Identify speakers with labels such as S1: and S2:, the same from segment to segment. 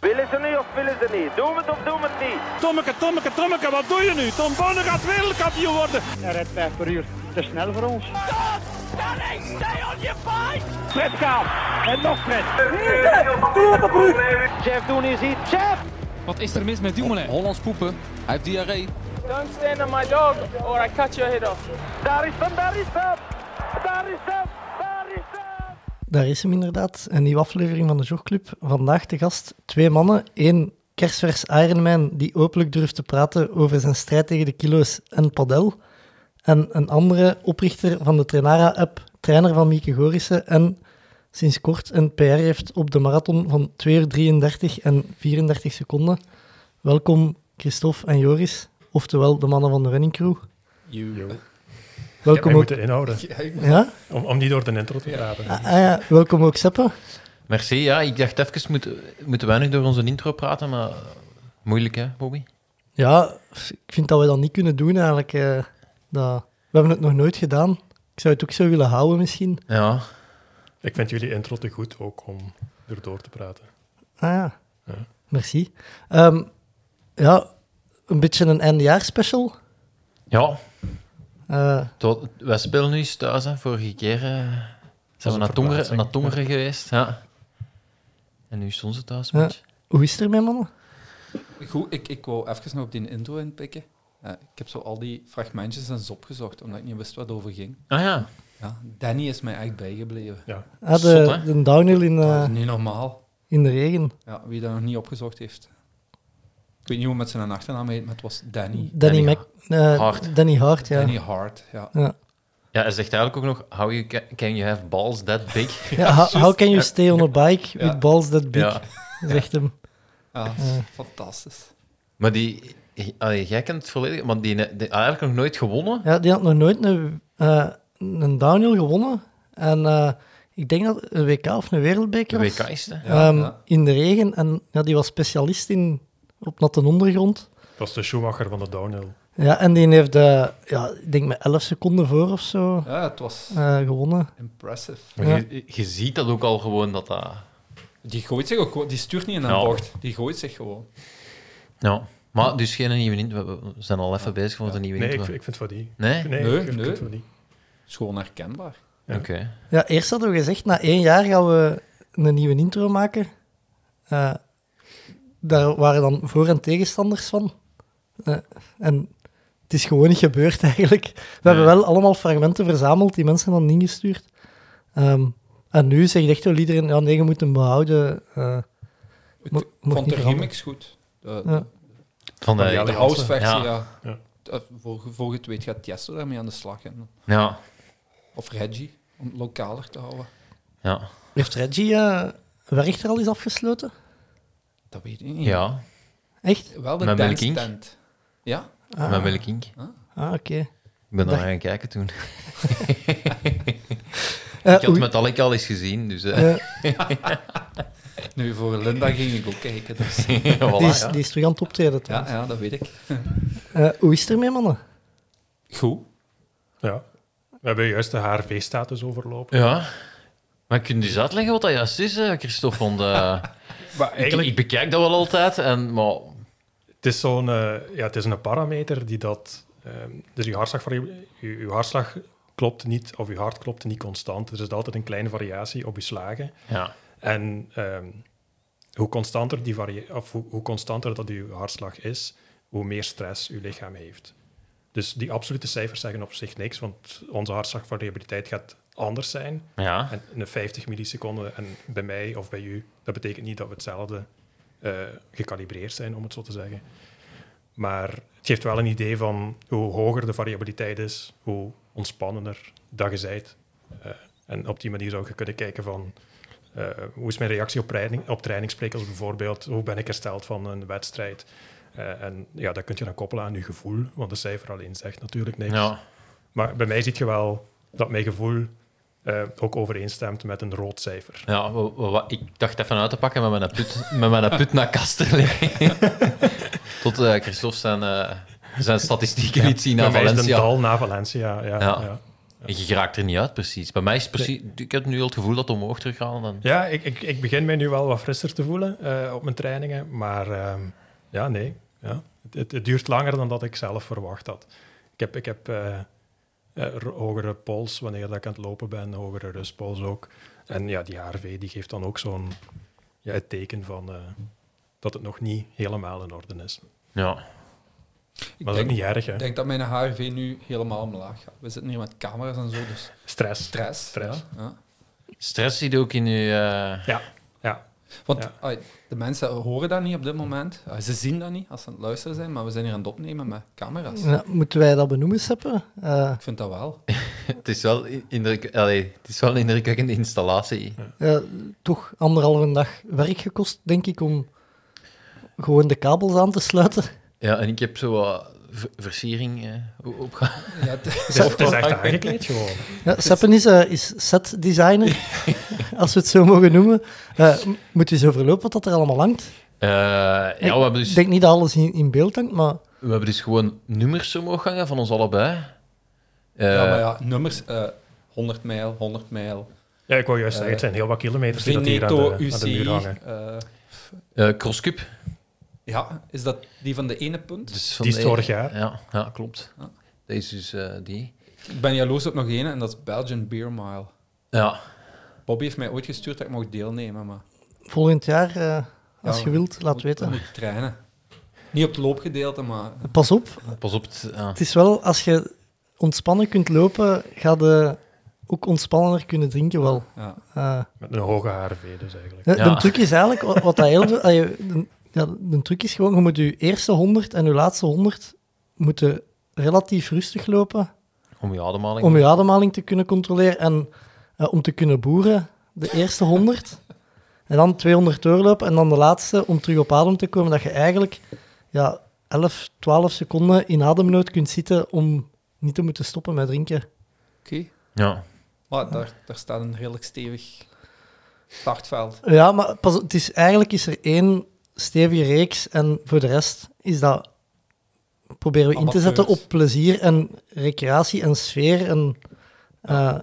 S1: ze niet of willen ze niet? Doen het of doen het niet?
S2: Tommeke, Tommeke, Tommeke, wat doe je nu? Tom Bonne gaat wereldkampioen worden.
S3: Hij rijdt 5 per uur. Te snel voor ons.
S4: Stop! Danny, stay on your bike!
S2: Fred Kaap en nog Fred.
S1: Jeff Doen is hier. Jeff!
S5: Wat is er mis met Dumoulin? Hollands poepen. Hij heeft diarree.
S6: Don't stand on my dog or I cut your head off.
S1: Daar is hem, daar is hem! Daar is hem! Daar is hem!
S7: Daar is hem inderdaad. Een nieuwe aflevering van de Jogclub. Vandaag te gast twee mannen. Eén kersvers Ironman die openlijk durft te praten over zijn strijd tegen de kilo's en padel. En een andere oprichter van de Trainara-app, trainer van Mieke Gorissen en sinds kort een PR heeft op de marathon van 2 uur 33 en 34 seconden. Welkom Christophe en Joris, oftewel de mannen van de running crew.
S8: Ik
S7: Welkom ook...
S8: moet inhouden,
S7: Ja?
S8: om, om niet door de intro te praten.
S7: Ah, ah ja, welkom ook Seppe.
S9: Merci, ja. Ik dacht even, moet, we moeten weinig door onze intro praten, maar moeilijk hè, Bobby?
S7: Ja, ik vind dat we dat niet kunnen doen eigenlijk. eh, dat... We hebben het nog nooit gedaan. Ik zou het ook zo willen houden misschien.
S9: Ja.
S8: Ik vind jullie intro te goed ook om erdoor te praten.
S7: Ah ja,
S8: Ja.
S7: merci. Ehm, ja, een beetje een eindejaarspecial.
S9: Ja,
S7: Eh
S9: tot, wij spelen nu eens thuis, hè. Vorige keer eh, zijn
S8: een
S9: we naar Tongeren,
S8: verplaatsing.
S9: naar Tongeren geweest, ja. En nu is het onze thuis,
S7: Ja.
S9: match.
S7: hoe is het ermee, mannen?
S5: Goed, ik, ik wou even nog op die intro inpikken. Eh, ik heb zo al die fragmentjes eens opgezocht, omdat ik niet wist wat het over ging.
S9: Ah ja,
S5: Ja, Danny is mij echt bijgebleven.
S7: Ah, de,
S9: Zot, hè?
S7: de downhill in, eh,
S5: Dat is niet normaal.
S7: in de regen.
S5: Ja, wie dat nog niet opgezocht heeft. Ik weet niet hoe het met zijn achternaam heet, maar het was Danny.
S7: Danny,
S9: Danny
S7: Mac, eh,
S9: Hart.
S7: Danny Hart, ja.
S5: Danny Hart, ja.
S7: ja.
S9: ja hij zegt eigenlijk ook nog, how you ca- can you have balls that big?
S7: Ja, how, how can you stay on a bike
S5: Ja.
S7: with balls that big,
S9: ja.
S7: zegt hem.
S5: ja
S7: Ja.
S5: Fantastisch.
S9: Maar die, allee, jij kent het volledig, maar die, die, had eigenlijk nog nooit gewonnen.
S7: Ja, die had nog nooit een, eh, een downhill gewonnen. En eh, ik denk dat het een WK of een
S9: De
S7: wereldbeker was.
S9: WK is het, hè.
S5: Ja,
S7: Ehm,
S5: ja.
S7: In de regen. En ja, die was specialist in, op natte ondergrond.
S8: Het was de Schumacher van de downhill.
S7: Ja, en die heeft, eh, ja, ik denk met 11 seconden voor of zo
S5: Ja, het was
S7: eh, gewonnen.
S5: impressive.
S9: Maar je, je ziet dat ook al gewoon, dat dat...
S5: Die gooit zich ook gewoon, die stuurt niet in een
S9: Ja.
S5: bocht. Die gooit zich gewoon.
S9: Ja, maar dus geen nieuwe intro. We- We zijn al even bezig met een nieuwe
S8: Nee, ik,
S9: intro.
S8: ik vind het van die.
S9: Nee?
S8: Nee,
S5: Nee,
S8: ik vind
S5: nee.
S8: het van die.
S5: Het is gewoon herkenbaar.
S8: Ja.
S9: Oké.
S7: Ja, eerst hadden we gezegd, na één jaar gaan we een nieuwe intro maken. Eh, daar waren dan voor- en tegenstanders van. Eh, en het is gewoon niet gebeurd eigenlijk. We hebben wel allemaal fragmenten verzameld, die mensen dan ingestuurd. Ehm, en nu zegt echt wel iedereen, ja nee, je moet hem behouden. Eh,
S5: Ik
S7: Mo- mocht
S5: vond
S7: niet
S5: de
S7: veranderen.
S5: remix goed. De,
S7: Ja.
S9: Van de,
S5: de, de
S9: ja.
S5: house versie, ja.
S9: Ja.
S8: Ja.
S5: Eh, Voor, voor het weet gaat Tiesto daarmee aan de slag. En,
S9: ja.
S5: of Reggie, om het lokaler te houden.
S7: heeft Reggie eh werk er al eens afgesloten?
S5: Dat weet ik niet.
S9: Ja.
S7: Echt?
S5: Wel de
S9: Met Melk
S5: dance
S9: Inc.
S5: tent. Ja?
S7: Ah,
S9: Met welk ink?
S7: ah, oké.
S9: Ik ben daar
S7: Dag.
S9: gaan kijken toen.
S8: Ah,
S7: Eh,
S9: Ik had
S7: oei,
S9: met al ik al eens gezien, dus...
S8: Ah,
S9: eh,
S7: eh,
S5: Nu, voor Linda ging ik ook kijken. Dus.
S9: voilà,
S7: die, is,
S9: ja.
S7: die is terug aan het optreden
S5: Ja,
S7: trouwens.
S5: ja, dat weet ik.
S7: Eh, hoe is het ermee, mannen?
S5: Goed.
S8: Ja. We hebben juist de HRV-status overlopen.
S9: Ja. Maar kun je dus uitleggen wat dat juist is, eh, Christophe? Want eh,
S8: Maar
S9: ik,
S8: eigenlijk,
S9: ik bekijk dat wel altijd, en, maar...
S8: het is, zo'n, eh, ja, het is een parameter die dat... ehm, dus je hartslag, varie- je, je hartslag klopt niet, of je hart klopt niet constant. Er is altijd een kleine variatie op je slagen.
S9: Ja.
S8: En ehm, hoe, constanter die varie- of hoe, hoe constanter dat uw hartslag is, hoe meer stress uw lichaam heeft. Dus die absolute cijfers zeggen op zich niks, want onze hartslagvariabiliteit gaat anders zijn.
S9: Ja.
S8: En een 50 milliseconden en bij mij of bij u, dat betekent niet dat we hetzelfde eh, gecalibreerd zijn, om het zo te zeggen. Maar het geeft wel een idee van hoe hoger de variabiliteit is, hoe ontspannender dat je zijt. Eh, en op die manier zou je kunnen kijken van eh, hoe is mijn reactie op, training, op trainingsprikkels bijvoorbeeld, hoe ben ik hersteld van een wedstrijd. Eh, en ja, dat kun je dan koppelen aan je gevoel, want de cijfer alleen zegt natuurlijk niks.
S9: Ja.
S8: Maar bij mij zie je wel dat mijn gevoel eh, ook overeenstemt met een rood cijfer.
S9: Ja, wa- wa- wa- ik dacht even uit te pakken met mijn put, met mijn put naar Kasterlee. Tot eh, Christophe zijn, eh, zijn statistieken liet zien
S8: bij
S9: aan
S8: mij is het een
S9: Valencia.
S8: dal na Valencia. Ja, ja.
S9: Ja. En je raakt er niet uit, precies. Bij mij is het precies... Ik heb nu al het gevoel dat het omhoog terug gaat. en Dan...
S8: Ja, ik, ik, ik begin mij nu wel wat frisser te voelen eh, op mijn trainingen. Maar ehm, ja, nee. Ja. Het, het, het duurt langer dan dat ik zelf verwacht had. Ik heb, ik heb eh, eh, r- hogere pols wanneer dat ik aan het lopen ben, hogere rustpols ook. En ja, die HRV die geeft dan ook zo'n ja, het teken van eh, dat het nog niet helemaal in orde is.
S9: Ja.
S5: Ik
S8: Maar dat is ook
S5: denk,
S8: niet erg, hè?
S5: ik denk dat mijn HRV nu helemaal omlaag gaat. We zitten hier met camera's en zo, dus
S8: Stress.
S5: stress.
S8: Stress.
S5: Ja, ja.
S9: Stress zie je ook in je... eh,
S8: Ja, ja.
S5: Want
S8: Ja.
S5: ai, de mensen horen dat niet op dit moment. Ah, ze zien dat niet als ze aan het luisteren zijn, maar we zijn hier aan het opnemen met camera's.
S7: Ja, moeten wij dat benoemen, Seppe? Eh,
S5: Ik vind dat wel.
S9: Het is wel, indruk, allee, het is wel een indrukwekkende installatie.
S7: ja, eh, toch anderhalve dag werk gekost, denk ik, om gewoon de kabels aan te sluiten.
S9: Ja, en ik heb zo wat v- versiering eh, o- opgehaald.
S5: Ja, het-
S8: Het is, het is echt aangekleed gewoon.
S7: Ja, Seppen is, eh, is setdesigner, als we het zo mogen noemen. Eh, m- moet u eens overlopen wat dat er allemaal hangt?
S9: Eh, ja, we hebben, dus,
S7: Ik denk niet dat alles in, in beeld hangt, maar
S9: we hebben dus gewoon nummers omhoog hangen van ons allebei. Eh,
S5: ja, maar ja, nummers. eh 100 mijl, 100 mijl.
S8: Ja, ik wou juist zeggen, het zijn heel wat kilometers die dat hier aan
S5: Veneto,
S8: de, aan de
S5: UCI.
S8: muur hangen.
S5: eh,
S9: eh, CrossCup.
S5: ja, is dat die van de ene punt?
S9: Dus van
S8: Die is
S9: de-
S8: vorig jaar.
S9: Ja, ja klopt.
S5: Ja.
S9: Deze is dus eh, die.
S5: Ik ben jaloers op nog één en dat is Belgian Beer Mile.
S9: Ja,
S5: Bobby heeft mij ooit gestuurd dat ik mocht deelnemen, maar
S7: volgend jaar, eh, als
S5: Ja,
S7: je wilt, laat
S5: moet- dan
S7: weten.
S5: moet ik trainen. Niet op het loopgedeelte, maar
S7: Pas op,
S9: pas op. Het, ja.
S7: het is wel, als je ontspannen kunt lopen, ga je ook ontspannender kunnen drinken wel.
S5: ja.
S7: Eh,
S8: Met een hoge HRV dus eigenlijk.
S7: De,
S9: Ja.
S7: de truc is eigenlijk, wa- wat dat heel veel- ah, je- de, ja, de truc is gewoon, je moet je eerste 100 en je laatste 100 moeten relatief rustig lopen
S9: om je ademhaling.
S7: om je ademhaling te kunnen controleren en eh, om te kunnen boeren, de eerste 100. En dan 200 doorlopen en dan de laatste om terug op adem te komen, dat je eigenlijk ja, 11, 12 seconden in ademnood kunt zitten om niet te moeten stoppen met drinken.
S5: Oké.
S9: Ja.
S5: Maar daar, daar staat een redelijk stevig startveld.
S7: Ja, maar pas, op, het is, eigenlijk is er één stevige reeks en voor de rest is dat... Proberen we in te
S5: Amateurs.
S7: zetten op plezier en recreatie en sfeer en... eh,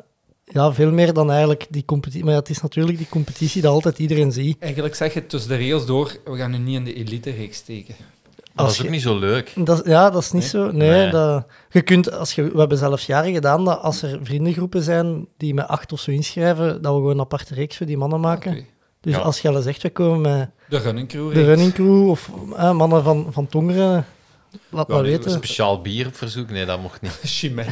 S7: ja. veel meer dan eigenlijk die competitie. Maar ja, het is natuurlijk die competitie dat altijd iedereen ziet.
S5: Eigenlijk zeg je tussen de rails door, we gaan nu niet in de elite-reeks steken.
S9: Maar dat
S7: Als
S9: is ook
S7: je-
S9: niet zo leuk.
S7: Dat, ja, dat is niet
S5: Nee?
S7: zo. Nee,
S9: Nee.
S7: Dat, je kunt, als je, we hebben zelfs jaren gedaan dat als er vriendengroepen zijn die met acht of zo inschrijven, dat we gewoon een aparte reeks voor die mannen maken.
S5: Oké.
S7: Dus
S9: Ja.
S7: als je al zegt, we komen met
S5: De running crew
S7: de running crew of eh, mannen van, van Tongeren, laat
S5: Ja,
S7: maar
S5: nee,
S7: weten.
S9: Speciaal bier op verzoek? Nee, dat mocht niet.
S5: Chimé.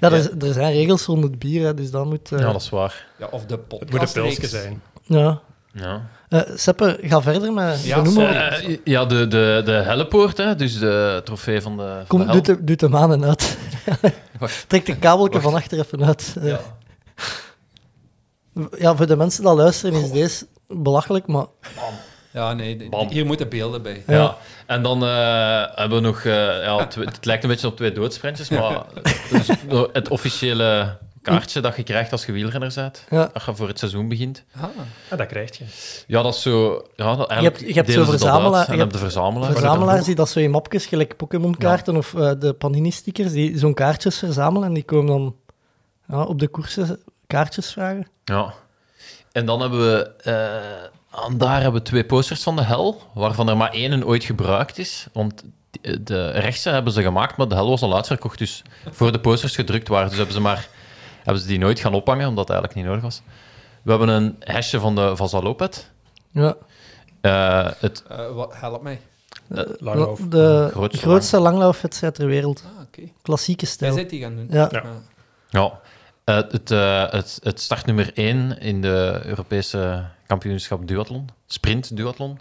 S7: Ja, er, z- er zijn regels rond het bier, hè, dus dat moet... eh,
S9: Ja, dat is waar.
S5: Ja, of de
S8: Het moet een
S5: podcast
S8: pilsje zijn.
S7: ja.
S9: Ja.
S7: Eh, Seppe, ga verder met
S5: Ja,
S7: benoemen.
S5: sorry.
S9: Eh, ja, de, de, de hellepoort, hè, dus de trofee van de, van
S7: Kom,
S9: de hel.
S7: doe de, doe de manen uit.
S9: Wacht.
S7: Trek de kabeltje
S9: Wacht.
S7: van achter even uit. Eh,
S9: Ja.
S7: ja. voor de mensen die luisteren is deze belachelijk, maar...
S5: Ja, nee, d-
S9: Bam.
S5: hier moeten beelden bij.
S9: Ja. en dan eh, hebben we nog... eh, ja, twee- het lijkt een beetje op twee doodsprintjes, maar het is het officiële kaartje dat je krijgt als je wielrenner bent,
S7: Ja.
S9: als je voor het seizoen begint.
S5: Ah,
S8: Ja, dat krijg je.
S9: Ja, dat is zo... Ja, dat,
S7: Je hebt- je hebt zo'n verzamelaar-
S9: verzamelaar.
S7: je
S9: En
S7: hebt
S9: hebt de verzamelaar.
S7: Verzamelaars die dat zo in mapjes, gelijk Pokémon-kaarten of eh, de Panini-stickers, die zo'n kaartjes verzamelen en die komen dan ja, op de koersen kaartjes vragen.
S9: Ja. En dan hebben we... eh, aan daar hebben we twee posters van de hel, waarvan er maar één ooit gebruikt is. Want die- de rechtse hebben ze gemaakt, maar de hel was al uitverkocht. Dus voor de posters gedrukt waren. Dus hebben ze, maar, hebben ze die nooit gaan ophangen, omdat het eigenlijk niet nodig was. We hebben een hesje van de Vasalopet.
S7: Ja,
S9: Eh het,
S5: eh, wat, help mij.
S8: Lang over.
S7: de
S9: Grootste
S7: grootste, langlaufwedstrijd ter wereld.
S5: Ah, oké.
S7: Klassieke
S5: Jij
S7: stijl.
S5: zit die gaan doen.
S7: Ja.
S8: Ja.
S5: Ah.
S9: ja, eh, het, eh, het, het startnummer 1 in de Europese kampioenschap duathlon. Sprint duathlon.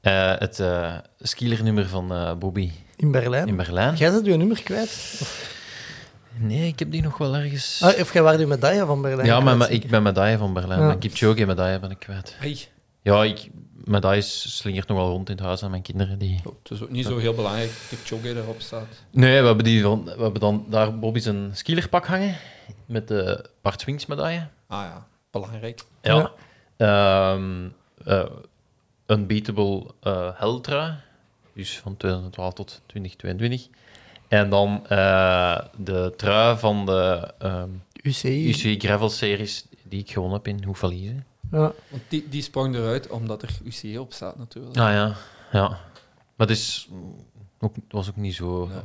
S9: Eh, het eh skilernummer van eh, Bobby
S7: In Berlijn.
S9: in Berlijn.
S7: Jij zet je nummer kwijt.
S9: Nee, ik heb die nog wel ergens.
S7: Ah, of jij waar je medaille van Berlijn
S9: ja, maar
S7: kwijt.
S9: maar ik ben medaille van Berlijn.
S7: Ja.
S9: Mijn Kipchoge-medaille ben ik kwijt.
S5: Hey.
S9: Ja, ik, medaille slingert nog wel rond in het huis aan mijn kinderen. Die...
S5: Oh, het is ook niet zo heel belangrijk dat Choge erop staat.
S9: Nee, we hebben, die van, we hebben dan daar Bobby zijn skielerpak hangen met de Bart Swings medaille.
S5: Ah ja, belangrijk.
S9: Ja. Ehm, eh, unbeatable eh Heltra, dus van 2012 tot 2022. En dan eh, de trui van de ehm
S7: UCI.
S9: UC Gravel Series die ik gewonnen heb in Hoefalize.
S7: Ja.
S5: Want die, die sprong eruit omdat er UC op staat natuurlijk.
S9: Ah ja, ja. Maar het is mm, ook, het was ook niet zo...
S5: Ja.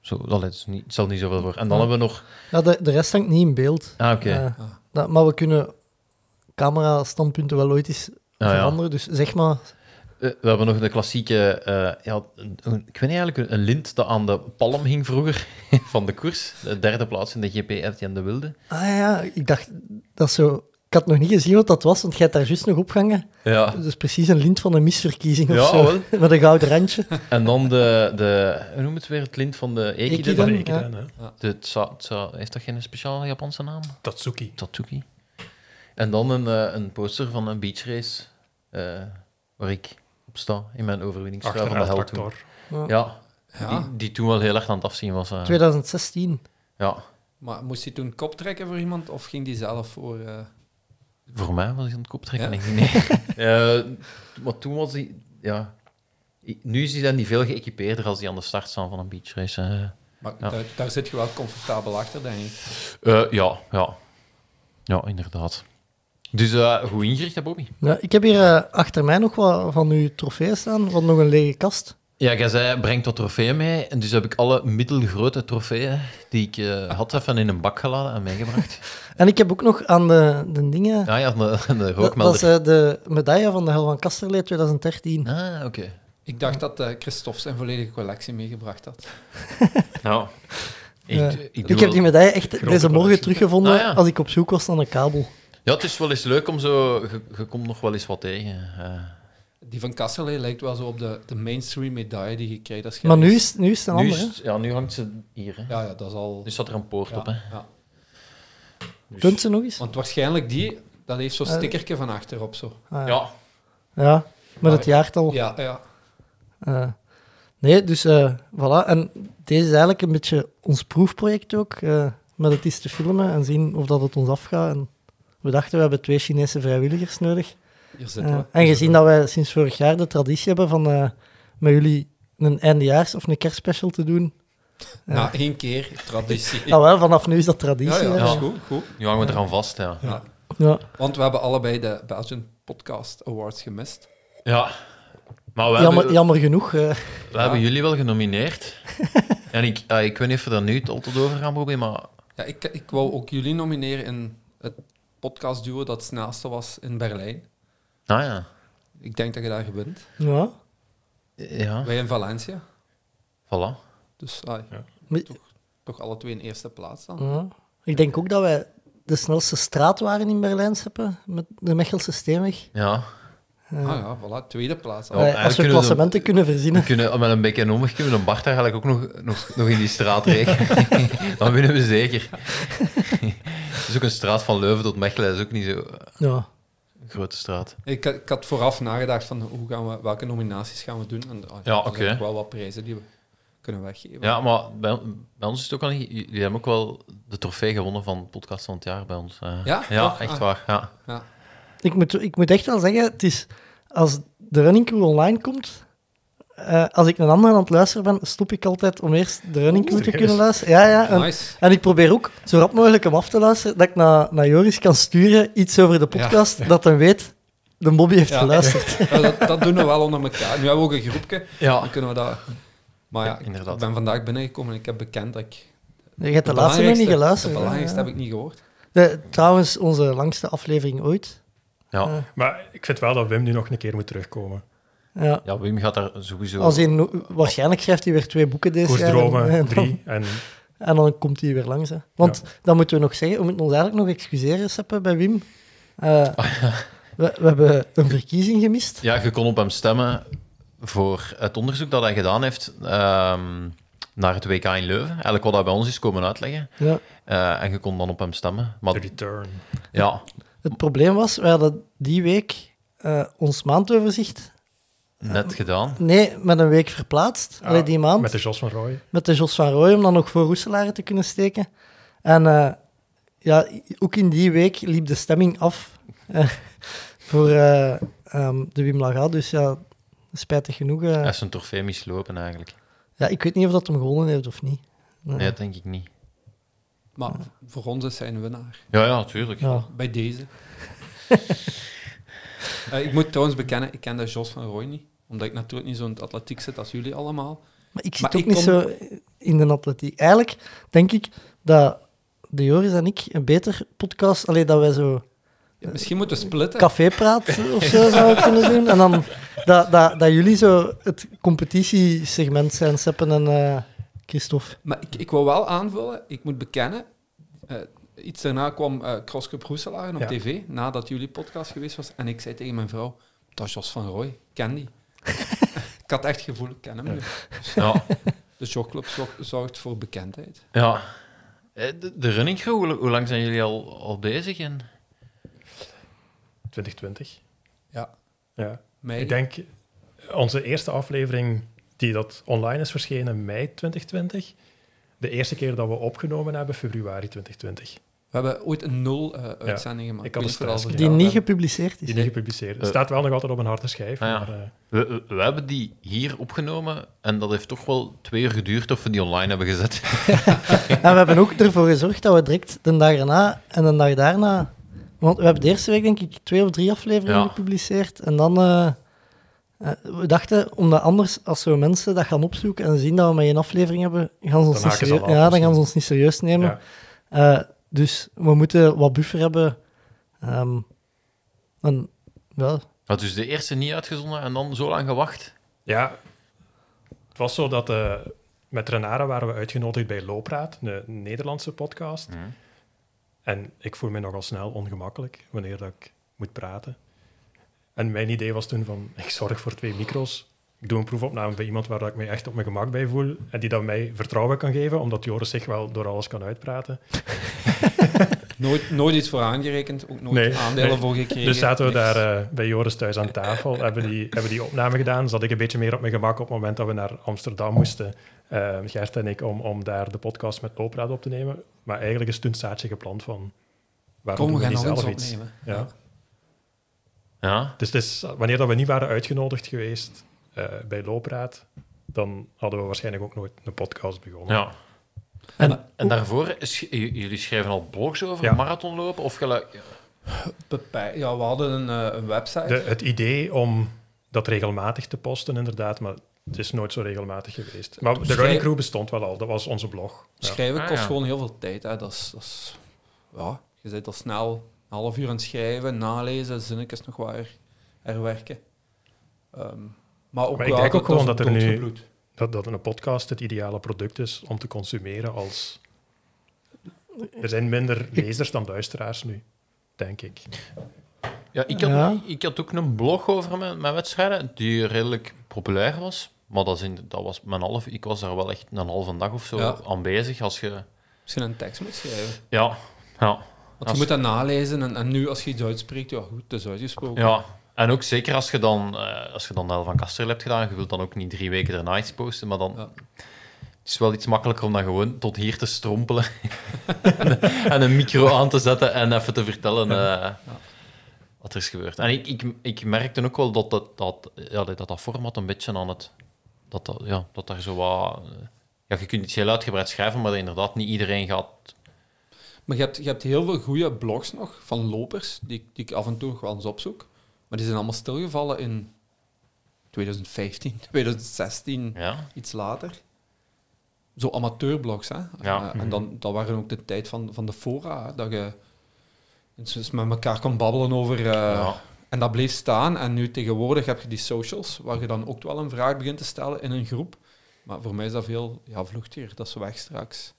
S9: zo allee, het, is niet, het stelt niet zoveel voor. En dan hebben we nog...
S7: Ja, de, de rest hangt niet in beeld.
S9: Ah, oké.
S7: Eh, dat, maar we kunnen camera-standpunten wel ooit eens
S9: Ah, ja.
S7: veranderen. Dus zeg maar,
S9: Eh, we hebben nog de klassieke... eh, ja, een- een- ik weet niet eigenlijk, een- een lint dat aan de palm hing vroeger van de koers. De derde plaats in de GP FTN De Wilde.
S7: ah ja, ja, ik dacht dat is zo. Ik had nog niet gezien wat dat was, want jij hebt daar juist nog opgehangen.
S9: Ja.
S7: Dat is precies een lint van een misverkiezing of
S9: Ja,
S7: zo.
S9: wel.
S7: Met een gouden randje.
S9: En dan de, de... Hoe noem het weer? Het lint van de Ekiden?
S7: Ekiden.
S8: Van
S7: Ja.
S8: Ekiden, hè.
S9: De tsa, tsa, heeft dat geen speciale Japanse naam?
S8: Tatsuki.
S9: Tatsuki. En dan een, eh, een poster van een beachrace eh, waar ik op sta in mijn overwinningstrui van de hel toen.
S8: Achteruitactor.
S9: Ja,
S5: Ja.
S9: Die, die toen wel heel erg aan het afzien was. eh.
S7: 2016.
S9: Ja,
S5: Maar moest hij toen kop trekken voor iemand of ging die zelf voor. eh,
S9: voor mij was hij aan het kop trekken.
S5: Ja?
S9: denk ik. Nee. Eh, maar toen was hij... Ja. I- Nu is hij dan niet veel geëquipeerder als die aan de start staan van een beachrace. eh.
S5: Maar
S9: Ja.
S5: daar, daar zit je wel comfortabel achter, denk ik.
S9: Eh, ja, ja. Ja, inderdaad. Dus eh, goed ingericht, hè, Bobby?
S7: Ja, ik heb hier eh, achter mij nog wat van uw trofeeën staan, want nog een lege kast.
S9: Ja, jij zei, breng dat trofee mee. En dus heb ik alle middelgrote trofeeën die ik eh, had even in een bak geladen en meegebracht.
S7: En ik heb ook nog aan de, de dingen...
S9: Ja, ja, de, de
S7: dat, dat is
S9: rookmelder.
S7: eh, de medaille van de Hel van Kasterlee 2013.
S9: Ah, oké.
S5: Ik dacht dat eh Christophe zijn volledige collectie meegebracht had.
S9: Nou, ik,
S7: Ja.
S9: ik, doe
S7: Eh, Ik heb
S9: wel-
S7: die medaille echt deze morgen
S8: collectie.
S7: teruggevonden
S9: Ah, ja.
S7: als ik op zoek was naar een kabel.
S9: Ja, het is wel eens leuk om zo... Je, je komt nog wel eens wat tegen. eh.
S5: Die van Kasselee lijkt wel zo op de, de mainstream medaille die je krijgt als je.
S7: Maar nu is, nu is het een
S9: nu,
S7: andere.
S9: is
S7: hè.
S9: het- ja, nu hangt ze hier. Hè.
S5: Ja, ja, dat is al.
S9: Nu staat er een poort
S5: ja,
S9: op. Hè.
S5: ja.
S7: Kunt ze nog eens?
S5: Want waarschijnlijk die, dat heeft zo'n
S7: Eh.
S5: stickertje van achterop zo.
S7: Ah, ja.
S9: Ja,
S7: ja, met
S9: Ah,
S7: het jaartal.
S5: Ja, ja.
S7: Eh, nee, dus eh, voilà. En deze is eigenlijk een beetje ons proefproject ook. eh, met het eens te filmen en zien of dat het ons afgaat. En we dachten, we hebben twee Chinese vrijwilligers nodig.
S5: Hier
S7: Eh,
S5: zitten we.
S7: en gezien dat wij sinds vorig jaar de traditie hebben van eh, met jullie een eindejaars of een kerstspecial te doen.
S5: Na nou, één keer traditie.
S7: Nou wel, vanaf nu is dat
S5: Ja,
S7: traditie.
S5: ja,
S7: hè.
S5: dat is goed, goed.
S9: nu hangen we eraan vast. Ja. Ja.
S5: Ja.
S7: Ja.
S5: Want we hebben allebei de Belgian Podcast Awards gemist.
S9: Maar we
S7: Jammer,
S9: hebben,
S7: jammer genoeg. eh.
S9: we hebben jullie wel genomineerd. en ik, ah, ik weet niet of we daar nu het al tot over gaan, Bobby, maar...
S5: Ja, ik, ik wou ook jullie nomineren in het podcastduo dat het snelste was in Berlijn.
S9: Nou ja.
S5: Ik denk dat je daar gewint.
S7: ja.
S9: Ja,
S5: Wij in Valencia.
S9: voilà.
S5: Dus ai,
S7: Maar-
S5: toch alle twee in eerste plaats dan.
S7: Ja. Ik denk ook dat wij de snelste straat waren in Berlijn, Seppe, met de Mechelse Steenweg.
S9: Ja.
S5: Ah ja, voilà, tweede plaats.
S9: Ja.
S5: Dan.
S7: Wij- als we
S9: eigenlijk kunnen we-
S7: klassementen kunnen verzinnen.
S9: We kunnen met een beetje een omweg kunnen we een Bart eigenlijk ook nog, nog, nog in die straat rekenen. Dan winnen we zeker. Het is ook een straat van Leuven tot Mechelen. Dat is ook niet zo'n
S7: Ja.
S9: grote straat.
S5: Ik, ik had vooraf nagedacht van hoe gaan we, welke nominaties gaan we doen. En, ah,
S9: Ja,
S5: er
S9: oké.
S5: zijn ook wel wat prijzen die we kunnen weggeven.
S9: Ja, maar bij, bij ons is het ook al niet... Jullie hebben ook wel de trofee gewonnen van podcast van het jaar bij ons. eh.
S5: Ja?
S9: Ja,
S5: Toch?
S9: echt
S5: Ah.
S9: waar. Ja.
S7: Ik, moet, ik moet echt wel zeggen, het is, als de running crew online komt, eh, als ik een ander aan het luisteren ben, stop ik altijd om eerst de running crew te kunnen luisteren. Ja, eh, ja. En,
S5: Nice.
S7: en ik probeer ook zo rap mogelijk hem af te luisteren, dat ik naar, naar Joris kan sturen iets over de podcast, dat hij weet, de Bobby heeft
S5: Ja.
S7: geluisterd.
S5: Ja, dat, dat doen we wel onder elkaar. Nu hebben we ook een groepje.
S9: Ja.
S5: Dan kunnen we dat... Maar ja,
S9: Ja, inderdaad.
S5: ik ben vandaag binnengekomen en ik heb bekend dat ik...
S7: Je hebt de laatste nog
S5: belangrijkste-
S7: niet geluisterd.
S5: De
S7: hè.
S5: belangrijkste heb ik niet gehoord.
S7: De- trouwens, onze langste aflevering ooit.
S9: Ja.
S8: Maar ik vind wel dat Wim nu nog een keer moet terugkomen.
S7: Ja.
S9: ja, Wim gaat daar sowieso...
S7: Als in, waarschijnlijk schrijft hij weer twee boeken deze jaar. En- en
S8: Koersdromen,
S7: dan-
S8: drie. En
S7: En dan komt hij weer langs. Hè. Want dat moeten we nog zeggen. We moeten ons eigenlijk nog excuseren, Seppe, bij Wim. Eh,
S5: Oh,
S7: we, we hebben een verkiezing gemist.
S9: Ja, je kon op hem stemmen voor het onderzoek dat hij gedaan heeft ehm, naar het WK in Leuven. Eigenlijk wat hij bij ons is komen uitleggen.
S7: Ja.
S9: Eh, en je kon dan op hem stemmen.
S8: The
S9: Maar
S8: Return.
S9: ja,
S7: Het probleem was, we hadden die week eh, ons maandoverzicht...
S9: net gedaan.
S7: Nee, met een week verplaatst. Allee, die maand.
S8: Ah, Met de Jos van Roy.
S7: met de Jos van Rooij om dan nog voor Roeselare te kunnen steken. En eh, ja, ook in die week liep de stemming af eh, voor eh, ehm, de Wim Laga. Dus ja, spijtig genoeg. eh,
S9: Hij is zijn trofee mislopen eigenlijk.
S7: Ja, ik weet niet of dat hem gewonnen heeft of niet. Nee.
S9: Nee, dat denk ik niet.
S5: Maar voor ons is hij een winnaar.
S9: Ja, ja, tuurlijk.
S7: Ja.
S5: Bij deze. Eh, ik moet trouwens bekennen, ik ken dat Jos van Rooij niet. Omdat ik natuurlijk niet zo in het atletiek zit als jullie allemaal.
S7: Maar ik zit
S5: Maar
S7: ook
S5: ik
S7: niet
S5: kom-
S7: zo in de atletiek. Eigenlijk denk ik dat de Joris en ik een beter podcast... Alleen dat wij zo
S5: Ja, misschien moeten we splitten.
S7: cafépraat of zo zouden kunnen doen. En dan dat, dat, dat jullie zo het competitiesegment zijn, Seppen en eh, Christophe.
S5: Maar ik, ik wil wel aanvullen, ik moet bekennen. eh, iets daarna kwam eh Kroske Proeselaar op
S8: Ja.
S5: tv, nadat jullie podcast geweest was. En ik zei tegen mijn vrouw, dat is Jos van Rooij, ik ken die. ik had echt het gevoel, ik ken hem nu.
S9: Ja,
S5: De Jogclub zor- zorgt voor bekendheid.
S9: ja. Eh, De, de running crew, hoe, hoe lang zijn jullie al, al bezig? En...
S8: 2020.
S5: Ja.
S8: Ja.
S5: Mij,
S8: Ik denk onze eerste aflevering die dat online is verschenen, mei 2020. De eerste keer dat we opgenomen hebben, februari 2020.
S5: We hebben ooit een nul eh, uitzending gemaakt.
S8: Ik had
S5: weet
S8: een
S5: niet of
S8: stress.
S5: dat-
S7: Die
S8: Ja,
S7: niet
S8: ja.
S7: gepubliceerd is.
S8: Die niet gepubliceerd. Het
S9: Eh.
S8: staat wel nog altijd op een harde schijf.
S9: Ah, ja.
S8: maar, eh,
S9: We, we- we hebben die hier opgenomen en dat heeft toch wel twee uur geduurd of we die online hebben gezet.
S7: En we hebben ook ervoor gezorgd dat we direct de dag erna en de dag daarna... Want we hebben de eerste week, denk ik, twee of drie afleveringen
S9: Ja.
S7: gepubliceerd. En dan... eh, eh, we dachten, omdat anders, als zo mensen dat gaan opzoeken en zien dat we maar één aflevering hebben, gaan ze ons,
S8: haken
S7: niet
S8: ze
S7: serieus,
S8: al af
S7: ja, dan
S8: misschien.
S7: gaan ze ons niet serieus nemen.
S8: ja.
S7: Eh, dus we moeten wat buffer hebben. Ehm, en, ja,
S9: Had dus de eerste niet uitgezonden en dan zo lang gewacht.
S8: Ja, het was zo dat eh, met Renara waren we uitgenodigd bij Loopraad, een Nederlandse podcast.
S9: Mhm.
S8: En ik voel me nogal snel ongemakkelijk wanneer dat ik moet praten. En mijn idee was toen van, ik zorg voor twee micro's. Ik doe een proefopname bij iemand waar dat ik me echt op mijn gemak bij voel en die dan mij vertrouwen kan geven, omdat Joris zich wel door alles kan uitpraten.
S5: Nooit, nooit iets voor aangerekend, ook nooit
S8: Nee,
S5: aandelen
S8: nee.
S5: voor gekregen.
S8: Dus zaten we
S5: Niks.
S8: daar eh, bij Joris thuis aan tafel, hebben die, hebben die opname gedaan. Zat ik een beetje meer op mijn gemak op het moment dat we naar Amsterdam moesten, eh, Gert en ik, om, om daar de podcast met Loopraad op te nemen. Maar eigenlijk is toen het zaadje geplant van, waarom
S5: Kom, we
S8: doen
S5: gaan
S8: we niet
S5: nog eens
S8: zelf iets?
S5: opnemen.
S8: Ja.
S9: Ja,
S8: Dus het is, wanneer dat we niet waren uitgenodigd geweest eh, bij Loopraad, dan hadden we waarschijnlijk ook nooit een podcast begonnen.
S9: ja. En, en daarvoor, sch- j- jullie schrijven al blogs over
S8: Ja.
S9: marathonlopen? Of gelijk...
S5: Bepij- ja, we hadden een, eh, een website.
S8: De, het idee om dat regelmatig te posten, inderdaad, maar het is nooit zo regelmatig geweest. Maar de
S5: Schrij-
S8: running crew bestond wel al, dat was onze blog. Ja.
S5: Schrijven
S9: Ah,
S5: kost
S9: ja.
S5: gewoon heel veel tijd. Hè. Dat is, dat is- ja, je zit al snel een half uur aan het schrijven, nalezen, zinnetjes nog wat her- herwerken. Ehm, maar ook
S8: Maar ik
S5: wel,
S8: denk ook gewoon
S5: is
S8: dat er nu-
S5: doodgebloed.
S8: dat, dat een podcast het ideale product is om te consumeren als... Er zijn minder lezers dan luisteraars nu, denk ik.
S9: Ja, ik had,
S7: Ja.
S9: Ik had ook een blog over mijn, mijn wedstrijden, die redelijk populair was. Maar dat, is in, dat was mijn half... Ik was daar wel echt een halve dag of zo
S5: Ja.
S9: aan bezig. Als je...
S5: Misschien een tekst moet schrijven.
S9: Ja, ja,
S5: Want
S9: Als-
S5: je moet dat nalezen en, en nu als je iets uitspreekt, ja goed, het is uitgesproken.
S9: ja. En ook zeker als je dan, eh, als je dan de Hel van Kastel hebt gedaan, je wilt dan ook niet drie weken daarna iets posten, maar dan...
S5: Ja.
S9: Het is wel iets makkelijker om dan gewoon tot hier te strompelen en, en een micro aan te zetten en even te vertellen eh, wat er is gebeurd. En ik, ik, ik merkte ook wel dat dat, dat, ja, dat dat format een beetje aan het... Dat, dat, ja, dat daar zo wat... eh, Ja, je kunt iets heel uitgebreid schrijven, maar inderdaad niet iedereen gaat...
S5: Maar je hebt, je hebt heel veel goede blogs nog van lopers, die, ik- die ik af en toe nog wel eens opzoek. Maar die zijn allemaal stilgevallen in 2015, 2016,
S9: Ja,
S5: iets later. Zo amateurblogs, hè?
S9: Ja. Mhm.
S5: Eh, en dan, dat waren ook de tijd van, van de fora, hè, dat je eens met elkaar kon babbelen over... eh,
S9: ja.
S5: En dat bleef staan. En nu tegenwoordig heb je die socials, waar je dan ook wel een vraag begint te stellen in een groep. Maar voor mij is dat veel... Ja, vluchtiger, dat is weg straks.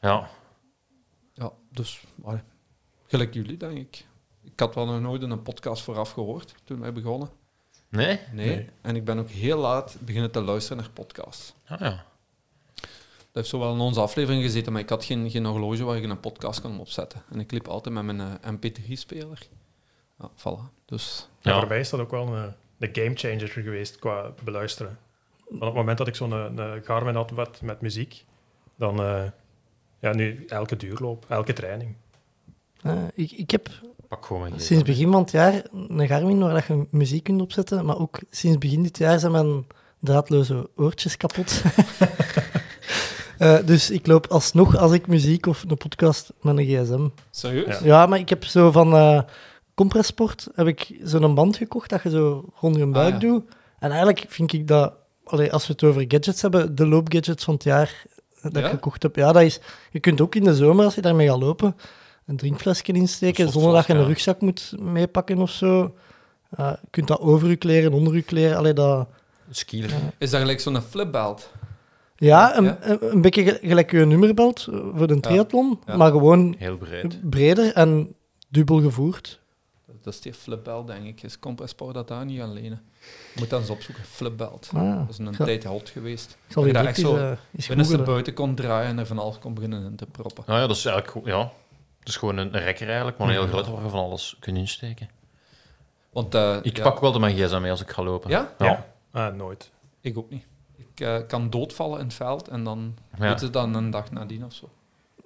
S9: ja.
S5: Ja, dus... allee, gelijk jullie, denk ik. Ik had wel nog nooit een podcast vooraf gehoord, toen wij begonnen.
S9: Nee?
S5: Nee. En ik ben ook heel laat beginnen te luisteren naar podcasts.
S9: Ah, ja.
S5: Dat heeft zo wel in onze aflevering gezeten, maar ik had geen, geen horloge waar ik een podcast kon opzetten. En ik liep altijd met mijn eh, MP3-speler. Ja, voilà. Dus
S8: En
S9: Ja.
S8: Voor mij is dat ook wel een, een gamechanger geweest qua beluisteren. Want op het moment dat ik zo'n eh, een Garmin had wat met muziek, dan eh, ja, nu elke duurloop, elke training.
S7: eh, ik, ik heb
S9: Pak gewoon mijn
S7: Sinds begin van het jaar een Garmin waar dat je muziek kunt opzetten, maar ook sinds begin dit jaar zijn mijn draadloze oortjes kapot. Eh, dus ik loop alsnog als ik muziek of een podcast met een gsm.
S5: Serieus?
S8: Ja.
S7: Ja, maar ik heb zo van eh Compressport heb ik zo'n band gekocht dat je zo rond je buik
S5: Ah, ja.
S7: doet. En eigenlijk vind ik dat, allee, als we het over gadgets hebben, de loopgadgets van het jaar dat
S5: Ja?
S7: ik gekocht heb. Ja, dat is, je kunt ook in de zomer, als je daarmee gaat lopen, een drinkflesje insteken
S9: Een
S7: zonder dat je een
S9: softfles,
S7: rugzak moet meepakken of zo. Eh, je kunt dat over je kleren, onder je kleren. Allee, dat,
S9: Skieler.
S5: Is dat gelijk zo'n flipbelt?
S7: ja, een,
S5: Ja?
S7: Een, een beetje gel- gelijk je nummerbelt eh, voor de triathlon,
S5: Ja.
S7: maar gewoon
S9: Heel breed.
S7: breder en dubbel gevoerd.
S5: Dat is die flipbelt, denk ik. Is Compressport dat daar niet aan lenen? Moet dat eens opzoeken. Flipbelt.
S7: Ah.
S5: Dat is een
S7: Ja.
S5: tijd hot geweest.
S7: Ik zal
S5: Dat
S7: die
S5: je
S7: boek
S5: daar
S7: eens,
S5: echt zo
S7: eh, eens
S5: Binnen ze
S7: googelen.
S5: buiten kon draaien en er van alles kon beginnen in te proppen.
S9: Nou ja, dat is eigenlijk goed. Ja. Dat is gewoon een een rekker eigenlijk, maar een heel groot waar je van alles kunt insteken.
S5: Want, eh,
S9: Ik
S5: ja.
S9: pak wel de mijn gsm mee als ik ga lopen.
S5: Ja?
S9: Ja.
S8: Ja. Ah, nooit.
S5: Ik ook niet. Ik eh, kan doodvallen in het veld en dan
S9: Ja.
S5: moeten ze dan een dag nadien of zo.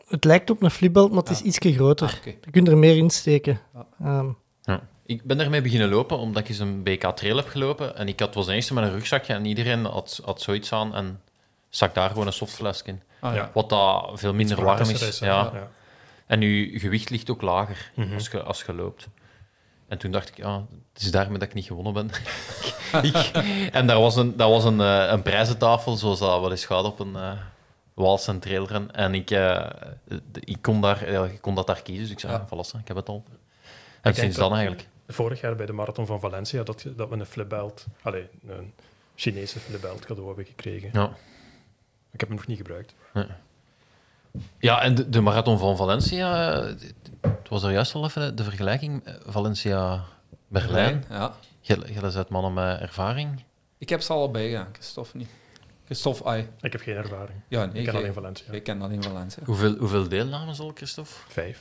S7: Het lijkt op een flipbelt, maar het is
S5: Ja.
S7: ietsje groter.
S5: Ah, oké.
S7: Je kunt er meer insteken.
S5: Ja.
S7: Ehm,
S9: Ja. Ik ben daarmee beginnen lopen omdat ik eens een BK-trail heb gelopen. En ik had, was de eerste met een rugzakje en iedereen had, had zoiets aan. En stak daar gewoon een softfles in.
S5: Ah, ja.
S8: Ja.
S9: Wat dat veel minder warm
S8: Praktischer
S9: is.
S8: hè.
S9: ja. En je gewicht ligt ook lager als, je, als je loopt. En toen dacht ik, ja, het is daarmee dat ik niet gewonnen ben. ik, en daar was een, dat was een, eh, een prijzentafel, zoals dat wel eens gaat op een eh Wals en trailrun. En ik, eh, de- ik, kon daar, ja, ik kon dat daar kiezen, dus ik zei,
S5: Ja.
S9: ja. ik heb het al. En sinds
S8: dat-
S9: dan eigenlijk.
S8: Vorig jaar bij de Marathon van Valencia dat, dat we een flipbelt, allee, een Chinese flipbelt cadeau hebben gekregen.
S9: Ja.
S8: Ik heb hem nog niet gebruikt.
S9: Ja, en de, de marathon van Valencia, eh, het was er juist al even de vergelijking, eh, Valencia-Berlijn.
S5: Ja.
S9: Gilles uit mannen met ervaring.
S5: Ik heb ze allebei gedaan, Christophe niet. Christophe, ai.
S8: Ik heb geen ervaring.
S5: Ja, nee,
S8: Ik ken
S5: jij-
S8: alleen Valencia.
S5: Ik ken alleen Valencia.
S9: Hoeveel, hoeveel deelnames al, Christophe?
S8: Vijf.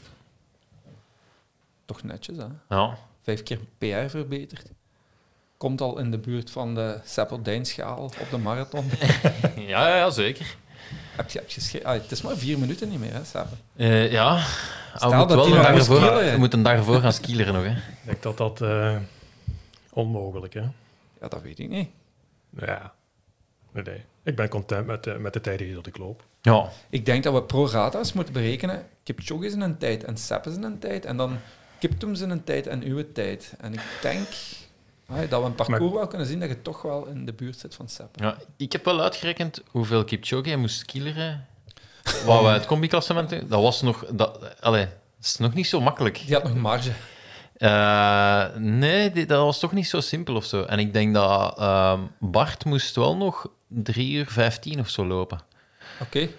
S5: Toch netjes, hè?
S9: Ja,
S5: Vijf keer PR verbeterd. Komt al in de buurt van de Seppel-Dijnschaal op de marathon.
S9: ja, ja, ja, zeker.
S5: heb je, heb je sche- ai, het is maar vier minuten niet meer, hè, Seppel?
S9: Eh, ja, Ah,
S5: Stel
S9: we
S5: dat
S9: moeten wel
S5: die
S9: een
S5: nog
S9: dag
S5: gaan
S9: ervoor,
S5: skileren.
S9: we moeten een dag ervoor gaan skileren nog. Hè.
S8: Ik denk dat dat eh, onmogelijk hè.
S5: Ja, dat weet ik niet.
S8: Ja. Nee, nee. Ik ben content met, eh, met de tijden die dat ik loop.
S9: Ja,
S5: Ik denk dat we pro-rata's moeten berekenen. Kipchoge is in een tijd en Sepp is in een tijd. En dan Kiptum is in een tijd en uw tijd. En ik denk ai, dat we een parcours
S8: Maar-
S5: wel kunnen zien dat je toch wel in de buurt zit van Sepp.
S9: ja, ik heb wel uitgerekend hoeveel Kipchoge hij moest skileren. Wat we het combi-klassement doen, dat was nog... Dat, allee, dat is nog niet zo makkelijk.
S5: Die had nog marge.
S9: Eh, nee, dit- dat was toch niet zo simpel of zo. En ik denk dat ehm, Bart moest wel nog 3 uur 15 of zo lopen.
S5: Oké,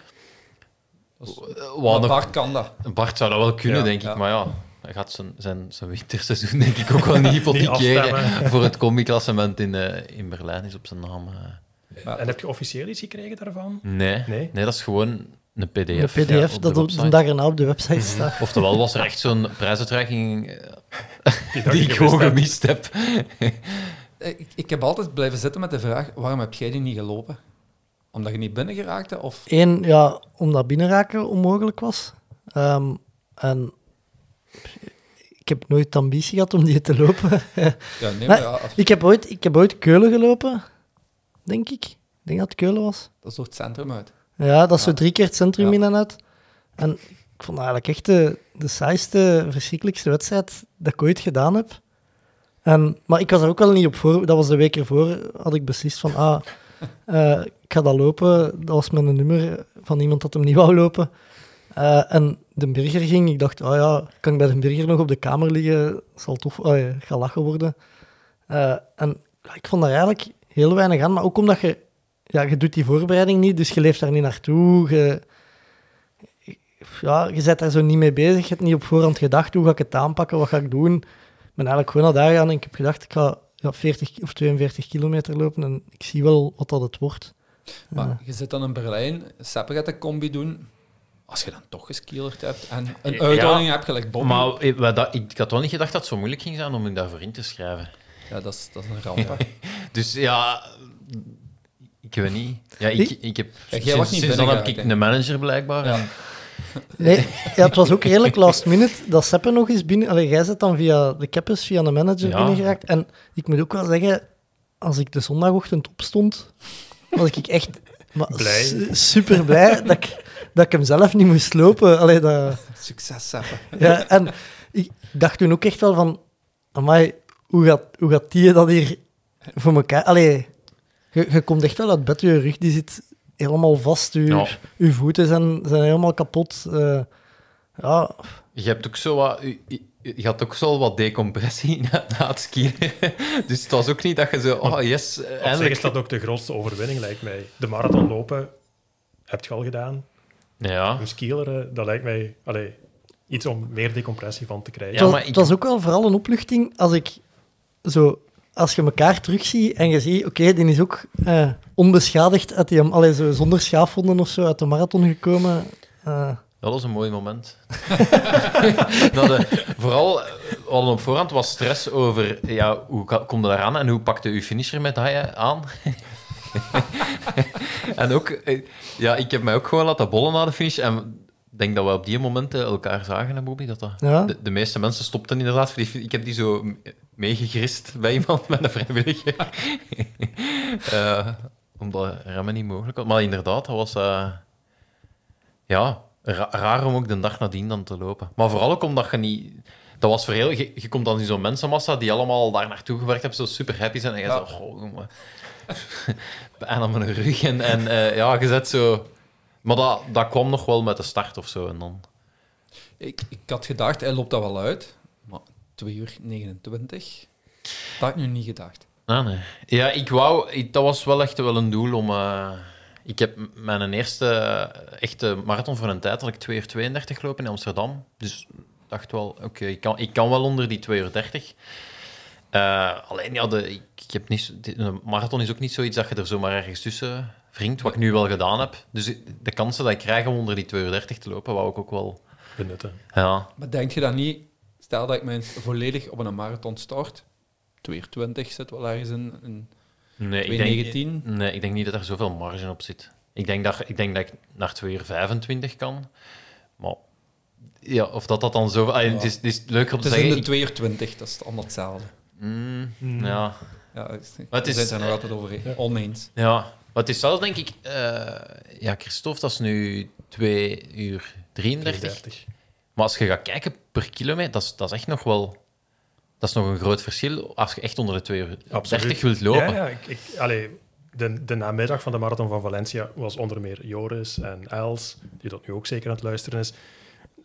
S9: Eh,
S5: maar
S9: Wat nog-
S5: Bart kan dat.
S9: Bart zou dat wel kunnen,
S8: Ja,
S9: denk ik.
S5: ja.
S9: Maar ja, hij gaat zijn, zijn, zijn winterseizoen denk ik ook wel niet hypothekeren
S8: afstemmen.
S9: voor het combi-klassement in, eh, in Berlijn is op zijn naam. eh.
S8: En heb je officieel iets gekregen daarvan?
S9: Nee. nee,
S8: Nee?
S9: dat is gewoon een pdf.
S7: de pdf
S9: ja,
S7: dat
S9: op de
S7: op de
S9: website.
S7: dag erna op de website staat.
S9: Oftewel was er echt zo'n prijsuitreiking eh,
S8: dat
S9: die
S8: je
S9: ik gewoon
S8: gemist
S9: gemist heb.
S5: Eh, Ik, ik heb altijd blijven zitten met de vraag, waarom heb jij die niet gelopen? Omdat je niet binnen geraakte? Of...
S7: Eén, ja, omdat binnenraken onmogelijk was. Ehm, en ik heb nooit de ambitie gehad om die te lopen.
S5: Ja, nee, maar
S7: Maar
S5: ja, als-
S7: ik, heb ooit, ik heb ooit Keulen gelopen, denk ik. Ik denk dat het Keulen was.
S5: dat is door het centrum uit.
S7: Ja, dat is
S5: Ja.
S7: zo drie keer het centrum
S5: Ja.
S7: in en uit. En ik vond eigenlijk echt de, de saaiste, verschrikkelijkste wedstrijd dat ik ooit gedaan heb. En, maar ik was er ook wel niet op voor. Dat was de week ervoor, had ik beslist van, ah, eh, ik ga dat lopen. Dat was met een nummer van iemand dat hem niet wou lopen. Eh, en de burger ging, ik dacht, ah ja, kan ik bij de burger nog op de kamer liggen? Zal tof, ah, ja, ga lachen worden. Eh, en ja, ik vond daar eigenlijk heel weinig aan, maar ook omdat je ja, je doet die voorbereiding niet, dus je leeft daar niet naartoe. Je, ja, je bent daar zo niet mee bezig. Je hebt niet op voorhand gedacht, hoe ga ik het aanpakken, wat ga ik doen. Ik ben eigenlijk gewoon naar daar gaan en ik heb gedacht, ik ga ja, 40 of 42 kilometer lopen en ik zie wel wat dat het wordt.
S5: Maar je zit dan in Berlijn, Sepp gaat de combi doen. Als je dan toch geskielerd hebt en een
S9: Ja.
S5: uitdaging hebt, gelijk Bobby.
S9: Maar ik, wij dat- ik had wel niet gedacht dat het zo moeilijk ging zijn om me daarvoor in te schrijven.
S5: Ja, dat is, dat is een ramp. hè.
S9: Dus ja, ik weet niet. Ja, ik, ik heb,
S5: jij was
S9: sinds, sinds
S5: niet
S9: dan heb
S5: binnengehaald,
S9: ik
S5: hè?
S9: een manager blijkbaar.
S5: Ja.
S9: En-
S7: Nee, ja, het was ook redelijk last minute dat Seppen nog eens binnen... Allee, jij zit dan via de Keppers, via de manager
S9: Ja.
S7: binnengeraakt. En ik moet ook wel zeggen, als ik de zondagochtend opstond, was ik echt
S8: Blij.
S7: super blij dat ik, dat ik hem zelf niet moest lopen. Allee, dat,
S5: Succes, Seppe.
S7: ja, en ik dacht toen ook echt wel van, amai, hoe gaat, hoe gaat die dat hier voor elkaar... Allee, je, je komt echt wel uit bed, je rug die zit helemaal vast, je,
S9: Ja.
S7: je voeten zijn, zijn helemaal kapot. eh, ja,
S9: Je hebt ook zo wat... Je, je- je had ook zo wat decompressie na, na het skiën. Dus het was ook niet dat je zo... Oh, yes, eh,
S8: Op zich is
S9: eindelijk.
S8: dat ook de grootste overwinning, lijkt mij. De marathon lopen heb je al gedaan.
S9: Ja.
S8: Een skileren, dat lijkt mij allee, iets om meer decompressie van te krijgen.
S9: Ja,
S7: Het was-
S9: maar ik-
S7: Het was ook wel vooral een opluchting als ik zo, als je elkaar terugziet en je ziet, oké, die is ook eh, onbeschadigd uit die, allee, zo, zonder schaafwonden of zo uit de marathon gekomen. Eh,
S9: Dat was een mooi moment. dat, eh, vooral, eh, we hadden op voorhand wat stress over ja, hoe ka- kom je daaraan en hoe pakte uw finisher medaille aan. en ook, eh, ja, ik heb mij ook gewoon laten bollen na de finish. En ik denk dat we op die momenten elkaar zagen, hè, Bobby. Dat dat,
S7: Ja.
S9: de, de meeste mensen stopten inderdaad. Voor die, fi- ik heb die zo m- meegegrist bij iemand met een vrijwilliger. Eh, omdat remmen niet mogelijk was. Maar inderdaad, dat was... eh, ja, ra- raar om ook de dag nadien dan te lopen. Maar vooral ook omdat je niet... Dat was voor heel... Je, je komt dan in zo'n mensenmassa die allemaal daar naartoe gewerkt hebben, zo super happy zijn. En je zegt, goh, jongen. Pijn aan mijn rug. En, en eh, ja, je zet zo... Maar dat, dat kwam nog wel met de start of zo. En dan...
S5: Ik, ik had gedacht, hij loopt dat wel uit. Maar 2 uur 29, dat had ik nu niet gedacht.
S9: Ah, nee. Ja, ik wou... ik- dat was wel echt wel een doel om... eh, ik heb m- mijn eerste eh, echte marathon voor een tijd, had ik 2 uur 32 gelopen in Amsterdam. Dus ik dacht wel, oké, ik, kan, ik kan wel onder die 2 uur 30. Eh, alleen, ja, de, ik, ik heb niet, zo- dit- een marathon is ook niet zoiets dat je er zomaar ergens tussen wringt, wat ik nu wel gedaan heb. Dus ik- de kansen dat ik krijg om onder die 2 uur 30 te lopen, wou ik ook wel...
S8: Benutten.
S9: Ja,
S5: Maar denk je dan niet, stel dat ik mij eens volledig op een marathon start, 2 uur 20 zit wel ergens in, in
S9: Nee, ik
S5: 2,19?
S9: denk, nee, ik denk niet dat er zoveel marge op zit. Ik denk dat ik, denk dat ik naar 2 uur 25 kan. Maar ja, of dat dat dan zo... ah, het, is, het is leuker om
S5: Het
S9: te
S5: is in
S9: zeggen...
S5: de Hmm. 2 uur 20, dat is allemaal hetzelfde.
S9: ik- mm, ja,
S5: Ja, het is,
S9: het
S5: we
S9: is-
S5: zijn het er nog altijd over oneens.
S9: ja, maar het is zelfs, denk ik... eh, ja, Christophe, dat is nu 2 uur 33.
S8: 33.
S9: Maar als je gaat kijken per kilometer, dat is, dat is echt nog wel... Dat is nog een groot verschil als je echt onder de 2 uur 30 wilt lopen.
S8: Ja, ja ik, ik, allee, de, de namiddag van de Marathon van Valencia was onder meer Joris en Els, die dat nu ook zeker aan het luisteren is.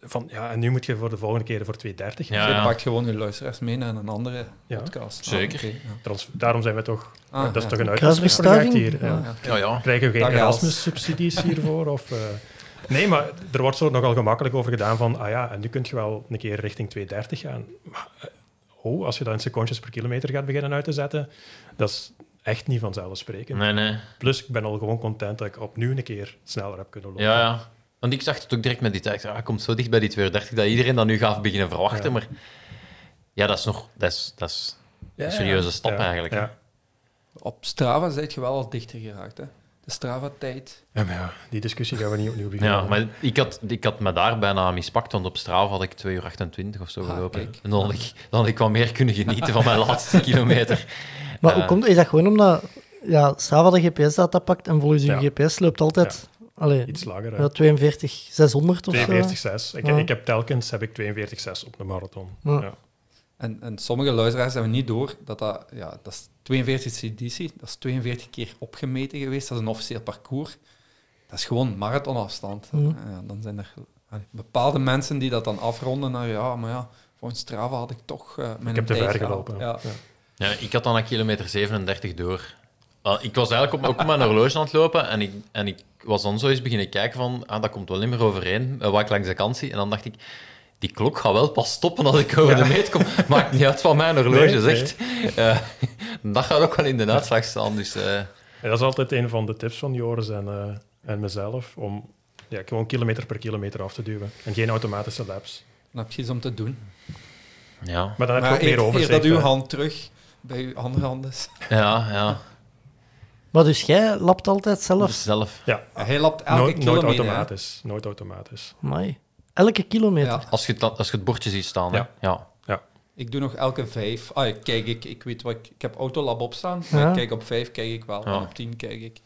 S8: Van, ja, en nu moet je voor de volgende keer voor Dus 2.30.
S9: Ja,
S5: je
S9: ja.
S5: pakt gewoon je luisteraars mee naar een andere
S8: Ja.
S5: podcast. Ah,
S9: Zeker.
S5: oké, ja.
S8: Trans- daarom zijn we toch...
S5: Ah,
S8: dat is
S5: ja. Ah,
S8: toch een
S7: Kruisbestuiving?
S8: uitzondering hier. Ja.
S5: Ja.
S9: Ja, ja.
S8: Krijgen we geen
S5: Dag, Els.
S8: Erasmus-subsidies hiervoor? Of, eh? Nee, maar er wordt zo nogal gemakkelijk over gedaan van, ah ja, en nu kun je wel een keer richting 230 gaan. Maar eh, oh, als je dat in secondjes per kilometer gaat beginnen uit te zetten, dat is echt niet vanzelfsprekend.
S9: Nee, nee.
S8: Plus, ik ben al gewoon content dat ik opnieuw een keer sneller heb kunnen lopen.
S9: Ja, ja. Want ik zag het ook direct met die tijd. Ah, komt zo dicht bij die 230 dat iedereen dat nu gaat beginnen verwachten.
S8: Ja.
S9: Maar ja, dat is nog... Dat is, dat is
S8: Ja,
S9: een serieuze stap
S8: ja,
S9: eigenlijk. hè.
S8: Ja.
S5: Op Strava zit je wel al dichter geraakt. Hè? De Strava-tijd.
S8: Ja, maar ja, die discussie gaan we niet opnieuw beginnen.
S9: Ja, maar ik had, ik had me daar bijna mispakt, want op straat had ik 2 uur 28 of zo
S5: Ah,
S9: gelopen.
S5: kijk.
S9: En dan had, ik, dan had ik wat meer kunnen genieten van mijn laatste kilometer.
S7: maar
S9: Eh.
S7: hoe komt dat? Is dat gewoon omdat ja, Strava de GPS-data pakt en volgens je
S8: Ja.
S7: GPS loopt altijd allee,
S8: Iets langer. hè.
S7: ja, 42, 600 of zo?
S8: 42,6. Ik,
S7: eh, Ja.
S8: ik heb telkens heb ik 42,6 op de marathon.
S7: Ja.
S8: Ja.
S5: En, en sommige luisteraars hebben niet door dat dat... Ja, dat is 42 editie. Dat is 42 keer opgemeten geweest. Dat is een officieel parcours. Dat is gewoon marathonafstand.
S7: Mhm.
S5: Ja, dan zijn er allee, bepaalde mensen die dat dan afronden naar... Ja, maar ja, volgens Strava had ik toch eh, mijn
S8: Ik heb te
S5: tijd
S8: ver
S5: gehaald.
S8: gelopen.
S5: Ja.
S8: Ja.
S9: Ja, ik had dan aan kilometer 37 door. Ah, ik was eigenlijk op, ook op mijn horloge aan het lopen en ik, en ik was dan zo eens beginnen kijken van, ah, dat komt wel niet meer overeen, eh, wat ik langs de kant zie. En dan dacht ik, die klok gaat wel pas stoppen als ik over de meet kom. Maakt niet uit van mijn horloge,
S8: Nee,
S9: zegt. Eh, dat gaat ook wel in de uitslag staan, dus... eh,
S8: En dat is altijd een van de tips van Joris en, eh, en mezelf, om ja, gewoon kilometer per kilometer af te duwen. En geen automatische laps.
S5: Dan heb je iets om te doen.
S9: ja,
S8: Maar dan heb je
S5: Maar
S8: ook meer
S5: eer, eer
S8: overzicht.
S5: dat uw
S8: hè.
S5: hand terug bij uw andere hand is.
S9: ja, ja. Dus
S7: Maar dus jij lapt altijd zelf?
S9: Zelf.
S5: Hij lapt elke
S8: Nooit, nooit
S5: kilometer. hè.
S8: automatisch. Nooit automatisch.
S7: Amai. Elke kilometer?
S5: Ja.
S9: Als je, het, als je het bordje ziet staan, hè.
S8: Ja.
S9: ja.
S8: Ja.
S5: Ik doe nog elke vijf. Ah, ik kijk, ik, ik weet wat ik... Ik heb Autolab opstaan.
S7: Ja.
S5: Ik kijk op vijf, kijk ik wel.
S9: Ja.
S5: En op tien kijk ik.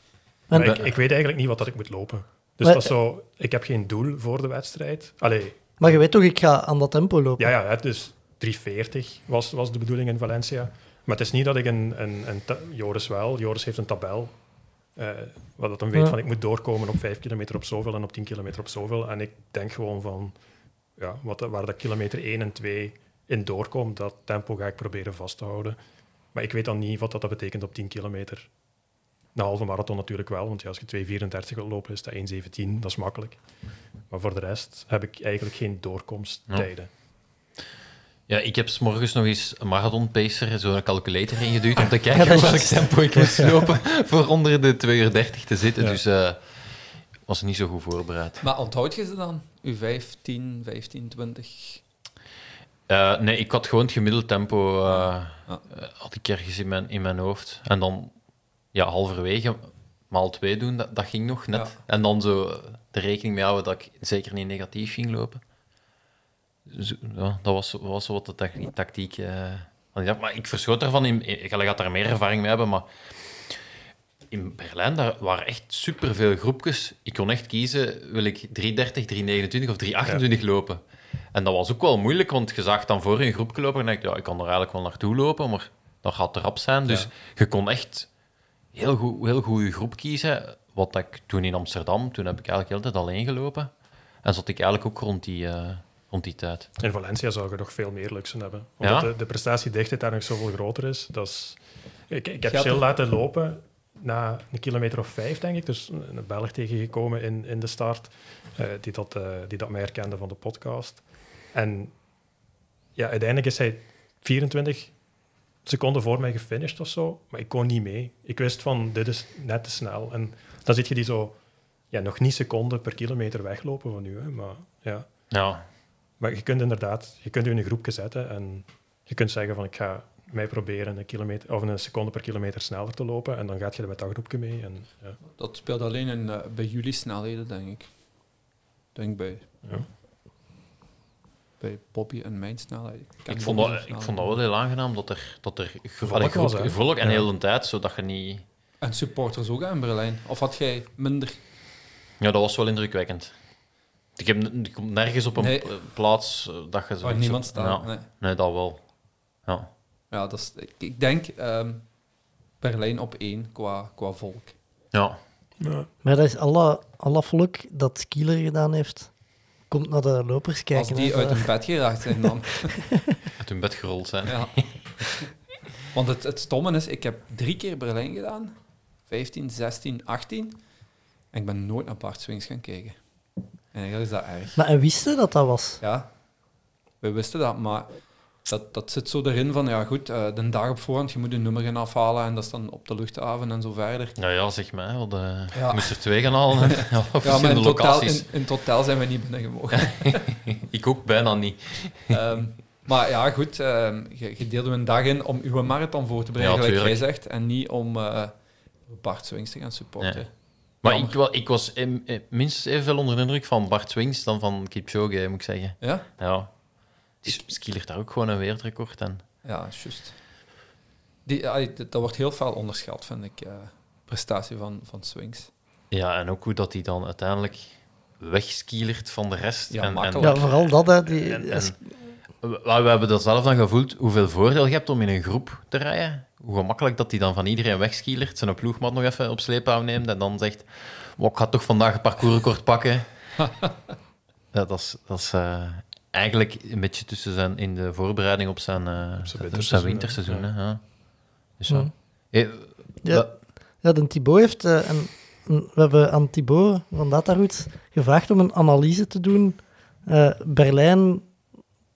S7: En-
S8: Maar ik, ik weet eigenlijk niet wat dat ik moet lopen. Dus
S7: Maar-
S8: dat is zo, ik heb geen doel voor de wedstrijd. Allee,
S7: Maar je weet toch, ik ga aan dat tempo lopen.
S8: ja, ja, het is 340 was, was de bedoeling in Valencia. Maar het is niet dat ik een... een, een ta- Joris wel, Joris heeft een tabel. eh wat dat dan weet
S7: Ja.
S8: van, ik moet doorkomen op 5 kilometer op zoveel en op 10 kilometer op zoveel. En ik denk gewoon van, ja, wat, waar dat kilometer 1 en 2 in doorkomt, dat tempo ga ik proberen vast te houden. Maar ik weet dan niet wat dat dat betekent op 10 kilometer. De halve marathon natuurlijk wel, want ja, als je 2,34 wil lopen, is dat 1,17. Dat is makkelijk. Maar voor de rest heb ik eigenlijk geen doorkomsttijden.
S9: Ja, ik heb s'morgens nog eens een marathon pacer, zo'n calculator ingeduwd om te
S7: Ja, dat
S9: kijken
S7: is
S9: welk
S7: juist.
S9: tempo ik moest lopen voor onder de 2 uur 30 te zitten.
S8: Ja.
S9: Dus eh was niet zo goed voorbereid.
S5: Maar onthoud je ze dan? U 5, 10, 15, 20.
S9: Eh, nee, ik had gewoon het gemiddeld tempo eh,
S5: Ja.
S9: eh, had ik ergens in mijn, in mijn hoofd. En dan ja, halverwege maal twee doen, dat, dat ging nog net.
S5: Ja.
S9: En dan zo eh, de rekening mee houden dat ik zeker niet negatief ging lopen. Zo, ja, dat was, was wat de tac- tactiek. eh, want ik dacht, maar ik verschoot daarvan. In, ik ik had daar meer ervaring mee hebben, maar in Berlijn daar waren echt superveel groepjes. Ik kon echt kiezen, wil ik 330, 329 of 328 lopen? En dat was ook wel moeilijk, want je zag dan voor je een groepje lopen en dacht, ja, ik kan er eigenlijk wel naartoe lopen, maar dat gaat te rap zijn. Dus je kon echt heel goed, heel goed je groep kiezen. Wat dat ik toen in Amsterdam, toen heb ik eigenlijk heel de tijd alleen gelopen. En zat ik eigenlijk ook rond die, eh, rond die tijd.
S8: In Valencia zou je nog veel meer luxen hebben. Omdat
S9: Ja?
S8: de, de prestatiedichtheid daar nog zoveel groter is. Dat is ik, ik heb
S5: Gaat
S8: Jill
S5: er-
S8: laten lopen na een kilometer of vijf, denk ik. Dus een Belg tegengekomen in, in de start, eh, die, dat, eh, die dat mij herkende van de podcast. En ja, uiteindelijk is hij 24 seconden voor mij gefinished of zo. Maar ik kon niet mee. Ik wist van, dit is net te snel. En dan zit je die zo ja, nog niet seconden per kilometer weglopen van nu. Hè, maar ja...
S9: Ja,
S8: Maar je kunt inderdaad, je kunt je in een groepje zetten en je kunt zeggen van ik ga mij proberen een, kilometer, of een seconde per kilometer sneller te lopen en dan gaat je er met dat groepje mee. En, ja.
S5: Dat speelt alleen in, eh, bij jullie snelheden, denk ik. Denk bij...
S8: Ja.
S5: Bij Bobby en mijn snelheid. ken
S9: ik vond,
S5: Bobby's
S9: dat, ik
S5: snelheid.
S9: vond dat wel heel aangenaam dat er, dat er gevo-
S8: Volk
S9: allee,
S8: was,
S9: groep-
S8: hè?
S9: volk en
S8: Ja.
S9: heel de tijd, zodat je niet...
S5: En supporters ook aan Berlijn. Of had jij minder?
S9: Ja, dat was wel indrukwekkend. Ik, heb, n- ik kom nergens op een
S5: Nee.
S9: pl- plaats eh, dat je zo...
S5: Waar niemand
S9: zo-
S5: staat.
S9: Ja.
S5: Nee.
S9: Nee, dat wel. Ja.
S5: Ja, dat is, ik, ik denk ehm, Berlijn op één qua, qua volk.
S9: ja.
S7: Maar dat is alle, alle volk dat Kieler gedaan heeft. Komt naar de lopers kijken.
S5: Als die
S7: hè.
S5: uit hun bed geraakt zijn, dan.
S9: Uit hun bed gerold zijn.
S5: ja. Want het, het stomme is, ik heb drie keer Berlijn gedaan. 15, 16, 18. En ik ben nooit naar Bart Swings gaan kijken. En eigenlijk is dat erg.
S7: Maar en wisten dat dat was?
S5: Ja, we wisten dat, maar dat, dat zit zo erin van, ja goed, eh, de dag op voorhand, je moet een nummer gaan afhalen en dat is dan op de luchthaven en zo verder.
S9: Nou ja, zeg maar. Want, eh,
S5: Ja.
S9: Ik moest er twee gaan halen. hè. ja, op
S5: Ja, maar in
S9: verschillende
S5: het hotel-
S9: locaties.
S5: in, in het hotel zijn we niet binnengemogen.
S9: Ik ook bijna niet.
S5: Ehm, maar ja, goed, ehm, je, je deelde een dag in om uw marathon voor te brengen,
S9: Ja,
S5: gelijk jij
S9: tuurlijk.
S5: zegt, en niet om eh Bart Swings te gaan supporten.
S9: Maar
S5: Jammer.
S9: ik, wa- ik was em- eh, minstens evenveel onder de indruk van Bart Swings dan van Kipchoge, moet ik zeggen.
S5: Ja?
S9: Ja. Dus Skieler daar ook gewoon een wereldrecord aan.
S5: Ja, is juist. Die, ah, dat- dat wordt heel veel onderschat, vind ik, eh, prestatie van, van Swings.
S9: Ja, en ook hoe dat hij dan uiteindelijk wegskielert van de rest.
S5: Ja,
S9: en, en,
S7: Ja,
S5: makkelijk.
S7: vooral dat. Hè, die,
S9: En- en-
S7: als-
S9: we, we hebben dat zelf dan gevoeld, hoeveel voordeel je hebt om in een groep te rijden. Hoe gemakkelijk dat hij dan van iedereen wegskielert, zijn ploegmat nog even op sleepouw neemt en dan zegt, "Wow, ik ga toch vandaag een parcoursrecord pakken. ja, dat is, dat is eh, eigenlijk een beetje tussen zijn, in de voorbereiding op zijn, eh, op zijn
S8: winterseizoen,
S9: winterseizoen.
S8: hè.
S9: hè, ja. Dus ja.
S7: Mm.
S9: Eh,
S7: ja, ja, de Thibaut heeft... eh, en, en we hebben aan Thibaut van Dataroute gevraagd om een analyse te doen. eh, Berlijn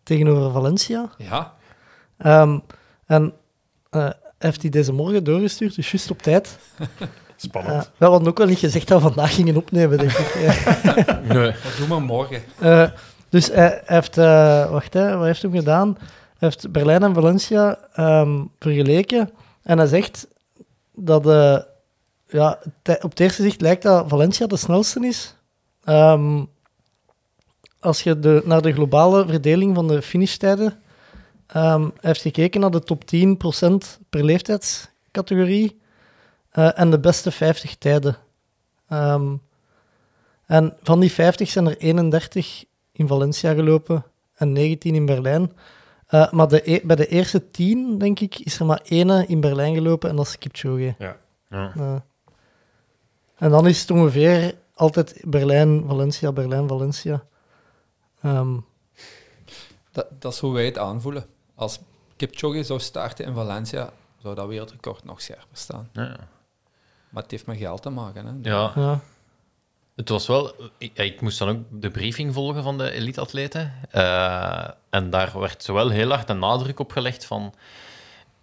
S7: tegenover Valencia.
S5: Ja,
S7: Ehm, en eh, heeft hij deze morgen doorgestuurd, dus juist op tijd. Eh,
S8: Spannend.
S7: we hadden ook wel niet gezegd dat we vandaag gingen opnemen, denk ik. Ja.
S9: nee.
S5: dat doen we morgen.
S7: Eh, dus hij heeft, eh, wacht, hè, wat heeft hij gedaan? Hij heeft Berlijn en Valencia ehm, vergeleken. En hij zegt dat eh, ja, te- op het eerste zicht lijkt dat Valencia de snelste is. Ehm, als je de, naar de globale verdeling van de finishtijden Ehm, hij heeft gekeken naar de top 10% per leeftijdscategorie eh, en de beste 50 tijden. Ehm, en van die 50 zijn er 31 in Valencia gelopen en 19 in Berlijn. Eh, maar de e- bij de eerste 10, denk ik, is er maar één in Berlijn gelopen en dat is Kipchoge.
S8: Ja.
S9: Ja.
S7: Eh, en dan is het ongeveer altijd Berlijn, Valencia, Berlijn, Valencia. Ehm,
S5: Dat, dat is hoe wij het aanvoelen. Als Kipchoge zou starten in Valencia, zou dat wereldrecord nog scherper staan.
S9: Ja.
S5: Maar het heeft met geld te maken. Hè.
S9: ja,
S7: ja.
S9: het was wel... Ik, ik moest dan ook de briefing volgen van de elite-atleten. Eh, en daar werd zowel heel hard de nadruk op gelegd van...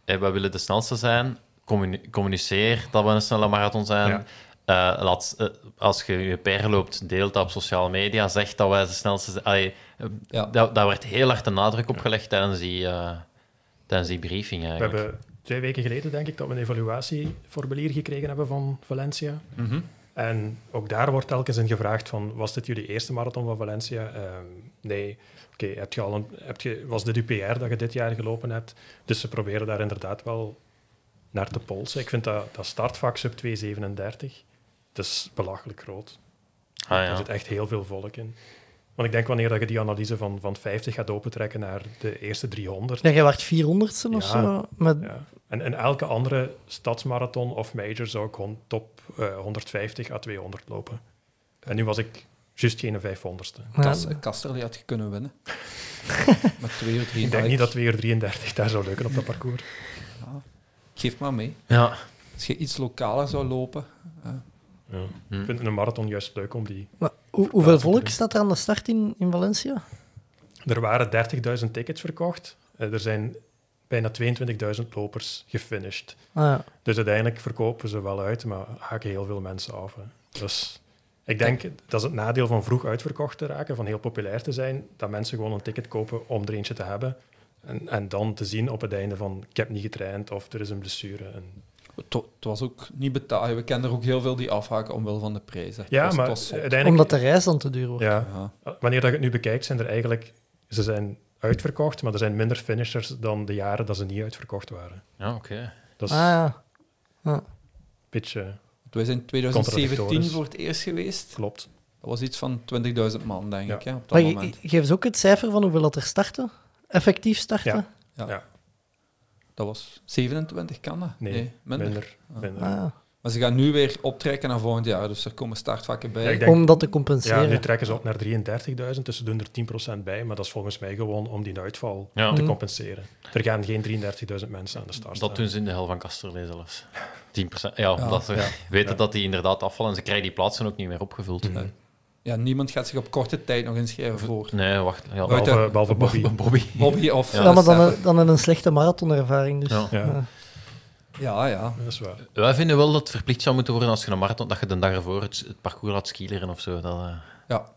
S9: eh, wij willen de snelste zijn. Communi- communiceer dat we een snelle marathon zijn.
S8: Ja.
S9: Eh, laat, eh, als je je per loopt, deel dat op sociale media. Zeg dat wij de snelste zijn. Allee, eh,
S5: Ja.
S9: daar, daar werd heel hard de nadruk op gelegd tijdens die, eh, tijdens die briefing
S8: We
S9: eigenlijk.
S8: hebben twee weken geleden, denk ik, dat we een evaluatieformulier gekregen hebben van Valencia.
S9: Mhm.
S8: En ook daar wordt telkens in gevraagd van, was dit jullie eerste marathon van Valencia? Ehm, nee. Oké, heb je al een, heb je, was dit uw PR dat je dit jaar gelopen hebt? Dus ze proberen daar inderdaad wel naar te polsen. Ik vind dat, dat startvak sub 237, dat is belachelijk groot.
S9: Ah,
S8: Er
S9: ja.
S8: zit echt heel veel volk in. Want ik denk wanneer dat je die analyse van, van 50 gaat opentrekken naar de eerste 300,
S7: Ja, jij werd 400ste of
S8: Ja.
S7: zo. Met,
S8: ja. En, en elke andere stadsmarathon of major zou ik gewoon top eh, 150 à 200 lopen. En nu was ik juist geen 500ste.
S5: Kas, Kaster die had je kunnen winnen. Met twee of drie.
S8: Ik denk
S5: Ah,
S8: niet dat 2 uur 33 daar zou lukken op dat parcours.
S5: Geef maar mee.
S9: Ja.
S5: Als je iets lokaler zou lopen.
S8: Ik vind een marathon juist leuk om die...
S7: Maar hoe- hoeveel volk staat er aan de start in, in Valencia?
S8: Er waren 30.000 tickets verkocht. Eh, er zijn bijna 22.000 lopers gefinished.
S7: Ah, ja.
S8: Dus uiteindelijk verkopen ze wel uit, maar haken heel veel mensen af. hè. Dus ik denk, dat is het nadeel van vroeg uitverkocht te raken, van heel populair te zijn, dat mensen gewoon een ticket kopen om er eentje te hebben. En, en dan te zien op het einde van, ik heb niet getraind of er is een blessure. En,
S5: Het wa- het was ook niet betalen. We kennen er ook heel veel die afhaken omwil van de prijzen. Het
S8: ja,
S5: was- het
S8: maar eh,
S5: was zot.
S8: uiteindelijk...
S7: Omdat de reis dan te duur wordt.
S8: ja,
S5: Ja.
S8: wanneer dat je het nu bekijkt, zijn er eigenlijk... Ze zijn uitverkocht, maar er zijn minder finishers dan de jaren dat ze niet uitverkocht waren.
S9: Ja, oké.
S8: Dat is
S7: Ah, ja.
S8: een beetje...
S5: Wij zijn in 2017
S8: Contradictorisch.
S5: voor het eerst geweest.
S8: Klopt.
S5: Dat was iets van 20.000 man, denk
S8: Ja.
S5: ik. Hè, op dat
S7: Maar je-
S5: moment.
S7: je- geef eens ook het cijfer van hoeveel dat er starten. Effectief starten.
S8: Ja.
S5: Dat was 27, kan dat?
S8: Nee,
S5: minder.
S8: minder. minder.
S7: Ah, ja.
S5: Maar ze gaan nu weer optrekken naar volgend jaar. Dus er komen startvakken bij.
S8: Ja, ik denk-
S7: Om dat te
S8: Ja,
S7: compenseren.
S8: nu trekken ze op naar 33.000, dus ze doen er 10% bij. Maar dat is volgens mij gewoon om die uitval
S9: Ja.
S8: te
S9: Mm.
S8: compenseren. Er gaan geen 33.000 mensen aan de start
S9: Dat
S8: staan.
S9: doen ze in de hel van Kasterlee zelfs. 10%. Ja, Mhm. omdat ze weten dat die inderdaad afvallen en ze krijgen die plaatsen ook niet meer opgevuld.
S5: Nee. Ja, niemand gaat zich op korte tijd nog inschrijven voor
S9: Nee, wacht. Ja,
S5: Buiten-
S8: Behalve,
S9: behalve-
S8: behalve Bobby.
S9: behalve Bobby.
S5: Bobby of...
S7: Ja,
S5: eh,
S7: maar dan,
S5: Stefan.
S7: een- dan in een slechte marathonervaring. Dus.
S9: Ja.
S8: Ja,
S7: eh,
S5: Ja, ja.
S8: dat is waar.
S9: Wij vinden wel dat het verplicht zou moeten worden als je een marathon, dat je de dag ervoor het, het parcours laat skileren of zo. Dat, eh,
S5: ja.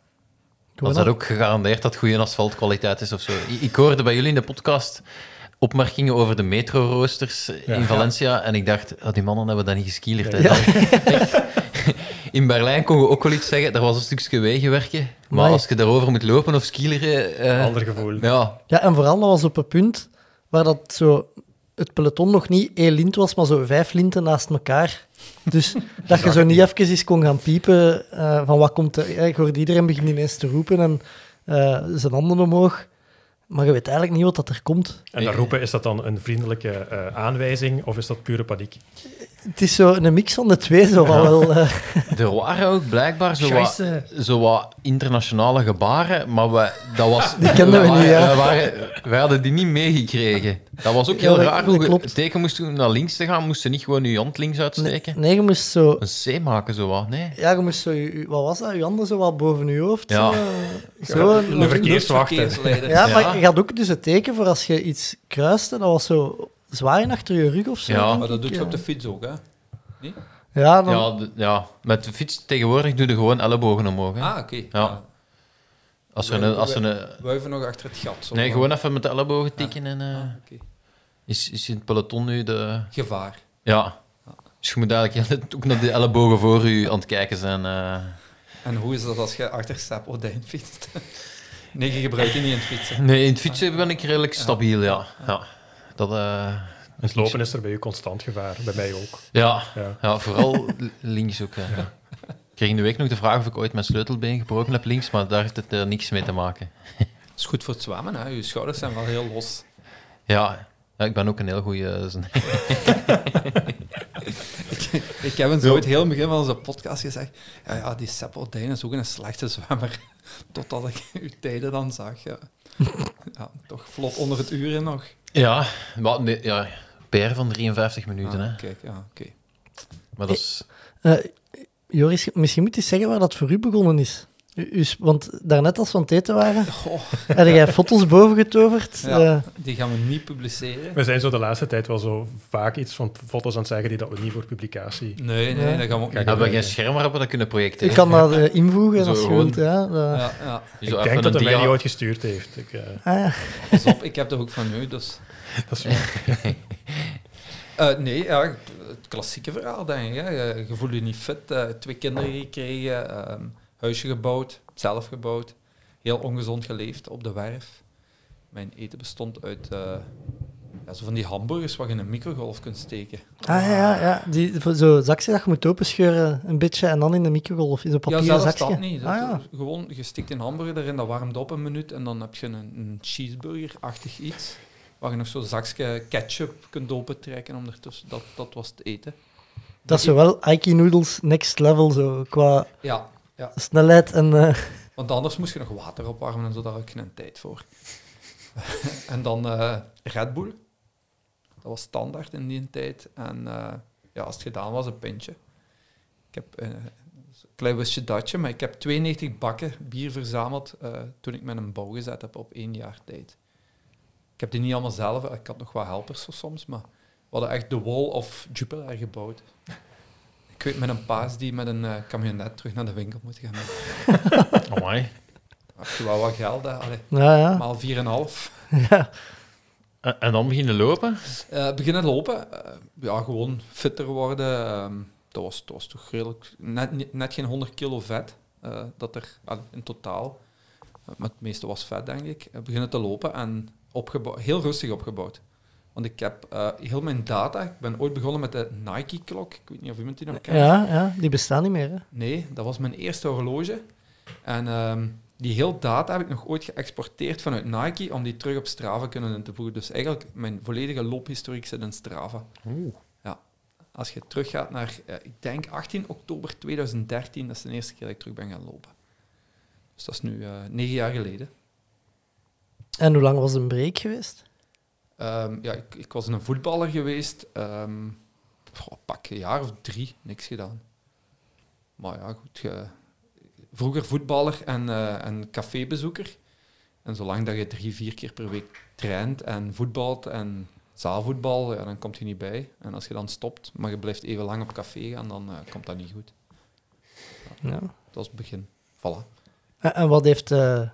S9: dan is dat ook gegarandeerd dat goede asfaltkwaliteit is of zo. I- Ik hoorde bij jullie in de podcast opmerkingen over de metro-roosters eh, in Valencia en ik dacht, ah, die mannen hebben dat niet geskielerd. hè. Dan- in Berlijn kon je ook wel iets zeggen, er was een stukje wegenwerken, maar
S7: Amai.
S9: als je daarover moet lopen of skileren... eh,
S8: Ander gevoel.
S9: Ja,
S7: Ja, en vooral dat was op een punt waar dat zo het peloton nog niet één lint was, maar zo vijf linten naast elkaar. Dus dat je zo niet even eens kon gaan piepen eh, van wat komt er. Ja, Ik hoorde iedereen begint ineens te roepen en eh, zijn handen omhoog. Maar je weet eigenlijk niet wat dat er komt.
S8: En dat roepen, is dat dan een vriendelijke eh, aanwijzing of is dat pure paniek?
S7: Het is zo een mix van de twee, zo van wel. eh,
S9: er waren ook blijkbaar zo wat,
S7: Scheisse.
S9: zo wat internationale gebaren, maar wij, dat was, die
S7: kenden we niet, ja.
S9: Wij, waren, wij hadden die niet meegekregen. Dat was ook heel
S7: Ja, dat-
S9: raar.
S7: dat
S9: Hoe je
S7: klopt.
S9: het teken moest doen om naar links te gaan, moest je niet gewoon je hand links uitsteken.
S7: nee, je moest zo.
S9: Een C maken, zo wat. Nee.
S7: Ja, je moest zo, je- je- wat was dat? Je handen zo wat boven je hoofd.
S9: Ja.
S7: Zo, eh, zo een-
S8: De verkeerswachten.
S5: Verkeersleider.
S7: Ja, maar
S9: Ja.
S7: je had ook dus het teken voor als je iets kruiste, dat was zo zwaaien achter je rug of zo.
S9: Ja.
S7: denk
S5: Maar dat
S7: ik,
S5: doet je
S7: ja.
S5: op de fiets ook, hè?
S7: Ja, dan,
S9: Ja, d- ja, met de fiets tegenwoordig doe je gewoon ellebogen omhoog. Hè.
S5: Ah, oké.
S9: Ja. als er een, als er een,
S5: Wuiven nog achter het gat. zo.
S9: nee, gewoon even met de ellebogen tikken. En, eh,
S5: Ah, oké.
S9: is, is in het peloton nu de...
S5: Gevaar.
S9: Ja. Dus je moet eigenlijk heel de tijd ook naar de ellebogen voor u aan het kijken zijn. eh.
S5: En hoe is dat als je achter Stap Odijn fietst? Nee, je gebruikt die niet in het fietsen.
S9: Nee, in het fietsen ben ik redelijk stabiel, ja. ja. Dat, eh,
S8: Het lopen is er bij u constant gevaar, bij mij ook.
S9: ja.
S8: Ja.
S9: ja, vooral l- links ook. hè. Ik kreeg in de week nog de vraag of ik ooit mijn sleutelbeen gebroken heb links, maar daar heeft het eh, niks mee te maken.
S5: Dat is goed voor het zwemmen, hè. Je schouders zijn wel heel los.
S9: Ja, ja ik ben ook een heel eh, goede...
S5: Ik heb eens ooit heel in het begin van onze podcast gezegd... Ja, ja die Seppel Dijn is ook een slechte zwemmer. Totdat ik uw tijden dan zag. Ja. Ja, toch vlot onder het uur in nog.
S9: Ja, maar nee, ja, PR van 53 minuten, hè.
S5: Ah, kijk, ja, oké.
S9: Maar dat is...
S7: Eh, Joris, misschien moet je zeggen waar dat voor u begonnen is. U, u is- want daarnet als we aan het eten waren,
S5: Goh,
S7: had jij foto's boven getoverd.
S5: ja,
S7: eh,
S5: die gaan we niet publiceren.
S8: We zijn zo de laatste tijd wel zo vaak iets van foto's aan het zeggen die dat we niet voor publicatie...
S5: Nee, nee,
S7: Ja.
S5: dat gaan we ook niet
S9: Ja, we
S5: doen.
S9: geen scherm hebben, dat kunnen projecten.
S7: ik kan dat eh, invoegen
S9: Zo
S7: als je
S9: gewoon.
S7: wilt. Ja, dat-
S5: Ja, ja.
S8: Ik denk dat hij mij die ooit gestuurd heeft. Ik, eh,
S7: Ah, ja.
S5: Pas op, ik heb dat ook van u, dus...
S8: dat is waar.
S5: Eh, nee, ja, het klassieke verhaal, denk ik. Hè. Je, je voelt je niet fit. eh, twee kinderen gekregen, ehm, huisje gebouwd, zelf gebouwd. Heel ongezond geleefd op de werf. Mijn eten bestond uit eh, ja, zo van die hamburgers waar je in een microgolf kunt steken.
S7: ah ja, ja, ja. Die, voor zo'n zakje dat je moet openscheuren een beetje en dan in de microgolf, in zo'n
S5: Ja,
S7: papieren
S5: zelfs
S7: zakje.
S5: dat niet. Dat-
S7: Ah, ja.
S5: Gewoon, je stikt een hamburger erin, dat warmt op een minuut en dan heb je een, een cheeseburger-achtig iets waar je nog zo'n zakje ketchup kunt opentrekken om ertussen. Dat, dat was het eten.
S7: Dat is zowel Aiki Noodles next level, zo, qua
S5: Ja, ja.
S7: snelheid en... eh,
S5: Want anders moest je nog water opwarmen en zo, daar had ik geen tijd voor. en dan eh, Red Bull. Dat was standaard in die tijd. En eh, ja, als het gedaan was, een pintje. Ik heb eh, een klein wistje datje, maar ik heb 92 bakken bier verzameld eh, toen ik met een bouw gezet heb op één jaar tijd. Ik heb die niet allemaal zelf, ik had nog wat helpers zo soms, maar we hadden echt de Wall of Jupiter gebouwd. Ik weet met een paas die met een eh camionet terug naar de winkel moet gaan.
S9: Amai.
S5: Heb je wel wat geld, hè? Allee,
S7: ja, ja.
S5: maal 4,5.
S9: En en dan beginnen lopen?
S5: Eh beginnen lopen. eh, ja, gewoon fitter worden. ehm, dat, was, dat was toch redelijk... Net, niet- net geen 100 kilo vet. eh, dat er ah, in totaal... Eh, maar het meeste was vet, denk ik. Eh, beginnen te lopen en opgebouw- heel rustig opgebouwd. Want ik heb eh, heel mijn data... Ik ben ooit begonnen met de Nike-klok. Ik weet niet of iemand die nog kent.
S7: Ja, ja, die bestaan niet meer. Hè.
S5: Nee, dat was mijn eerste horloge. En ehm, die heel data heb ik nog ooit geëxporteerd vanuit Nike om die terug op Strava kunnen in te voeren. Dus eigenlijk, mijn volledige loophistoriek zit in Strava. Ja. Als je teruggaat naar, eh, ik denk 18 oktober 2013, dat is de eerste keer dat ik terug ben gaan lopen. Dus dat is nu eh, negen jaar geleden.
S7: En hoe lang was een break geweest?
S5: Ehm, ja, ik, ik was een voetballer geweest. ehm, goh, pak een jaar of drie, niks gedaan. Maar ja, goed. je- vroeger voetballer en, eh, en cafébezoeker. En zolang dat je drie, vier keer per week traint en voetbalt en zaalvoetbal, ja, dan komt je niet bij. En als je dan stopt, maar je blijft even lang op café gaan, dan eh, komt dat niet goed.
S7: Ja.
S5: Dat was het begin. Voilà.
S7: En, en wat heeft eh,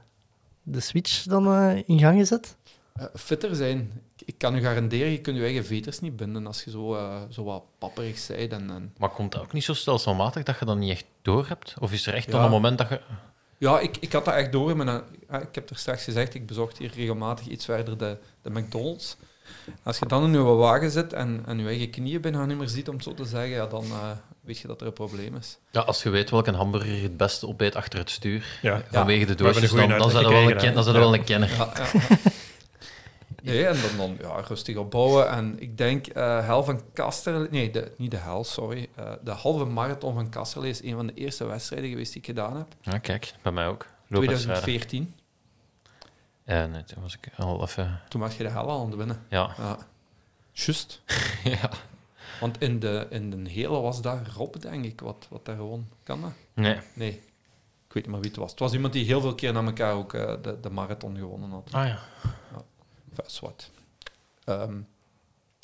S7: de switch dan eh, in gang gezet?
S5: Eh, fitter zijn. Ik- Ik kan u garanderen, je kunt je eigen veters niet binden als je zo, eh, zo wat papperig bent en, en
S9: Maar komt dat ook niet zo stelselmatig dat je dat niet echt door hebt? Of is er echt
S5: Ja.
S9: nog een moment dat je...
S5: Ja, ik, ik had dat echt door. in Mijn, eh, ik heb er straks gezegd, ik bezocht hier regelmatig iets verder de, de McDonald's. Als je dan in je wagen zit en, en je eigen knieën bijna niet meer ziet, om het zo te zeggen, ja, dan eh, weet je dat er een probleem is.
S9: Ja, als je weet welke hamburger je het beste opeet achter het stuur,
S8: Ja.
S9: vanwege de
S8: We hebben
S9: doosjes,
S8: een goeie
S9: dan, dan zijn
S8: uitleg
S9: er wel een,
S8: gekregen, hè.
S9: ken, dan zijn er wel
S8: Ja.
S9: een kenner.
S5: Ja, ja, ja. Nee, en dan, dan ja, rustig opbouwen. En ik denk, eh Hel van Kasterlee... Nee, de, niet de Hel, sorry. Eh, de halve marathon van Kasterlee is een van de eerste wedstrijden geweest die ik gedaan heb.
S9: Ja, kijk, bij mij ook. Loopwedstrijden.
S5: 2014.
S9: Ja, nee, toen was ik al even...
S5: Toen was je de Hel al aan het winnen.
S9: Ja.
S5: Ja. Juist.
S9: ja.
S5: Want in de, in de hele was dat Rob, denk ik, wat, wat daar gewoon kan. Dat?
S9: Nee.
S5: Nee, ik weet niet meer wie het was. Het was iemand die heel veel keer na elkaar ook eh, de, de marathon gewonnen had.
S9: Ah ja.
S5: Enfin, zwart. Ehm,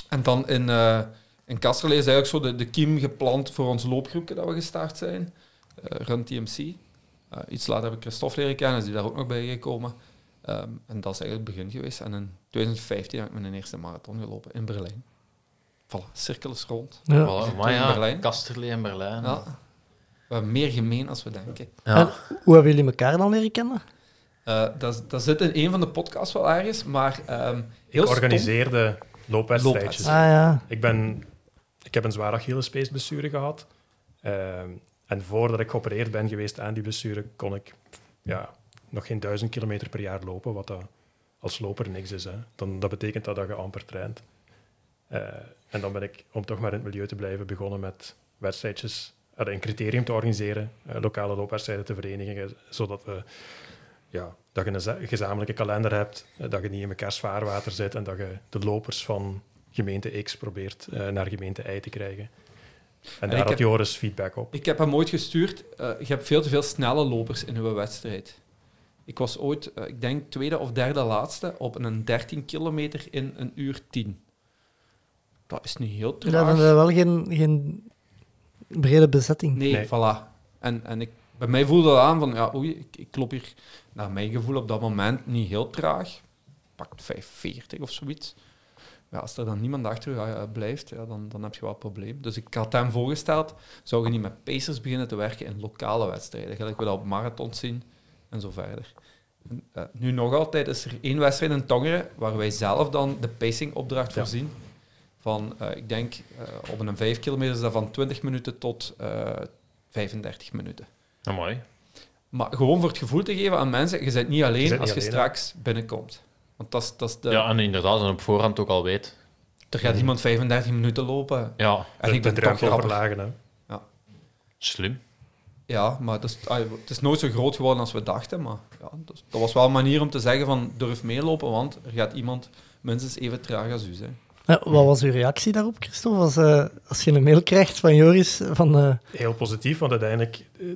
S5: en dan in, eh in Kasterlee is eigenlijk zo de, de kiem geplant voor ons loopgroepje dat we gestart zijn. eh Run TMC. Eh, iets later heb ik Christophe leren kennen, is die daar ook nog bij gekomen. Ehm, en dat is eigenlijk het begin geweest. En in 2015 heb ik mijn eerste marathon gelopen in Berlijn. Voilà, cirkel is rond.
S7: Ja.
S9: Voilà,
S5: Toen
S9: maar
S5: in
S9: ja,
S5: Berlijn.
S9: Kasterlee en Berlijn.
S5: Ja. We hebben eh, meer gemeen als we denken.
S9: Ja.
S7: Hoe hebben jullie elkaar dan leren kennen?
S5: Eh, dat, dat zit in een van de podcasts wel ergens, maar ehm heel
S8: Ik
S5: stom.
S8: organiseerde loopwedstrijdjes.
S7: Ah ja.
S8: Ik, ben, ik heb een zwaar Achillespeesblessure gehad. Ehm, en voordat ik geopereerd ben geweest aan die blessure, kon ik ja, nog geen duizend kilometer per jaar lopen, wat dat als loper niks is. Hè. Dan, dat betekent dat, dat je amper traint. Eh, en dan ben ik, om toch maar in het milieu te blijven, begonnen met wedstrijdjes, eh, een criterium te organiseren, eh, lokale loopwedstrijden te verenigen, eh, zodat we, ja, dat je een za- gezamenlijke kalender hebt, eh, dat je niet in mekaars vaarwater zit en dat je de lopers van gemeente X probeert eh, naar gemeente Y te krijgen. En, daar
S5: ik
S8: had
S5: heb-
S8: Joris feedback op.
S5: Ik heb hem ooit gestuurd. eh, je hebt veel te veel snelle lopers in uw wedstrijd. Ik was ooit, eh, ik denk, tweede of derde laatste op een 13 kilometer in een uur 10. Dat is niet heel
S7: Ja, dan
S5: traag.
S7: hebben we eh, wel geen, geen brede bezetting.
S5: Nee,
S8: Nee.
S5: voilà. En, en ik, bij mij voelde dat aan van, ja, oei, ik, ik klop hier naar mijn gevoel op dat moment niet heel traag. Pakt 540 of zoiets. Ja, als er dan niemand achter je eh, blijft, ja, dan, dan heb je wel een probleem. Dus ik had hem voorgesteld, zou je niet met pacers beginnen te werken in lokale wedstrijden, gelijk we dat op marathons zien en zo verder. En, eh, nu nog altijd is er één wedstrijd in Tongeren waar wij zelf dan de pacingopdracht
S8: Ja.
S5: voorzien. Van, eh, ik denk, eh, op een 5 kilometer is dat van 20 minuten tot eh, 35 minuten.
S9: Mooi.
S5: Maar gewoon voor het gevoel te geven aan mensen, je bent niet alleen
S8: bent
S5: als
S8: niet
S5: je
S8: alleen, hè?
S5: straks binnenkomt. Want dat is, dat is de,
S9: Ja, en inderdaad, en op voorhand ook al weet.
S5: er gaat iemand 35 minuten lopen.
S9: Ja,
S5: En
S8: de,
S5: ik ben
S8: de
S5: toch
S8: drempel
S5: grappig.
S8: verlagen. Hè.
S9: slim.
S5: Ja, maar dat is, ah, het is nooit zo groot geworden als we dachten. Maar ja, dus, dat was wel een manier om te zeggen van durf meelopen, want er gaat iemand minstens even traag als u zijn.
S7: Ja, wat was uw reactie daarop, Christophe? Als, eh, als je een mail krijgt van Joris van... eh,
S8: heel positief, want uiteindelijk... eh,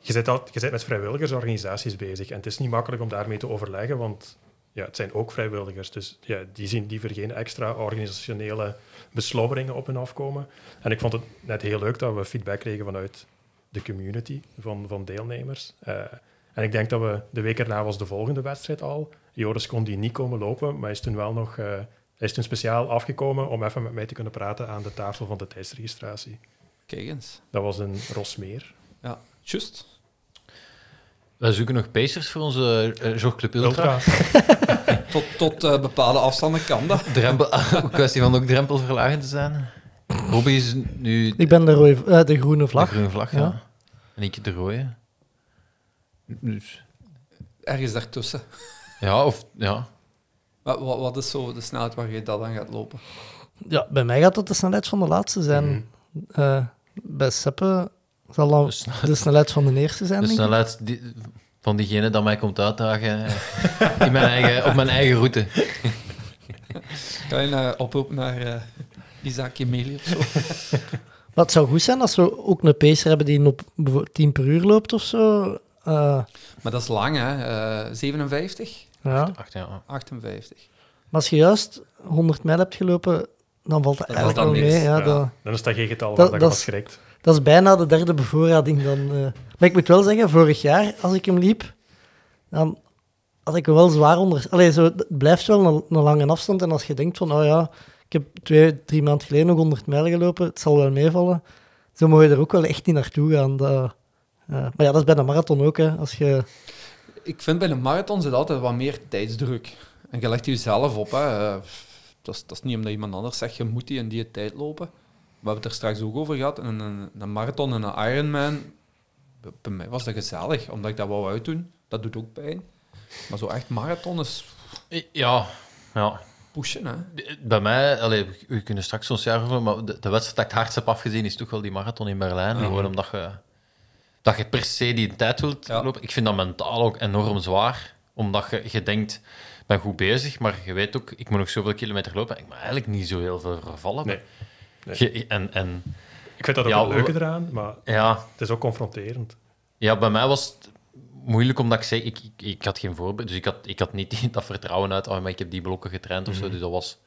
S8: Je zit, al, je zit met vrijwilligersorganisaties bezig en het is niet makkelijk om daarmee te overleggen, want ja, het zijn ook vrijwilligers. Dus ja, die zien liever geen extra organisationele beslommeringen op hun afkomen. En ik vond het net heel leuk dat we feedback kregen vanuit de community van, van deelnemers. Eh, en ik denk dat we de week erna was de volgende wedstrijd al. Joris kon die niet komen lopen, maar is toen wel nog... eh, hij is toen speciaal afgekomen om even met mij te kunnen praten aan de tafel van de tijdsregistratie.
S5: Kijk eens.
S8: Dat was een Rosmeer.
S5: Ja, juist.
S9: We zoeken nog pacers voor onze uh, Club Ultra.
S8: Ultra.
S5: Tot, tot eh, bepaalde afstanden kan dat.
S9: Drempel, kwestie van ook drempelverlagend te zijn. Robbie is nu de
S7: ik ben de, rode, eh, de groene vlag.
S9: groene vlag, ja.
S7: Ja.
S9: En ik de rode. Dus,
S5: Ergens daartussen.
S9: ja, of... Ja.
S5: Maar wat, wat is zo de snelheid waar je dat aan gaat lopen?
S7: Ja, bij mij gaat dat de snelheid van de laatste zijn. Eh, bij Seppe zal dan
S9: De snelheid-
S7: de snelheid van de eerste zijn,
S9: De
S7: denk ik.
S9: snelheid Dus die- van diegene dat mij komt uitdagen eh, in mijn eigen, op mijn eigen route.
S5: Kan je een oproep naar eh Isaac Emeli of zo?
S7: Maar het zou goed zijn als we ook een pacer hebben die op bijvoorbeeld 10 per uur loopt of zo. Eh,
S5: Maar dat is lang, hè? Eh, 57?
S7: ja.
S9: Ach, ja.
S5: 58.
S7: Maar als je juist 100 mijl hebt gelopen, dan valt dat
S5: Dan
S7: eigenlijk
S5: valt
S7: wel
S5: dat
S7: mee.
S5: niks,
S7: Ja,
S8: Ja,
S7: Dat,
S8: Dan is dat geen getal
S7: Dat-
S8: waar dat,
S7: dat
S8: je
S7: is-
S8: van schrikt.
S7: dat is bijna de derde bevoorrading dan. eh. Maar ik moet wel zeggen, vorig jaar, als ik hem liep, dan had ik hem wel zwaar onder... Allee, zo, het blijft wel een, een lange afstand. En als je denkt van, oh ja, ik heb twee, drie maanden geleden nog 100 mijl gelopen, het zal wel meevallen. Zo moet je er ook wel echt niet naartoe gaan. Dat, eh, maar ja, dat is bij de marathon ook. Hè. Als je,
S5: Ik vind bij de marathon zit altijd wat meer tijdsdruk. En je legt jezelf op. Hè. Eh, Dat, is, dat is niet omdat iemand anders zegt, je moet die en die tijd lopen. We hebben het er straks ook over gehad. Een, een, een marathon en een Ironman. Bij- Bij mij was dat gezellig, omdat ik dat wou uitdoen. Dat doet ook pijn. Maar zo echt marathon is
S9: ja, ja.
S5: pushen, hè.
S9: Bij mij, allee, we- we kunnen straks zo'n jaar over, maar de, de wedstrijd dat ik het hardst heb afgezien is toch wel die marathon in Berlijn. Gewoon omdat je, dat je per se die tijd wilt
S5: Ja.
S9: lopen. Ik vind dat mentaal ook enorm zwaar. Omdat je, je denkt, ik ben goed bezig, maar je weet ook, ik moet nog zoveel kilometer lopen. en Ik ben eigenlijk niet zo heel veel vervallen.
S8: Nee.
S9: Je- en, en
S8: Ik vind dat ook
S9: Ja,
S8: het leuke
S9: we-
S8: eraan, maar
S9: ja,
S8: het is ook confronterend.
S9: Ja, bij mij was het moeilijk omdat ik zei, ik, ik, ik had geen voorbeeld. Dus ik had, ik had niet die- dat vertrouwen uit, oh, maar ik heb die blokken getraind of zo. Dus dat was.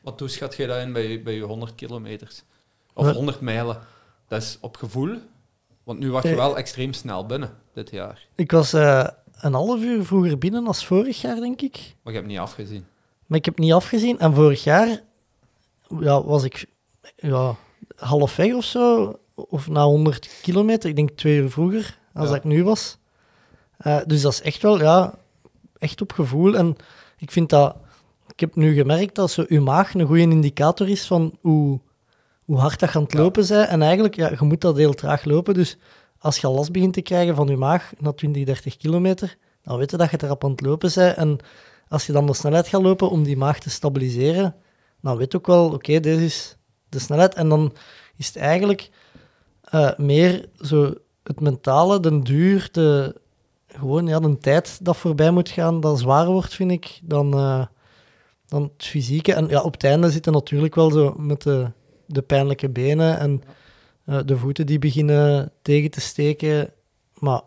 S5: Wat hoe schat jij dat in bij, je- bij je 100 kilometers? Of
S7: Wel-
S5: 100 mijlen? Dat is op gevoel. Want nu was je
S7: Eh.
S5: wel extreem snel binnen, dit jaar.
S7: ik was eh, een half uur vroeger binnen als vorig jaar, denk ik.
S5: Maar je hebt niet afgezien.
S7: Maar ik heb niet afgezien. En vorig jaar ja, was ik ja, halfweg of zo. Of na 100 kilometer. Ik denk twee uur vroeger als
S5: Ja.
S7: dat ik nu was. Eh, dus dat is echt wel, ja, echt op gevoel. En ik vind dat, ik heb nu gemerkt dat zo uw maag een goede indicator is van hoe, hoe hard dat gaat het lopen zijn. En eigenlijk, ja, je moet dat heel traag lopen. Dus als je al last begint te krijgen van je maag na 20, 30 kilometer, dan weet je dat je te rap aan het lopen bent. En als je dan de snelheid gaat lopen om die maag te stabiliseren, dan weet je ook wel, oké, dit is de snelheid. En dan is het eigenlijk eh, meer zo het mentale, de duur, de, gewoon ja, de tijd dat voorbij moet gaan, dat zwaar wordt, vind ik, dan, eh, dan het fysieke. En ja, op het einde zitten natuurlijk wel zo met de, de pijnlijke benen en eh, de voeten die beginnen tegen te steken. Maar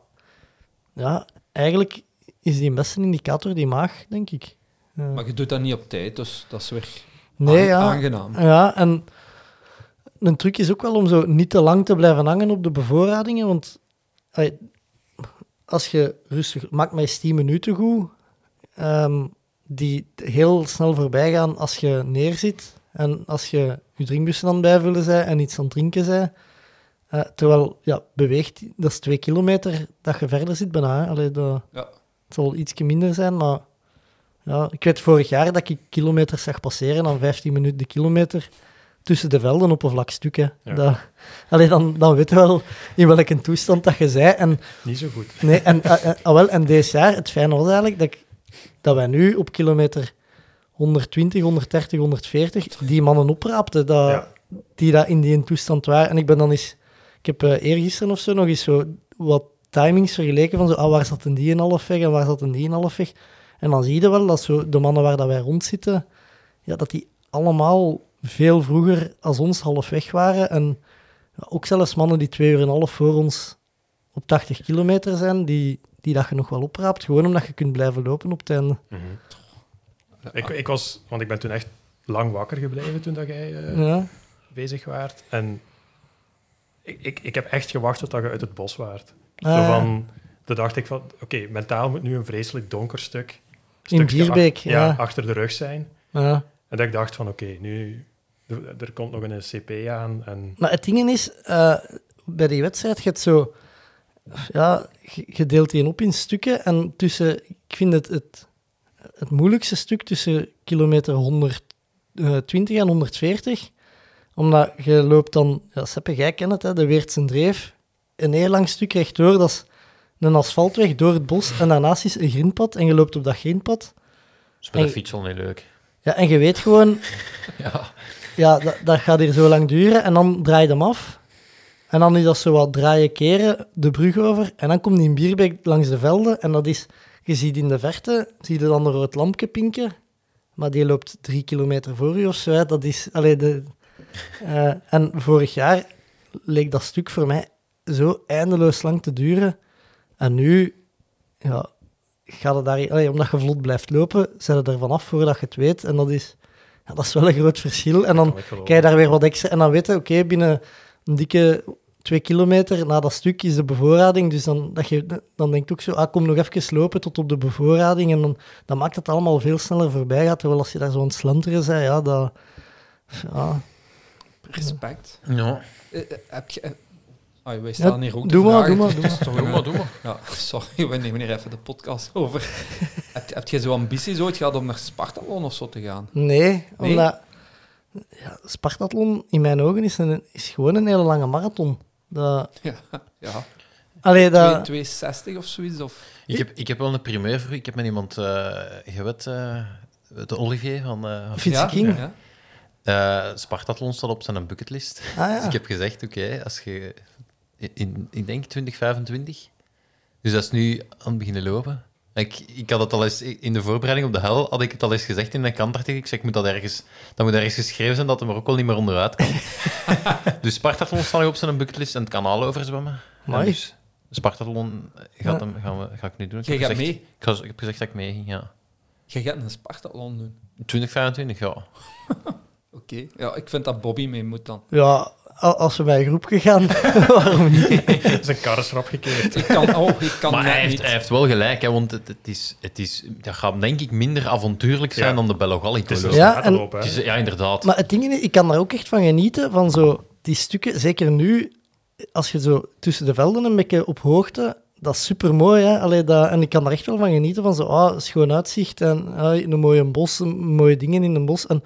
S7: ja, eigenlijk is die best een indicator, die maag, denk ik. Eh,
S5: Maar je doet dat niet op tijd, dus dat is weer
S7: nee,
S5: aan-
S7: ja.
S5: aangenaam.
S9: Ah,
S7: Ja, en een truc is ook wel om zo niet te lang te blijven hangen op de bevoorradingen. Want ai, als je rustig... Maak mij eens 10 minuten goed. ehm, die heel snel voorbij gaan als je neerzit. En als je je drinkbussen aan het bijvullen zij en iets aan het drinken zij. Eh, terwijl, ja, beweegt... Dat is twee kilometer dat je verder zit bijna. hè. Allee, dat,
S5: Ja.
S7: Het zal ietsje minder zijn, maar... Ja, ik weet vorig jaar dat ik kilometers zag passeren, dan 15 minuten de kilometer tussen de velden op een vlak stuk. Hè.
S8: Ja.
S7: Dat, allee, dan, dan weet je wel in welke toestand dat je zei. En,
S8: Niet zo goed.
S7: nee, en, ah, eh, ah, wel, en dit jaar, het fijne was eigenlijk dat, ik, dat wij nu op kilometer 120, 130, 140 die mannen opraapten. Dat,
S8: Ja.
S7: die daar in die toestand waren. En ik ben dan eens... Ik heb eh eergisteren of zo nog eens zo wat timings vergeleken van zo, ah, waar zat een die in half weg en waar zat een die in half weg. En dan zie je wel dat zo de mannen waar dat wij rond zitten, ja, dat die allemaal veel vroeger als ons half weg waren. En ja, ook zelfs mannen die twee uur en een half voor ons op 80 kilometer zijn, die, die dat je nog wel opraapt, gewoon omdat je kunt blijven lopen op het einde.
S8: Ik, ik was, want ik ben toen echt lang wakker gebleven toen dat jij eh,
S7: Ja,
S8: bezig waart. En ik, ik, ik heb echt gewacht tot dat je uit het bos waart.
S7: Ah.
S8: Zo van, dan dacht ik van, oké, mentaal moet nu een vreselijk donker stuk.
S7: in
S8: stukje ach-
S7: Bierbeek, ja. ja.
S8: achter de rug zijn.
S7: Ah,
S8: En dat ik dacht van, oké, nu... er- Er komt nog een CP aan en...
S7: Maar het ding is, eh, bij die wedstrijd, je hebt zo... Ja, je- je deelt die op in stukken. En tussen... Ik vind het, het, het moeilijkste stuk tussen kilometer 120 en 140. Omdat je loopt dan... Ja, Seppe, jij kent het, hè, de Weertse Dreef. Een heel lang stuk rechtdoor, dat is een asfaltweg door het bos. En daarnaast is een grindpad. En je loopt op dat grindpad.
S9: is met dus de
S7: Hey.
S9: fiets al niet leuk.
S7: Ja, en je weet gewoon,
S9: Ja.
S7: ja, dat, dat gaat hier zo lang duren. En dan draai je hem af. En dan is dat zo wat draaien, keren, de brug over. En dan komt die bierbeek langs de velden. En dat is, je ziet in de verte, zie je dan een rood lampje pinken. Maar die loopt drie kilometer voor u of zo. hè. Dat is, allee, de, eh, en vorig jaar leek dat stuk voor mij zo eindeloos lang te duren. En nu, ja, gaat het daar, allee, omdat je vlot blijft lopen, zet je er vanaf voordat je het weet. En dat is, ja, dat is wel een groot verschil. En dan
S8: Kan ik geloven.
S7: krijg je daar weer wat extra. En dan weten, oké, binnen een dikke twee kilometer na dat stuk is de bevoorrading. Dus dan, dat je, dan denk je ook zo, ah, kom nog even lopen tot op de bevoorrading. En dan, dan maakt het allemaal veel sneller voorbij gaat. Terwijl als je daar zo aan het slenteren bent, ja, dat... Ja.
S5: Respect.
S9: Ja.
S5: Eh, eh, heb je... eh, ah, wij
S7: Ja,
S5: staan hier ook
S7: doe
S5: te
S7: maar,
S5: vragen.
S7: doe maar,
S5: Het is toch
S9: Doe
S5: een-
S9: maar, doe maar.
S5: Ja, sorry, we nemen hier even de podcast over. heb, heb je zo ambities ooit gehad om naar Spartalon of zo te gaan?
S7: Nee,
S5: Nee?
S7: omdat... Ja, Spartathlon, in mijn ogen, is, een, is gewoon een hele lange marathon. Dat,
S5: Ja, ja.
S7: allee,
S5: Twee-
S7: dat...
S5: 260 of zoiets? Of...
S9: Ik heb, ik heb wel een primeur voor u. Ik heb met iemand eh gewet, eh, de Olivier van eh
S7: Fiets
S5: ja?
S7: King.
S5: Ja?
S9: eh, Spartathlon staat op zijn bucketlist.
S7: Ah,
S9: Dus
S7: ja.
S9: ik heb gezegd, oké, als je in, ik denk 2025. Dus dat is nu aan het beginnen lopen. Ik, ik had het al eens in de voorbereiding op de hel had ik het al eens gezegd in mijn kantartikel. Ik zei, ik moet dat ergens, dat moet ergens geschreven zijn dat hem er ook al niet meer onderuit kan. dus Spartathlon staat nog op zijn bucketlist en het kanaal overzwemmen. En
S7: Amai.
S9: Dus Spartathlon gaat
S7: Ja.
S9: hem, gaan we, ga ik nu doen. Ik
S5: Jij
S9: heb
S5: gaat
S9: gezegd-
S5: mee?
S9: Ik, was- ik heb gezegd dat ik mee ging, ja.
S5: Je gaat een Spartalon doen.
S9: 2025, ja.
S5: Oké. Ja, ik vind dat Bobby mee moet dan.
S7: Ja, a- als we bij een groep gegaan, waarom niet?
S8: zijn karresrap gekeerd.
S5: Ik kan, oh, ik kan
S9: Maar
S5: net
S9: hij heeft,
S5: niet.
S9: hij heeft wel gelijk, hè, want het, het is, het is, dat gaat denk ik minder avontuurlijk zijn
S8: Ja.
S9: dan de Bello Gallico. Dus
S8: Het is een
S7: Ja,
S8: ja,
S7: en-
S8: lopen,
S9: Het
S8: hè.
S9: is- ja, inderdaad.
S7: Maar het ding is, ik kan daar ook echt van genieten, van zo die stukken, zeker nu, als je zo tussen de velden een beetje op hoogte, dat is super mooi. Hè? Allee, dat, en ik kan er echt wel van genieten. Van zo, ah, schoon uitzicht en ah, een mooie bos, een- mooie dingen in een bos. En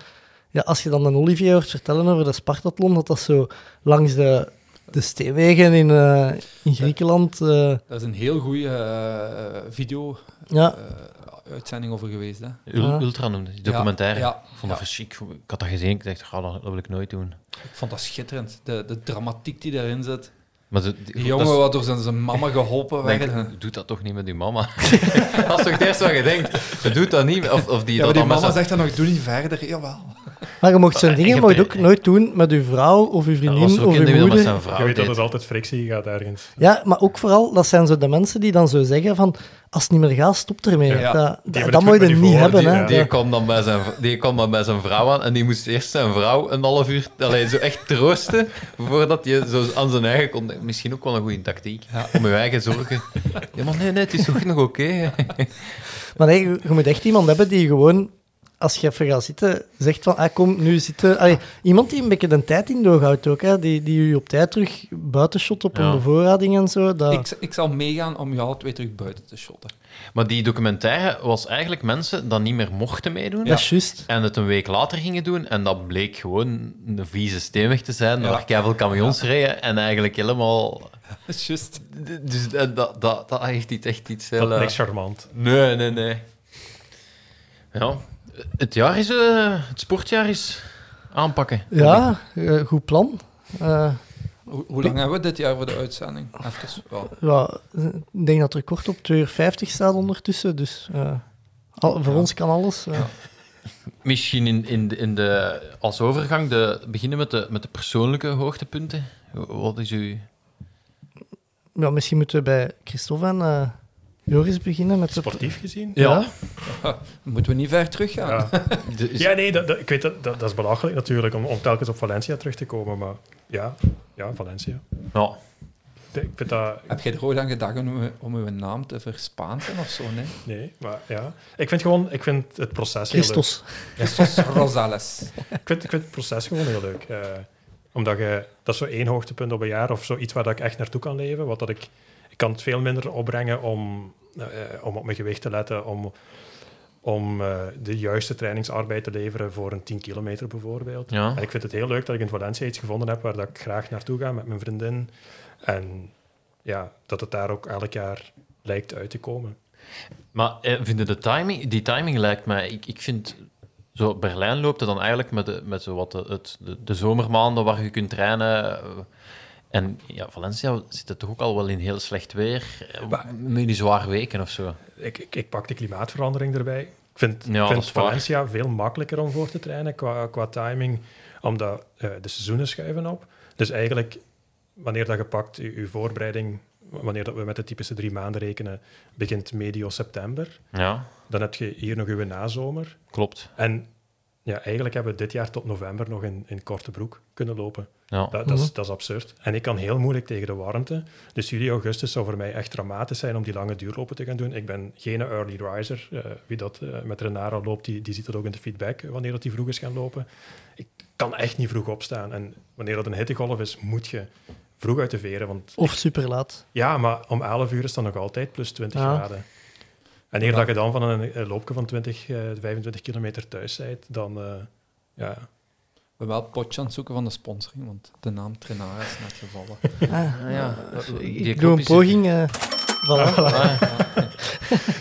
S7: ja, als je dan een Olivier hoort vertellen over de Spartathlon, dat dat zo langs de, de steenwegen in, eh, in Griekenland. eh,
S5: Daar is een heel goede eh, video
S7: ja,
S5: eh, uitzending over geweest. Hè.
S9: Ul-
S7: Ah.
S9: Ultra noemde die documentaire.
S5: Ja, ja,
S9: ik vond dat
S5: ja.
S9: verschrikkelijk. Ik had dat gezien, ik dacht, "Ah, dat dat wil ik nooit doen.
S5: Ik vond dat schitterend. De, de dramatiek die daarin zit.
S9: Maar de,
S5: Die jongen wat door zijn, zijn mama geholpen
S9: Denk,
S5: werd. hè.
S9: doet dat toch niet met uw mama? dat is toch het eerste wat je denkt. Doet dat niet. met- Of, of die,
S5: Ja,
S9: dat
S5: maar die
S9: dan met
S5: mama
S9: zijn-
S5: zegt dan nog, doe niet verder. Jawel.
S7: maar je mocht zo'n dingen
S9: Eh, je
S7: mocht je
S9: hebt-
S7: ook nooit doen met uw vrouw of uw
S9: dat was
S7: vriendin
S9: ook
S7: of
S9: in de
S7: uw
S9: wereld met
S7: moeder.
S9: zijn vrouw.
S8: Je weet dat
S9: deed.
S8: het altijd frictie gaat ergens.
S7: Ja, maar ook vooral, dat zijn zo de mensen die dan zo zeggen van, als het niet meer gaat, stop ermee.
S5: Ja.
S7: Dat,
S8: Die
S7: dat,
S8: hebben
S7: dat
S8: het
S7: moet je
S8: goed met die
S7: niet
S8: woorden,
S7: hebben.
S8: die-
S7: Hè.
S8: ja.
S9: Die kwam, dan bij zijn, v- die kwam dan bij zijn vrouw aan en die moest eerst zijn vrouw een half uur alleen zo echt troosten. Voordat je zo aan zijn eigen kon denken. Misschien ook wel een goede tactiek. Om je eigen zorgen. Ja, maar nee, nee, het is toch nog oké.
S7: Maar nee, je, je moet echt iemand hebben die gewoon, als je even gaat zitten, zegt van, ah, kom, nu zitten. Allee, iemand die een beetje de tijd in doorhoudt ook, hè, die, die je op tijd terug buiten shot op
S9: Ja.
S7: een bevoorrading en zo. Dat,
S5: Ik, ik zal meegaan om je alle twee terug buiten te shotten.
S9: Maar die documentaire was eigenlijk mensen dat niet meer mochten meedoen.
S7: dat is juist.
S9: En het een week later gingen doen. En dat bleek gewoon een vieze steenweg te zijn.
S5: Ja.
S9: Waar keiveel camions reden. En eigenlijk helemaal...
S5: Dat is juist.
S9: Dus dat, dat, dat, dat heeft iets, echt iets heel...
S8: Dat is
S9: eh,
S8: niks charmant.
S9: Nee, nee, nee. Ja, het jaar is... eh, het sportjaar is aanpakken.
S7: Ja, eh, goed plan. Eh,
S5: Hoe, hoe lang hebben we dit jaar voor de uitzending? Even. Wel,
S7: ja, ik denk dat er kort op 2,50 uur staat ondertussen, dus eh, al- voor ons kan alles. eh.
S9: Misschien in, in, de- in de, als overgang de, beginnen met de, met de persoonlijke hoogtepunten. Wat is uw...
S7: Ja, misschien moeten we bij Christophe en eh, Joris beginnen met de-
S8: Sportief gezien?
S7: Ja.
S5: moeten we niet ver teruggaan?
S8: Ja,
S9: de- is-
S8: ja nee, dat, dat- ik weet dat, dat, dat is belachelijk natuurlijk, om, om telkens op Valencia terug te komen. Maar ja, ja Valencia.
S9: ja.
S8: De- Ik vind dat...
S5: Heb jij er ooit aan gedacht om, om uw naam te verspaanten of zo? Nee?
S8: Nee, maar ja. Ik vind gewoon... Ik vind het proces heel leuk.
S7: Christos.
S5: Christos Rosales.
S8: Ik vind, ik vind het proces gewoon heel leuk. Eh, omdat je, dat is zo één hoogtepunt op een jaar of zoiets waar dat ik echt naartoe kan leven. Wat dat ik, ik kan het veel minder opbrengen om, eh, eh, om op mijn gewicht te letten, om, om eh, de juiste trainingsarbeid te leveren voor een 10 kilometer bijvoorbeeld.
S9: Ja.
S8: En ik vind het heel leuk dat ik in Valencia iets gevonden heb waar dat ik graag naartoe ga met mijn vriendin. En ja, dat het daar ook elk jaar lijkt uit te komen.
S9: Maar eh, vinden de timing, die timing lijkt mij, ik, ik vind, zo Berlijn loopt het dan eigenlijk met, de, met zo wat de, het, de, de zomermaanden waar je kunt trainen. eh, En ja, Valencia zit het toch ook al wel in heel slecht weer, eh, met die zware weken of zo.
S8: ik, ik, ik pak de klimaatverandering erbij. Ik vind,
S9: Ja,
S8: ik
S9: dat
S8: vind
S9: is waar.
S8: Valencia veel makkelijker om voor te trainen qua, qua timing, omdat eh, de seizoenen schuiven op. Dus eigenlijk, wanneer dat je pakt, je, je voorbereiding, wanneer dat we met de typische drie maanden rekenen, begint medio september.
S9: Ja,
S8: Dan heb je hier nog uw nazomer.
S9: klopt.
S8: En ja, eigenlijk hebben we dit jaar tot november nog in, in korte broek kunnen lopen.
S9: Ja.
S8: Dat, dat, is, dat is absurd. En ik kan heel moeilijk tegen de warmte. Dus juli, augustus zou voor mij echt dramatisch zijn om die lange duurlopen te gaan doen. Ik ben geen early riser. Eh, wie dat eh, met Renara loopt, die, die ziet dat ook in de feedback eh, wanneer dat die vroeg is gaan lopen. Ik kan echt niet vroeg opstaan. En wanneer dat een hittegolf is, moet je vroeg uit de veren. Want
S7: Of superlaat.
S8: ja, maar om 11 uur is dan nog altijd plus 20
S7: Ja.
S8: graden. En eer dat je dan van een eh, loopje van 20, eh, 25 kilometer thuis bent, dan... eh, ja,
S5: Ik ben wel het potje aan het zoeken van de sponsoring, want de naam Trenara is net gevallen.
S7: Ah,
S9: ja. Die
S7: Ik doe
S9: knop
S7: een
S9: is-
S7: poging. eh voilà.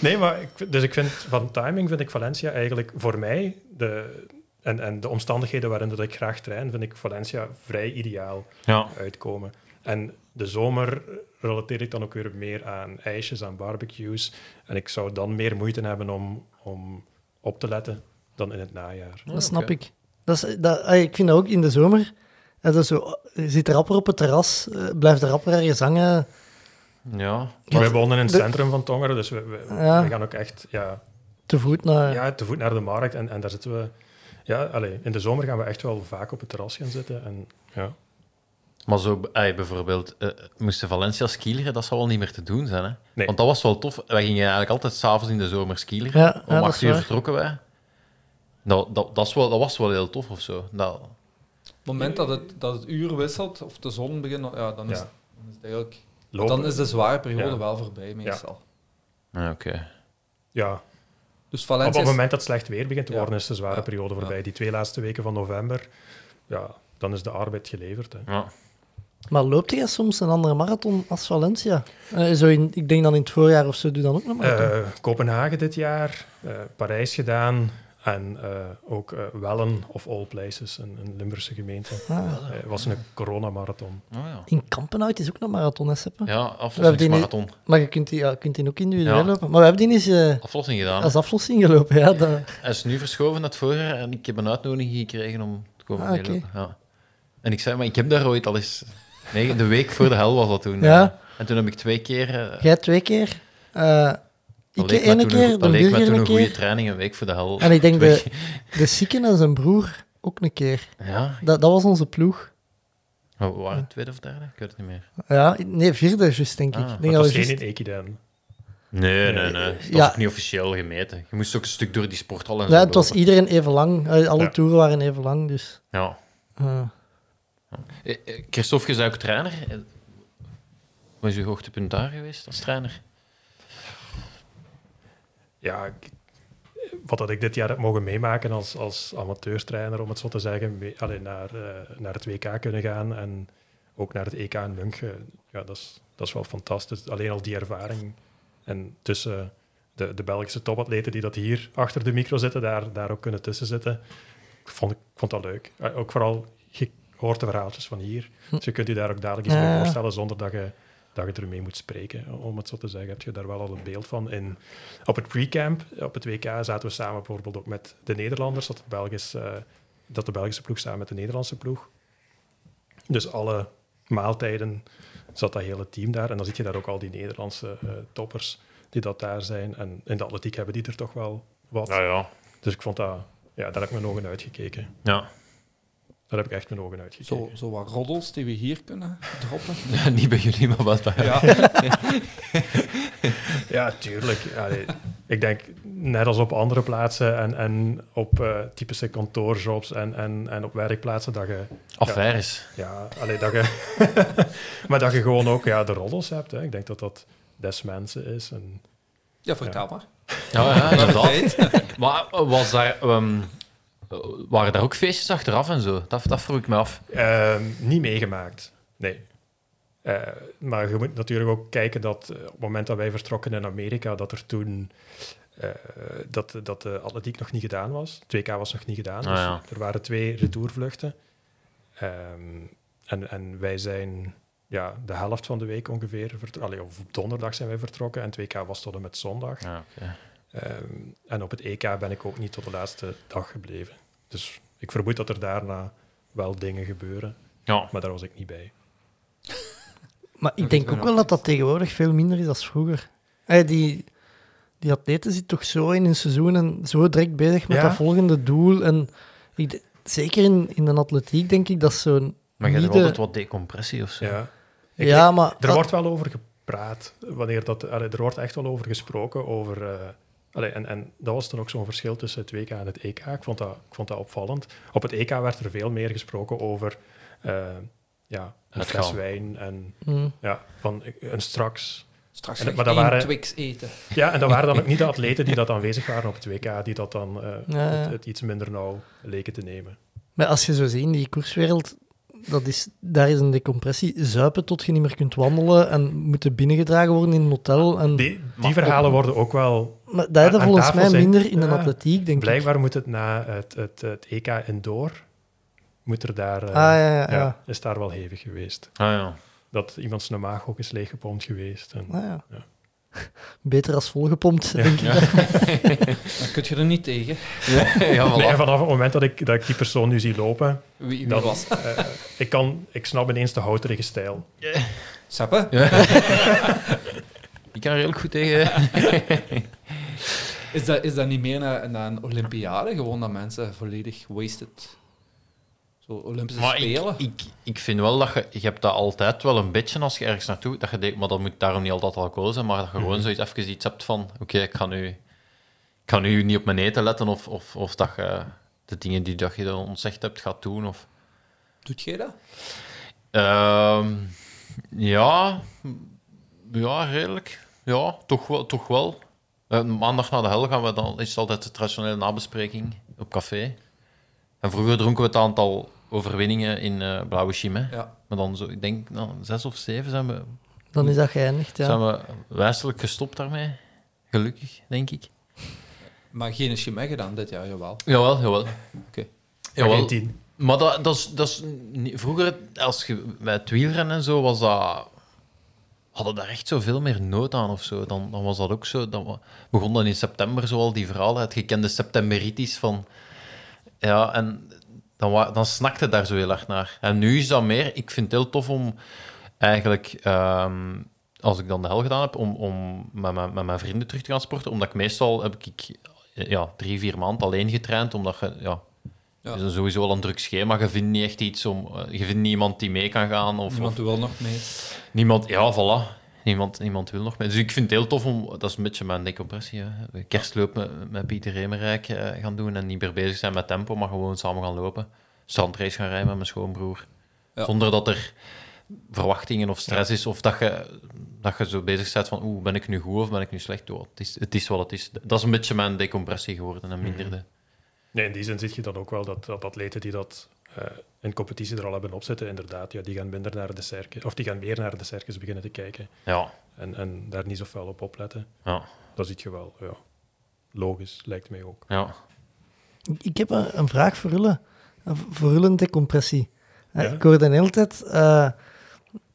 S8: Nee, maar ik, vind- dus ik vind van timing vind ik Valencia eigenlijk voor mij de, en, en de omstandigheden waarin dat ik graag train, vind ik Valencia vrij ideaal
S9: Ja.
S8: uitkomen. En de zomer relateer ik dan ook weer meer aan ijsjes, aan barbecues. En ik zou dan meer moeite hebben om, om op te letten dan in het najaar.
S7: Dat snap ik. Dat is, dat, ah, ik vind dat ook in de zomer. Dat is zo, je zit rapper op het terras, eh, blijft rapper ergens hangen.
S9: Ja.
S8: Maar we wonen in het
S7: de-
S8: centrum van Tongeren, dus we, we,
S7: Ja.
S8: we gaan ook echt ja,
S7: Te voet naar...
S8: ja, te voet naar de markt. En, en daar zitten we... Ja, allee, in de zomer gaan we echt wel vaak op het terras gaan zitten. En, ja.
S9: Maar zo ey, bijvoorbeeld, eh, moesten Valencia skileren, dat zou wel niet meer te doen zijn. Hè?
S8: Nee.
S9: Want dat was wel tof. Wij gingen eigenlijk altijd s'avonds in de zomer skileren.
S7: Ja, ja,
S9: Om
S7: dat
S9: acht
S7: is
S9: uur
S7: waar.
S9: vertrokken wij. Nou, dat, dat, is wel, dat was wel heel tof of zo. Dat,
S5: Op het moment dat het, dat het uur wisselt of de zon begint, ja, dan, is,
S8: Ja.
S5: dan is het eigenlijk
S8: lopen.
S5: Dan is de zware periode
S8: Ja.
S5: wel voorbij meestal.
S9: Ja, Oké.
S8: Ja, op-
S5: Dus
S8: op,
S5: Valencia
S8: het
S5: is-
S8: moment dat het slecht weer begint te
S5: Ja.
S8: worden, is de zware
S5: Ja.
S8: periode voorbij. Die twee laatste weken van november, ja, dan is de arbeid geleverd. Hè.
S9: Ja.
S7: Maar loopt jij soms een andere marathon als Valencia? Eh, zo in, ik denk dan in het voorjaar of zo, doe dan ook nog maar.
S8: Eh, Kopenhagen dit jaar, eh, Parijs gedaan en eh, ook eh, Wellen of All Places, een, een Limburgse gemeente.
S7: Ah.
S8: Eh, was een coronamarathon.
S9: Oh, ja.
S7: In Kampenhout is ook nog marathon, hè, Seppe?
S9: Ja,
S7: die niet-
S9: aflossingsmarathon.
S7: Maar je kunt die, ja, je kunt die ook individueel
S9: Ja.
S7: lopen. Maar we hebben die eens eh,
S9: Aflossing gedaan.
S7: als aflossing gelopen. Ja, dat-
S9: Hij is nu verschoven naar het vorige en ik heb een uitnodiging gekregen om te komen
S7: Ah,
S9: ah,
S7: oké.
S9: Ja. En ik zei, maar ik heb daar ooit al eens... Nee, de week voor de hel was dat toen.
S7: Ja.
S9: eh. En toen heb ik twee keer... eh,
S7: Jij twee keer. eh
S9: dat
S7: ik
S9: leek
S7: ene
S9: mij toen een
S7: keer,
S9: go-
S7: de
S9: dat leek mij
S7: burger
S9: toen
S7: een
S9: een goede
S7: keer.
S9: training, een week voor de hel.
S7: En ik denk
S9: Twee-
S7: De zieken en zijn broer ook een keer.
S9: Ja,
S7: Dat, dat was onze ploeg.
S9: we waren het tweede of derde? Ik weet het niet meer.
S7: Ja, nee, vierde, juist, denk ik.
S9: Ah,
S7: Ik
S8: Maar
S7: denk dat
S8: het
S7: we
S8: was geen
S7: juist-
S8: in Ekiden.
S9: Nee, nee, nee. Dat Eh, was
S7: Ja.
S9: ook niet officieel gemeten. Je moest ook een stuk door die sporthal en
S7: ja,
S9: zo
S7: het was
S9: lopen.
S7: iedereen even lang. Eh, Alle
S8: Ja.
S7: toeren waren even lang, dus...
S9: Ja.
S7: eh.
S9: Eh, eh, Christophe, je bent ook trainer. Eh, Wat is uw hoogtepunt daar geweest als trainer?
S8: Ja, ik- wat dat ik dit jaar heb mogen meemaken als, als amateurtrainer, om het zo te zeggen, mee- allee, naar, eh, naar het WK kunnen gaan en ook naar het EK in München. Ja, dat is, dat is wel fantastisch. Alleen al die ervaring. En tussen de, de Belgische topatleten die dat hier achter de micro zitten, daar, daar ook kunnen tussen zitten. Ik vond, ik vond dat leuk. Eh, Ook vooral, je hoort de verhaaltjes van hier. Dus je kunt je daar ook dadelijk iets
S7: Hm. Ja,
S8: bij
S7: ja.
S8: voorstellen zonder dat je, dat je ermee moet spreken, om het zo te zeggen. Heb je daar wel al een beeld van. In, op het pre-camp, op het WK, zaten we samen bijvoorbeeld ook met de Nederlanders. Dat, het Belgisch, eh, dat de Belgische ploeg samen met de Nederlandse ploeg. Dus alle maaltijden zat dat hele team daar. En dan zit je daar ook al die Nederlandse eh, toppers die dat daar zijn. En in de atletiek hebben die er toch wel wat.
S9: ja.
S8: Dus ik vond dat... Ja, daar heb ik mijn ogen uitgekeken.
S9: Ja.
S8: Daar heb ik echt mijn ogen uitgekeken.
S5: zo, zo wat roddels die we hier kunnen droppen.
S9: niet bij jullie, maar wat bij
S5: Ja.
S8: Ja, tuurlijk. Allee, ik denk, net als op andere plaatsen en, en op eh, typische kantoorjobs en, en, en op werkplaatsen, dat je...
S9: Affaires.
S8: Ja, allee, dat je maar dat je gewoon ook ja, de roddels hebt. Hè. Ik denk dat dat des mensen is. En,
S5: Ja, vertel maar.
S9: Ja, ja, inderdaad. maar eh, was daar, ehm, eh, waren daar ook feestjes achteraf en zo? Dat, dat vroeg ik me af.
S8: Ehm, niet meegemaakt, nee. Eh, maar je moet natuurlijk ook kijken dat eh, op het moment dat wij vertrokken in Amerika, dat er toen eh, dat, dat de atletiek nog niet gedaan was. 2K was nog niet gedaan.
S9: Ah,
S8: dus
S9: ja.
S8: Er waren twee retourvluchten. Ehm, en, en wij zijn ja, de helft van de week ongeveer, vert- allee, of op donderdag zijn wij vertrokken en 2K was tot en met zondag.
S9: Ja, oké.
S8: Ehm, en op het EK ben ik ook niet tot de laatste dag gebleven. Dus ik vermoed dat er daarna wel dingen gebeuren,
S9: ja.
S8: maar daar was ik niet bij.
S7: Maar ik
S5: Dat
S7: denk
S5: weten we
S7: ook
S5: nog
S7: wel dat dat tegenwoordig veel minder is dan vroeger. Eh, die, die atleten zitten toch zo in hun seizoen en zo direct bezig met
S8: Ja.
S7: dat volgende doel. En ik, d- zeker in, in de atletiek denk ik dat zo'n...
S9: Maar je
S7: niet
S9: hebt
S7: de-
S9: altijd wat decompressie of zo.
S8: Ja. Ik-
S7: Ja, maar...
S8: Er wordt wel over gepraat. Wanneer dat, allee, er wordt echt wel over gesproken. Over, eh, allee, en, en dat was dan ook zo'n verschil tussen het WK en het EK. Ik vond dat, ik vond dat opvallend. Op het EK werd er veel meer gesproken over eh, ja, een
S9: Het
S8: fles
S9: gaan.
S8: wijn en
S7: Mm.
S8: ja, van, eh, een straks.
S5: Straks
S8: En-
S5: nog
S8: maar dat
S5: één
S8: waren-
S5: Twix eten.
S8: Ja, en dat waren dan ook niet de atleten die dat aanwezig waren op het WK, die dat dan eh,
S7: Ja, ja.
S8: het, het iets minder nauw leken te nemen.
S7: Maar als je zo ziet, in die koerswereld, dat is, daar is een decompressie. Zuipen tot je niet meer kunt wandelen en moeten binnengedragen worden in een hotel. En,
S8: Die,
S9: Maar-
S8: die verhalen worden ook wel
S7: maar dat hebben
S8: aan
S7: volgens
S8: tafel
S7: mij
S8: zijn-
S7: minder in de
S8: Ja.
S7: atletiek, denk ik.
S8: Blijkbaar moet het na het, het, het EK indoor, moet er daar, eh,
S7: Ah, ja, ja, ja.
S8: is daar wel hevig geweest.
S9: Ah, ja.
S8: Dat iemand zijn maag ook is leeggepompt geweest. En,
S7: Ah, ja.
S8: Ja.
S7: Beter als volgepompt, denk ik.
S5: Dan kun je er niet tegen.
S9: ja, voilà.
S8: Nee, vanaf het moment dat ik, dat ik die persoon nu zie lopen,
S5: Wie, wie
S8: Dat-
S5: was het?
S8: eh, ik, kan, ik snap ineens de houterige stijl.
S5: Seppe?
S9: Ik kan redelijk goed tegen. eh,
S5: Is dat, is dat niet meer naar, naar een Olympiade? Gewoon dat mensen volledig wasted. Zo Olympische
S9: Maar
S5: Spelen.
S9: ik, ik, ik vind wel dat je... Je hebt dat altijd wel een beetje als je ergens naartoe... Dat je denkt, maar dat moet daarom niet altijd alcohol zijn, maar dat je gewoon zoiets even iets hebt van... Oké, ik ga nu... Ik ga nu niet op mijn eten letten of, of, of dat je de dingen die dat je dan ontzegd hebt gaat doen of...
S5: Doet jij dat?
S9: Ehm, ja, Ja, redelijk. Ja, toch wel. Toch wel. Eh, maandag na de hel gaan we dan, is het altijd de traditionele nabespreking op café. En vroeger dronken we het aantal overwinningen in eh, Blauwe Chimé.
S5: Ja.
S9: Maar dan, zo, ik denk, nou, zes of zeven zijn we,
S7: Dan is dat geëindigd, ja.
S9: zijn we wijselijk gestopt daarmee. Gelukkig, denk ik.
S5: Maar geen chimé gedaan dit jaar, jawel.
S9: Jawel, jawel.
S5: Oké.
S8: Maar
S9: Jawel.
S8: geen tien.
S9: Maar dat, dat, is, dat is niet- vroeger, als je bij het wielrennen en zo, was dat, hadden daar echt zoveel meer nood aan of zo. Dan, dan was dat ook zo. Dan wa- begon dan in september zo al die verhalen uit. Je kende septemberitis van. Ja, en dan, wa- dan snakte daar zo heel erg naar. En nu is dat meer. Ik vind het heel tof om eigenlijk. ehm, als ik dan de hel gedaan heb, om, om met, mijn, met mijn vrienden terug te gaan sporten. Omdat ik meestal heb ik eh, ja, drie, vier maanden alleen getraind. Omdat je, ja,
S5: Ja.
S9: is dan sowieso wel een druk schema. Je vindt niet echt iets om. eh, Je vindt niemand die mee kan gaan. Of, niemand,
S5: Niemand wil nog mee.
S9: niemand ja, voilà. Niemand, niemand wil nog mee. Dus ik vind het heel tof om. Dat is een beetje mijn decompressie. Hè. Kerstloop met, met Pieter Remerijk eh, gaan doen. En niet meer bezig zijn met tempo, maar gewoon samen gaan lopen. Strandrace gaan rijden met mijn schoonbroer.
S5: Ja.
S9: Zonder dat er verwachtingen of stress is. Of dat je, dat je zo bezig bent van. Oeh, ben ik nu goed of ben ik nu slecht? Oh, het, is, het is wat het is. Dat is een beetje mijn decompressie geworden. En minder
S5: Mhm.
S9: de.
S8: Nee, in die zin zit je dan ook wel dat, dat atleten die dat eh, in competitie er al hebben opzetten, inderdaad, ja, die gaan minder naar de circus, of die gaan meer naar de circus beginnen te kijken
S9: Ja,
S8: en, en daar niet zo fel op opletten.
S9: ja,
S8: Dat ziet je wel, ja. Logisch, lijkt mij ook.
S9: ja.
S7: Ik heb een, een vraag voor Ulle. Eh, Voor Ulle een decompressie. Eh,
S8: Ja?
S7: Ik hoorde de hele tijd eh,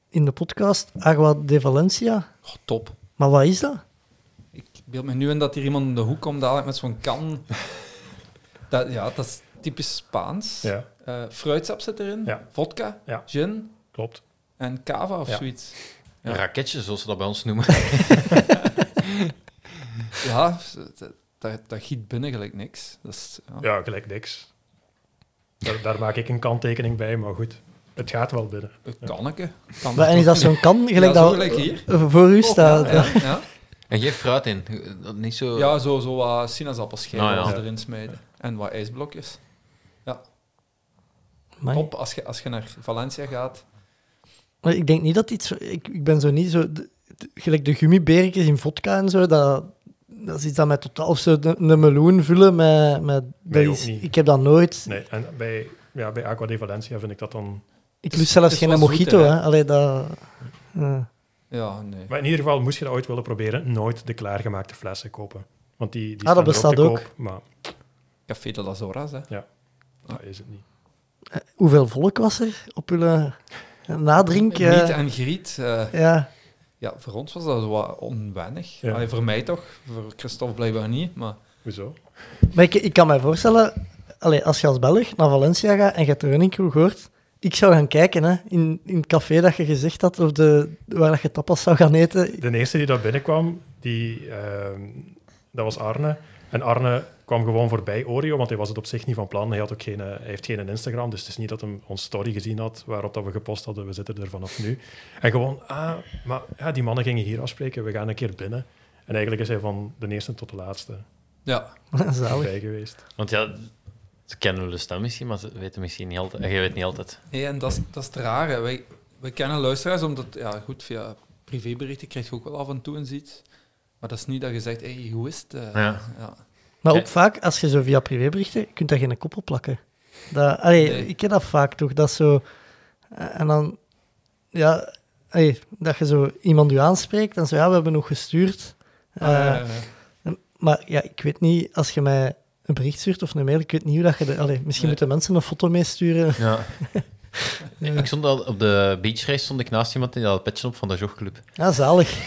S7: in de podcast Agua de Valencia.
S5: Oh, top.
S7: Maar wat is dat?
S5: Ik beeld me nu in dat hier iemand in de hoek komt dadelijk met zo'n kan. Dat, ja, dat is typisch Spaans.
S8: Ja,
S5: Eh, fruitsap zit erin,
S8: Ja.
S5: vodka,
S8: Ja.
S5: gin
S8: klopt.
S5: en cava of
S9: Ja.
S5: zoiets. Ja.
S9: Raketje, zoals ze dat bij ons noemen.
S5: Ja, dat, dat, dat giet binnen gelijk niks. Dat is, ja.
S8: Ja, gelijk niks. Daar, daar maak ik een kanttekening bij, maar goed, het gaat wel binnen.
S5: Een kanneke. Kan
S7: Maar, en is dat zo'n kan? Gelijk
S5: Ja, zo
S7: dat
S5: gelijk hier.
S7: eh, voor u
S5: Ja,
S7: staat.
S5: ja, ja.
S9: En geef fruit in. Dat niet zo...
S5: ja, zo, zo wat sinaasappelschijven
S9: Nou ja.
S5: als ze erin smijten. En wat ijsblokjes.
S7: Amai.
S5: Top, als je, als je naar Valencia gaat.
S7: Maar ik denk niet dat iets... Ik, ik ben zo niet zo... de- de- gelijk de gummibeertjes in vodka en zo, dat, dat is iets dat mij totaal... Of zo de, een meloen vullen met... met dat
S8: ook
S7: is-
S8: niet.
S7: ik heb dat nooit.
S8: Nee, en bij, ja, bij Aqua de Valencia vind ik dat dan...
S7: Ik
S5: is-
S7: lust zelfs
S5: het is
S7: geen
S5: wel
S7: mojito.
S5: zoeter, hè?
S7: hè. Allee, dat... eh.
S5: Ja, nee.
S8: Maar in ieder geval, moest je dat ooit willen proberen, nooit de klaargemaakte flessen kopen. Want die, die
S7: Ah,
S8: staan
S7: dat
S8: erop te
S7: bestaat ook.
S8: koop, maar
S5: Café de las Horas, hè.
S8: dat is het niet.
S7: Hoeveel volk was er op jullie nadrink? eh?
S5: Niet en griet. eh,
S7: ja,
S5: ja, voor ons was dat zo wat onwennig.
S8: Ja.
S5: Allee, voor mij toch. Voor Christophe blijkbaar niet. Maar
S8: Hoezo?
S7: maar ik, ik kan mij voorstellen, allee, als je als Belg naar Valencia gaat en je hebt de running crew gehoord, ik zou gaan kijken hè, in, in het café dat je gezegd had, of de, waar dat je tapas zou gaan eten.
S8: De eerste die daar binnenkwam, die, ehm, dat was Arne. En Arne kwam gewoon voorbij Oreo, want hij was het op zich niet van plan. Hij, had ook geen, eh, hij heeft geen Instagram, dus het is niet dat hij ons story gezien had waarop dat we gepost hadden. We zitten er vanaf nu. En gewoon, ah, maar ja, die mannen gingen hier afspreken, we gaan een keer binnen. En eigenlijk is hij van de eerste tot de laatste
S5: ja,
S7: Zalig.
S8: bij geweest.
S9: Want ja, ze kennen de stem misschien, maar ze weten misschien niet altijd... Je weet niet altijd.
S5: nee, en dat is, dat is het rare. Wij, wij kennen luisteraars, omdat... Ja, goed, via privéberichten krijg je ook wel af en toe eens iets. Maar dat is niet dat je zegt, hey, hoe is het? eh?
S9: Ja.
S5: ja.
S7: Maar
S9: Ja.
S7: ook vaak, als je zo via privéberichten, je kunt daar geen koppel plakken. Dat, allee,
S5: Nee.
S7: Ik ken dat vaak toch, dat zo... eh, En dan, ja, allee, dat je zo iemand je aanspreekt en zo, ja, we hebben nog gestuurd. Eh,
S5: Eh,
S7: Maar ja, ik weet niet, als je mij een bericht stuurt of een mail, ik weet niet hoe dat je... De, allee, misschien
S5: Nee.
S7: moeten mensen een foto meesturen.
S9: Ja. Ik stond al, op de beachrace stond ik naast iemand en die had een petje op van de jogclub.
S7: Ja, zalig.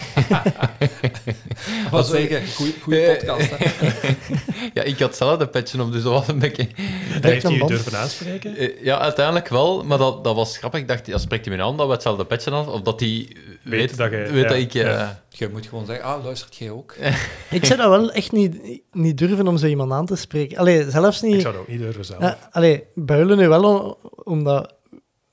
S5: wat zeker, goede podcast. hè.
S9: Ja, ik had zelf een petje op, dus dat was een beetje...
S8: En heeft hij
S7: een
S8: u
S7: band.
S8: durven aanspreken?
S9: Eh, Ja, uiteindelijk wel, maar dat, dat was grappig. Ik dacht, ja, spreekt hij me nou aan dat we hetzelfde petje aan, of dat hij weet,
S8: dat
S9: dat,
S8: je-
S9: weet
S8: ja,
S9: dat ik... eh,
S8: ja.
S5: Je moet gewoon zeggen, ah, luistert jij ook?
S7: Eh. Ik zou dat wel echt niet, niet durven om zo iemand aan te spreken. Allee, zelfs
S8: Ik
S7: niet...
S8: zou dat ook niet durven zelf.
S7: Ja, allee, builen nu wel om- omdat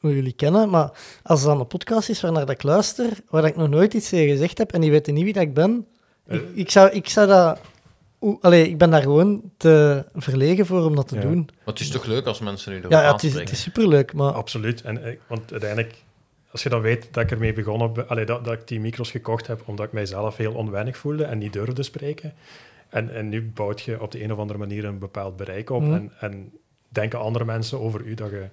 S7: we jullie kennen, maar als het dan een podcast is waarnaar dat ik luister, waar dat ik nog nooit iets tegen gezegd heb en die weten niet wie dat ik ben, ik,
S8: Eh.
S7: ik, zou, ik zou dat... Oeh, allee, ik ben daar gewoon te verlegen voor om dat te
S8: Ja.
S7: doen.
S9: Maar het is toch leuk als mensen nu erop
S7: Ja, ja het, is,
S9: aanspreken.
S7: het is superleuk, maar...
S8: Absoluut. En, eh, want uiteindelijk, als je dan weet dat ik ermee begonnen ben, allee, dat, dat ik die micro's gekocht heb omdat ik mijzelf heel onwennig voelde en niet durfde spreken. En, en nu bouwt je op de een of andere manier een bepaald bereik op.
S7: Mhm.
S8: En, en denken andere mensen over u dat je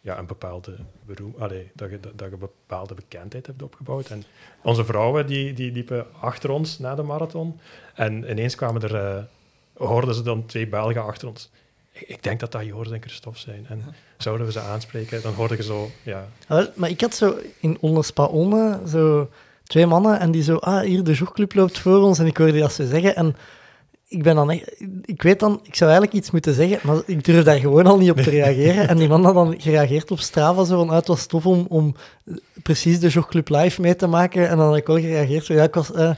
S8: ja, een bepaalde beroem, allee, dat, je, dat, dat je een bepaalde bekendheid hebt opgebouwd. En onze vrouwen die, die liepen achter ons na de marathon. En ineens kwamen er, eh, hoorden ze dan twee Belgen achter ons. Ik, ik denk dat dat Joris en Christophe zijn. En zouden we ze aanspreken, dan hoorde je zo, ja,
S7: Ah, wel, maar ik had zo in Onder Spaone zo twee mannen en die zo, ah, hier de jourclub loopt voor ons en ik hoorde dat ze zeggen en ik ben dan echt, ik weet dan, ik zou eigenlijk iets moeten zeggen, maar ik durf daar gewoon al niet op te reageren. En die man had dan gereageerd op Strava zo van, ah, het was tof om, om precies de jourclub live mee te maken. En dan had ik wel gereageerd, zo, ja, ik was, eh,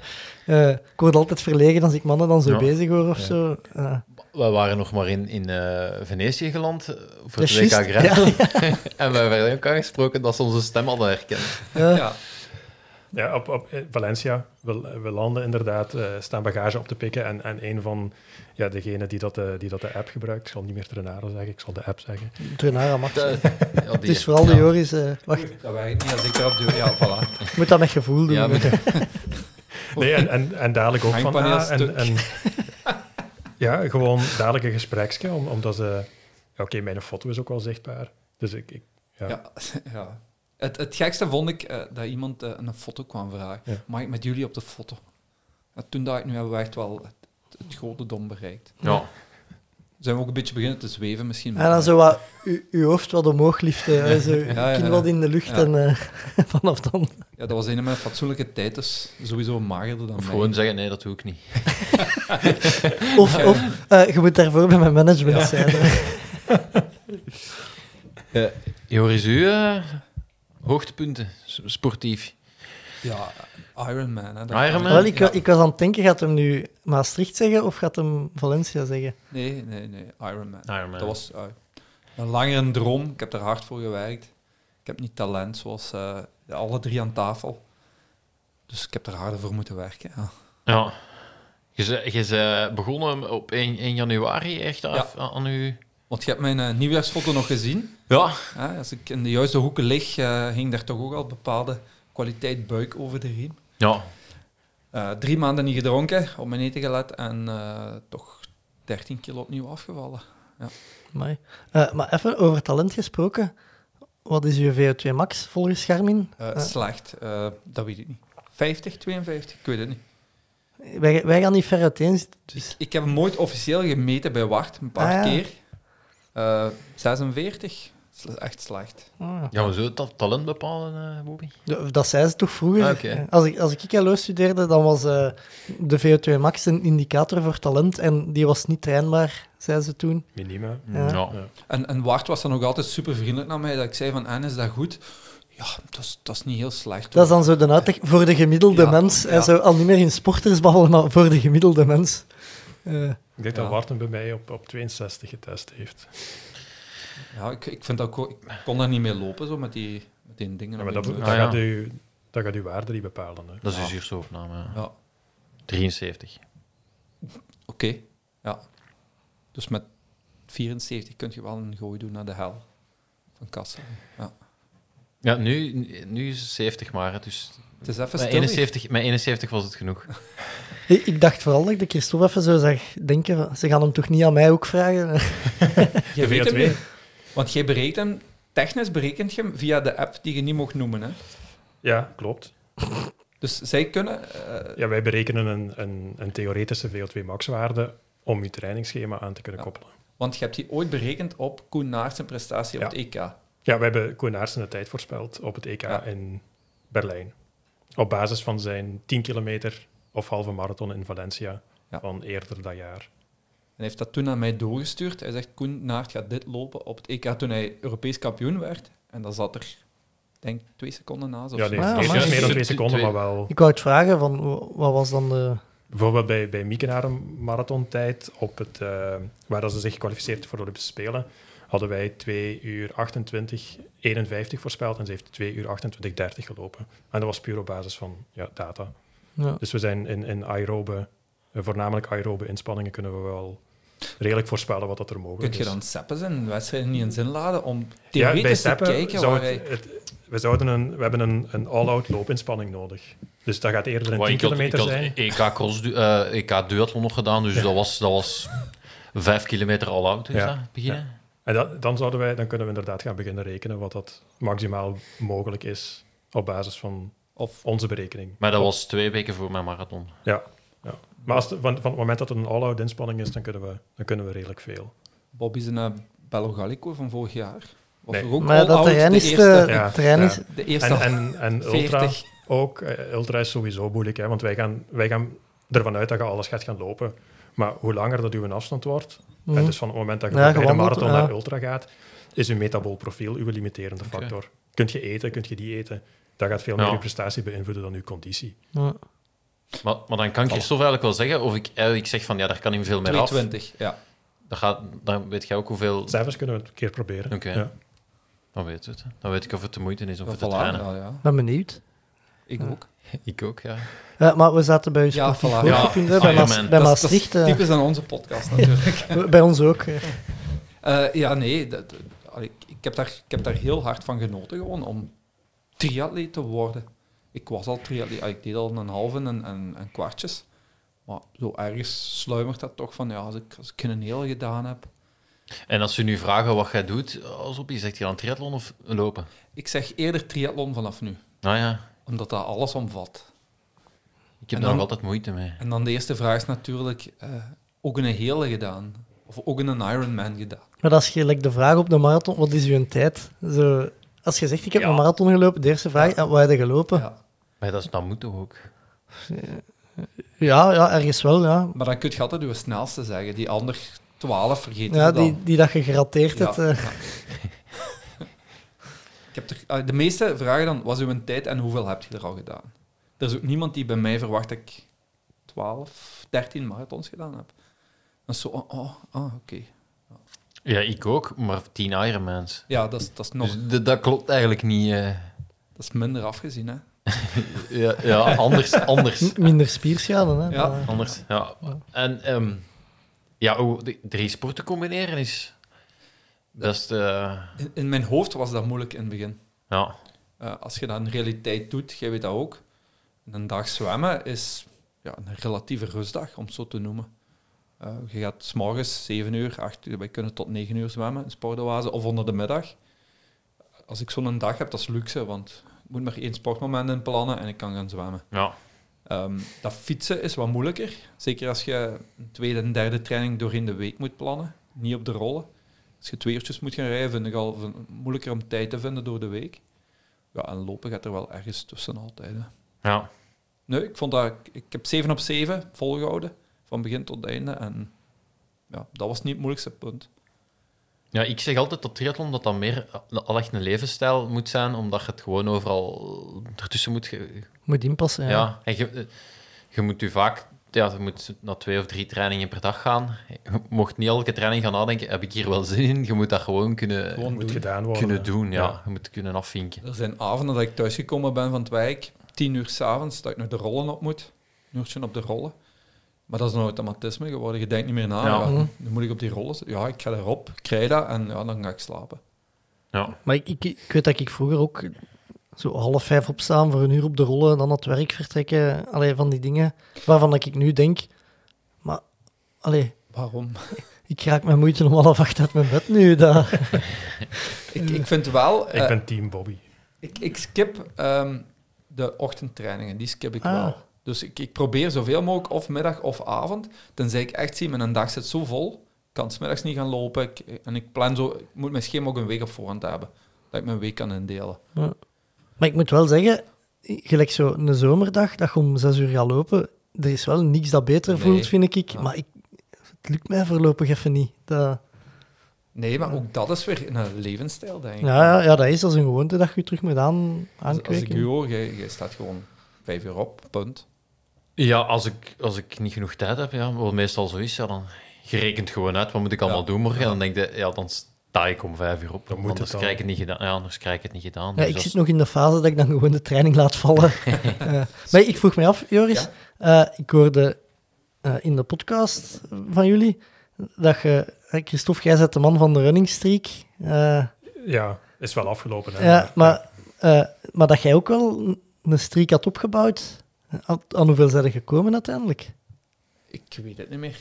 S7: eh, ik word altijd verlegen als ik mannen dan zo
S9: Ja.
S7: bezig hoor of
S9: Ja.
S7: zo. Eh,
S9: We waren nog maar in, in eh, Venetië geland eh, voor
S7: Dat
S9: het
S7: is juist,
S9: WK Gravel. en we hebben elkaar gesproken dat ze onze stem hadden herkend.
S7: ja.
S5: Ja.
S8: Ja, op, op eh, Valencia. We, we landen inderdaad, eh, staan bagage op te pikken. En, en een van ja, degenen die dat, eh, die dat de app gebruikt, ik zal niet meer Trenaro zeggen, ik zal de app zeggen.
S7: Trinara mag.
S9: Dat- ja, die-
S7: Het is vooral de
S9: ja.
S7: Joris, eh, wacht,
S5: Dat werkt niet als ik erop duw. Ja, voilà.
S7: ik moet dat met gevoel doen.
S9: Ja, maar-
S8: Nee, en, en, en dadelijk ook van...
S5: Hangpaneel
S8: ah, en,
S5: stuk.
S8: en, ja, gewoon dadelijk een gespreksje, om- omdat ze... ja, Oké, mijn foto is ook wel zichtbaar. Dus ik, ik ja.
S5: Ja, ja. Het, het gekste vond ik eh, dat iemand eh, een foto kwam vragen.
S8: Ja.
S5: Mag ik met jullie op de foto? En toen dacht ik, nu hebben we echt wel het, het godendom bereikt.
S9: Ja.
S5: Zijn we ook een beetje beginnen te zweven misschien?
S7: En dan zo wat, u- uw hoofd wat omhoog lift, eh, zo,
S5: ja,
S7: kin
S5: ja.
S7: wat in de lucht
S5: Ja.
S7: en eh, vanaf dan.
S5: Ja, dat was een met een fatsoenlijke tijd, dus sowieso magerder dan
S9: Of
S5: mij.
S9: gewoon zeggen, nee, dat doe ik niet.
S7: Of, of eh, je moet daarvoor bij mijn management zijn. hè.
S9: Joris, u eh, hoogtepunten, s- sportief.
S5: Ja, Ironman. Hè, dat-
S9: Ironman?
S7: Wel, ik, wa-
S5: Ja.
S7: ik was aan het denken, gaat hem nu Maastricht zeggen of gaat hem Valencia zeggen?
S5: Nee, nee, nee, Ironman.
S9: Ironman.
S5: Dat was eh, een langere droom. Ik heb er hard voor gewerkt. Ik heb niet talent zoals eh, alle drie aan tafel. Dus ik heb er harder voor moeten werken. Ja.
S9: Ja. Je ze- Je bent begonnen op 1, 1 januari echt af, aan, aan uw...
S5: Want je hebt mijn eh, nieuwjaarsfoto nog gezien.
S9: Ja,
S5: Hè? Als ik in de juiste hoeken lig, eh hing daar toch ook al bepaalde kwaliteit buik over de riem.
S9: ja.
S5: Eh, drie maanden niet gedronken, op mijn eten gelet en eh, toch 13 kilo opnieuw afgevallen.
S7: Amai. Eh, maar even over talent gesproken. Wat is uw VO2 max volgens Garmin?
S5: Eh,
S7: Eh,
S5: Slecht, eh, dat weet ik niet. 50, 52, ik weet het niet.
S7: wij, wij gaan niet ver uiteen zitten. Dus.
S5: Ik heb hem nooit officieel gemeten bij Wart, een paar
S7: Ah, ja.
S5: keer. Eh, 46, Sle- echt slecht.
S7: Ah.
S9: Ja, maar zo dat talent bepalen, eh Bobby?
S7: Ja, Dat zei ze toch vroeger?
S9: Ah, oké.
S7: Als, ik, als ik LO studeerde, dan was eh, de VO2 max een indicator voor talent en die was niet trainbaar, zei ze toen.
S8: minima.
S7: Ja.
S9: Ja.
S5: En, en Wart was dan ook altijd super vriendelijk naar mij, dat ik zei van, en is dat goed? Ja, dat is, dat is niet heel slecht.
S7: Dat is
S5: hoor.
S7: dan zo de uitleg voor de gemiddelde
S5: Ja,
S7: mens.
S5: ja.
S7: Hij zou al niet meer in sporters babbelen, maar voor de gemiddelde mens. Eh,
S8: Ik denk
S5: Ja.
S8: dat Warten bij mij op, op 62 getest heeft.
S5: Ja, ik, ik, vind dat ook, ik kon daar niet mee lopen, zo met die, met die dingen.
S8: Ja,
S5: op
S8: maar
S5: die
S8: dat,
S5: brug.
S8: dat,
S9: Ah, ja.
S8: gaat u, dat gaat uw waarde niet bepalen. Hè.
S9: Dat is
S5: Ja.
S9: uw zuurstofopname. Ah, ja.
S5: Ja.
S9: 73.
S5: Oké, ja. Dus met 74 kun je wel een gooi doen naar de hel van Kassel. Ja.
S9: Ja, nu, nu is het 70 maar, hè, dus
S5: Het is even
S9: met
S5: stil.
S9: 71, met 71 was het genoeg.
S7: ik, ik dacht vooral dat ik de Christophe even zo zag denken, van, ze gaan hem toch niet aan mij ook vragen?
S5: Je
S8: De
S5: weet hem
S8: VO2.
S5: niet. Want jij berekent hem, technisch berekent je hem via de app die je niet mocht noemen. Hè?
S8: Ja, klopt.
S5: Dus zij kunnen... eh,
S8: Ja, wij berekenen een, een, een theoretische VO2 max-waarde om je trainingsschema aan te kunnen
S5: Ja.
S8: koppelen.
S5: want je hebt die ooit berekend op Koen Naerts zijn prestatie op
S8: Ja.
S5: het EK.
S8: Ja, we hebben Koenaertsen de tijd voorspeld op het EK
S5: Ja.
S8: in Berlijn. Op basis van zijn 10 kilometer of halve marathon in Valencia
S5: Ja.
S8: van eerder dat jaar.
S5: En hij heeft dat toen aan mij doorgestuurd. Hij zegt, Koen Naert gaat dit lopen op het EK toen hij Europees kampioen werd. En dat zat er, denk ik, twee seconden naast. of
S8: Ja,
S5: zo.
S8: nee,
S7: Ah,
S8: het is
S7: amai.
S8: meer dan
S9: Twee-
S8: twee seconden,
S9: twee-
S8: maar wel.
S7: Ik wou het vragen, van, wa- wat was dan de...
S8: Bijvoorbeeld bij, bij Miekenaar een marathontijd, op het, eh, waar dat ze zich kwalificeert voor de Olympische Spelen, hadden wij 2 uur 28, 51 voorspeld en ze heeft 2 uur 28, 30 gelopen. En dat was puur op basis van ja, data.
S7: Ja.
S8: Dus we zijn in, in aerobe, eh, voornamelijk aerobe inspanningen, kunnen we wel redelijk voorspellen wat dat er mogelijk
S5: Kun je
S8: is.
S5: dan Seppen zijn wedstrijden niet in zin laden om
S8: ja, bij
S5: theoretisch te
S8: Steppen
S5: kijken
S8: zou
S5: waar
S8: het-
S5: hij...
S8: het- we, zouden een, we hebben een, een all-out loopinspanning nodig. Dus dat gaat eerder een
S9: Maar
S8: 10
S9: ik had, ik
S8: kilometer
S9: had
S8: zijn.
S9: EK, cross, du- eh, EK duathlon nog gedaan, dus dat was... Dat was Vijf kilometer al oud, is
S8: Ja.
S9: dat? Beginnen?
S8: En dat, dan, zouden wij, dan kunnen we inderdaad gaan beginnen rekenen wat dat maximaal mogelijk is op basis van
S5: Of
S8: onze berekening.
S9: Maar dat was twee weken voor mijn marathon.
S8: Ja. ja. Maar als het- van, van het moment dat het een all-out inspanning is, dan kunnen, we, dan kunnen we redelijk veel.
S5: Bobby zijn eh, Bello Gallico van vorig jaar. Was
S8: Nee.
S5: er ook
S7: Maar dat
S5: all-out
S7: terrein
S5: de
S7: is...
S5: eerste-
S7: te-
S8: Ja,
S7: het terrein
S8: ja.
S7: is
S5: De eerste
S8: En, en, en ultra
S5: 40.
S8: ook. Eh, Ultra is sowieso moeilijk, hè, want wij gaan, wij gaan ervan uit dat je alles gaat gaan lopen. Maar hoe langer dat uw afstand wordt,
S7: Mhm.
S8: eh, dus van het moment dat je
S7: Ja,
S8: van bij de
S7: gewandeld,
S8: marathon
S7: ja.
S8: naar ultra gaat, is uw metabool profiel uw limiterende
S9: Oké.
S8: factor. Kunt je eten, kunt je die eten. Dat gaat veel
S9: Ja.
S8: meer je prestatie beïnvloeden dan uw conditie.
S7: ja.
S9: Maar, maar dan kan Christophe eigenlijk wel zeggen, of ik eigenlijk zeg van ja, daar kan hij veel meer af.
S5: 22, ja.
S9: Dan, gaat, dan weet jij ook hoeveel...
S8: Cijfers kunnen we een keer proberen.
S9: Oké.
S8: Ja.
S9: Dan weet het. hè. Dan weet ik of het de moeite is om
S5: Ja,
S9: voor te
S5: voilà,
S9: trainen.
S5: ja, ja.
S7: ben benieuwd.
S5: Ik
S7: Ja.
S5: ook.
S9: Ik ook, ja.
S7: Ja, maar we zaten bij u sportief
S5: voilà.
S7: hoogtepunt, hè,
S9: Ja,
S7: bij, Maas-
S9: Ironman.
S7: bij
S5: Dat is- dat is
S7: Maastricht. eh,
S5: typisch aan onze podcast natuurlijk.
S7: bij ons ook. eh.
S5: Eh, ja, nee. Dat, allee, ik, ik, heb daar, ik heb daar heel hard van genoten gewoon om triatleet te worden. Ik was al triatleet. allee, Ik deed al een halve en, en, en kwartjes. Maar zo ergens sluimert dat toch van, ja, als ik, als ik een heel gedaan heb.
S9: En als ze nu vragen wat jij doet, als op je zegt je dan triathlon of lopen?
S5: Ik zeg eerder triathlon vanaf nu.
S9: Nou ja,
S5: Omdat dat alles omvat.
S9: ik heb daar
S5: En
S9: nog
S5: dan-
S9: altijd moeite mee.
S5: En dan de eerste vraag is natuurlijk, eh, ook een hele gedaan? Of ook een Ironman gedaan?
S7: Maar als je like, de vraag op de marathon, wat is uw tijd? Zo, als je zegt, ik heb een marathon gelopen, de eerste vraag, "Ah, waar heb je gelopen? Ja.
S5: Ja.
S9: Maar dat, is, dat moet toch ook?
S7: Ja, ergens wel, ja.
S5: Maar dan kun je altijd je snelste zeggen. Die ander 12 vergeet
S7: ja
S5: je dan.
S7: die, die dat je gerateerd
S5: Ja.
S7: hebt. eh.
S5: Ik heb er, eh, de meeste vragen dan, was uw tijd en hoeveel heb je er al gedaan? Er is ook niemand die bij mij verwacht dat ik 12, 13 marathons gedaan heb. Dan is zo, oh, oh, ah, oké.
S9: Ja, ik ook, maar tien Ironmans.
S5: Ja, dat is, dat, is nog,
S9: Dus d- dat klopt eigenlijk niet. eh.
S5: dat is minder afgezien, hè.
S9: Ja, ja, anders, anders.
S7: M- Minder spierschade, hè. eh,
S5: Ja.
S7: Maar-
S9: Anders, ja. En ehm, ja, hoe de- drie sporten combineren is best... eh,
S5: In, in mijn hoofd was dat moeilijk in het begin.
S9: ja.
S5: Eh, als je dat in realiteit doet, jij weet dat ook. Een dag zwemmen is ja, een relatieve rustdag, om het zo te noemen. Eh, je gaat s'morgens 7 uur, 8 uur, wij kunnen tot 9 uur zwemmen in sportoase of onder de middag. Als ik zo'n dag heb, dat is luxe, want ik moet maar één sportmoment in plannen en ik kan gaan zwemmen.
S9: ja.
S5: Ehm, dat fietsen is wat moeilijker. Zeker als je een tweede en derde training doorheen de week moet plannen. Niet op de rollen. Als je twee uurtjes moet gaan rijden, vind ik al v- moeilijker om tijd te vinden door de week. Ja, en lopen gaat er wel ergens tussen altijd. hè.
S9: ja.
S5: Nee, ik vond dat... ik- Ik heb 7 op 7 volgehouden. Van begin tot einde. En ja, dat was niet het moeilijkste punt.
S9: Ja, ik zeg altijd dat triathlon dat dan meer al echt een levensstijl moet zijn, omdat je het gewoon overal ertussen moet... ge-
S7: Moet inpassen,
S9: ja.
S7: ja.
S9: en je, eh, je moet u vaak... Ja, je moet naar twee of drie trainingen per dag gaan. Je mocht niet elke training gaan nadenken, heb ik hier wel zin in? Je moet dat gewoon kunnen,
S8: Het moet gedaan worden.
S9: kunnen doen, ja.
S8: Ja.
S9: Je moet kunnen afvinken.
S5: Er zijn avonden dat ik thuisgekomen ben van het werk, tien uur s'avonds, dat ik nog de rollen op moet. Een uurtje op de rollen. Maar dat is een automatisme geworden. Je denkt niet meer na.
S9: Ja.
S8: Mhm.
S5: Ja, nu moet ik op die rollen zitten. Ja, ik ga erop, ik krijg dat en ja, dan ga ik slapen.
S9: Ja.
S7: Maar ik, ik, ik weet dat ik vroeger ook zo half vijf opstaan voor een uur op de rollen en dan naar het werk vertrekken. Allee, van die dingen waarvan dat ik nu denk, maar allee,
S5: Waarom?
S7: ik raak mijn moeite om half acht uit mijn bed nu. Dat,
S5: ik, ik vind wel... eh,
S8: Ik ben team Bobby.
S5: ik, ik skip ehm, de ochtendtrainingen, die skip ik
S7: Ah.
S5: wel. Dus ik, ik probeer zoveel mogelijk, of middag of avond, tenzij ik echt zie, mijn dag zit zo vol, ik kan smiddags niet gaan lopen. Ik, en ik plan zo, ik moet mijn schema ook een week op voorhand hebben, dat ik mijn week kan indelen.
S7: maar ik moet wel zeggen, gelijk zo een zomerdag dat je om zes uur gaat lopen, er is wel niks dat beter
S5: Nee.
S7: voelt, vind ik.
S5: Ja.
S7: Maar ik, het lukt mij voorlopig even niet. Dat,
S5: Nee, maar ook dat is weer een levensstijl, denk ik.
S7: ja, ja, ja, dat is als een gewoonte dat je je terug moet aan,
S5: als, als ik
S7: aankweken.
S5: u hoor, jij, jij staat gewoon vijf uur op, punt.
S9: Ja, als ik, als ik niet genoeg tijd heb, ja, wat meestal zo is, ja, dan je rekent gewoon uit wat moet ik allemaal
S5: Ja.
S9: doen morgen. En dan denk je, ja, dan sta ik om vijf uur op.
S8: Dan moet
S9: anders
S8: het al.
S9: krijg ik het niet gedaan. Ja, anders krijg ik het niet gedaan.
S7: Ja,
S9: Dus
S7: ik
S9: dat
S7: zit
S9: is-
S7: nog in de fase dat ik dan gewoon de training laat vallen. Eh, maar ik vroeg mij af, Joris, eh, ik hoorde eh, in de podcast van jullie dat je... hè, Christophe, jij bent de man van de running streak. Eh,
S8: Ja, is wel afgelopen. Hè?
S7: ja, maar, eh, maar dat jij ook wel een- een streak had opgebouwd. Aan, aan hoeveel zijn er gekomen uiteindelijk?
S5: Ik weet het niet meer.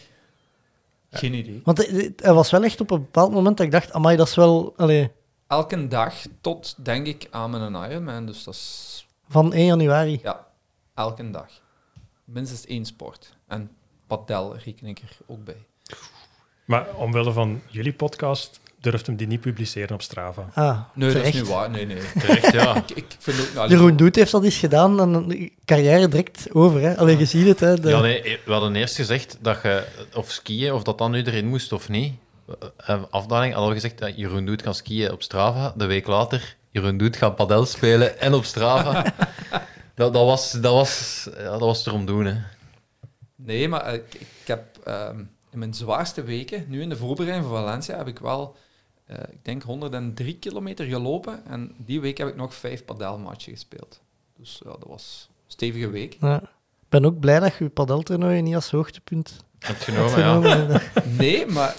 S5: Geen idee.
S7: Want het- het- er was wel echt op een bepaald moment dat ik dacht, amai, dat is wel... Allee,
S5: Elke dag tot, denk ik, aan mijn Ironman. Dus dat is...
S7: van 1 januari.
S5: Ja, elke dag. Minstens één sport. En padel reken ik er ook bij.
S8: Maar omwille van jullie podcast durft hem die niet publiceren op Strava.
S7: Ah,
S5: Nee,
S7: terecht.
S5: dat is niet waar. Nee, nee.
S9: Terecht, ja.
S5: Ik, ik vind ook... allee,
S7: Jeroen Doet heeft dat eens gedaan en dan carrière direct over. Hè. Allee, je ziet het. Hè, de-
S9: Ja, nee, we hadden eerst gezegd dat je of skiën, of dat dan nu erin moest of niet. Eh, Afdaling hadden we gezegd dat Jeroen Doet kan skiën op Strava. De week later, Jeroen Doet gaat padel spelen en op Strava. dat, dat, was, dat, was, ja, dat was erom doen, hè.
S5: Nee, maar eh, ik, ik heb ehm, in mijn zwaarste weken, nu in de voorbereiding van Valencia, heb ik wel, eh, ik denk, 103 kilometer gelopen. En die week heb ik nog vijf padelmatchen gespeeld. Dus ja, dat was een stevige week.
S7: Ja. Ik ben ook blij dat je je padeltoernooien niet als hoogtepunt
S9: Heb
S7: hebt
S9: genomen, ja.
S7: genomen. Ja,
S5: Nee, maar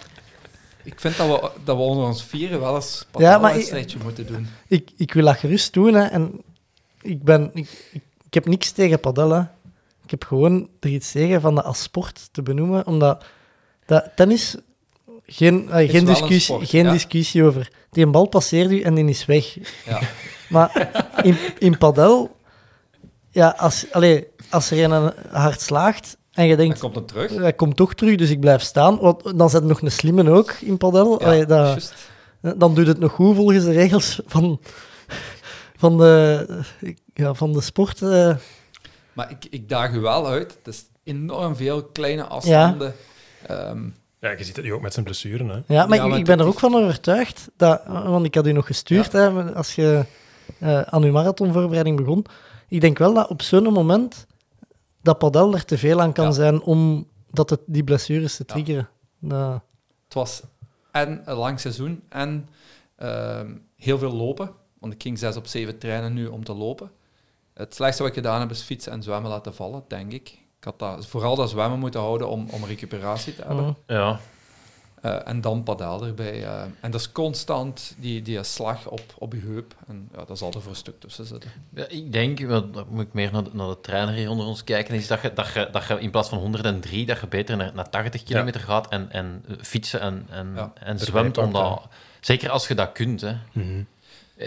S5: ik vind dat we, dat we onder ons vieren wel eens
S7: maar ik-
S5: padelwedstrijdje moeten doen.
S7: ik, ik wil dat gerust doen. Hè, en ik, ben, ik, ik, ik heb niks tegen padel. Hè. Ik heb gewoon er iets tegen van dat als sport te benoemen. Omdat dat, tennis, geen, eh,
S5: Is
S7: geen,
S5: wel een
S7: discussie,
S5: sport,
S7: geen
S5: ja.
S7: discussie over. Die bal passeert u en die is weg.
S5: Ja.
S7: Maar in, in padel, ja, als, allee, als er een hard slaagt en je
S5: Dan
S7: denkt,
S5: komt het terug.
S7: hij komt toch terug, dus ik blijf staan, want dan zet nog een slimme ook in padel.
S5: Ja,
S7: Allee, dat,
S5: juist.
S7: dan doet het nog goed volgens de regels van, van, de, ja, van de sport. eh.
S5: Maar ik, ik daag u wel uit. Het is enorm veel kleine afstanden. Ehm,
S8: Ja, je ziet het nu ook met zijn blessuren. Hè?
S7: Ja, maar
S5: Ja,
S7: ik,
S5: maar
S7: ik ben er
S5: dat
S7: ook van overtuigd dat, want ik had u nog gestuurd hè, als je eh, aan uw marathonvoorbereiding begon. Ik denk wel dat op zo'n moment dat padel er te veel aan kan
S5: Ja.
S7: zijn om dat het, die blessures te
S5: Ja.
S7: triggeren. Dat-
S5: Het was en een lang seizoen en ehm, heel veel lopen. Want ik ging zes op zeven trainen nu om te lopen. Het slechtste wat ik gedaan heb is fietsen en zwemmen laten vallen, denk ik. Ik had dat, vooral dat zwemmen moeten houden om, om recuperatie te hebben.
S7: Mhm.
S9: Ja,
S5: Eh, en dan padaal erbij. eh. en dat is constant die, die slag op, op je heup. En ja, dat zal er voor een stuk tussen zitten.
S9: Ja, ik denk, want dan moet ik meer naar de, naar de trainer hier onder ons kijken, is dat je, dat, je, dat je in plaats van 103, dat je beter naar, naar 80 kilometer gaat en, en eh, fietsen en, en,
S5: Ja,
S9: en zwemt.
S8: pakt,
S9: Omdat, zeker als je dat kunt, hè. Eh,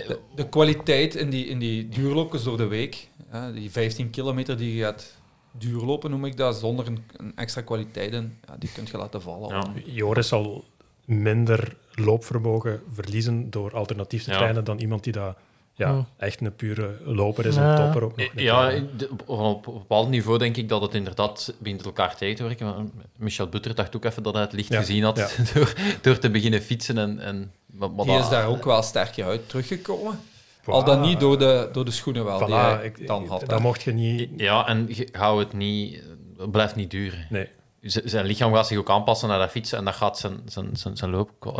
S5: De, de kwaliteit in die, in die duurlopjes door de week, hè, die 15 kilometer die je gaat duurlopen, noem ik dat, zonder een, een extra kwaliteit in, ja, die kun je laten vallen.
S9: Ja.
S8: Joris zal minder loopvermogen verliezen door alternatief te
S9: Ja.
S8: trainen dan iemand die dat, ja,
S7: Ja.
S8: echt een pure loper is,
S7: Ja.
S8: een topper ook nog.
S9: Ja, ik- de- op- op een bepaald niveau denk ik dat het inderdaad begint elkaar tegen te werken. Want Michel Butter dacht ook even dat hij het licht
S8: Ja,
S9: gezien had
S8: ja.
S9: door, door te beginnen fietsen. En, en, maar, maar
S5: Die
S9: dat-
S5: is daar ook wel sterker uit teruggekomen. Al dan niet door de, door de schoenen wel, die
S8: Voilà,
S5: hij
S8: ik,
S5: dan had.
S8: dat
S5: hè.
S8: mocht je niet...
S9: Ja, en je- hou het niet, het blijft niet duren.
S8: Nee.
S9: Z- zijn lichaam gaat zich ook aanpassen naar dat fietsen en dat gaat zijn, zijn, zijn, zijn loop.
S8: Mhm.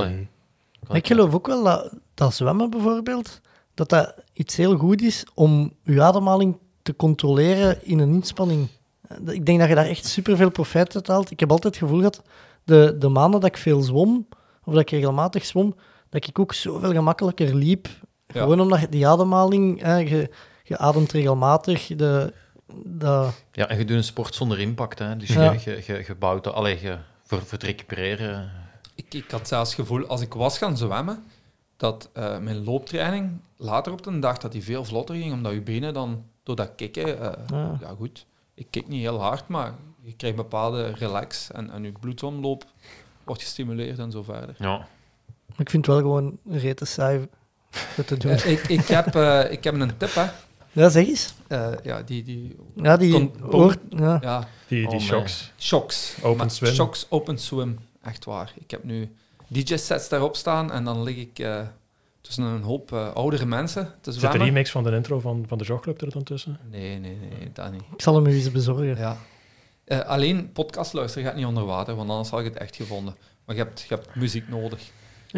S7: Maar ik geloof ook wel dat, dat zwemmen bijvoorbeeld, dat dat iets heel goed is om je ademhaling te controleren in een inspanning. Eh, Ik denk dat je daar echt superveel profijt uit haalt. Ik heb altijd het gevoel gehad, de, de maanden dat ik veel zwom, of dat ik regelmatig zwom, dat ik ook zoveel gemakkelijker liep.
S5: Ja.
S7: Gewoon omdat je die ademhaling, eh, je, je ademt regelmatig, de, dat-
S9: Ja, en je doet een sport zonder impact. Hè? Dus
S7: Ja.
S9: je, je, je, je bouwt... Allee, je, voor, voor het recupereren...
S5: Ik, ik had zelfs het gevoel, als ik was gaan zwemmen, dat eh, mijn looptraining later op de dag dat die veel vlotter ging, omdat je benen dan door dat kikken... eh,
S7: Ja.
S5: ja. goed, ik kik niet heel hard, maar je krijgt bepaalde relax en, en je bloedsomloop wordt gestimuleerd en zo verder.
S9: Ja.
S7: ik vind het wel gewoon rete saai om te doen.
S5: Eh, ik, ik, heb, eh, ik heb een tip, hè.
S7: Ja, zeg eens.
S5: Eh, ja, die, die...
S7: Ja, die
S5: Kon-
S7: hoort... Ja.
S5: Ja,
S8: Die,
S9: Oh,
S8: die
S9: nee.
S8: shocks.
S5: Shocks.
S8: Open
S5: Maar
S8: swim.
S5: Shocks, open swim. Echt waar. Ik heb nu DJ-sets daarop staan en dan lig ik eh, tussen een hoop eh, oudere mensen te
S8: Zit de
S5: zwemmen.
S8: remix van de intro van, van de jogclub er dan tussen?
S5: nee, nee, nee, dat niet.
S7: Ik zal hem u eens bezorgen.
S5: Ja. Eh, alleen podcast luisteren gaat niet onder water, want anders had ik het echt gevonden. Maar je hebt, je hebt muziek nodig.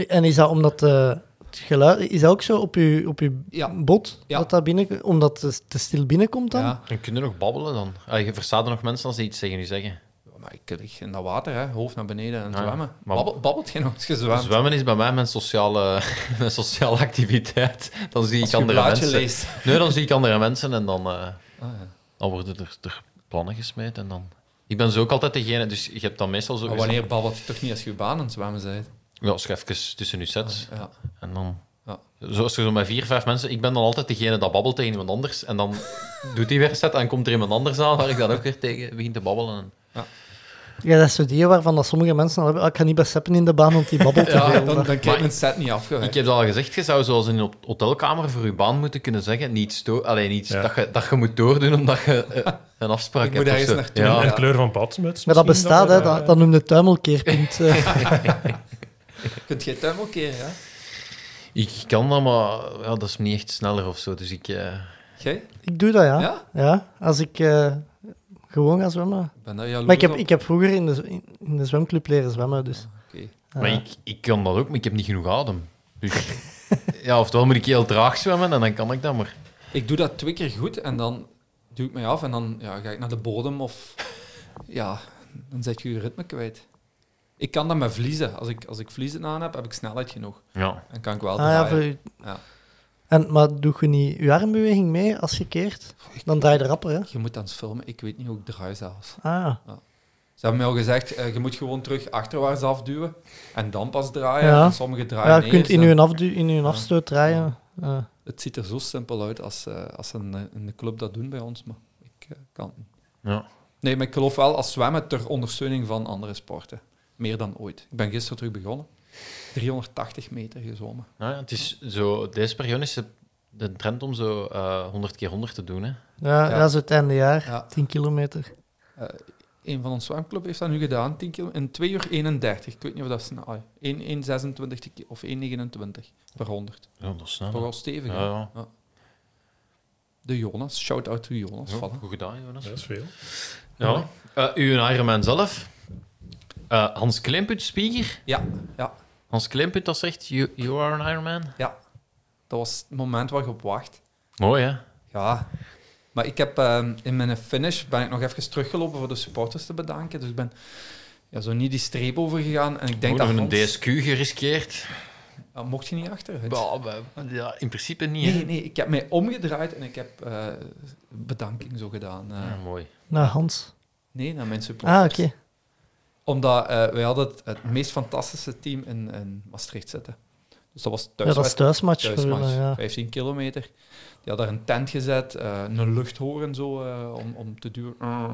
S7: En is dat omdat eh, het geluid... Is dat ook zo op je op uw
S5: Ja.
S7: bot?
S5: Ja.
S7: Dat dat binnen, omdat het te stil binnenkomt dan?
S5: Ja.
S9: En kun je nog babbelen dan? Ah, je verstaat er nog mensen als die iets tegen je zeggen.
S5: maar ik lig in dat water, hè, hoofd naar beneden en
S9: Ja,
S5: zwemmen.
S9: Ah, maar-
S5: Babbel, babbelt je nog eens gezwemd?
S9: Zwemmen is bij mij mijn sociale, mijn sociale activiteit. Dan zie
S5: Als
S9: ik
S5: je een
S9: andere
S5: blaadje
S9: mensen.
S5: leest.
S9: Nee, dan zie ik andere mensen en dan, eh,
S5: Ah, ja.
S9: dan worden er, er plannen gesmeed. En dan... Ik ben zo ook altijd degene, dus je hebt dan meestal zo.
S5: Maar wanneer babbelt je toch niet als je je baan aan het zwemmen bent?
S9: Ja, als je even tussen je sets.
S5: Ja.
S9: En dan...
S5: Ja.
S9: Zoals er zo met vier, vijf mensen... Ik ben dan altijd degene dat babbelt tegen iemand anders. En dan doet die weer een set en komt er iemand anders aan waar ik dan ook weer tegen begin te babbelen. En-
S7: Ja, dat is zo die waarvan dat sommige mensen al hebben. ah, ik ga niet bij Seppen in de baan, want die babbelt te
S5: Ja,
S7: veel.
S5: dan, dan
S9: Maar-
S5: krijg je een set niet
S9: Ik
S5: afgewerkt.
S9: heb dat al gezegd, je zou zoals in een hot- hotelkamer voor je baan moeten kunnen zeggen, niet sto alleen iets
S8: Ja.
S9: dat, je, dat je moet doordoen omdat je eh, een afspraak
S5: Ik moet
S9: hebt. of
S5: ergens
S9: zo.
S5: naartoe.
S9: Ja.
S8: En
S5: Ja.
S8: kleur van padsmuts.
S7: Maar dat
S8: misschien
S7: bestaat, hè.
S8: eh,
S7: Dat, dat noemde tuimelkeerpunt. eh.
S5: Kunt je het hem ook keren, hè?
S9: Ik kan dat, maar ja, dat is niet echt sneller of zo. Dus ik... eh,
S5: Jij?
S7: ik doe dat, ja.
S5: Ja?
S7: Ja? als ik eh, gewoon ga zwemmen.
S5: Ik Ben daar jaloers
S7: Maar ik heb,
S5: op? Ah,
S7: ik heb vroeger in de, z- in, in de zwemclub leren zwemmen, dus...
S5: Oké.
S7: eh,
S9: Maar ik, ik kan dat ook, maar ik heb niet genoeg adem. Dus, ja, oftewel moet ik heel traag zwemmen en dan kan ik dat, maar...
S5: Ik doe dat twee keer goed en dan duw ik mij af en dan ja, ga ik naar de bodem of ja, dan zet je je ritme kwijt. Ik kan dat met vliezen. Als ik, als ik vliezen aan heb, heb ik snelheid genoeg.
S9: Ja.
S5: En kan ik wel
S7: Ah, ja,
S5: draaien.
S7: voor-
S5: Ja.
S7: En, maar doe je niet je armbeweging mee als je keert? Dan draai je rapper, hè?
S5: Je moet dan filmen. Ik weet niet hoe ik draai zelfs.
S7: Ah,
S5: Ze hebben mij al gezegd, eh, je moet gewoon terug achterwaarts afduwen en dan pas draaien.
S7: Ja.
S5: En sommige draaien
S7: ja, je kunt
S5: eerst
S7: in
S5: en-
S7: je, afdu- in je afstoot draaien. eh.
S5: Het ziet er zo simpel uit als, eh, als ze in, in de club dat doen bij ons, maar ik eh, kan het niet.
S9: Ja.
S5: Nee, maar ik geloof wel als zwemmen ter ondersteuning van andere sporten. Meer dan ooit. Ik ben gisteren terug begonnen. 380 meter gezwommen.
S9: Nou ja, het is zo... Deze periode is de- de trend om zo eh 100 keer 100 te doen, hè.
S7: ja,
S5: Ja.
S7: dat is het einde jaar.
S5: Ja.
S7: 10 kilometer.
S5: Een van ons zwemclub heeft dat nu gedaan, 10 kilo, in 2 uur 31. Ik weet niet of dat snel is. 1, 1,26 ki- of 1,29 per 100.
S9: Ja, dat is snel.
S5: Toch wel stevig, hè?
S9: Ja, ja.
S5: De Jonas, shout-out to Jonas.
S9: Ja,
S5: Voilà.
S9: Goed gedaan, Jonas.
S8: Dat is veel.
S9: Ja. Eh, uw Ironman zelf. Eh, Hans Klimput, speaker.
S5: Ja, ja,
S9: Hans Klimput, dat zegt, you, you are an Ironman.
S5: ja. Dat was het moment waar je op wacht.
S9: Mooi, hè?
S5: Ja, maar ik heb ehm, in mijn finish ben ik nog even teruggelopen voor de supporters te bedanken. Dus ik ben ja, zo niet die streep overgegaan. En ik denk
S9: Ook
S5: dat
S9: nog een
S5: Hans-
S9: DSQ geriskeerd.
S5: Ja, mocht je niet achteruit?
S9: Ja, maar- Ja, in principe niet, hè?
S5: Nee, nee, ik heb mij omgedraaid en ik heb eh, bedanking zo gedaan. eh.
S9: Ja, mooi.
S7: Naar Hans.
S5: Nee, naar mijn supporters.
S7: Ah, oké.
S5: Omdat eh, wij hadden het, het meest fantastische team in, in Maastricht zitten. Dus dat was
S7: Ja, dat is
S5: thuiswedstrijd.
S7: thuismatch. voor
S5: thuismatch,
S7: jullie, ja.
S5: 15 kilometer. Die had daar een tent gezet, eh, een luchthoren zo, eh, om, om te duwen. Ah.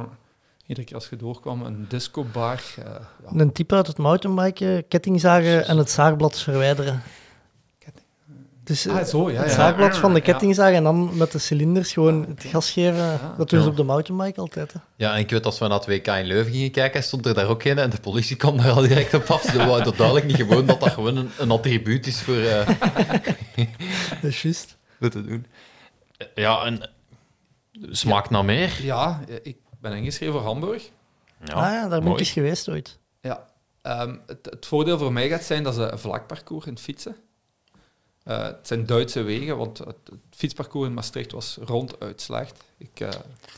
S5: Iedere keer als je doorkwam, een discobar. eh, ja.
S7: Een type uit het mountainbiken, kettingzagen en het zaagblad verwijderen.
S5: Ketting-
S7: Dus eh,
S5: Ah, zo, ja.
S7: het
S5: ja.
S7: zaagblad van de
S5: Ja.
S7: kettingzaag en dan met de cilinders gewoon het gas geven. Dat doen ze
S9: Ja.
S7: op de mountainbike altijd. Hè.
S9: Ja, en ik weet, als we naar het WK in Leuven gingen kijken, stond er daar ook een en de politie kwam daar al direct op af. Ze waren toch duidelijk niet gewoon dat dat gewoon een, een attribuut is voor eh,
S7: Dat is juist.
S9: voor te doen. Ja, en smaakt naar meer.
S5: Ja, eh, ik ben ingeschreven voor Hamburg.
S9: Ja,
S7: ah ja, daar ben ik
S9: mooi.
S7: eens geweest ooit.
S5: Ja. Ehm, het, het voordeel voor mij gaat zijn dat ze een vlak parcours in het fietsen. Eh, het zijn Duitse wegen, want het, het fietsparcours in Maastricht was ronduit slecht. Ik, eh,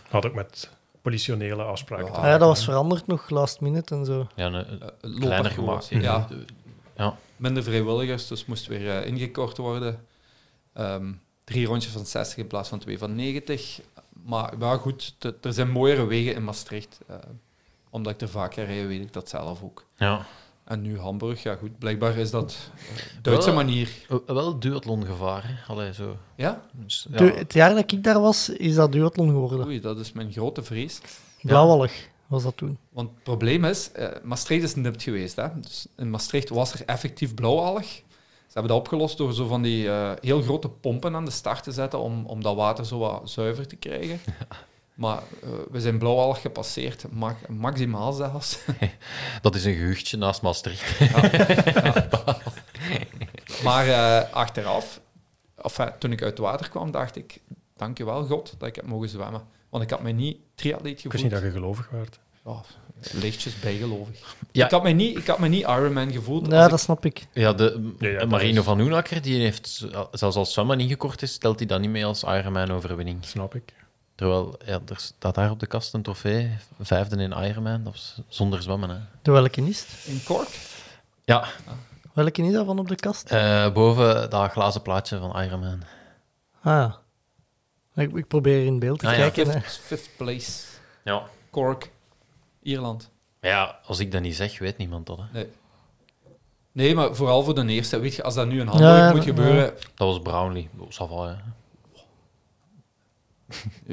S8: Had ook met politionele afspraken.
S5: Ja.
S8: te
S5: Ah,
S7: Ah, ja, dat was veranderd nog, last minute en zo.
S9: Ja, een-
S5: eh,
S9: kleiner gemaakt.
S5: loopparcours. Ja,
S9: Ja.
S5: minder vrijwilligers, dus moest weer eh, ingekort worden. Ehm, drie rondjes van 60 in plaats van twee van 90. Maar, maar goed, t- er zijn mooiere wegen in Maastricht. Eh, omdat ik er vaker rij, weet ik dat zelf ook.
S9: ja.
S5: En nu Hamburg, ja goed, blijkbaar is dat eh, Duitse
S9: Wel-
S5: manier.
S9: Eh, Wel duathlongevaar, hè? Allee, zo.
S5: Ja?
S9: Dus, ja.
S7: Toen- Het jaar dat ik daar was, is dat duathlon geworden.
S5: Oei, dat is mijn grote vrees.
S7: Blauwallig was dat toen.
S5: Want het probleem is, eh, Maastricht is nipt geweest. Hè? Dus in Maastricht was er effectief blauwalg. Ze hebben dat opgelost door zo van die eh, heel grote pompen aan de start te zetten om, om dat water zo wat zuiver te krijgen. Maar eh, we zijn blauwalg gepasseerd, ma- maximaal zelfs.
S9: Dat is een gehuchtje naast Maastricht.
S5: maar eh, achteraf, of, eh, toen ik uit het water kwam, dacht ik, dankjewel God dat ik heb mogen zwemmen. Want ik had mij niet triatleet
S8: Ik wist
S5: gevoeld.
S8: niet dat je gelovig werd.
S5: Oh, lichtjes bijgelovig.
S9: Ja.
S5: Ik, had mij niet, ik had mij niet Ironman gevoeld. als
S7: Ja,
S5: ik-
S7: Nou, dat snap ik.
S9: Ja, de
S8: Ja, ja,
S9: eh,
S8: dat
S9: Marino
S8: is-
S9: van Hoenakker, die heeft, eh, zelfs als zwemmen ingekort is, stelt hij dat niet mee als Ironman-overwinning.
S8: Snap ik.
S9: Terwijl ja, er staat daar op de kast een trofee, vijfde in Ironman, dat was zonder zwemmen. Hè.
S7: De welke is het?
S5: In Cork?
S9: Ja,
S7: Welke is dat van op de kast?
S9: eh, boven dat glazen plaatje van Ironman.
S7: Ah, ja. Ik, ik probeer in beeld te
S9: Ah, ja.
S7: kijken. hè.
S5: Fifth, fifth place.
S9: Ja.
S5: Cork. Ierland.
S9: Maar ja, als ik dat niet zeg, weet niemand dat. Hè.
S5: Nee, maar vooral voor de eerste. Weet je, als dat nu een handel
S7: Ja,
S5: moet
S7: ja.
S5: gebeuren...
S9: Dat was Brownlee. Oh, ça va, hè.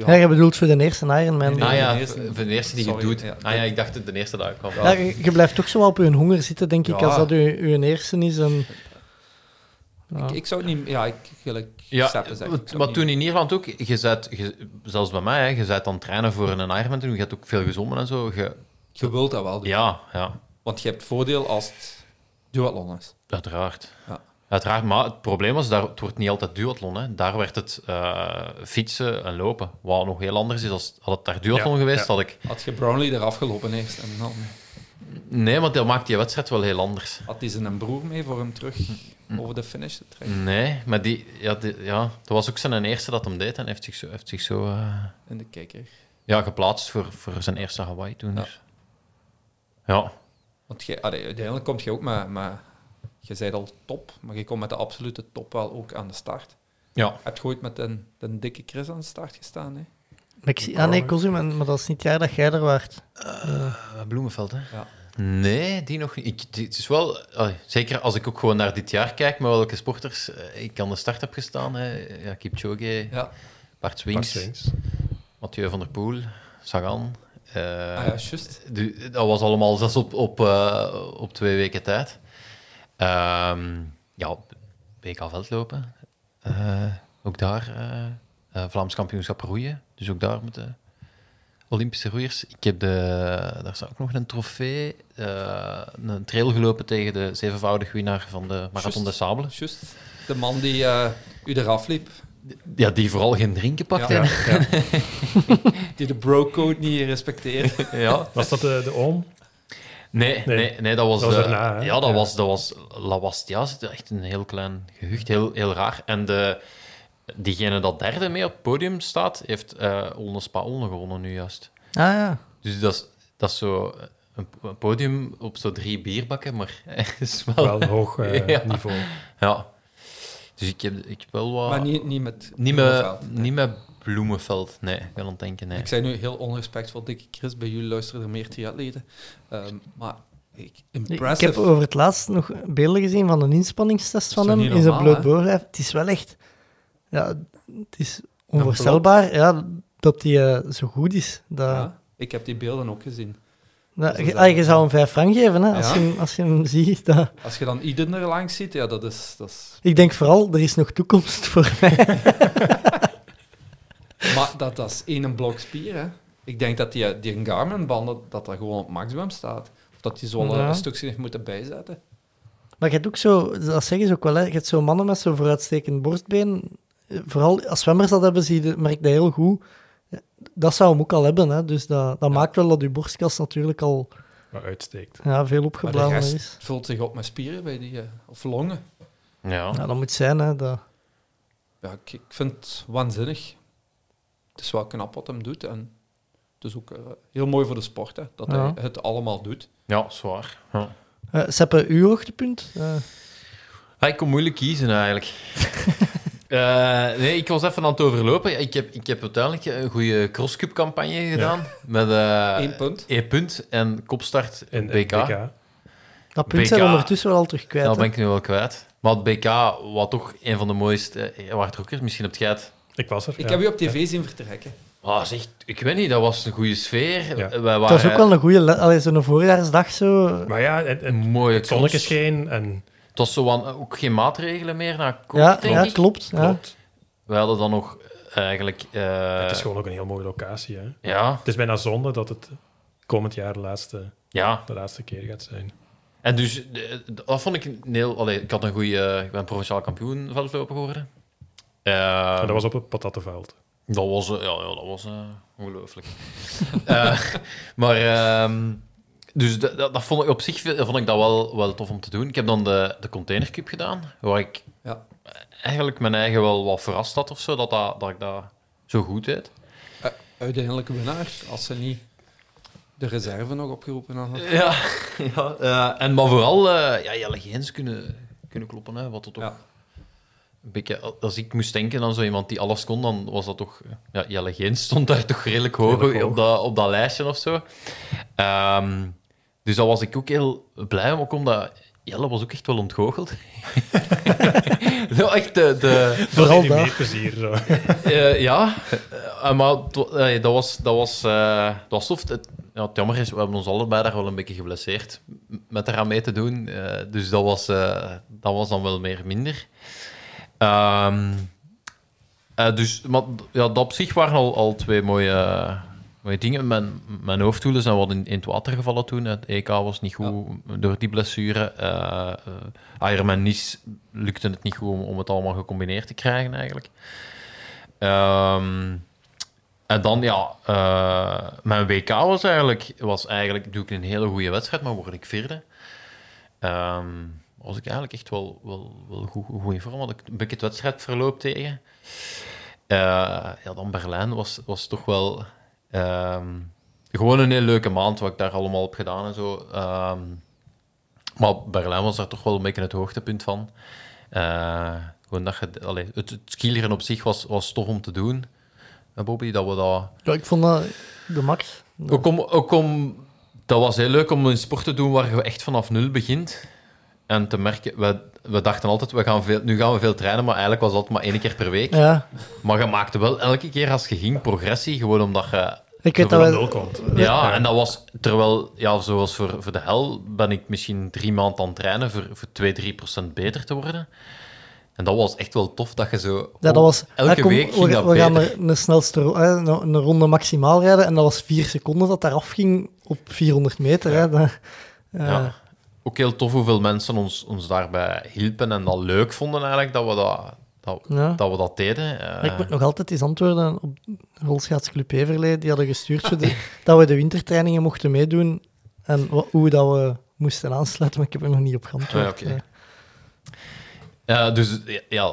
S7: Ja, je bedoelt voor de eerste Ironman.
S5: Nee, nee.
S9: ah ja,
S5: de eerste-
S9: v- de eerste die
S5: Sorry,
S9: je doet.
S5: ja.
S9: Ah ja, ik dacht het de eerste dat ik kwam.
S7: Ja, je, je blijft toch zo wel op je honger zitten, denk ik,
S5: Ja.
S7: als dat je, je eerste is. En... Ja.
S5: Ik, ik zou het niet... Ja, ik gelijk
S9: Ja,
S5: Seppe zeggen. Ik
S9: want-
S5: zou
S9: maar
S5: het
S9: toen
S5: niet-
S9: in Ierland ook, je zet, je- zelfs bij mij, hè, je zet aan het trainen voor een Ironman toen, je hebt ook veel gezongen en zo. Je-
S5: Je wilt dat wel doen.
S9: ja, ja,
S5: Want je hebt voordeel als het duathlon is.
S9: uiteraard.
S5: Ja.
S9: Uiteraard, maar het probleem was, daar, het wordt niet altijd duathlon. Hè. Daar werd het eh, fietsen en lopen, wat nog heel anders is. Als, had het daar duathlon
S8: Ja,
S9: geweest,
S8: ja.
S9: had ik...
S5: Had je Brownlee eraf gelopen eerst en dan
S9: Nee, want dat maakt die wedstrijd wel heel anders.
S5: had hij zijn broer mee voor hem terug
S9: Mm-hmm.
S5: over de finish te trekken
S9: Nee, maar die, ja, die, ja, dat was ook zijn eerste dat hem deed en heeft zich zo... Heeft zich zo eh,
S5: in de kijker.
S9: Ja, geplaatst voor, voor zijn eerste Hawaii toen.
S5: Ja.
S9: dus. Ja,
S5: Want jij- allee, uiteindelijk komt je ook maar, maar je bent al top, maar je komt met de absolute top wel ook aan de start.
S9: ja.
S5: Heb je ooit met een, een dikke Chris aan de start gestaan? Hè?
S7: Mexi- ah nee, Cosum, en- maar dat is niet het jaar dat jij er waart.
S9: Eh, Bloemenveld, hè?
S5: Ja.
S9: Nee, die nog niet. Ik- die- het is wel, allee, zeker als ik ook gewoon naar dit jaar kijk, met welke sporters eh, ik aan de start heb gestaan. Hè. Ja, Kipchoge,
S5: Ja.
S9: Bart
S8: Bart
S9: Swings,
S8: Swings.
S9: Mathieu van der Poel, Sagan. eh,
S5: Ah ja, juist.
S9: Du- dat was allemaal zelfs op, op, eh, op twee weken tijd. Ehm, ja, WK veldlopen. Eh, ook daar eh, eh, Vlaams kampioenschap roeien. Dus ook daar met de Olympische roeiers. Ik heb de, daar staat ook nog een trofee. eh, een trail gelopen tegen de zevenvoudig winnaar van de Marathon
S5: Juist.
S9: de Sabelen.
S5: Juist. De man die eh, u eraf liep,
S9: Ja, die vooral geen drinken pakte.
S5: Ja.
S9: Ja.
S5: die de bro-code niet respecteert.
S8: Was dat de, de oom?
S9: Nee, nee.
S8: Nee.
S9: Nee, dat was,
S8: Dat was
S9: de,
S8: daarna, hè?
S9: Ja, dat
S8: Ja.
S9: was, dat was La Bastia. zit Echt een heel klein gehucht, heel, heel raar. En de, diegene dat derde mee op het podium staat, heeft eh Olne Spa-Olne gewonnen nu juist.
S7: Ah ja.
S9: Dus dat is, dat is zo eh, een, een podium op zo drie bierbakken, maar is wel...
S8: Wel hoog eh,
S9: Oh. Ja.
S8: niveau.
S9: Ja. Dus ik heb, ik heb wel wat...
S5: Maar niet, niet met...
S9: niet,
S5: Groeneveld.
S9: met, niet met Bloemenveld, nee. Ik kan aan het denken, nee.
S5: Ik zei nu heel onrespectvol, dikke Chris, bij jullie luisteren er meer triatleten. Ehm maar ik,
S7: Ik
S5: impressive.
S7: ik heb over het laatst nog beelden gezien van een inspanningstest
S5: Dat is
S7: van
S5: toch
S7: hem
S5: niet
S7: in zijn
S5: normaal,
S7: bloot
S5: hè?
S7: bovenlijf. Het is wel echt... Ja, het is onvoorstelbaar ja, dat hij eh, zo goed is. Dat,
S5: Ja, ik heb die beelden ook gezien.
S7: dat-
S5: dat is
S7: je-
S5: eigenlijk-
S7: ah, je zou hem vijf frank geven hè, als,
S5: Ja.
S7: je, hem- als je hem ziet. Dat...
S5: Als je dan iedereen er langs ziet, ja, dat is... Dat is
S7: Ik denk vooral, er is nog toekomst voor mij.
S5: maar dat, dat is één blok spier, hè. Ik denk dat die, die Garmin-banden, dat dat gewoon op maximum staat. Of dat die zo'n
S7: Ja.
S5: een stukje heeft moeten bijzetten.
S7: Maar je hebt ook zo, dat zeggen ze ook wel, hè, je hebt zo mannen met zo'n vooruitstekend borstbeen. Eh, Vooral als zwemmers dat hebben, zie je, merk dat heel goed. Eh, Dat zou hem ook al hebben, hè. dus dat, dat maakt wel dat je borstkas natuurlijk al
S8: Maar uitsteekt.
S7: ja, veel
S5: Maar de
S7: opgeblazen
S5: rest
S7: is.
S5: vult zich op met spieren bij die... eh, Of longen.
S9: Ja.
S7: Ja, dat moet zijn, hè. Dat...
S5: Ja, ik, ik vind het waanzinnig. Het is wel knap wat hem doet. En het is ook eh, heel mooi voor de sport, hè, dat
S7: Ja.
S5: hij het allemaal doet.
S9: Ja, zwaar. Ja.
S7: Eh, Seppe, uw hoogtepunt? Eh,
S9: Ja, Ah, ik kon moeilijk kiezen eigenlijk. Eh, nee, ik was even aan het overlopen. Ja, Ik heb, ik heb uiteindelijk een goede crosscup campagne gedaan. Met eh
S5: Eén punt.
S9: één punt en kopstart in
S8: En
S9: BK.
S8: en
S9: BK.
S7: dat punt
S9: BK.
S7: zijn we ondertussen wel al terug kwijt.
S9: Dat
S7: hè.
S9: ben ik nu wel kwijt. Maar het BK, wat toch een van de mooiste eh, hardrockers, misschien op het geit.
S8: Ik was er.
S5: Ik
S8: ja.
S5: heb u op tv zien vertrekken.
S9: Ah, zeg, ik weet niet, dat was een goede sfeer.
S8: Ja.
S9: Wij waren,
S7: Dat was ook wel een goede, allee, zo'n voorjaarsdag zo.
S8: Maar ja, en, en
S9: een mooie
S8: het zonnetje
S9: kans.
S8: scheen en
S9: Het was zo aan- ook geen maatregelen meer na COVID,
S7: ja,
S9: denk
S7: ja,
S9: ik.
S7: klopt. Ja.
S8: klopt.
S9: We hadden dan nog eigenlijk... eh,
S8: het is gewoon ook een heel mooie locatie. Hè.
S9: ja,
S8: Het is bijna zonde dat het komend jaar de laatste,
S9: ja,
S8: de laatste keer gaat zijn.
S9: En dus, eh, dat vond ik een heel... Allee, ik had een goede... ik ben provinciaal kampioen veldloper geworden. Eh,
S8: en dat was op het patattenveld.
S9: Dat was, eh, ja, ja, dat was eh, ongelooflijk. Eh, maar, ehm, dus dat, dat, dat vond ik op zich vind- vond ik dat wel, wel tof om te doen. Ik heb dan de, de Container Cup gedaan, waar ik
S5: Ja.
S9: eigenlijk mijn eigen wel wat verrast had of zo, dat, dat, dat ik dat zo goed deed.
S5: uiteindelijk winnaar, als ze niet de reserve nog opgeroepen hadden.
S9: Ja, ja eh, en maar vooral eh ja, je legens kunnen, kunnen kloppen. Hè, wat dat toch
S5: Ja.
S9: een beetje, als ik moest denken aan zo iemand die alles kon, dan was dat toch... Ja, Jelle Geens stond daar toch redelijk hoog,
S8: Redelijk hoog.
S9: Op, dat, op dat lijstje of zo. Ehm, dus daar was ik ook heel blij om, ook omdat Jelle was ook echt wel ontgoocheld. nou, echt de... de
S8: Dat
S7: Vooral
S8: is
S7: daar.
S8: meer plezier. Zo.
S9: eh, ja, Eh, maar het wa- eh, dat was, dat was, eh, dat was tof. Het, ja, het jammer is, we hebben ons allebei daar wel een beetje geblesseerd m- met eraan mee te doen. Eh, dus dat was, eh, dat was dan wel meer minder. Ehm, eh, dus maar, d- ja, dat op zich waren al, al twee mooie, eh, mooie dingen. Mijn, mijn hoofddoelen zijn wat in, in het water gevallen toen. Het EK was niet goed door die blessure. Eh eh Ironman Nice lukte het niet goed om, om het allemaal gecombineerd te krijgen eigenlijk. Ehm, en dan, ja, eh, mijn WK was eigenlijk, was eigenlijk, doe ik een hele goede wedstrijd, maar word ik vierde. Ehm, was ik eigenlijk echt wel, wel, wel goed, goed in vorm, had ik een beetje het wedstrijdverloop tegen. Eh, ja, dan Berlijn was, was toch wel ehm, gewoon een hele leuke maand, wat ik daar allemaal heb gedaan en zo. Ehm, maar Berlijn was daar toch wel een beetje het hoogtepunt van. Eh, gewoon dat je, allee, het, het skileren op zich was, was tof om te doen. Eh, Bobby, dat we dat...
S7: Ja, ik vond dat de max.
S9: Ook om, ook om... Dat was heel leuk om een sport te doen waar je echt vanaf nul begint. En te merken... We, we dachten altijd, we gaan veel, nu gaan we veel trainen, maar eigenlijk was dat maar één keer per week.
S7: Ja,
S9: Maar je maakte wel elke keer als je ging progressie, gewoon omdat je...
S7: ik
S9: Zo
S7: weet
S8: Van
S7: dat
S8: nul
S7: wij...
S8: komt.
S9: Ja, en dat was... Terwijl, ja, zoals voor, voor de hel, ben ik misschien drie maanden aan het trainen voor, voor 2, 3 procent beter te worden. En dat was echt wel tof dat je zo...
S7: Ja, dat was,
S9: elke
S7: ja, kom,
S9: week ging
S7: we,
S9: dat
S7: we gaan
S9: beter.
S7: er een snelste ro- eh, een, een ronde maximaal rijden. En dat was vier seconden dat daar afging op 400 meter. Hè. Dat, eh,
S9: Ja. Ook heel tof hoeveel mensen ons, ons daarbij hielpen en dat leuk vonden eigenlijk, dat we dat, dat,
S7: ja.
S9: dat, we dat deden. Eh,
S7: Maar ik moet nog altijd eens antwoorden op Rolschaatsclub Everlee. Die hadden gestuurd voor de- dat we de wintertrainingen mochten meedoen. En wa- hoe dat we moesten aansluiten. Maar ik heb er nog niet op geantwoord.
S9: Ah, oké. eh, dus ja, ja,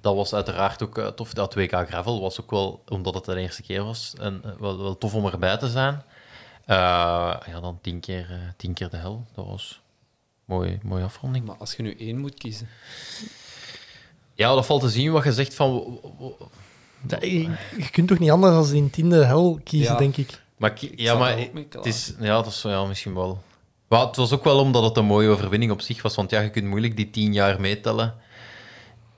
S9: dat was uiteraard ook eh, tof. Dat 2K Gravel was ook wel, omdat het de eerste keer was, en, eh, wel, wel tof om erbij te zijn. Eh, ja, dan tien keer, eh, tien keer de hel. Dat was een mooi, mooie afronding.
S5: Maar als je nu één moet kiezen,
S9: Ja, dat valt te zien wat je zegt van... w- w- w-
S7: Ja, je, je kunt toch niet anders dan in tiende hel kiezen,
S5: Ja.
S7: denk ik.
S9: Maar, ki- ja,
S5: zou
S9: maar
S5: daar ook mee klaar.
S9: het is, ja, dat is ja, misschien wel. Maar het was ook wel omdat het een mooie overwinning op zich was. Want ja, je kunt moeilijk die tien jaar meetellen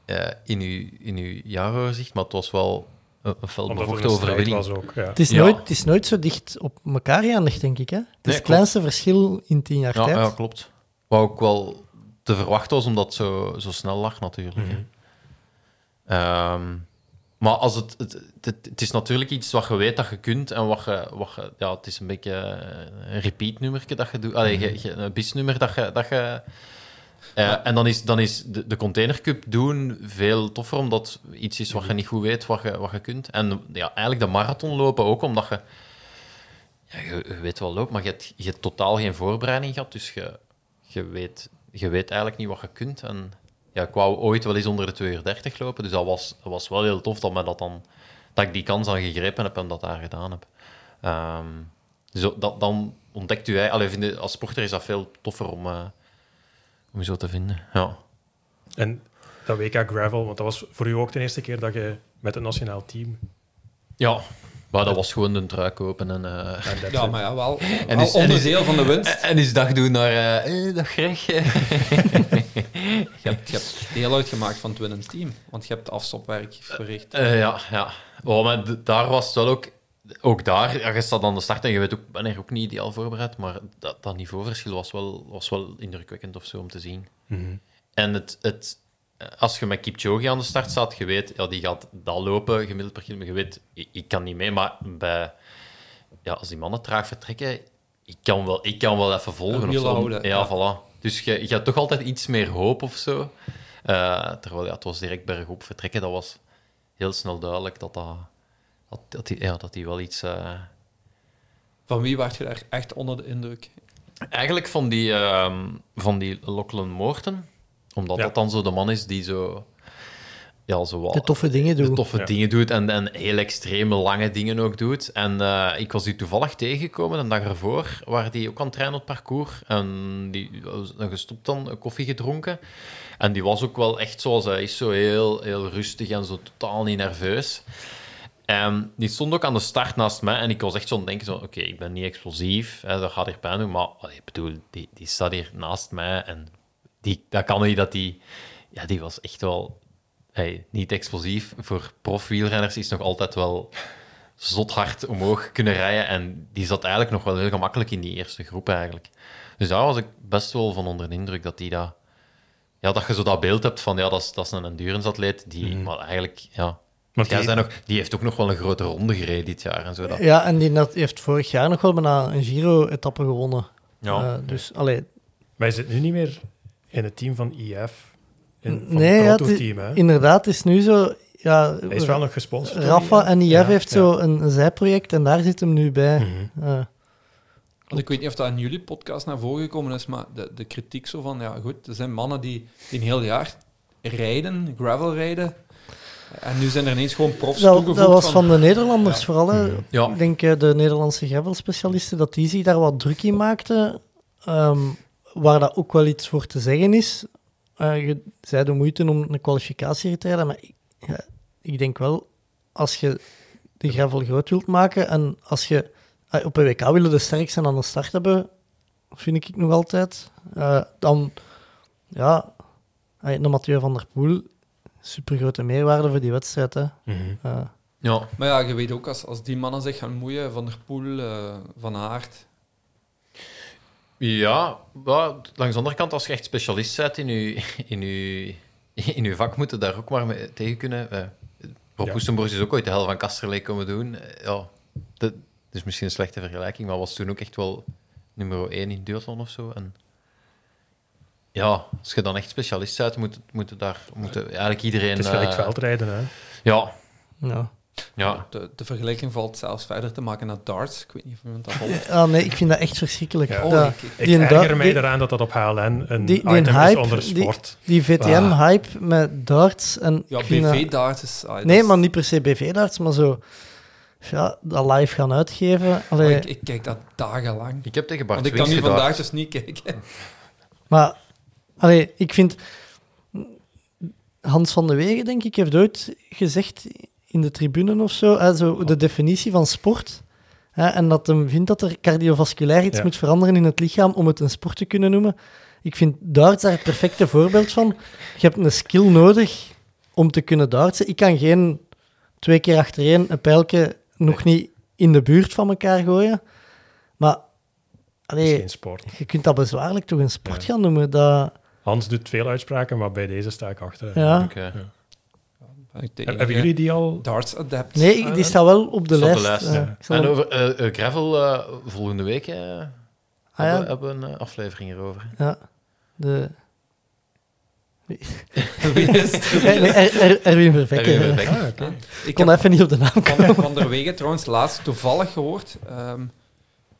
S9: eh, in je, in uw jaaroverzicht. Maar het was wel een, een
S8: Omdat het
S9: felbevochten
S8: een strijd
S9: overwinning.
S8: was ook. Ja.
S7: Het is,
S9: Ja.
S7: nooit, het is nooit zo dicht op elkaar geëindigd, denk ik. Hè? Het is het
S9: Nee, klopt.
S7: kleinste verschil in tien jaar
S9: Ja,
S7: tijd.
S9: ja, klopt. Wat ook wel te verwachten was, omdat het zo, zo snel lag natuurlijk. hè. Ehm, maar als het, het, het, het is natuurlijk iets wat je weet dat je kunt en wat je... Wat je ja, het is een beetje eh, een repeat-nummerke dat je doet. Allee, je- je- een bis-nummer dat je... Dat je eh, en dan is, dan is de, de Container Cup doen veel toffer, omdat het iets is wat je niet goed weet, wat je, wat je kunt. En ja, eigenlijk de marathon lopen ook, omdat je... Ja, je, je weet wel lopen, maar je hebt, je hebt totaal geen voorbereiding gehad. Dus je, je, weet, je weet eigenlijk niet wat je kunt. En ja, ik wou ooit wel eens onder de 2 uur 30 lopen. Dus dat was, dat was wel heel tof dat, mij dat, dan, dat ik die kans aan gegrepen heb en dat daar gedaan heb. Ehm, dus dat- dat, dan ontdekt u eigenlijk... allee, vind je- Als sporter is dat veel toffer om, eh, om je zo te vinden. Ja.
S8: En dat WK Gravel, want dat was voor u ook de eerste keer dat je met het nationaal team...
S9: ja. Maar dat was gewoon een trui kopen en... eh,
S8: En dat
S5: ja, maar ja, wel, wel
S9: is- en is-
S5: onderdeel van de winst.
S9: en eens dag doen naar... eh, eh, dag Greg.
S5: Je hebt, je hebt deel uitgemaakt van het winnend team, want je hebt afstopwerk verricht.
S9: Eh, ja, ja. Oh, maar d- daar was het wel ook... Ook daar, ja, je staat aan de start en je weet ook, ben er ook niet ideaal voorbereid, maar dat, dat niveauverschil was wel, was wel indrukwekkend of zo om te zien. En het, het, als je met Kipchoge aan de start staat, je weet, ja, die gaat dat lopen gemiddeld per kilometer. Je weet, ik, ik kan niet mee, maar bij, ja, als die mannen traag vertrekken, ik kan wel, ik kan wel even volgen.
S5: Een
S9: Of
S5: wiel
S9: zo.
S5: houden,
S9: ja,
S5: ja.
S9: voilà. Dus je, je hebt toch altijd iets meer hoop of zo. Eh, terwijl ja, het was direct bergop vertrekken, dat was heel snel duidelijk dat dat, dat, dat, die, ja, dat die wel iets... eh,
S5: Van wie werd je daar echt onder de indruk?
S9: Eigenlijk van die, ehm, van die Lachlan Moorten. Omdat
S8: Ja.
S9: dat dan zo de man is die zo... ja, zo wat,
S7: De toffe dingen doen.
S9: de toffe
S8: Ja.
S9: dingen doet en, en heel extreme lange dingen ook doet. En eh, ik was die toevallig tegengekomen een dag ervoor, waar die ook aan het trainen op het parcours. En die was dan gestopt dan, eh, koffie gedronken. En die was ook wel echt zoals hij is, zo heel, heel rustig en zo totaal niet nerveus. En die stond ook aan de start naast mij en ik was echt zo aan het denken, zo, oké, ik ben niet explosief, hè, dat gaat hier pijn doen, maar allee, ik bedoel, die, die staat hier naast mij en die, dat kan niet dat die... Ja, die was echt wel hey, niet explosief. Voor profwielrenners is nog altijd wel zot hard omhoog kunnen rijden. En die zat eigenlijk nog wel heel gemakkelijk in die eerste groep eigenlijk. Dus daar was ik best wel van onder de indruk dat die dat... Ja, dat je zo dat beeld hebt van, ja, dat is, dat is een enduranceatleet. Die, Maar eigenlijk, ja...
S8: Mhm. Want
S9: jij
S8: die-
S9: zei nog, die heeft ook nog wel een grote ronde gereden dit jaar en zo. Dat,
S7: Ja, en die net- heeft vorig jaar nog wel bijna een Giro-etappe gewonnen.
S9: ja.
S7: Eh, dus, allee,
S8: Wij zitten nu niet meer in het team van IF. In, van
S7: nee, ja,
S8: het
S7: het is-
S8: prototeam, hè.
S7: inderdaad, het is nu zo... Ja,
S8: Hij is wel nog gesponsord. door
S7: Rafa
S8: IF.
S7: en IF
S8: Ja,
S7: heeft
S8: ja.
S7: zo een, een zijproject en daar zit hem nu bij.
S9: Mhm.
S7: Eh,
S5: Want ik weet niet of dat in jullie podcast naar voren gekomen is, maar de, de kritiek zo van, ja goed, er zijn mannen die, die een heel jaar rijden, gravel rijden, en nu zijn er ineens gewoon profs
S7: dat,
S5: toegevoegd
S7: dat was van
S5: van...
S7: de Nederlanders
S5: Ja.
S7: vooral. Hè.
S9: Ja.
S7: Ik denk eh, de Nederlandse gravelspecialisten, dat die zich daar wat druk in maakten. ehm, waar dat ook wel iets voor te zeggen is. Eh, je zei de moeite om een kwalificatie te rijden, maar ik, ja, ik denk wel, als je de gravel groot wilt maken en als je eh, op een WK willen de sterkste aan de start hebben, vind ik nog altijd, eh, dan, ja, eh, een Mathieu van der Poel, supergrote meerwaarde voor die wedstrijd. Hè.
S8: Mhm.
S7: Eh,
S9: ja,
S5: Maar ja, je weet ook, als, als die mannen zich gaan moeien, Van der Poel, eh, Van Aert,
S9: Ja, maar langs de andere kant, als je echt specialist bent in je, in je, in je vak, moet je daar ook maar mee tegen kunnen. Eh, Rob
S8: Ja.
S9: Oestenborst is ook ooit de hel van Kasterlee komen doen. Eh, Ja, dat dat is misschien een slechte vergelijking, maar was toen ook echt wel nummer 1 in duurton of zo. En ja, als je dan echt specialist bent, moet, moet je daar moet je eigenlijk iedereen...
S8: Het is
S9: eh,
S8: gelijk veldrijden, hè.
S9: Ja,
S7: ja.
S9: ja.
S5: de, de vergelijking valt zelfs verder te maken naar darts. Ik weet niet of iemand dat volgt.
S7: Ah, nee, ik vind dat echt verschrikkelijk.
S8: Ja.
S7: Dat-
S5: Oh, ik-
S8: Ik
S7: Die een
S8: erger
S7: da-
S8: mij
S7: die-
S8: eraan dat dat op HLN een
S7: die- die een
S8: item is
S7: hype,
S8: onder
S7: die-
S8: sport.
S7: Die VTM-hype met darts en...
S5: Ah. Ja,
S7: ik vind dat-
S5: BV-darts is... ah, dat
S7: Nee,
S5: is-
S7: maar niet per se BV-darts, maar zo... Ja, dat live gaan uitgeven.
S5: maar
S7: Allee,
S5: ik, ik kijk dat dagenlang.
S9: Ik heb tegen Bart
S5: Want ik kan
S9: Swings
S5: nu
S9: gedacht.
S5: vandaag dus niet kijken.
S7: Maar, allee, ik vind... Hans van de Wegen, denk ik, heeft ooit gezegd in de tribune of zo, hè, zo de definitie van sport. Hè, en dat hem vindt dat er cardiovasculair iets
S8: Ja.
S7: moet veranderen in het lichaam om het een sport te kunnen noemen. Ik vind darts daar het perfecte voorbeeld van. Je hebt een skill nodig om te kunnen dartsen. Ik kan geen twee keer achtereen een pijltje nog niet in de buurt van elkaar gooien. Maar
S8: Het is
S7: allee,
S8: geen sport.
S7: je kunt dat bezwaarlijk toch een sport
S8: Ja.
S7: gaan noemen. Dat,
S8: Hans doet veel uitspraken, maar bij deze sta ik achter.
S7: ja.
S9: Oké.
S5: Ik denk, eh,
S8: Heb- Hebben jullie die al?
S5: Darts Adept.
S7: Nee, ik- die staat wel op de
S9: Staat op
S7: lijst.
S9: de lijst,
S7: eh.
S8: ja.
S7: Ik zal
S9: En
S7: hem-
S9: over eh, eh, gravel eh, volgende week eh, hebben,
S7: Ah
S9: we-
S7: ja,
S9: hebben we een eh, aflevering erover.
S7: ja. De,
S5: Wie is het?
S7: Eh, nee, Er- Er- Erwin Vervekken.
S9: Erwin Vervekken.
S7: eh.
S8: Ah, oké.
S7: Ik
S5: Ik
S7: kon
S5: heb
S7: even niet op de naam komen.
S5: van, van der Wegen trouwens laatst toevallig gehoord. ehm,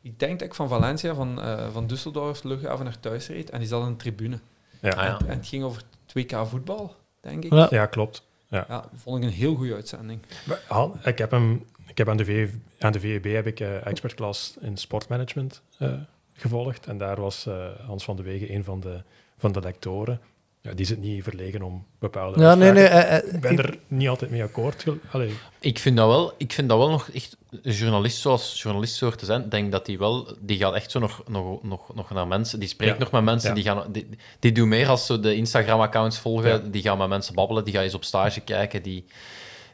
S5: ik denk dat ik van Valencia, van, eh, van Düsseldorf, luchthaven naar thuis reed. En die zat in de tribune.
S9: Ah, ja.
S8: Ja.
S5: En het ging over 2K voetbal, denk ik.
S7: Ja.
S8: ja, klopt.
S5: Ja, vond ik een heel goede uitzending.
S8: Maar Han- ik heb hem, ik heb aan de, VV aan de VEB heb ik eh, expertklas in sportmanagement eh, gevolgd. En daar was eh, Hans van de Wegen een van de, van de lectoren. Ja, die zit niet verlegen om bepaalde
S7: Ja, nee,
S8: uitspraken.
S7: nee. eh, eh,
S8: Ik ben er niet altijd mee akkoord. gel- Allee,
S9: Ik vind dat wel, ik vind dat wel nog echt een journalist zoals journalist soort te zijn. Ik denk dat die wel, die gaat echt zo nog, nog, nog, nog naar mensen, die spreekt
S8: Ja.
S9: nog met mensen,
S8: Ja.
S9: die, gaan, die, die doen meer als zo de Instagram-accounts volgen,
S8: Ja.
S9: die gaan met mensen babbelen, die gaan eens op stage kijken, die,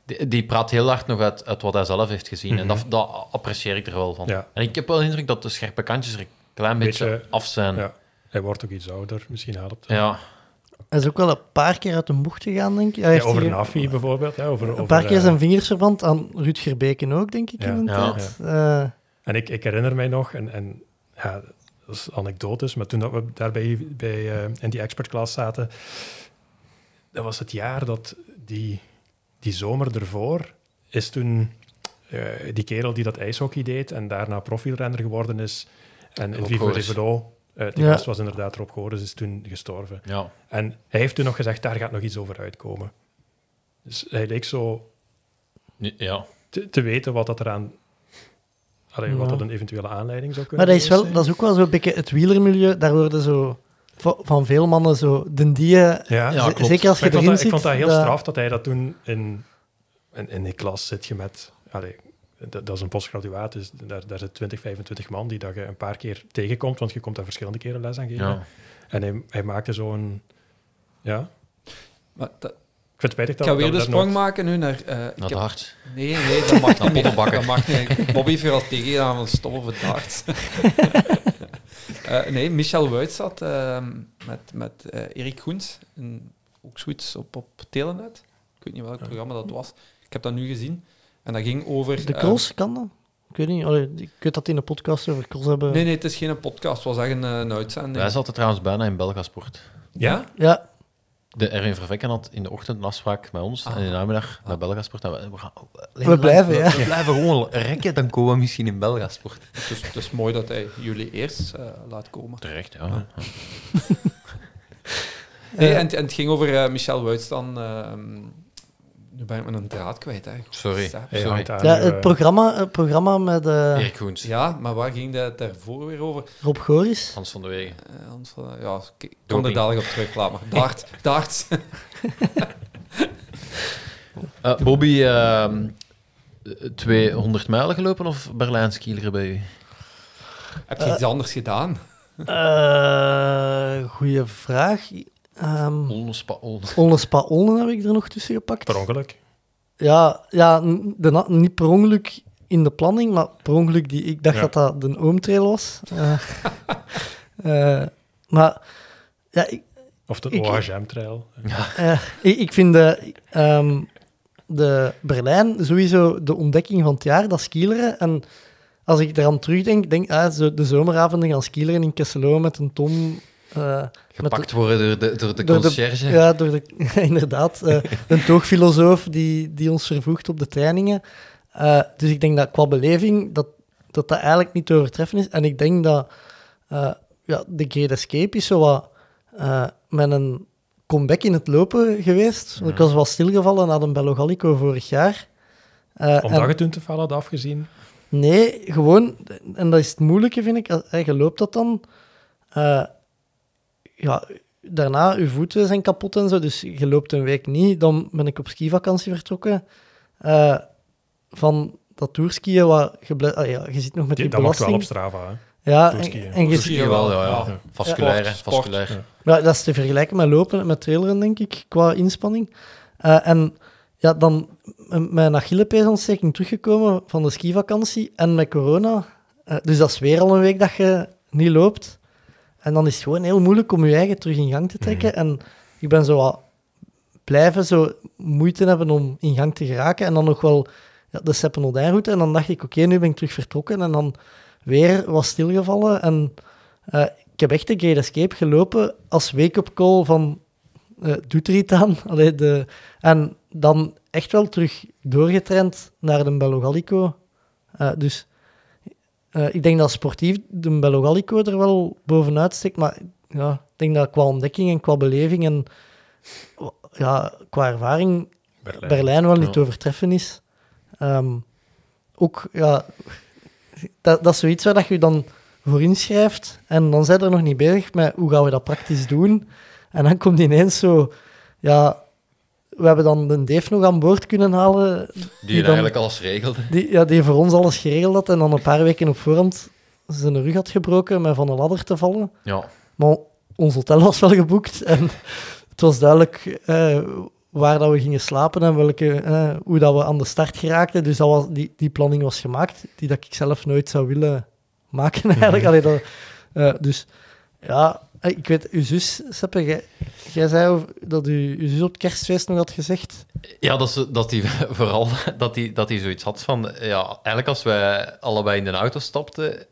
S9: die, die praat heel hard nog uit, uit wat hij zelf heeft gezien. En dat, dat apprecieer ik er wel van.
S8: Ja.
S9: En ik heb wel de indruk dat de scherpe kantjes er een klein beetje,
S8: Beetje,
S9: af zijn. Ja.
S8: ja. Hij wordt ook iets ouder, misschien helpt dat.
S9: Ja.
S7: Hij is ook wel een paar keer uit de bocht gegaan, denk ik. Hij
S8: Ja,
S7: heeft
S8: over
S7: hier-
S8: Nafi bijvoorbeeld. Ja, over,
S7: Een
S8: over,
S7: paar keer
S8: eh,
S7: zijn vingers verband aan Rutger Beken ook, denk ik,
S8: Ja.
S7: in de
S9: Ja.
S7: tijd. Eh,
S8: En ik, ik herinner mij nog, en, en ja, dat is anekdotisch, maar toen dat we daar bij, bij, eh, in die expertklas zaten, dat was het jaar dat die, die zomer ervoor is toen eh, die kerel die dat ijshockey deed en daarna profielrenner geworden is en in
S9: Rob
S8: Vivo
S9: Gores.
S8: Rivelo, eh die
S7: Ja.
S8: gast was inderdaad Rob Gores, is toen gestorven. En hij heeft toen nog gezegd, daar gaat nog iets over uitkomen. Dus hij leek zo
S9: Ja.
S8: te, te weten wat dat eraan... Allee, wat
S7: Ja.
S8: dat een eventuele aanleiding zou kunnen
S7: Maar dat is, wel,
S8: zijn.
S7: dat is ook wel zo'n beetje het wielermilieu. Daar worden zo va- van veel mannen zo den die.
S8: Ja,
S9: Ja,
S7: z- zeker
S9: klopt.
S7: als je
S8: Maar ik, vond
S7: erin
S8: dat,
S7: zit.
S8: ik vond dat heel
S7: dat-
S8: straf dat hij dat toen in, in, in die klas zit je met. Allee, dat, dat is een postgraduaat, dus daar, daar zitten 20, 25 man die dat je een paar keer tegenkomt, want je komt daar verschillende keren les aan geven.
S9: ja.
S8: En hij, hij maakte zo'n. Ja,
S5: Maar dat-
S8: ik vind het spijtig
S5: ik
S8: dat
S5: ga
S8: we
S5: weer de
S8: dat we daar
S5: sprong
S8: nooit-
S5: maken nu naar... eh, ik
S9: Naar
S5: heb-
S9: de hart.
S5: Nee, nee, dat mag niet meer.
S9: pottenbakker.
S5: Dat mag niet. Bobby Verrattegui aan van stomme verdacht. Eh nee, Michel Wuit zat eh, met, met eh, Erik Goens, in, ook zoiets op, op Telenet. Ik weet niet welk programma dat was. Ik heb dat nu gezien. En dat ging over...
S7: De
S5: eh,
S7: cross kan dat? Ik weet niet. Allee, ik weet dat die in de podcast over cross hebben.
S5: nee, nee, het is geen podcast. Het was echt een, eh, een uitzending.
S9: Wij zaten trouwens bijna in Belgasport.
S8: Ja?
S7: Ja,
S9: De Erwin Vervekken had in de ochtend een afspraak met ons en in de namiddag naar Belgasport. En we, we gaan,
S7: we blijven, ja.
S9: we blijven gewoon rekken, dan komen we misschien in Belgasport.
S5: Dus het is mooi dat hij jullie eerst eh, laat komen.
S9: Terecht, ja.
S5: Nee, en, en het ging over eh, Michel Wuits dan... eh, nu ben ik met een draad kwijt, eigenlijk.
S9: Sorry.
S5: Sap.
S8: Hij
S9: Sorry.
S8: hangt aan
S7: ja
S8: uw, eh,
S7: het, programma, het programma met eh,
S9: Erik Goens.
S5: Ja, maar waar ging dat daarvoor weer over?
S7: Rob Goris.
S9: Hans van de Wegen.
S5: Eh, Hans van- ja, k- ik kom er
S9: Doping.
S5: dadelijk op terug, laat maar. Daart, daart.
S9: Eh, Bobby, ehm 200 mijl gelopen of Berlijn skieleren bij u?
S5: Heb je iets anders gedaan?
S7: Eh goeie vraag. Ehm
S9: Olnespa, Olnes.
S7: Olle Spa Olle heb ik er nog tussen gepakt.
S8: Per ongeluk.
S7: Ja, ja n- de na- niet per ongeluk in de planning, maar per ongeluk die ik dacht
S8: Ja.
S7: dat dat de oomtrail was. Eh, eh, maar ja, ik,
S8: Of de
S7: Ik-
S8: OHM-trail.
S7: eh, ik, ik vind de, ehm, de Berlijn sowieso de ontdekking van het jaar, dat skileren. En als ik eraan terugdenk, denk ah, zo de zomeravonden gaan skileren in Kesselo met een tom. eh, met de-
S9: Gepakt worden door de, door de
S7: Door de-
S9: conciërge.
S7: Ja, door de, inderdaad. eh, een toogfilosoof die, die ons vervoegt op de trainingen. Eh, dus ik denk dat qua beleving dat, dat dat eigenlijk niet te overtreffen is. En ik denk dat eh, ja, de Great Escape is zo wat eh, met een comeback in het lopen geweest. Want Ik was wel stilgevallen na de Bello Gallico vorig jaar. Eh,
S8: Omdat
S7: en-
S8: je toen te veel had afgezien.
S7: Nee, gewoon, en dat is het moeilijke, vind ik. Als, eh, je loopt dat dan. eh, ja, daarna, je voeten zijn kapot en zo. Dus je loopt een week niet. Dan ben ik op skivakantie vertrokken. Eh, van dat toerskiën, waar je, ble- ah ja, je zit nog met
S8: Die-
S7: die,
S8: dat mag wel op
S7: belasting.
S8: Strava. hè.
S7: ja,
S8: toerskiën.
S7: en, en je,
S9: Skiën wel, ja. ja.
S8: Ja.
S9: Vasculaire,
S5: Sport, sport.
S9: vasculair.
S7: ja, dat is te vergelijken met lopen, met traileren, denk ik, qua inspanning. Eh, en ja, dan m- mijn Achillepeesontsteking teruggekomen van de skivakantie en met corona. Eh, dus dat is weer al een week dat je niet loopt. En dan is het gewoon heel moeilijk om je eigen terug in gang te trekken. En ik ben zo wat blijven zo moeite hebben om in gang te geraken. En dan nog wel ja, de Seppen-Odijn-route. En dan dacht ik, oké, nu ben ik terug vertrokken. En dan weer was stilgevallen. En eh, ik heb echt de Great Escape gelopen als wake-up call van eh, doet er iets aan. Allee, de, en dan echt wel terug doorgetraind naar de Bello Gallico. Eh, dus eh, ik denk dat sportief de Bello Gallico er wel bovenuit steekt. Maar ja, ik denk dat qua ontdekking en qua beleving en ja, qua ervaring
S8: Berlijn.
S7: Berlijn wel niet
S9: Ja.
S7: te overtreffen is. Ehm, ook, ja, dat, dat is zoiets waar dat je je dan voor inschrijft en dan zijn we er nog niet bezig met hoe gaan we dat praktisch doen. En dan komt ineens zo, ja, we hebben dan de Dave nog aan boord kunnen halen,
S9: Die,
S7: dan-
S9: eigenlijk alles regelde.
S7: die, ja, die voor ons alles geregeld had en dan een paar weken op voorhand zijn rug had gebroken met van de ladder te vallen.
S9: Ja.
S7: Maar ons hotel was wel geboekt en het was duidelijk eh, waar dat we gingen slapen en welke, eh, hoe dat we aan de start geraakten. Dus dat was, die, die planning was gemaakt, die dat ik zelf nooit zou willen maken eigenlijk. Allee, dat, eh, dus ja, eh, ik weet, uw zus, Seppe, jij- jij zei over- dat u, uw zus op het kerstfeest nog had gezegd.
S9: Ja, dat, ze, dat die vooral dat die, dat die zoiets had van... Ja, eigenlijk als wij allebei in de auto stapten,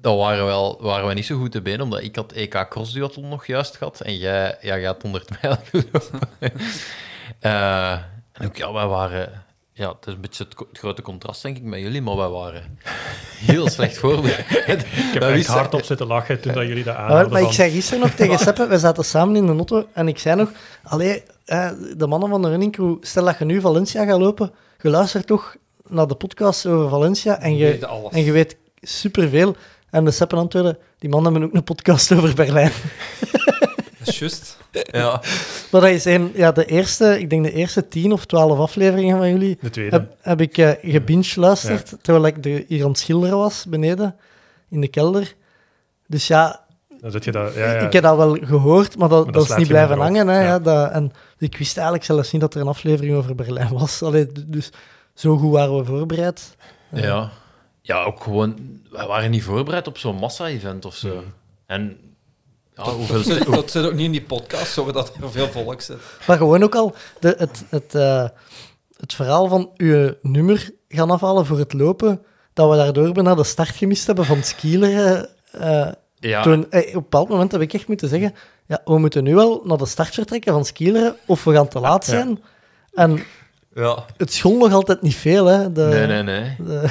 S9: dan waren, we wel, waren we niet zo goed te been, omdat ik had EK Cross Duathlon nog juist gehad en jij, ja, jij had 100 mijl gelopen. Eh, en ook, ja, wij waren... Ja, het is een beetje het, co- het grote contrast, denk ik, met jullie, maar wij waren heel slecht voorbereid.
S8: Ik heb echt hard op zitten lachen toen dat jullie dat
S7: Ah, wel,
S8: aanhadden.
S7: maar ik
S8: van-
S7: zei gisteren nog tegen Seppe, we zaten samen in de auto en ik zei nog, allee, eh, de mannen van de running crew, stel dat je nu Valencia gaat lopen, je luistert toch naar de podcast over Valencia en je,
S5: Weet alles.
S7: en je weet superveel. En de Seppen antwoorden, die mannen hebben ook een podcast over Berlijn.
S5: Dat is juist.
S9: Ja.
S7: Maar dat is een, ja, de eerste, ik denk de eerste tien of twaalf afleveringen van jullie
S8: De tweede.
S7: heb, heb ik eh gebinge-luisterd, terwijl ik de, hier aan het schilderen was, beneden, in de kelder. Dus ja,
S8: Dan zit je dat... Ja, ja.
S7: ik heb dat wel gehoord, maar dat,
S8: dat
S7: dat is
S8: slaat
S7: niet
S8: je
S7: blijven
S8: maar erop.
S7: hangen. Hè, ja.
S8: Ja.
S7: dat, en ik wist eigenlijk zelfs niet dat er een aflevering over Berlijn was. Allee, d- dus zo goed waren we voorbereid.
S9: Ja. ja, ook gewoon... We waren niet voorbereid op zo'n massa-event of zo.
S8: Mm.
S9: En ja, hoeveel...
S5: Dat zit, dat zit ook niet in die podcast, sorry dat er veel volk zit.
S7: Maar gewoon ook al de, het, het, eh, het verhaal van je nummer gaan afhalen voor het lopen, dat we daardoor bijna de start gemist hebben van het skileren. eh,
S9: Ja,
S7: Toen, eh, op een bepaald moment heb ik echt moeten zeggen: ja, we moeten nu wel naar de start vertrekken van skileren, of we gaan te laat zijn. En
S9: ja.
S7: het school nog altijd niet veel, hè? De,
S9: Nee, nee, nee.
S7: de-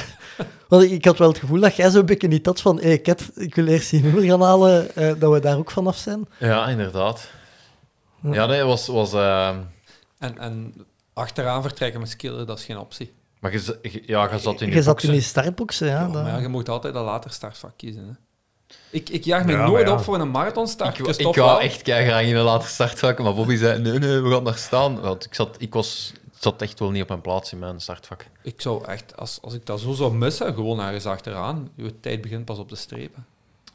S7: want ik, ik had wel het gevoel dat jij zo'n beetje niet had van: hé, hey, Kat, ik wil eerst die nummer gaan halen, eh, dat we daar ook vanaf zijn.
S9: Ja, inderdaad. Ja, nee, was... was eh,
S5: En, en achteraan vertrekken met skillen, dat is geen optie.
S9: maar je, z- je- ja, je zat in
S7: je zat
S9: boxen.
S7: in die startboxen, ja.
S5: Ja,
S7: dat-
S5: maar ja, je moet altijd een later startvak kiezen. Hè. Ik, ik jaag me
S8: Ja, maar
S5: nooit
S8: ja.
S5: op voor een marathonstart.
S9: Ik,
S5: dus
S9: wou- ik
S5: toch
S9: wou
S5: wel.
S9: echt graag in een later startvak, maar Bobby zei, nee, nee, we gaan daar staan. Want ik zat, ik was, ik zat echt wel niet op mijn plaats in mijn startvak.
S5: Ik zou echt, als, als ik dat zo zou missen, gewoon ergens achteraan. Je tijd begint pas op de strepen.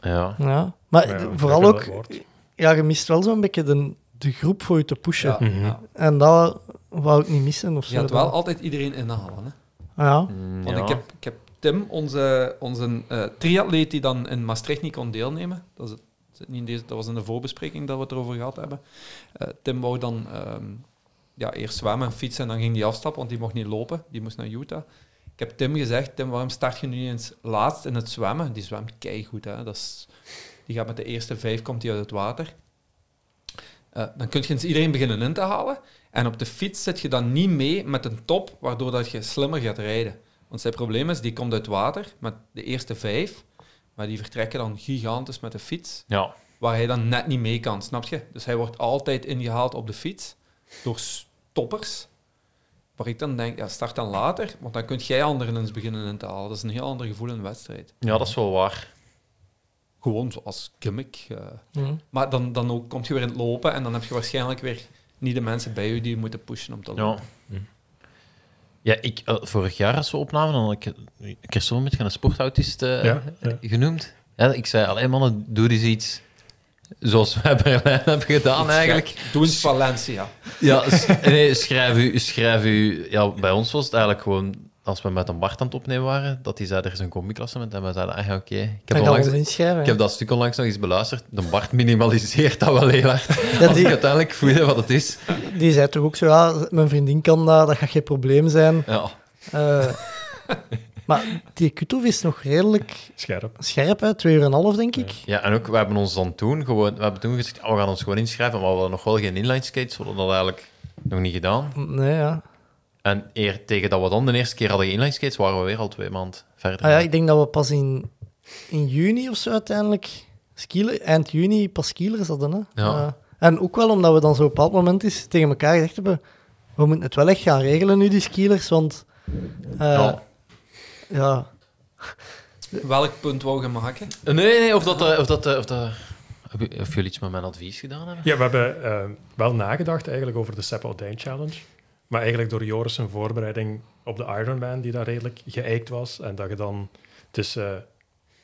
S9: Ja.
S7: Ja. Maar
S8: Ja,
S7: d-
S8: ik
S7: vooral
S8: heb
S7: ook,
S8: dat woord.
S7: ja, je mist wel zo'n beetje de, de groep voor je te pushen.
S5: Ja,
S8: Mhm.
S5: ja.
S7: En dat wou ik niet missen of zo.
S5: Je gaat wel altijd iedereen inhalen. Hè.
S7: Ja.
S9: Mm,
S5: Want
S9: ja.
S5: ik, heb, ik heb Tim, onze, onze eh, triatleet die dan in Maastricht niet kon deelnemen. Dat, is, het- zit niet in deze, dat was in de voorbespreking dat we het erover gehad hebben. Eh, Tim wou dan ehm, ja, eerst zwemmen en fietsen en dan ging hij afstappen, want die mocht niet lopen. Die moest naar Utah. Ik heb Tim gezegd, Tim, waarom start je nu niet eens laatst in het zwemmen? Die zwemt keigoed. Hè? Dat is, die gaat met de eerste vijf komt hij uit het water. Eh, dan kun je eens iedereen beginnen in te halen. En op de fiets zit je dan niet mee met een top, waardoor dat je slimmer gaat rijden. Want zijn probleem is, die komt uit water met de eerste vijf, maar die vertrekken dan gigantisch met de fiets,
S9: Ja.
S5: waar hij dan net niet mee kan, snap je? Dus hij wordt altijd ingehaald op de fiets door stoppers. Waar ik dan denk, ja, start dan later, want dan kun jij anderen eens beginnen in te halen. Dat is een heel ander gevoel in een wedstrijd.
S9: ja, dat is wel waar.
S5: Gewoon als gimmick. eh,
S7: Mhm.
S5: maar dan, dan ook, kom je weer in het lopen en dan heb je waarschijnlijk weer niet de mensen bij je die je moeten pushen om te lopen.
S9: Ja. Ja, ik, eh, vorig jaar als we opnamen, dan had ik eh, Christophe met een sportautist eh,
S8: Ja, ja.
S9: genoemd. Ja, ik zei, alleen mannen, doe eens iets zoals wij Berlijn hebben gedaan Ah, eigenlijk.
S5: Doe eens Valencia.
S9: Ja, s- nee, schrijf u, schrijf u. Ja, bij ons was het eigenlijk gewoon als we met een Bart aan het opnemen waren, dat hij zei: er is een combi-klassement. En we zeiden: ah, ja, oké. Ik, heb
S7: Dan gaan we
S9: onlangs-
S7: ons inschrijven.
S9: ik heb dat stuk onlangs nog eens beluisterd. De Bart minimaliseert dat wel heel hard.
S7: Ja,
S9: Als
S7: die-
S9: ik uiteindelijk voelde wat het is.
S7: Die zei toch ook zo, ja, mijn vriendin kan dat, dat gaat geen probleem zijn.
S9: Ja,
S7: Eh, maar die Kutov is nog redelijk
S8: Scherp.
S7: scherp, hè? twee uur en een half, denk ik.
S9: ja en ook, we hebben ons dan toen gewoon. We hebben toen gezegd: ah, we gaan ons gewoon inschrijven. Maar we hadden nog wel geen inline skates. We hadden dat eigenlijk nog niet gedaan.
S7: Nee, ja.
S9: En eer, tegen dat we dan de eerste keer hadden inline skates, waren we weer al twee maanden verder.
S7: Ah, ja. Ik denk dat we pas in, in juni of zo uiteindelijk, skielen, eind juni, pas skilers hadden. Hè?
S9: Ja.
S7: Eh, en ook wel omdat we dan zo op een bepaald moment is tegen elkaar gezegd hebben, we moeten het wel echt gaan regelen nu, die skilers, want... eh,
S9: Ja.
S7: ja,
S5: Welk punt wou je maken?
S9: Nee, nee, of dat. eh, Of dat, eh, of dat of jullie iets met mijn advies gedaan hebben?
S8: Ja, we hebben eh, wel nagedacht eigenlijk over de Sepp Odijn Challenge. Maar eigenlijk door Joris' zijn voorbereiding op de Ironman, die daar redelijk geëikt was. En dat je dan tussen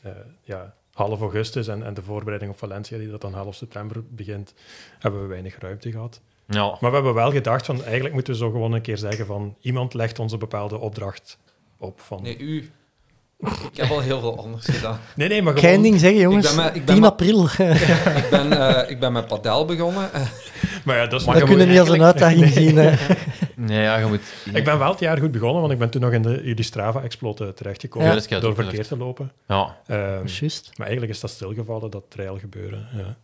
S8: eh, ja, half augustus en, en de voorbereiding op Valencia, die dat dan half september begint, hebben we weinig ruimte gehad.
S9: Ja.
S8: Maar we hebben wel gedacht van, eigenlijk moeten we zo gewoon een keer zeggen van, iemand legt ons een bepaalde opdracht op. Van,
S5: Nee,
S8: nee.
S5: u. Ik heb al heel veel anders gedaan.
S8: nee, maar
S7: Ik ga één
S8: gewoon...
S7: ding zeggen, jongens.
S5: Ik ben maar- ik ben
S7: 10
S5: maar-
S7: april.
S5: Ik ben, eh, ik ben met padel begonnen. Eh,
S8: Maar ja, dat is
S9: Maar
S7: dat
S9: je
S7: kunnen
S9: moet
S7: we niet als een
S9: eigenlijk-
S7: uitdaging zien. hè.
S9: Nee, ja, je moet...
S8: Ik ben wel het jaar goed begonnen, want ik ben toen nog in de jullie Strava-exploit eh,
S7: Ja,
S8: terechtgekomen
S9: dat is
S8: door
S9: goed.
S8: verkeerd te lopen.
S9: Ja.
S8: Ehm,
S7: Juist.
S8: maar eigenlijk is dat stilgevallen, dat trail gebeuren. Ja.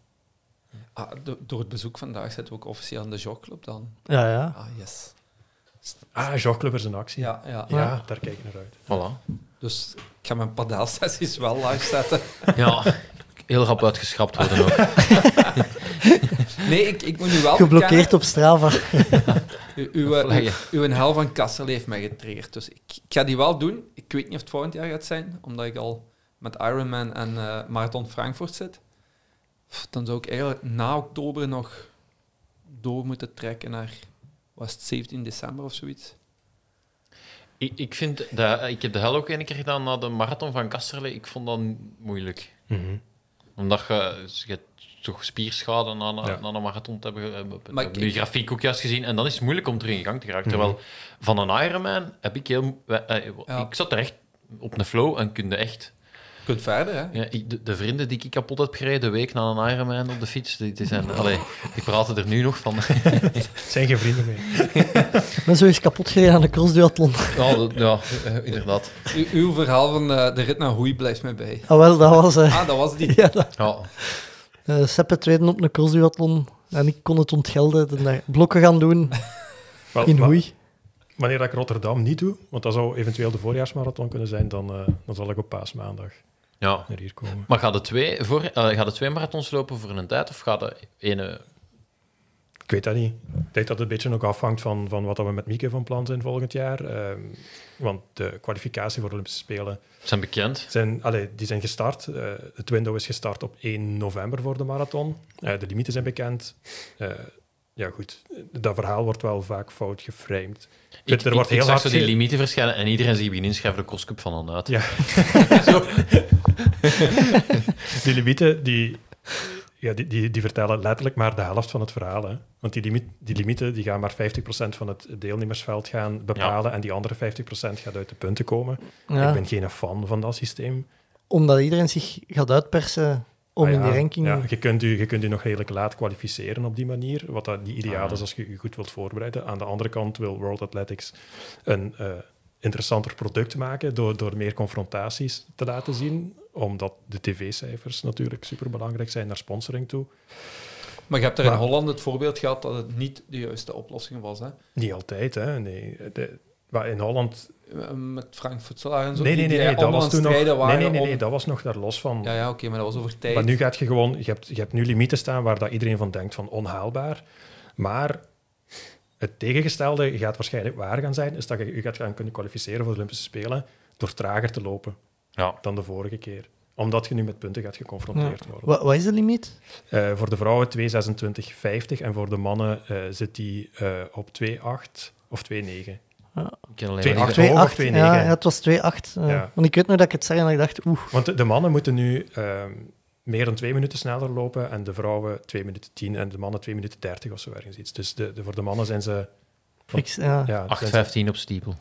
S5: ah, do- door het bezoek vandaag zitten we ook officieel in de jogclub dan.
S7: Ja, ja.
S5: Ah, yes.
S8: Ah, jogclubbers in actie.
S5: Ja, ja.
S8: Ja,
S7: Ja.
S8: daar kijk ik naar uit.
S9: Voilà.
S5: Dus ik ga mijn padelsessies wel live zetten.
S9: Ja. Heel rap uitgeschrapt worden ook.
S5: Nee, ik, ik moet nu wel bekennen-
S7: Geblokkeerd op Strava.
S5: U- Uw, uw,
S9: Vlaggen.
S5: uw hel van Kassel heeft mij getriggerd. Dus ik, ik ga die wel doen. Ik weet niet of het volgend jaar gaat zijn, omdat ik al met Ironman en eh, Marathon Frankfurt zit. Pff, Dan zou ik eigenlijk na oktober nog door moeten trekken naar, was het 17 december of zoiets?
S9: Ik, ik, vind dat, ik heb de hel ook één keer gedaan na de marathon van Kasterlee. Ik vond dat moeilijk. Omdat je, dus je hebt toch spierschade na, na,
S8: Ja.
S9: na een marathon te hebben. hebben heb
S5: Maar
S9: ik
S5: ik-
S9: de grafiek ook juist gezien. En dan is het moeilijk om terug in gang te geraken. Terwijl van een Ironman heb ik heel... we- eh,
S5: Ja.
S9: Ik zat er echt op een flow en kunde echt...
S5: Je kunt verder, hè?
S9: Ja, ik, de, de vrienden die ik kapot heb gereden, de week na een Ironman op de fiets, die, die zijn... Allee, die praten er nu nog van.
S8: Het zijn geen vrienden meer.
S7: Ik ben zo eens kapot gereden aan de crossduathlon.
S9: Ja, dat- ja eh, inderdaad.
S5: U- uw verhaal van eh, de rit naar Hoei blijft mij bij.
S7: Ah, wel, dat was... eh
S5: Ah, dat was die.
S7: ja, dat,
S9: Ja.
S7: eh, Seppe tweede op een crossduathlon. En ik kon het ontgelden. de dag- blokken gaan doen
S8: Wel,
S7: in
S8: maar
S7: hoei.
S8: wanneer dat ik Rotterdam niet doe, want dat zou eventueel de voorjaarsmarathon kunnen zijn, dan, eh, dan zal ik op paasmaandag
S9: ja.
S8: naar hier komen.
S9: Maar gaat de twee, voor, eh, gaat de twee marathons lopen voor een tijd of gaat de ene...
S8: Ik weet dat niet. Ik denk dat het een beetje ook afhangt van, van wat dat we met Mieke van plan zijn volgend jaar. Ehm, want de kwalificatie voor de Olympische Spelen
S9: zijn bekend?
S8: zijn, allee, die zijn gestart. Eh, het window is gestart op 1 november voor de marathon. Eh, de limieten zijn bekend. Eh, ja, goed. Dat verhaal wordt wel vaak fout geframed. Ik weet,
S9: ik, ik- ik zag zo die
S8: ge-
S9: limieten verschijnen en iedereen zich begint inschrijven de crosscup van dan uit.
S8: Ja. Die limieten, die, ja, die, die, die vertellen letterlijk maar de helft van het verhaal. Hè? Want die, limiet, die limieten die gaan maar 50% van het deelnemersveld gaan bepalen en die andere 50% gaat uit de punten komen.
S7: Ja,
S8: Ik ben geen fan van dat systeem.
S7: Omdat iedereen zich gaat uitpersen om
S8: Ah ja,
S7: in die ranking...
S8: Ja, je, kunt u, je kunt u nog redelijk laat kwalificeren op die manier, wat dat niet ideaal
S9: Ah.
S8: is als je je goed wilt voorbereiden. Aan de andere kant wil World Athletics een eh, interessanter product maken door, door meer confrontaties te laten zien, omdat de tv-cijfers natuurlijk superbelangrijk zijn naar sponsoring toe.
S5: Maar je hebt er in
S8: Maar-
S5: Holland het voorbeeld gehad dat het niet de juiste oplossing was, hè?
S8: Niet altijd, hè? Nee. De- maar in Holland.
S5: Eh, Met Frank Futselaar en zo.
S8: nee, nee,
S5: die-
S8: nee,
S5: die
S8: nee, dat
S5: allemaal
S8: was toen
S5: aan
S8: nog.
S5: het strijden
S8: Nee, nee,
S5: waren
S8: nee,
S5: om-
S8: nee, dat was nog daar los van.
S5: Ja, ja oké, maar dat was over tijd.
S8: Maar nu gaat je gewoon, je hebt, je hebt nu limieten staan waar dat iedereen van denkt van onhaalbaar. Maar het tegengestelde gaat waarschijnlijk waar gaan zijn, is dat je je gaat gaan kunnen kwalificeren voor de Olympische Spelen door trager te lopen
S9: Ja.
S8: dan de vorige keer. Omdat je nu met punten gaat geconfronteerd worden.
S7: Wat, wat is de limiet?
S8: Eh, voor de vrouwen 2,26,50 en voor de mannen eh, zit die eh, op 2,8 of 2,9.
S9: Ik ken alleen
S8: Twee
S9: maar-
S8: acht-
S7: 2,8. Ja,
S8: hoog of 2,9?
S7: ja, het was 2,8. eh.
S8: Ja.
S7: Want ik weet nog dat ik het zei en dat ik dacht, oeh.
S8: Want de- de mannen moeten nu ehm, meer dan twee minuten sneller lopen en de vrouwen 2 minuten 10 en de mannen 2 minuten 30 of zo ergens iets. Dus de, de- voor de mannen zijn ze...
S7: Ik, ja.
S8: Ja, zijn ze-
S9: 8,15 op Stiepel.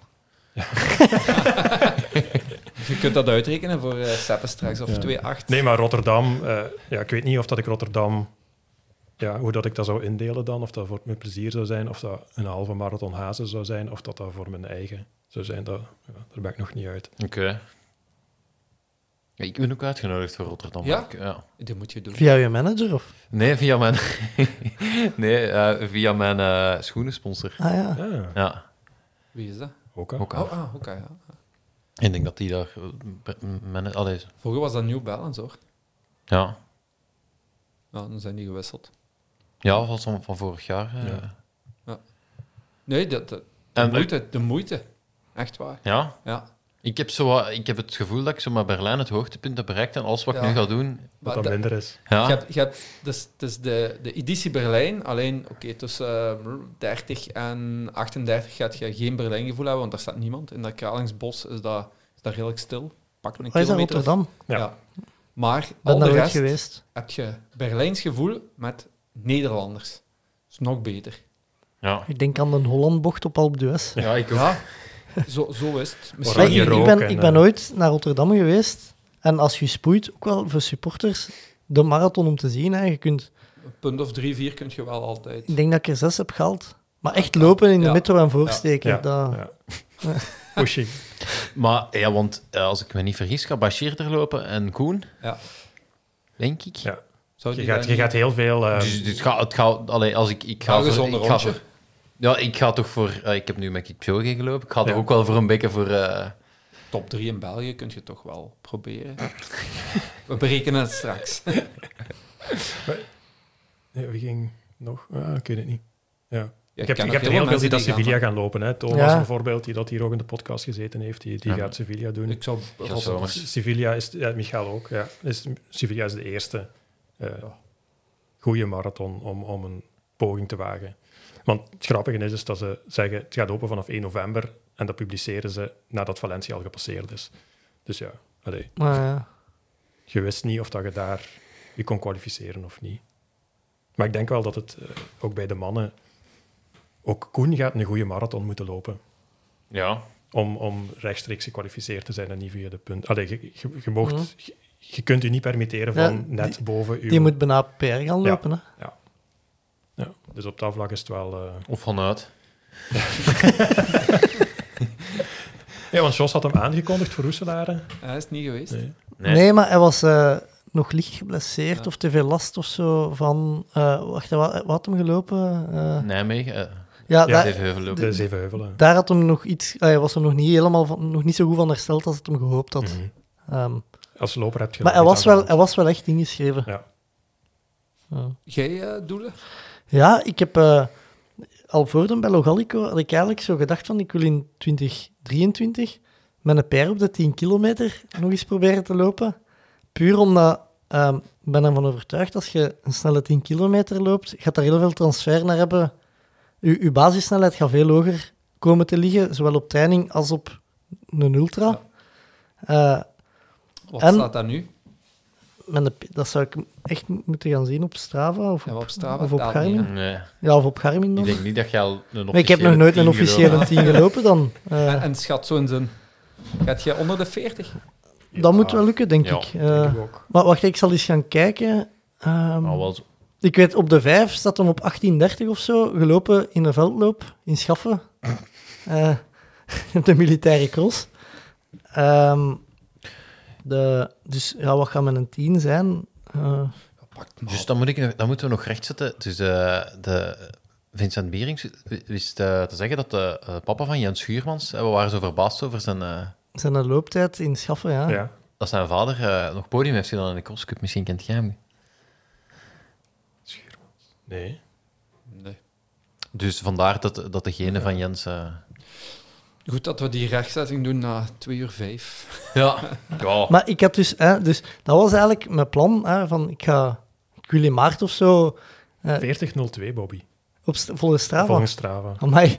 S5: Je kunt dat uitrekenen voor eh Seppe straks, of 2,8.
S8: Nee, maar Rotterdam... eh, ja, ik weet niet of dat ik Rotterdam... Ja, hoe dat ik dat zou indelen dan. Of dat voor mijn plezier zou zijn. Of dat een halve marathon hazen zou zijn. Of dat dat voor mijn eigen zou zijn. Dat, ja, daar ben ik nog niet uit.
S9: Oké. Ja, ik ben ook uitgenodigd voor Rotterdam.
S5: Ja?
S9: Ik- ja.
S5: Dat moet je doen.
S7: Via je manager of?
S9: Nee, via mijn, nee, eh, via mijn eh, schoenensponsor.
S7: Ah ja.
S8: Ah,
S9: Ja,
S5: Wie is dat?
S8: Hoka.
S9: ook
S5: Oh, ah, oké. ja.
S9: Ik denk dat die daar... eh, b- Mijn, allee,
S5: Vroeger was dat New Balance, hoor.
S9: ja,
S5: Nou, dan zijn die gewisseld.
S9: ja was van, van vorig jaar. eh.
S8: Ja.
S5: Nee, dat, dat- de,
S9: En-
S5: moeite, de moeite. Echt waar.
S9: ja,
S5: Ja.
S9: Ik heb, zo, wat- ik heb het gevoel dat ik zo met Berlijn het hoogtepunt heb bereikt en alles wat ik
S5: Ja.
S9: nu ga doen.
S8: Wat
S5: Maar
S8: dan
S5: dat-
S8: minder is.
S9: Ja,
S5: Je hebt, je hebt, dus, dus de, de editie Berlijn, alleen oké, tussen eh, 30 en 38 gaat je geen Berlijngevoel hebben, want daar staat niemand. In dat Kralingsbos is dat, is dat redelijk stil. Pak een
S7: Wat Oh, is dat,
S5: kilometer. of-
S7: Rotterdam?
S8: Ja.
S5: Ja. Maar
S7: Ben
S5: al
S7: daar
S5: de
S7: ooit
S5: rest
S7: geweest.
S5: heb je Berlijns gevoel met Nederlanders. Dat is nog beter.
S9: ja.
S7: Ik denk aan de Hollandbocht op Alpe d'Huez.
S9: ja ik
S5: Ja, zo, zo is het.
S7: Maar
S5: Misschien
S7: ik,
S8: Oranje
S7: ik
S8: rook
S7: ben,
S8: en,
S7: ik ben
S8: eh.
S7: ooit naar Rotterdam geweest. En als je spoeit, ook wel voor supporters, de marathon om te zien. Hè. Je kunt,
S5: een punt of drie, vier kun je wel altijd.
S7: ik denk dat ik er zes heb gehaald. Maar echt lopen in de
S5: Ja.
S7: metro en voorsteken.
S8: Ja,
S7: dat-
S8: ja. Pushing.
S9: Maar ja, want eh, als ik me niet vergis, gaat Bashir er lopen en Koen,
S5: Ja.
S9: denk ik.
S8: Ja.
S5: Zou
S8: Je
S5: die
S8: gaat,
S5: dan
S8: je gaat
S5: niet-
S8: heel veel... eh,
S9: Dus, dus ga, het gaat, allee, als ik, ik ga
S5: Wel gezonder
S9: ik ga
S5: rondje.
S9: voor- ja, ik ga toch voor... eh, ik heb nu met Kipchoge gelopen. Ik ga
S8: Ja.
S9: er ook wel voor een beetje voor... eh,
S5: Top 3 in België kun je toch wel proberen. We berekenen het straks.
S8: Nee, wie ging nog? Ah, ik weet het niet. Ja.
S5: Ja,
S8: Ik heb,
S5: ken
S8: ik
S5: nog
S8: heb er heel veel
S5: mensen
S8: die dat
S5: gaan,
S8: Sevilla
S5: maar
S8: gaan lopen. Hè. Thomas
S7: Ja.
S8: bijvoorbeeld, die dat hier ook in de podcast gezeten heeft, die, die
S9: Ja.
S8: gaat Sevilla doen.
S5: Ik zou
S9: Ja,
S5: Robert-
S9: zomers.
S8: Sevilla is, ja, Michael ook, ja. Is, Sevilla is de eerste eh goede marathon om, om een poging te wagen. Want het grappige is, is dat ze zeggen, het gaat open vanaf 1 november en dat publiceren ze nadat Valencia al gepasseerd is. Dus ja, allee,
S7: Maar ja.
S8: je wist niet of dat je daar je kon kwalificeren of niet. Maar ik denk wel dat het eh, ook bij de mannen, ook Koen gaat een goede marathon moeten lopen
S9: Ja,
S8: om, om rechtstreeks gekwalificeerd te zijn en niet via de punt. Allee, je, je, je moogt- je- je kunt u niet permitteren van
S7: Mhm. Ja,
S8: net boven uw...
S7: Die moet bijna PR gaan lopen, hè?
S8: Ja, dus op dat vlak is het wel... eh,
S9: of vanuit.
S8: Ja, want Jos had hem aangekondigd voor Roeselaren.
S5: Hij is het niet geweest.
S8: Nee.
S9: Nee.
S7: Nee. maar hij was eh, nog licht geblesseerd
S5: Ja.
S7: of te veel last of zo van... eh, wacht, wat, wat had hem gelopen? Eh,
S9: Nijmegen, eh,
S7: ja,
S8: Ja,
S7: daar-
S9: even heuvelloop.
S8: De Zevenheuvelen.
S7: daar had hem nog iets... Hij was hem nog niet helemaal van, nog niet zo goed van hersteld als het hem gehoopt had.
S8: Mhm.
S7: Ehm,
S8: Als loper heb je...
S7: maar
S8: er
S7: hij
S8: nog
S7: was,
S8: iets
S7: wel,
S8: aan de
S7: hij was wel echt ingeschreven.
S8: hand. Ja.
S5: Jij eh, doelen?
S7: Ja, ik heb eh, al voor hem bij Logalico had ik eigenlijk zo gedacht van ik wil in 2023 met een pair op de 10 kilometer nog eens proberen te lopen. Puur omdat ehm, ik ben ervan overtuigd als je een snelle 10 kilometer loopt, gaat daar heel veel transfer naar hebben. Je, je basissnelheid gaat veel hoger komen te liggen, zowel op training als op een ultra. Eh,
S5: Wat
S7: En-
S5: staat daar nu?
S7: met een p- dat zou ik echt mo- moeten gaan zien op Strava of
S5: Ja,
S7: op,
S5: op Strava
S7: of op
S5: staat niet,
S7: Garmin.
S9: Nee,
S7: Ja, of op Garmin
S9: eh, ik
S7: dan.
S9: denk niet dat je al een
S7: Maar ik heb nog nooit een officiële 10 gelopen dan. Eh,
S5: En, en schat zo in zijn. Gaat je onder de 40?
S7: dat moet wel lukken, denk
S9: Ja,
S7: ik.
S8: Denk
S7: Eh,
S8: ik ook.
S7: maar wacht, ik zal eens gaan kijken. Ehm,
S9: Al Ah, wel zo.
S7: Ik weet, op de 5 staat hem op 18.30 of zo, gelopen in een veldloop in Schaffen. Eh, op de militaire cross. Ehm, de, dus ja, wat gaat met een 10 zijn? Eh,
S9: Dus dan, moet ik, nog- dan moeten we nog rechtzetten. Dus eh, de Vincent Bierings wist eh, te zeggen dat de eh, papa van Jens Schuurmans, eh, we waren zo verbaasd over zijn, eh,
S7: zijn een looptijd in Schaffen, ja.
S8: Ja.
S9: dat zijn vader eh, nog podium heeft gedaan in de crosscup. Misschien kent jij hem.
S8: Nee.
S5: Nee.
S9: Dus vandaar dat, dat degene van Jens... eh,
S5: Goed dat we die rechtzetting doen na 2 uur 5.
S9: ja. ja.
S7: Maar ik had dus, hè, dus dat was eigenlijk mijn plan, hè, van ik ga, ik wil in maart of zo Ja.
S8: 40.02, Bobby.
S7: op, st- volgens Strava.
S8: Volgens Strava.
S7: Amai.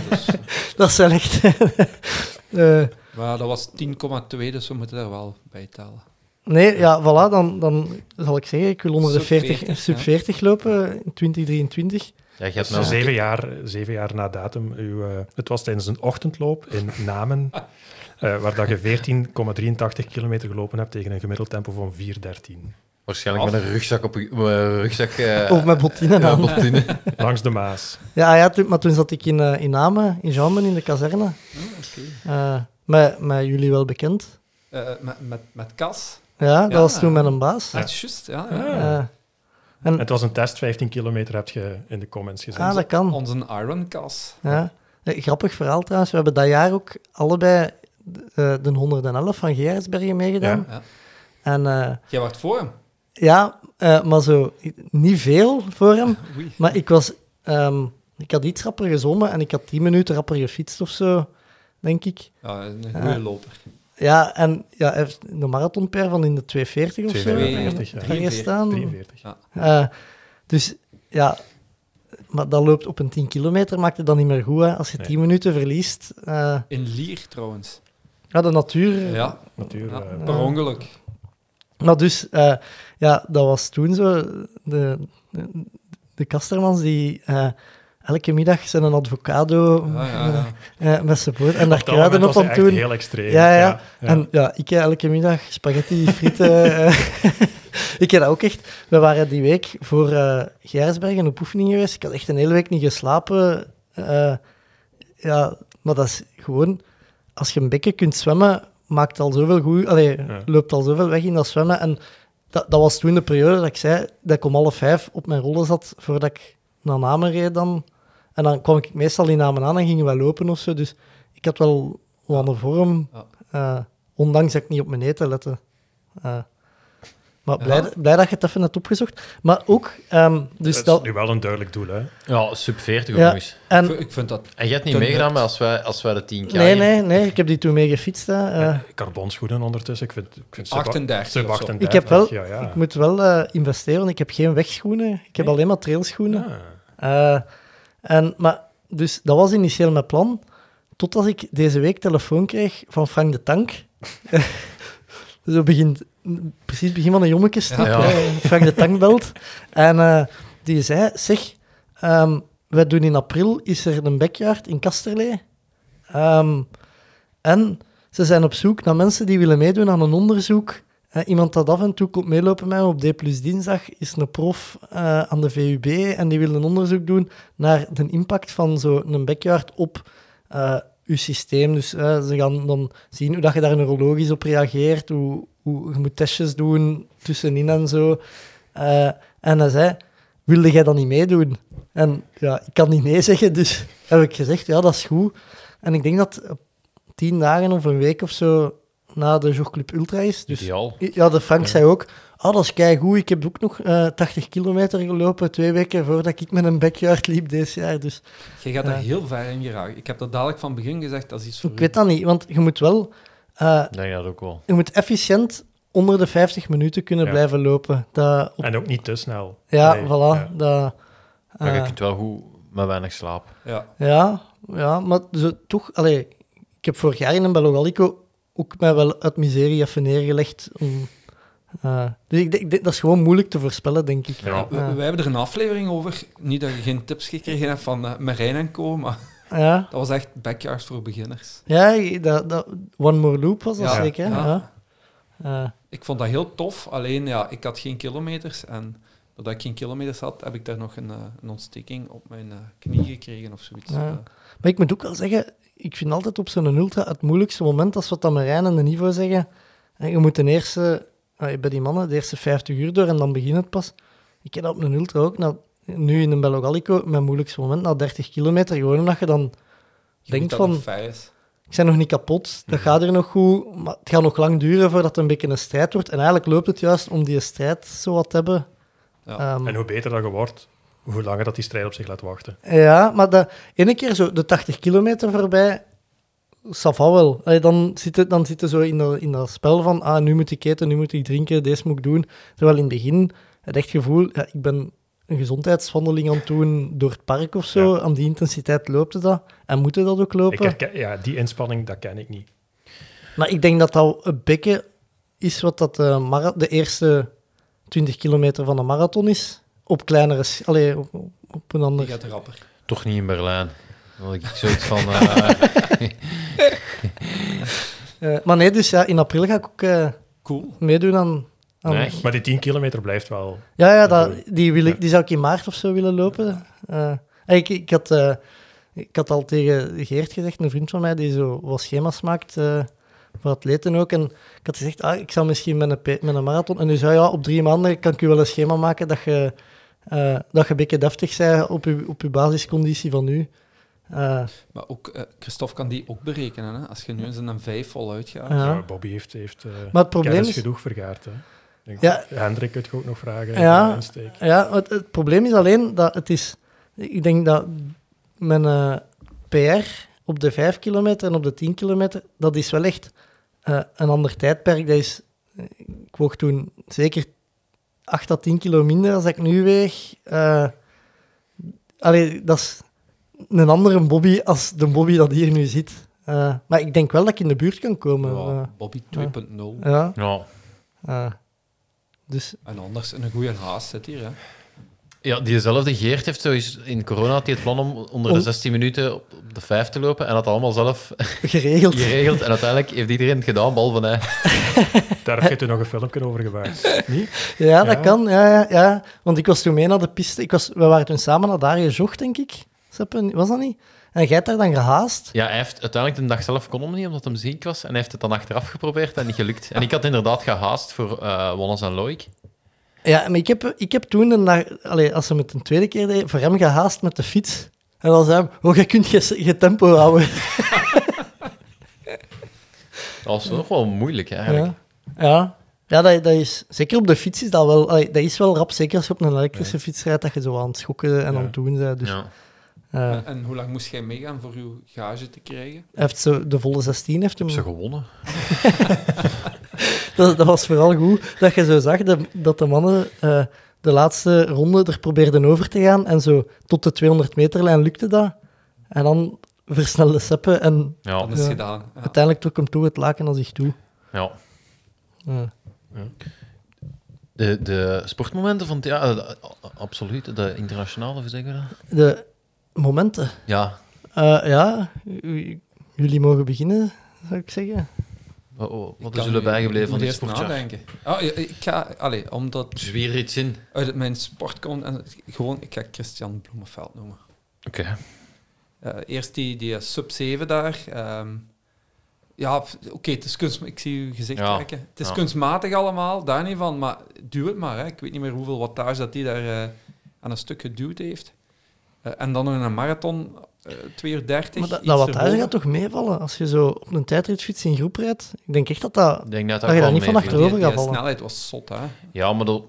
S7: dat is wel echt... eh,
S5: Maar dat was 10,2, dus we moeten daar wel bij tellen.
S7: nee, ja, voilà, dan, dan zal ik zeggen, ik wil onder de
S5: Sub
S7: 40,
S5: 40,
S7: sub
S5: ja.
S7: 40 lopen in 2023.
S9: ja je
S8: Nou,
S9: hebt nou
S8: zeven, jaar, zeven jaar na datum. Uw, eh, het was tijdens een ochtendloop in Namen, eh, waar dat je 14,83 kilometer gelopen hebt tegen een gemiddeld tempo van 4,13.
S9: waarschijnlijk met een rugzak op je eh, rugzak... eh,
S7: Of met bottinen
S9: ja,
S7: aan. Ja,
S9: bottine.
S8: Langs de Maas.
S7: ja, toen- maar toen zat ik in, eh, in Namen, in Jammen, in de kazerne. Eh, met, met jullie wel bekend.
S5: Eh, met, met, met Cas?
S7: Ja, dat
S5: Ja.
S7: was toen met een baas.
S5: Ah, juist, ja. ja.
S7: Eh, en,
S8: Het was een test, 15 kilometer heb je in de comments gezien.
S7: ah, dat kan.
S5: Onze Iron Cas.
S7: Ja. Eh, Grappig verhaal trouwens. We hebben dat jaar ook allebei eh, de 111 van Gerritsbergen meegedaan.
S5: Ja. Ja.
S7: En eh,
S5: Jij wacht voor hem.
S7: ja, eh, maar zo niet veel voor hem.
S5: Oei.
S7: Maar ik was... ehm, ik had iets rapper gezwommen en ik had 10 minuten rapper gefietst of zo, denk ik.
S5: Ja, een goede
S7: Ja.
S5: loper.
S7: Ja, en ja, hij heeft een marathonper van in de 240 of zo.
S8: 42, ja.
S7: Daar gestaan.
S8: 43.
S7: Eh, dus ja, maar dat loopt op een 10 kilometer, maakt het dan niet meer goed. Hè. Als je
S8: Nee.
S7: 10 minuten verliest, eh,
S5: In Lier trouwens.
S7: ja, de natuur
S5: Ja,
S8: Natuurlijk.
S5: ja,
S8: eh,
S5: per ongeluk.
S7: Maar dus, eh, ja, dat was toen zo. De, de, de Kastermans die eh, elke middag zijn een avocado
S5: Ja, ja, ja.
S7: eh, eh, met zijn brood en daar
S8: Ah, dat moment
S7: kruiden op
S8: was hij
S7: aan
S8: echt
S7: doen.
S8: heel
S7: Ja,
S8: extreem.
S7: Dus ja.
S8: ja.
S7: En ja, ik eh, elke middag spaghetti, frieten. eh. ik heb dat ook echt. We waren die week voor eh Gijsbergen op oefening geweest. Ik had echt een hele week niet geslapen. Eh, ja, maar dat is gewoon... Als je een bekken kunt zwemmen, maakt al zoveel goed... Allee,
S8: Ja.
S7: loopt al zoveel weg in dat zwemmen. En dat, dat was toen de periode dat ik zei dat ik om half vijf op mijn rollen zat voordat ik naar Namen reed dan. En dan kwam ik meestal in Namen aan en gingen we lopen of zo. Dus ik had wel wat aan de vorm.
S5: Ja.
S7: eh, ondanks dat ik niet op mijn eten lette. Eh, Maar blij, blij dat je het even hebt opgezocht. Maar ook, ehm, dus
S8: dat is
S7: dat-
S8: nu wel een duidelijk doel, hè?
S9: Ja, sub 40
S7: Ja.
S9: ook nog eens.
S5: Ik
S7: En,
S5: vind- Ik vind dat...
S9: En jij hebt niet
S5: Ten
S9: meegedaan
S5: nut.
S9: maar als wij, als wij de 10 jaar...
S7: nee, nee, nee, ik heb die toen mee gefietst. hè. Eh,
S8: Carbonschoenen ondertussen. Ik vind, ik vind sub-
S5: 38
S8: sub
S5: of zo.
S8: 38,
S7: ik, heb wel,
S8: Ja, ja.
S7: ik moet wel eh, investeren. Ik heb geen wegschoenen. Ik heb
S8: Nee?
S7: alleen maar trailschoenen.
S8: Ah,
S7: Eh, en, maar, dus dat was initieel mijn plan. Totdat ik deze week telefoon kreeg van Frank de Tank. Zo begint, precies begin van een jommekestiep.
S9: Ja.
S7: eh, Frank de Tank belt. En eh, die zei, zeg, ehm, wij doen in april, is er een backyard in Kasterlee. Ehm, en ze zijn op zoek naar mensen die willen meedoen aan een onderzoek. Eh, iemand dat af en toe komt meelopen met me op D plus dinsdag is een prof eh, aan de VUB en die wil een onderzoek doen naar de impact van zo'n backyard op eh uw systeem. Dus eh, ze gaan dan zien hoe dat je daar neurologisch op reageert, hoe, hoe je moet testjes doen tussenin en zo. Eh, en hij zei, wilde jij dan niet meedoen? En ja, ik kan niet nee zeggen, dus heb ik gezegd, ja, dat is goed. En ik denk dat eh, tien dagen of een week of zo na de Jogclub Ultra is. Dus
S9: Ideaal.
S7: ja, de Frank zei ook, ah, dat is goed. Ik heb ook nog eh 80 kilometer gelopen, twee weken voordat ik met een backyard liep deze jaar. Dus
S5: Je gaat daar
S7: Ja.
S5: heel ver in geraken. Ik heb dat dadelijk van begin gezegd, dat is iets voor
S7: dus ik
S5: u.
S7: weet dat niet, want je moet wel... eh,
S9: Ik denk dat ook wel.
S7: je moet efficiënt onder de 50 minuten kunnen
S8: Ja.
S7: blijven lopen. Dat, op-
S8: En ook niet te snel.
S7: ja,
S8: Nee,
S7: voilà.
S8: ja.
S7: Dat,
S9: Maar je
S7: eh,
S9: kunt wel goed met weinig slaap.
S5: Ja.
S7: Ja, ja maar ze, toch, allee, ik heb vorig jaar in een Belogalico ook mij wel uit miserie even neergelegd. Om, eh, dus ik, denk- denk- dat is gewoon moeilijk te voorspellen, denk ik. Eh,
S9: Ja.
S5: We, we hebben er een aflevering over. Niet dat je geen tips gekregen hebt van eh, Marijn en Co, maar
S7: Ja,
S5: dat was echt backyard voor beginners.
S7: ja dat, dat, One More Loop was dat
S5: Ja,
S7: zeker. hè?
S5: ja.
S7: Ja. Eh,
S5: Ik vond dat heel tof, alleen ja, ik had geen kilometers. En doordat ik geen kilometers had, heb ik daar nog een, eh, een ontsteking op mijn eh, knie gekregen of zoiets.
S7: Ja.
S5: Eh,
S7: maar ik moet ook wel zeggen, ik vind altijd op zo'n ultra het moeilijkste moment, als wat dan Marijn en de Nivo zeggen, eh, je moet de eerste, eh, bij die mannen, de eerste 50 uur door en dan begint het pas. Ik heb dat op een ultra ook, na, nu in een Belogalico, mijn moeilijkste moment, na 30 kilometer, gewoon omdat je dan
S5: je
S7: Denk
S5: weet dat
S7: van-
S5: het fijn is.
S7: ik ben nog niet kapot, dat gaat er nog goed, maar het gaat nog lang duren voordat het een beetje een strijd wordt. En eigenlijk loopt het juist om die strijd zo wat te hebben.
S5: Ja.
S7: Ehm,
S8: En hoe beter dat je wordt, hoe langer dat die strijd op zich laat wachten.
S7: ja, maar de ene keer zo de 80 kilometer voorbij, sava wel. Allee, dan zit het dan zit het zo in dat, in dat spel van, ah, nu moet ik eten, nu moet ik drinken, deze moet ik doen. Terwijl in het begin het echt gevoel, ja, ik ben een gezondheidswandeling aan het doen door het park of zo.
S8: Ja.
S7: Aan die intensiteit loopt het dat. En moet het dat ook
S8: Ik
S7: lopen?
S8: herken- ja, die inspanning, dat ken ik niet.
S7: Maar ik denk dat dat een beetje is wat dat de, mara- de eerste 20 kilometer van de marathon is. Op kleinere... s- Allee, op, op een
S5: Die
S7: ander...
S5: gaat rapper.
S9: Toch niet in Berlijn. Dan had ik zoiets van... eh,
S7: Eh, maar nee, dus ja, in april ga ik ook eh,
S5: Cool.
S7: meedoen aan... aan
S9: Nee.
S8: Maar die 10 kilometer blijft wel.
S7: Ja, ja dat, die, wil ik,
S8: Ja.
S7: die zou ik in maart of zo willen lopen. Eh, ik, ik, had, eh, ik had al tegen Geert gezegd, een vriend van mij, die zo wat schema's maakt eh, voor atleten ook. En ik had gezegd, ah, ik zou misschien met een, pe- met een marathon... En nu zei ja, op drie maanden kan ik u wel een schema maken dat je, eh, dat je een beetje deftig bent op je, op je basisconditie van nu. Eh,
S5: Maar ook, eh, Christophe kan die ook berekenen. Hè? Als je nu eens een vijf voluit gaat.
S7: Ja.
S8: Ja, Bobby heeft, heeft eh,
S7: Maar het probleem
S8: kennis
S7: is-
S8: genoeg vergaard. Hè. Ik Denk,
S7: Ja.
S8: Hendrik, kun je ook nog vragen?
S7: Ja.
S8: eh, insteek.
S7: Ja, het, het probleem is alleen dat het is... Ik denk dat mijn eh, PR op de 5 kilometer en op de 10 kilometer, dat is wel echt eh, een ander tijdperk. Dat is, ik woog toen zeker 8 à 10 kilo minder als ik nu weeg. Eh allee, dat is een andere Bobby als de Bobby dat hier nu zit. Eh, maar ik denk wel dat ik in de buurt kan komen.
S5: Ja, Bobby 2.0.
S7: Eh, ja,
S9: ja.
S7: eh. dus
S5: En anders, een goede haast zit hier. Hè?
S9: ja, diezelfde Geert heeft zo eens... In corona had hij het plan om onder de
S7: Om-
S9: 16 minuten op, op de 5 te lopen. En had allemaal zelf
S7: geregeld.
S9: geregeld. En uiteindelijk heeft iedereen het gedaan, behalve hij.
S8: Daar heb je toen nog een filmpje over gemaakt. Niet?
S7: Ja, dat
S8: Ja.
S7: kan. Ja, ja, ja. Want ik was toen mee naar de piste. Ik was, we waren toen samen naar daar gezocht, denk ik. Seppe, Was dat niet? En jij hebt daar dan gehaast.
S9: Ja, hij heeft uiteindelijk de dag zelf kon hem niet, omdat hij ziek was. En hij heeft het dan achteraf geprobeerd en niet gelukt. En ik had inderdaad gehaast voor eh Wallace en Loik.
S7: Ja, maar ik heb, ik heb toen, de na- allee, als ze met een tweede keer deed, voor hem gehaast met de fiets. En dan zei hij, oh, jij kunt je, je tempo houden.
S9: Dat was nog wel moeilijk, eigenlijk.
S7: Ja. ja. Ja, dat, dat is, zeker op de fiets is dat wel, allee, dat is wel rap, zeker als je op een elektrische fiets rijdt, dat je zo aan het schokken en
S8: Ja.
S7: aan het doen bent. Dus,
S9: Ja.
S7: eh,
S5: En, en hoe lang moest jij meegaan voor je gage te krijgen?
S7: hij heeft zo de volle 16 heeft hem.
S9: Heb ze gewonnen?
S7: Dat, dat was vooral goed dat je zo zag de- dat de mannen eh, de laatste ronde er probeerden over te gaan en zo tot de 200 meterlijn lukte dat. En dan versnelde Seppe en
S9: Ja.
S5: Dan is het
S7: Ja.
S5: gedaan. Ja.
S7: uiteindelijk trok hem toe het laken aan zich toe. Eh,
S9: ja.
S7: Ja.
S9: De, de sportmomenten van het jaar, eh, de- a- a- absoluut. De internationale, hoe zeggen we dat?
S7: de momenten.
S9: Ja.
S7: Eh, ja, u- u- jullie mogen beginnen, zou ik zeggen.
S9: Wat, wat- wat
S5: Ik
S9: is
S5: kan
S9: jullie
S5: nu-
S9: bijgebleven
S5: ik
S9: van
S5: moet
S9: dit
S5: eerst
S9: sportjaar?
S5: nadenken. Ah, ja, ik ga, allee, omdat
S9: Zwier er iets in.
S5: uit mijn sport komt, en het- gewoon, ik ga Christian Bloemenveld noemen.
S9: Oké.
S5: Eh, eerst die, die sub-7 daar. ehm, ja, f- oké, het is kunstmatig. Ik zie uw gezicht
S9: Ja,
S5: trekken. Het is
S9: ja.
S5: kunstmatig allemaal, daar niet van. Maar duw het maar. Hè. Ik weet niet meer hoeveel wattage dat hij daar eh, aan een stuk geduwd heeft. Eh, en dan nog in een marathon, eh 2 uur 30.
S7: Maar dat,
S5: iets
S7: dat wattage
S5: erboven.
S7: gaat toch meevallen als je zo op een tijdritfiets in groep rijdt? Ik denk echt dat dat...
S9: Ik denk
S7: Dat
S9: dat dat
S7: je
S9: ook
S7: daar
S9: wel
S7: niet van
S9: meeviel.
S7: achterover-
S5: Die, die
S7: gaat vallen.
S5: snelheid was zot, hè.
S9: Ja, maar dat,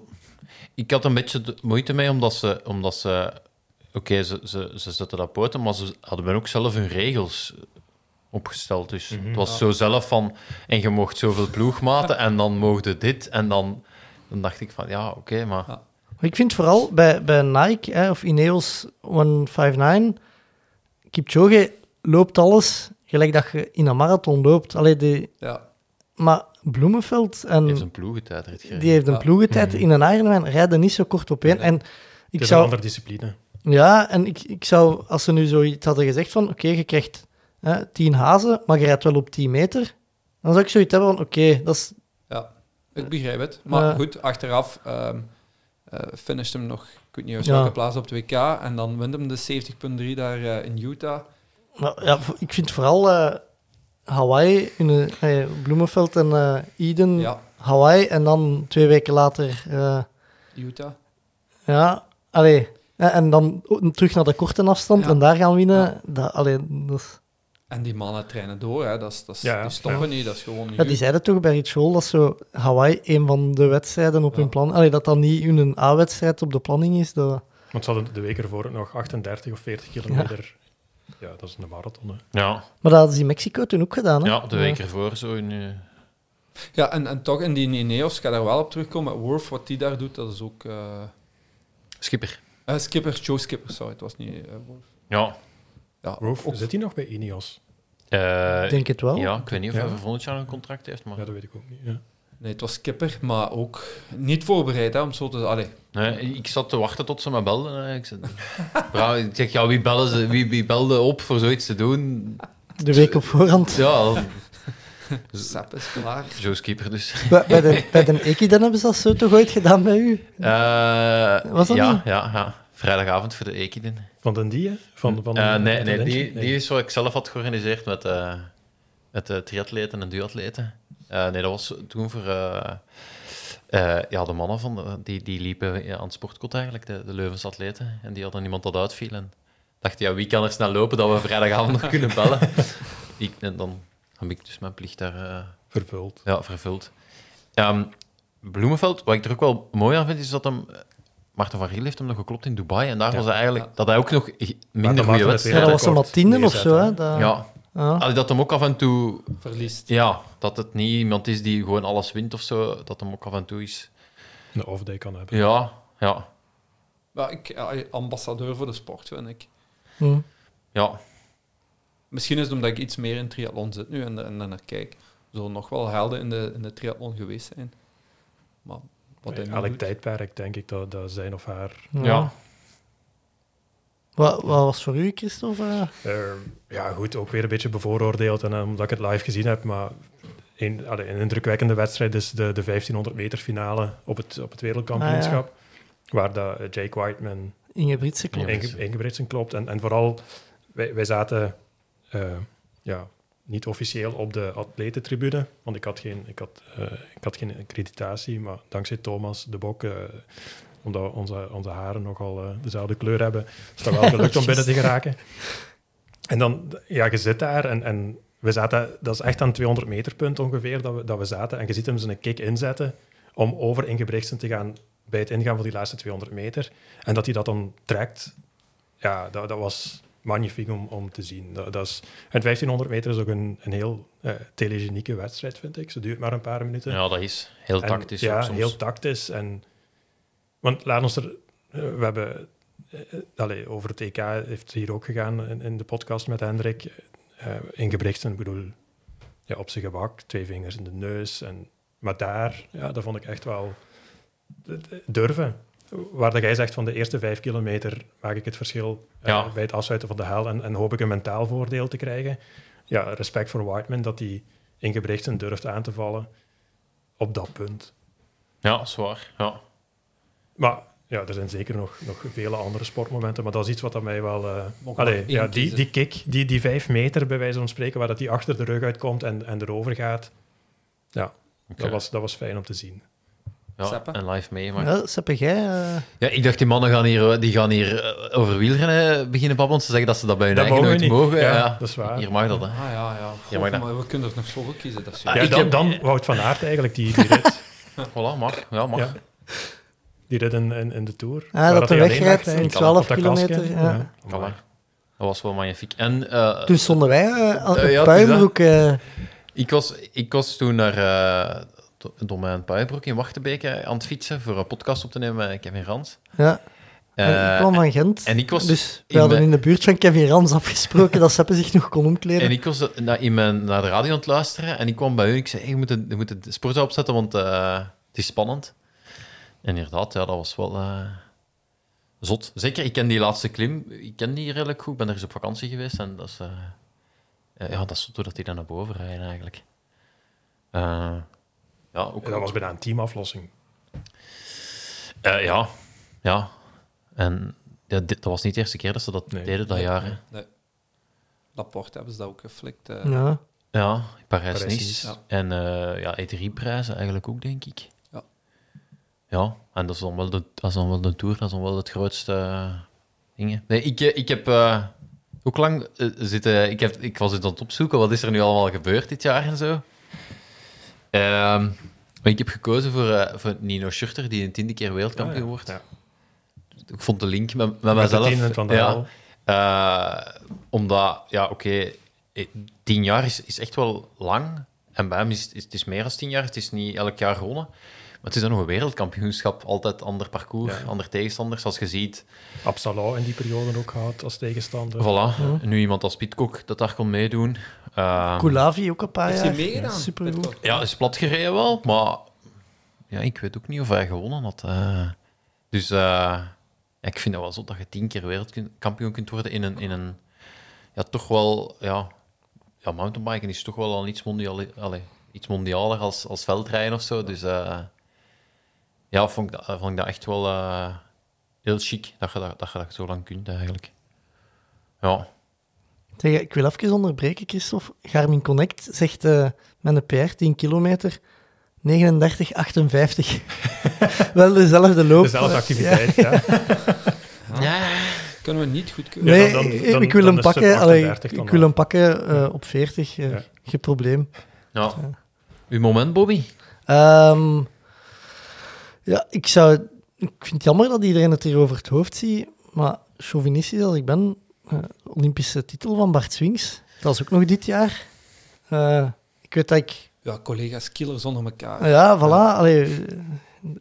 S9: ik had een beetje de moeite mee, omdat ze... Omdat ze Oké, ze, ze, ze zetten dat poten, maar ze hadden ook zelf hun regels opgesteld. Dus
S5: Mhm.
S9: het was zo zelf van... En je mocht zoveel ploegmaten, en dan mocht je dit, en dan... Dan dacht ik van, ja, oké, maar...
S5: Ja.
S7: Maar ik vind vooral bij, bij Nike hè, of Ineos 159, Kipchoge loopt alles gelijk dat je in een marathon loopt. Allee, die,
S5: Ja.
S7: maar Bloemenveld en...
S9: heeft een ploegentijdrit gereden.
S7: Die heeft een
S5: Ja.
S7: ploegentijd in een Ironman, rijden niet zo kort op één. En
S8: Het
S7: ik
S8: is een
S7: zou,
S8: andere discipline.
S7: ja, en ik, ik zou, als ze nu zoiets hadden gezegd van, oké, je krijgt hè, 10 hazen, maar je rijdt wel op 10 meter, dan zou ik zoiets hebben van, oké, dat is...
S5: Ja, ik begrijp het. Maar
S7: Eh.
S5: goed, achteraf ehm eh, finisht hem nog, ik weet niet juist
S7: Ja.
S5: welke plaats op de WK. En dan wint hem de 70.3 daar eh, in Utah.
S7: nou, ja, vo- ik vind vooral eh, Hawaii, in, eh, eh, Bloemenveld en eh, Eden,
S5: Ja,
S7: Hawaii, en dan twee weken later, eh,
S5: Utah.
S7: ja, allee... eh, En dan ook terug naar de korte afstand
S5: Ja.
S7: en daar gaan winnen. Dat, allee, dat is-
S5: En die mannen trainen door, hè. Dat is, dat is,
S8: Ja, ja.
S5: die stoppen niet, dat is gewoon
S7: Ja, die
S5: goed.
S7: zeiden toch bij Ritual dat zo Hawaii een van de wedstrijden op
S5: Ja.
S7: hun plan... Allee, dat dat niet hun A-wedstrijd op de planning is. Dat...
S8: Want ze hadden de week ervoor ook nog 38 of 40 kilometer. Ja, dat is een marathon. Hè.
S9: Ja,
S7: Maar dat hadden ze in Mexico toen ook gedaan, hè?
S9: ja, de week ervoor zo. In, eh,
S5: Ja, en, en toch, in die Ineos ga daar wel op terugkomen. Worf, wat die daar doet, dat is ook... eh,
S9: Schipper.
S5: eh, Skipper, Joe Skipper, sorry, het was niet eh, Worf.
S9: Ja.
S5: Ja,
S8: Roof,
S5: ook-
S8: zit hij nog bij Ineos?
S9: Eh,
S7: Ik denk het wel.
S9: ja, ik weet niet of
S8: Ja.
S9: hij voor volgend jaar een contract heeft, maar...
S8: Ja, dat weet ik ook niet. Ja.
S5: Nee, het was Skipper, maar ook niet voorbereid, hè, om zo te... Allee,
S9: Nee, ik zat te wachten tot ze me belden. hè. Ik, zei, Brouw, ik zeg, ja, wie, bellen ze, wie, wie belde op voor zoiets te doen?
S7: De week op voorhand.
S9: Ja,
S5: Sepp is klaar.
S9: Joe Skipper dus.
S7: Bij, bij de, bij de Eki, dan hebben ze dat zo toch ooit gedaan bij u?
S9: Eh,
S7: Was dat
S9: ja,
S7: niet?
S9: ja, ja. Vrijdagavond voor de Ekiden.
S8: Van den die, hè?
S7: Hm.
S8: Van, van,
S9: Eh, nee,
S8: van
S9: nee,
S8: Dentje?
S9: die, die is wat ik zelf had georganiseerd met, eh met eh, triatleten en duatleten. Eh, nee, dat was toen voor eh, eh, ja, de mannen van de- die, die liepen ja, aan het sportkot eigenlijk, de, de Leuvense atleten. En die hadden iemand dat uitviel. En dacht, ja, wie kan er snel lopen dat we vrijdagavond nog kunnen bellen? ik, en dan heb ik dus mijn plicht daar eh,
S8: Vervuld.
S9: ja, vervuld. Ehm, Bloemenveld, wat ik er ook wel mooi aan vind, is dat hem... eh, Maarten van Riel heeft hem nog geklopt in Dubai. En daar was hij eigenlijk... Dat hij ook nog minder
S8: Maarten
S9: goede
S8: het
S9: wedstrijd
S7: Ja, dat
S8: wereldrecord
S7: was een Martine of zo, hè?
S8: neerzetten,
S7: Dat- Ah,
S9: ja,
S7: ja.
S9: Allee, dat hem ook af en toe...
S5: Verliest.
S9: Ja, dat het niet iemand is die gewoon alles wint of zo. Dat hem ook af en toe is...
S8: Een off-day kan hebben.
S9: Ja, ja,
S5: Ja, ik, ja, ambassadeur voor de sport, vind ik.
S7: Hm.
S9: ja.
S5: Misschien is het omdat ik iets meer in triathlon zit nu en, en, en naar kijk. Zullen nog wel helden in de, in de triathlon geweest zijn. Maar wat hij
S8: Bij
S5: nu
S8: elk
S5: doet-
S8: tijdperk denk ik dat, dat zijn of haar...
S7: Ja.
S9: Ja.
S7: Wat, wat was voor u, Christophe? eh?
S8: eh, ja, goed, ook weer een beetje bevooroordeeld. En eh, omdat ik het live gezien heb, maar... Een, allee, een indrukwekkende wedstrijd is de, de 1500 meter finale op het, op het wereldkampioenschap. Waar dat eh, Jake Whiteman
S7: Inge Britse klopt.
S9: Inge-
S8: Inge- Ingebritsen klopt. En, en vooral, wij, wij zaten eh, ja, niet officieel op de atletentribune, want ik had geen, ik had, eh, ik had geen accreditatie, maar dankzij Thomas de Bok, eh, omdat onze, onze haren nogal eh, dezelfde kleur hebben, is dat wel gelukt om binnen te geraken. En dan, ja, je zit daar en, en we zaten, dat is echt aan 200 meter punt ongeveer dat we, dat we zaten. En je ziet hem zijn kick inzetten om over in Gebrechtsen te gaan bij het ingaan van die laatste 200 meter. En dat hij dat dan trekt, ja, dat, dat was magnifiek om, om te zien. Dat, dat is, en 1500 meter is ook een, een heel eh, telegenieke wedstrijd, vind ik. Ze duurt maar een paar minuten.
S9: Ja, dat is heel
S8: En,
S9: tactisch.
S8: Ja,
S9: ook soms.
S8: heel tactisch. En, want laat ons er... eh, We hebben... eh, eh, allee, over het EK heeft het hier ook gegaan in, in de podcast met Hendrik. Eh, in Gebrechtsen, ik bedoel, ja, op zijn gebak, twee vingers in de neus. En, maar daar, ja, dat vond ik echt wel eh, durven. Waar dat jij zegt van de eerste vijf kilometer maak ik het verschil eh,
S9: Ja.
S8: bij het afsluiten van de hel en, en hoop ik een mentaal voordeel te krijgen. Ja, respect voor Whiteman dat hij in Gebrechtsen durft aan te vallen op dat punt.
S9: Ja, zwaar. Ja.
S8: Maar ja, er zijn zeker nog, nog vele andere sportmomenten. Maar dat is iets wat aan mij wel. eh,
S5: Mogen
S8: allee,
S5: we
S8: ja,
S5: één
S8: die,
S5: kiezen?
S8: die kick, die, die vijf meter bij wijze van spreken, waar dat die achter de rug uitkomt en, en erover gaat. Ja,
S9: Oké.
S8: dat, was, dat was fijn om te zien.
S9: ja
S5: Seppe?
S9: en live mee. Maar... Ja.
S7: Ja, Seppe, jij... eh,
S9: ik dacht, die mannen gaan hier, eh, die gaan hier eh, over wielrennen beginnen babbelen. Ze zeggen dat ze dat bij hun
S8: Dat
S9: eigen
S8: mogen
S9: nooit
S8: we niet.
S9: mogen.
S8: Ja,
S9: Ja,
S8: dat is waar.
S9: Hier mag dat, hè.
S5: Ah ja, ja.
S9: Ja,
S5: ja
S9: maar
S5: maar,
S9: dat-
S5: we kunnen er nog zoveel kiezen. Dat is
S9: Ah,
S5: zo.
S8: Ja,
S9: ik
S8: dan,
S9: heb-
S8: dan Wout van Aert eigenlijk, die, die rit.
S9: Voilà, mag. Ja, mag.
S8: ja. Die rit in, in, in de Tour.
S7: Ah,
S8: waar
S7: dat
S8: hij
S7: hij
S8: alleen
S7: wegrijdt
S8: rijdt,
S7: in
S8: op dat
S7: 12
S8: kasken.
S7: kilometer, ja.
S9: Voilà. Dat was wel magnifiek. En eh,
S7: Toen stonden wij eh, al-
S9: Eh,
S7: op
S9: ja, het is
S7: Puimbroek. eh,
S9: ik, was, ik was toen naar eh, Do- Domein Puijenbroek in Wachtenbeek eh, aan het fietsen voor een podcast op te nemen met Kevin Rans.
S7: ja.
S9: Eh,
S7: En ik kwam van Gent.
S9: en ik was
S7: dus we
S9: in
S7: hadden
S9: mijn-
S7: in de buurt van Kevin Rans afgesproken dat Seppe zich nog kon omkleden.
S9: En ik was eh, na, in mijn, naar de radio aan het luisteren en ik kwam bij hun. Ik zei: hey, je, moet de, je moet de sportzaal opzetten, want eh, het is spannend. En inderdaad, ja, dat was wel eh, zot. Zeker, ik ken die laatste klim. Ik ken die redelijk goed. Ik ben er eens op vakantie geweest en dat is. eh, eh, ja, dat is zot hoe dat die dan naar boven rijden eigenlijk. Eh, ja, ook,
S8: Ja, dat was bijna een teamaflossing.
S9: eh, ja, ja. En ja, dit, dat was niet de eerste keer dat ze dat
S8: Nee.
S9: deden dat jaar. hè.
S5: Laporte hebben ze dat ook geflikt. eh.
S7: Ja.
S9: Ja, Parijs-Nice.
S5: Parijs-Nice.
S9: En eh, ja, E3-prijzen eigenlijk ook, denk ik.
S5: Ja.
S9: Ja, en dat is dan wel de, dat is dan wel de Tour, dat is dan wel het grootste eh, ding. hè. Nee, ik, eh, ik heb... eh, ook lang eh, zitten... Ik, heb, ik was het aan het opzoeken, wat is er nu allemaal gebeurd dit jaar en zo. Ehm, maar ik heb gekozen voor, eh, voor Nino Schurter, die een tiende keer wereldkampioen
S8: Oh Ja,
S9: wordt.
S8: ja.
S9: Ik vond de link met, met,
S8: Met de
S9: mezelf.
S8: tienen van de
S9: ja.
S8: hel.
S9: Eh, omdat, ja, oké, eh, tien jaar is, is echt wel lang. En bij hem is, is het is meer dan tien jaar. Het is niet elk jaar gewonnen. Maar het is dan nog een wereldkampioenschap. Altijd ander parcours,
S8: Ja.
S9: ander tegenstanders. Als je ziet,
S8: Absalau in die periode ook gehad als tegenstander.
S9: voilà, nu iemand als Pietkok dat daar kon meedoen. Eh,
S7: Koulavi ook een paar
S5: Heeft
S7: jaar.
S5: hij meegedaan?
S7: Ah, Supergoed.
S9: Ja, is plat gereden wel, maar ja, ik weet ook niet of hij gewonnen had. eh. dus eh, ja, ik vind dat wel zo dat je tien keer wereldkampioen kunt worden in een, in een ja, toch wel, ja, ja, mountainbiken is toch wel al iets, mondiale, allee, iets mondialer als, als veldrijden of zo. Dus eh, ja, vond ik, dat, vond ik dat echt wel eh, heel chic dat je dat, dat je dat zo lang kunt eigenlijk. Ja,
S7: Zeg, ik wil even onderbreken, Christophe. Garmin Connect zegt eh, met een PR 10 kilometer 39,58. Wel dezelfde loop.
S8: Dezelfde
S7: eh,
S8: activiteit, ja.
S5: Kunnen we niet goedkeuren.
S7: Nee,
S8: dan- dan-
S7: ik-
S8: dan-
S7: ik wil
S8: dan
S7: hem
S8: is het
S7: pakken, allee,
S8: 38 dan
S7: ik wil hem pakken eh, op 40. eh,
S8: Ja.
S7: Geen probleem.
S9: ja. Uw moment, Bobby?
S7: Ehm, ja, ik zou... Ik vind het jammer dat iedereen het hier over het hoofd ziet, maar chauvinistisch als ik ben, eh, Olympische titel van Bart Swings, dat is ook nog dit jaar. Eh, ik weet dat ik
S5: Ja, collega's, killers onder elkaar.
S7: Ah, Ja, voilà. Allee,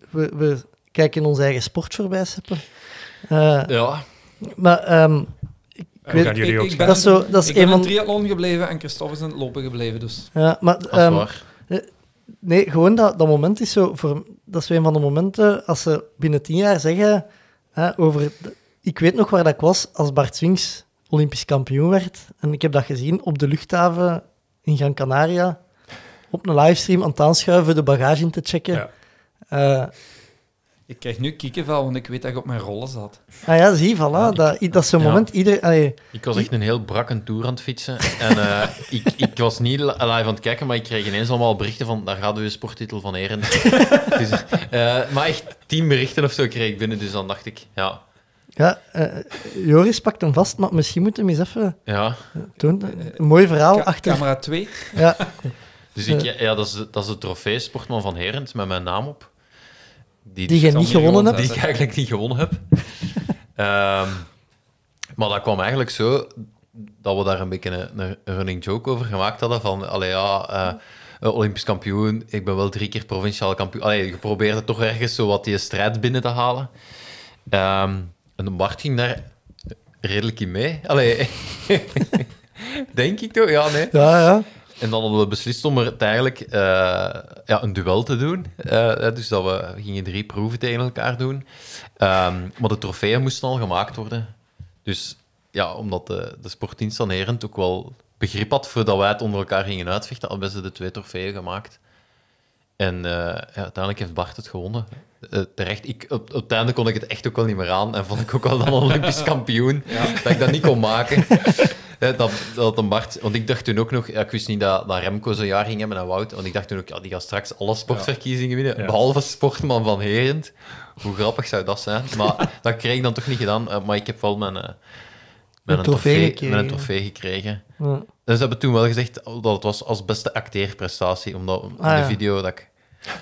S7: we, we kijken ons eigen sport voorbij seppen. Eh,
S9: Ja,
S7: Maar ehm,
S8: En we
S7: weet-
S8: gaan jullie ook
S5: ben,
S7: dat is zo- dat is
S5: ik ben
S7: een van-
S5: in triathlon gebleven en Christophe is in het lopen gebleven. Dus
S7: ja, maar
S9: dat is
S7: ehm,
S9: waar.
S7: nee, gewoon dat, dat moment is zo. Voor, dat is zo een van de momenten als ze binnen tien jaar zeggen hè, over. de- ik weet nog waar dat ik was als Bart Swings Olympisch kampioen werd. En ik heb dat gezien op de luchthaven in Gran Canaria. Op een livestream aan het aanschuiven, de bagage in te checken.
S8: Ja.
S7: Eh,
S5: ik krijg nu kiekenvel, want ik weet dat ik op mijn rollen zat.
S7: ah ja, zie, voilà. dat, dat is zo'n
S9: Ja.
S7: moment. Iedereen, allee,
S9: Ik was echt een heel brakke tour aan het fietsen. En eh, ik, ik was niet li- live aan het kijken, maar ik kreeg ineens allemaal berichten van daar gaat uw sporttitel van heren. dus, eh, maar echt tien berichten of zo kreeg ik binnen, dus dan dacht ik, ja,
S7: Ja, eh, Joris pakt hem vast, maar misschien moeten we hem eens even
S9: Ja,
S7: doen. Een mooi verhaal
S5: Ka-
S7: achter.
S5: Camera 2.
S7: Ja,
S9: dus ik, ja dat, is, dat is de trofee Sportman van Herent met mijn naam op. dus-
S7: die jij niet gewonnen hebt.
S9: die ik eigenlijk niet gewonnen heb. Ehm, maar dat kwam eigenlijk zo dat we daar een beetje een, een running joke over gemaakt hadden. Van, allee, ja, eh, eh, Olympisch kampioen, ik ben wel drie keer provinciaal kampioen. Allee, je probeerde toch ergens zo wat die strijd binnen te halen. Ehm, en Bart ging daar redelijk in mee. Allee, denk ik toch? Ja, nee.
S7: Ja, ja.
S9: En dan hadden we beslist om er het eigenlijk eh, ja, een duel te doen. Eh, dus dat we gingen drie proeven tegen elkaar doen. Ehm, maar de trofeeën moesten al gemaakt worden. Dus ja, omdat de, de sportdienst van Herent ook wel begrip had voordat wij het onder elkaar gingen uitvechten, hadden ze de twee trofeeën gemaakt. En eh, ja, uiteindelijk heeft Bart het gewonnen. Eh, terecht. Ik, op, op het einde kon ik het echt ook wel niet meer aan. En vond ik ook wel dan Olympisch kampioen. Dat ik dat niet kon maken. Hè, dat, dat een Bart, want ik dacht toen ook nog, ja, ik wist niet dat, dat Remco zo'n jaar ging hebben en Wout, want ik dacht toen ook, ja, die gaat straks alle sportverkiezingen winnen,
S8: Ja.
S9: behalve Sportman van Herend. Hoe grappig zou dat zijn? Maar dat kreeg ik dan toch niet gedaan, eh, maar ik heb wel mijn, eh, mijn,
S7: Een trofee
S9: trofee,
S7: gekregen.
S9: mijn trofee gekregen.
S7: Ja.
S9: En ze hebben toen wel gezegd dat het was als beste acteerprestatie, omdat in
S7: Ah, ja.
S9: de video dat ik...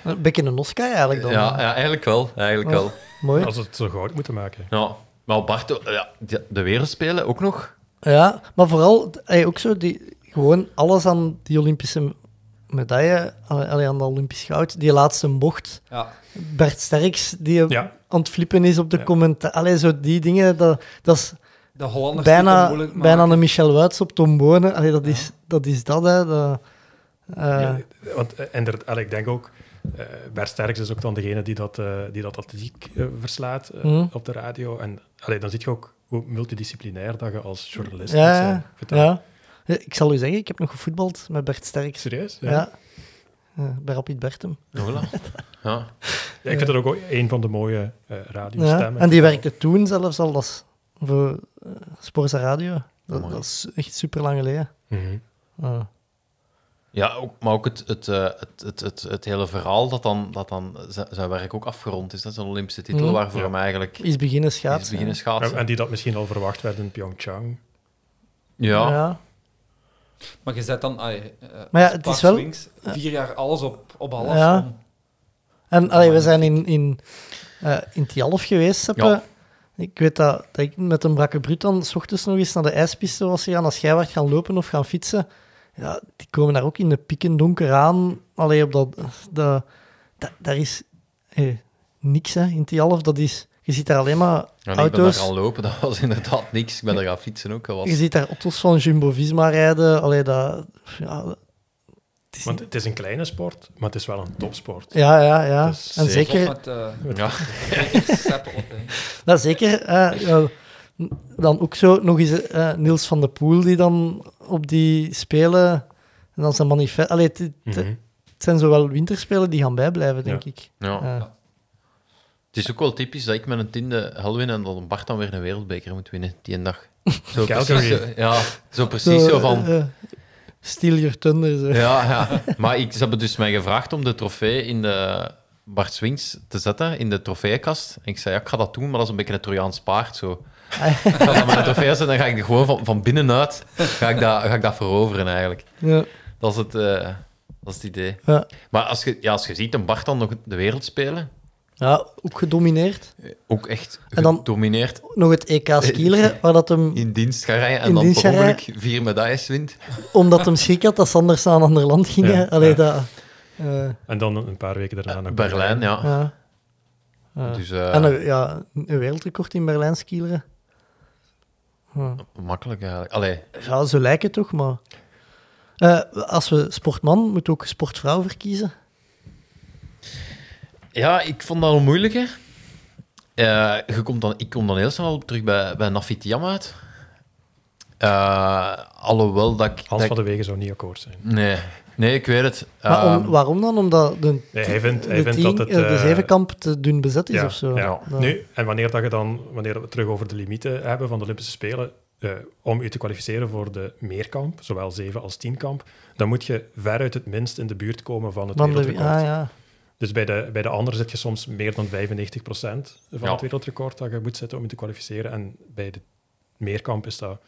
S7: Een beetje een Oscar eigenlijk dan.
S9: Ja, ja, eigenlijk wel, eigenlijk wel.
S7: Mooi.
S8: Als we het zo groot moeten maken.
S9: Ja. Maar Bart, eh, ja, de, de wereldspelen ook nog.
S7: Ja, maar vooral ey, ook zo die, gewoon alles aan die Olympische medaille, aan, allee, aan dat Olympisch goud, die laatste bocht.
S5: Ja.
S7: Bert Sterks die
S8: Ja.
S7: aan het flippen is op de
S8: Ja.
S7: commentaar. Allee, zo die dingen, dat, dat is
S5: De Hollanders die het
S7: bijna,
S5: moeilijk
S7: bijna
S5: maken.
S7: een Michel Wuits op Tombone. Allee, dat, is, dat is dat, hè. Dat, eh,
S8: Ja, want eh, en er- allee, ik denk ook, eh Bert Sterks is ook dan degene die dat, eh, die dat atletiek eh, verslaat eh,
S7: Mhm.
S8: op de radio. En allee, dan zie je ook hoe multidisciplinair dat je als journalist
S7: ja,
S8: moet zijn. Vertel.
S7: ja. Ja, Ik zal u zeggen, ik heb nog gevoetbald met Bert Sterks.
S8: Serieus?
S7: Ja. ja. bij Rapid Bertem.
S9: Voilà. Ja.
S8: Ja, ik vind dat ook wel een van de mooie eh
S7: Ja,
S8: radiostemmen.
S7: en die werkte toen zelfs al als voor eh, Sporza Radio. Dat,
S9: Amai.
S7: dat is echt super lang geleden.
S8: Mhm.
S7: Ah.
S9: Ja, ook, maar ook het, het, eh, het, het, het, het hele verhaal dat dan, dat dan z- zijn werk ook afgerond is. Dat is een Olympische titel
S7: Mhm.
S9: waarvoor
S8: Ja.
S9: hem eigenlijk
S7: Is beginnen
S9: is
S7: schaatsen.
S9: beginnen schaatsen.
S8: En die dat misschien al verwacht werd in Pyeongchang.
S9: Ja, ja.
S5: Maar je zet dan... ai, eh,
S7: Maar ja,
S5: als
S7: het
S5: Bart
S7: is wel-
S5: Swings, vier jaar alles op, op alles.
S7: Ja.
S5: om-
S7: En allee, we zijn in, in, eh in Tialf geweest, Seppe.
S9: Ja.
S7: Ik weet dat, dat ik met een brakke brut dan s ochtends nog eens naar de ijspiste was gegaan. Als jij werd gaan lopen of gaan fietsen, ja, die komen daar ook in de pieken donker aan. Allee, op dat, dat, dat- daar is eh, niks hè, in Tialf. Dat is, je ziet daar alleen maar
S9: en ik ben daar
S7: auto's.
S9: gaan lopen, dat was inderdaad niks. Ik ben daar gaan fietsen ook. Dat was...
S7: Je ziet daar auto's van Jumbo-Visma rijden. Allee, dat... Ja, het is
S8: Want
S7: niet-
S8: het is een kleine sport, maar het is wel een topsport.
S7: ja, ja, ja.
S8: Het is
S7: En
S9: zeker-
S7: zeker,
S5: Met, eh,
S9: Ja.
S5: steppen op, hè.
S7: dat zeker eh, ja, dan ook zo nog eens eh, Niels van der Poel die dan op die spelen en dan zijn manifest... Allee, het, het-
S8: Mhm.
S7: het zijn zowel winterspelen die gaan bijblijven, denk
S8: Ja.
S7: ik.
S9: Ja.
S7: Eh,
S9: Het is ook wel typisch dat ik met een tiende hel win en dat een Bart dan weer een wereldbeker moet winnen die een dag. Zo precies,
S8: Calgary.
S9: zo, ja, zo, precies zo, van...
S7: eh, eh, steal your thunder. Zo.
S9: Ja, ja. Maar ik, ze hebben dus mij gevraagd om de trofee in de Bart Swings te zetten, in de trofeekast. En ik zei, ja, ik ga dat doen, maar dat is een beetje een Trojaans paard, zo. Ik ga dat mijn trofee zetten en dan ga ik er gewoon van, van binnenuit ga ik, dat, ga ik dat veroveren, eigenlijk.
S7: Ja.
S9: Dat is het, eh, dat is het idee.
S7: Ja.
S9: Maar als je, ja, als je ziet, een Bart dan nog de wereld spelen,
S7: ja, ook gedomineerd.
S9: ook echt
S7: En dan-
S9: gedomineerd
S7: Nog het EK skileren, waar dat hem
S9: in dienst gaat rijden en
S7: In
S9: dan
S7: dienst
S9: per
S7: gaan
S9: ongeluk vier medailles wint.
S7: omdat hem schrik had dat ze anders naar een ander land gingen.
S8: Ja,
S7: Allee,
S8: ja.
S7: dat... eh,
S8: En dan een paar weken daarna naar
S9: Berlijn, ja.
S7: ja. Ja.
S9: Dus eh,
S7: En een, ja, een wereldrecord in Berlijn skileren. Ja.
S9: makkelijk eigenlijk. Allee,
S7: Ja, zo lijkt het toch, maar... Eh, als we sportman, moeten we ook sportvrouw verkiezen.
S9: Ja, ik vond dat een moeilijke. Eh, je komt dan, ik kom dan heel snel terug bij, bij Nafit Yam uit. Eh, alhoewel dat ik...
S8: Hans
S9: dat
S8: van
S9: ik-
S8: de Wegen zou niet akkoord zijn.
S9: nee. nee, ik weet het.
S7: Maar om-
S9: Ehm,
S7: waarom dan? Omdat de,
S8: Nee, hij vindt, hij
S7: de,
S8: vindt
S7: tien-
S8: dat het...
S7: eh, de
S8: eh,
S7: zevenkamp te dun bezet is
S8: ja,
S7: of zo.
S8: ja.
S7: Dat-
S8: Nu, en wanneer, dat je dan, wanneer we het terug over de limieten hebben van de Olympische Spelen, eh, om je te kwalificeren voor de meerkamp, zowel zeven als tienkamp, dan moet je veruit het minst in de buurt komen van het
S7: van de-
S8: wereldrecord.
S7: ah, ja.
S8: Dus bij de, bij de andere zit je soms meer dan 95% van
S9: Ja.
S8: het wereldrecord dat je moet zetten om je te kwalificeren. En bij de meerkamp is dat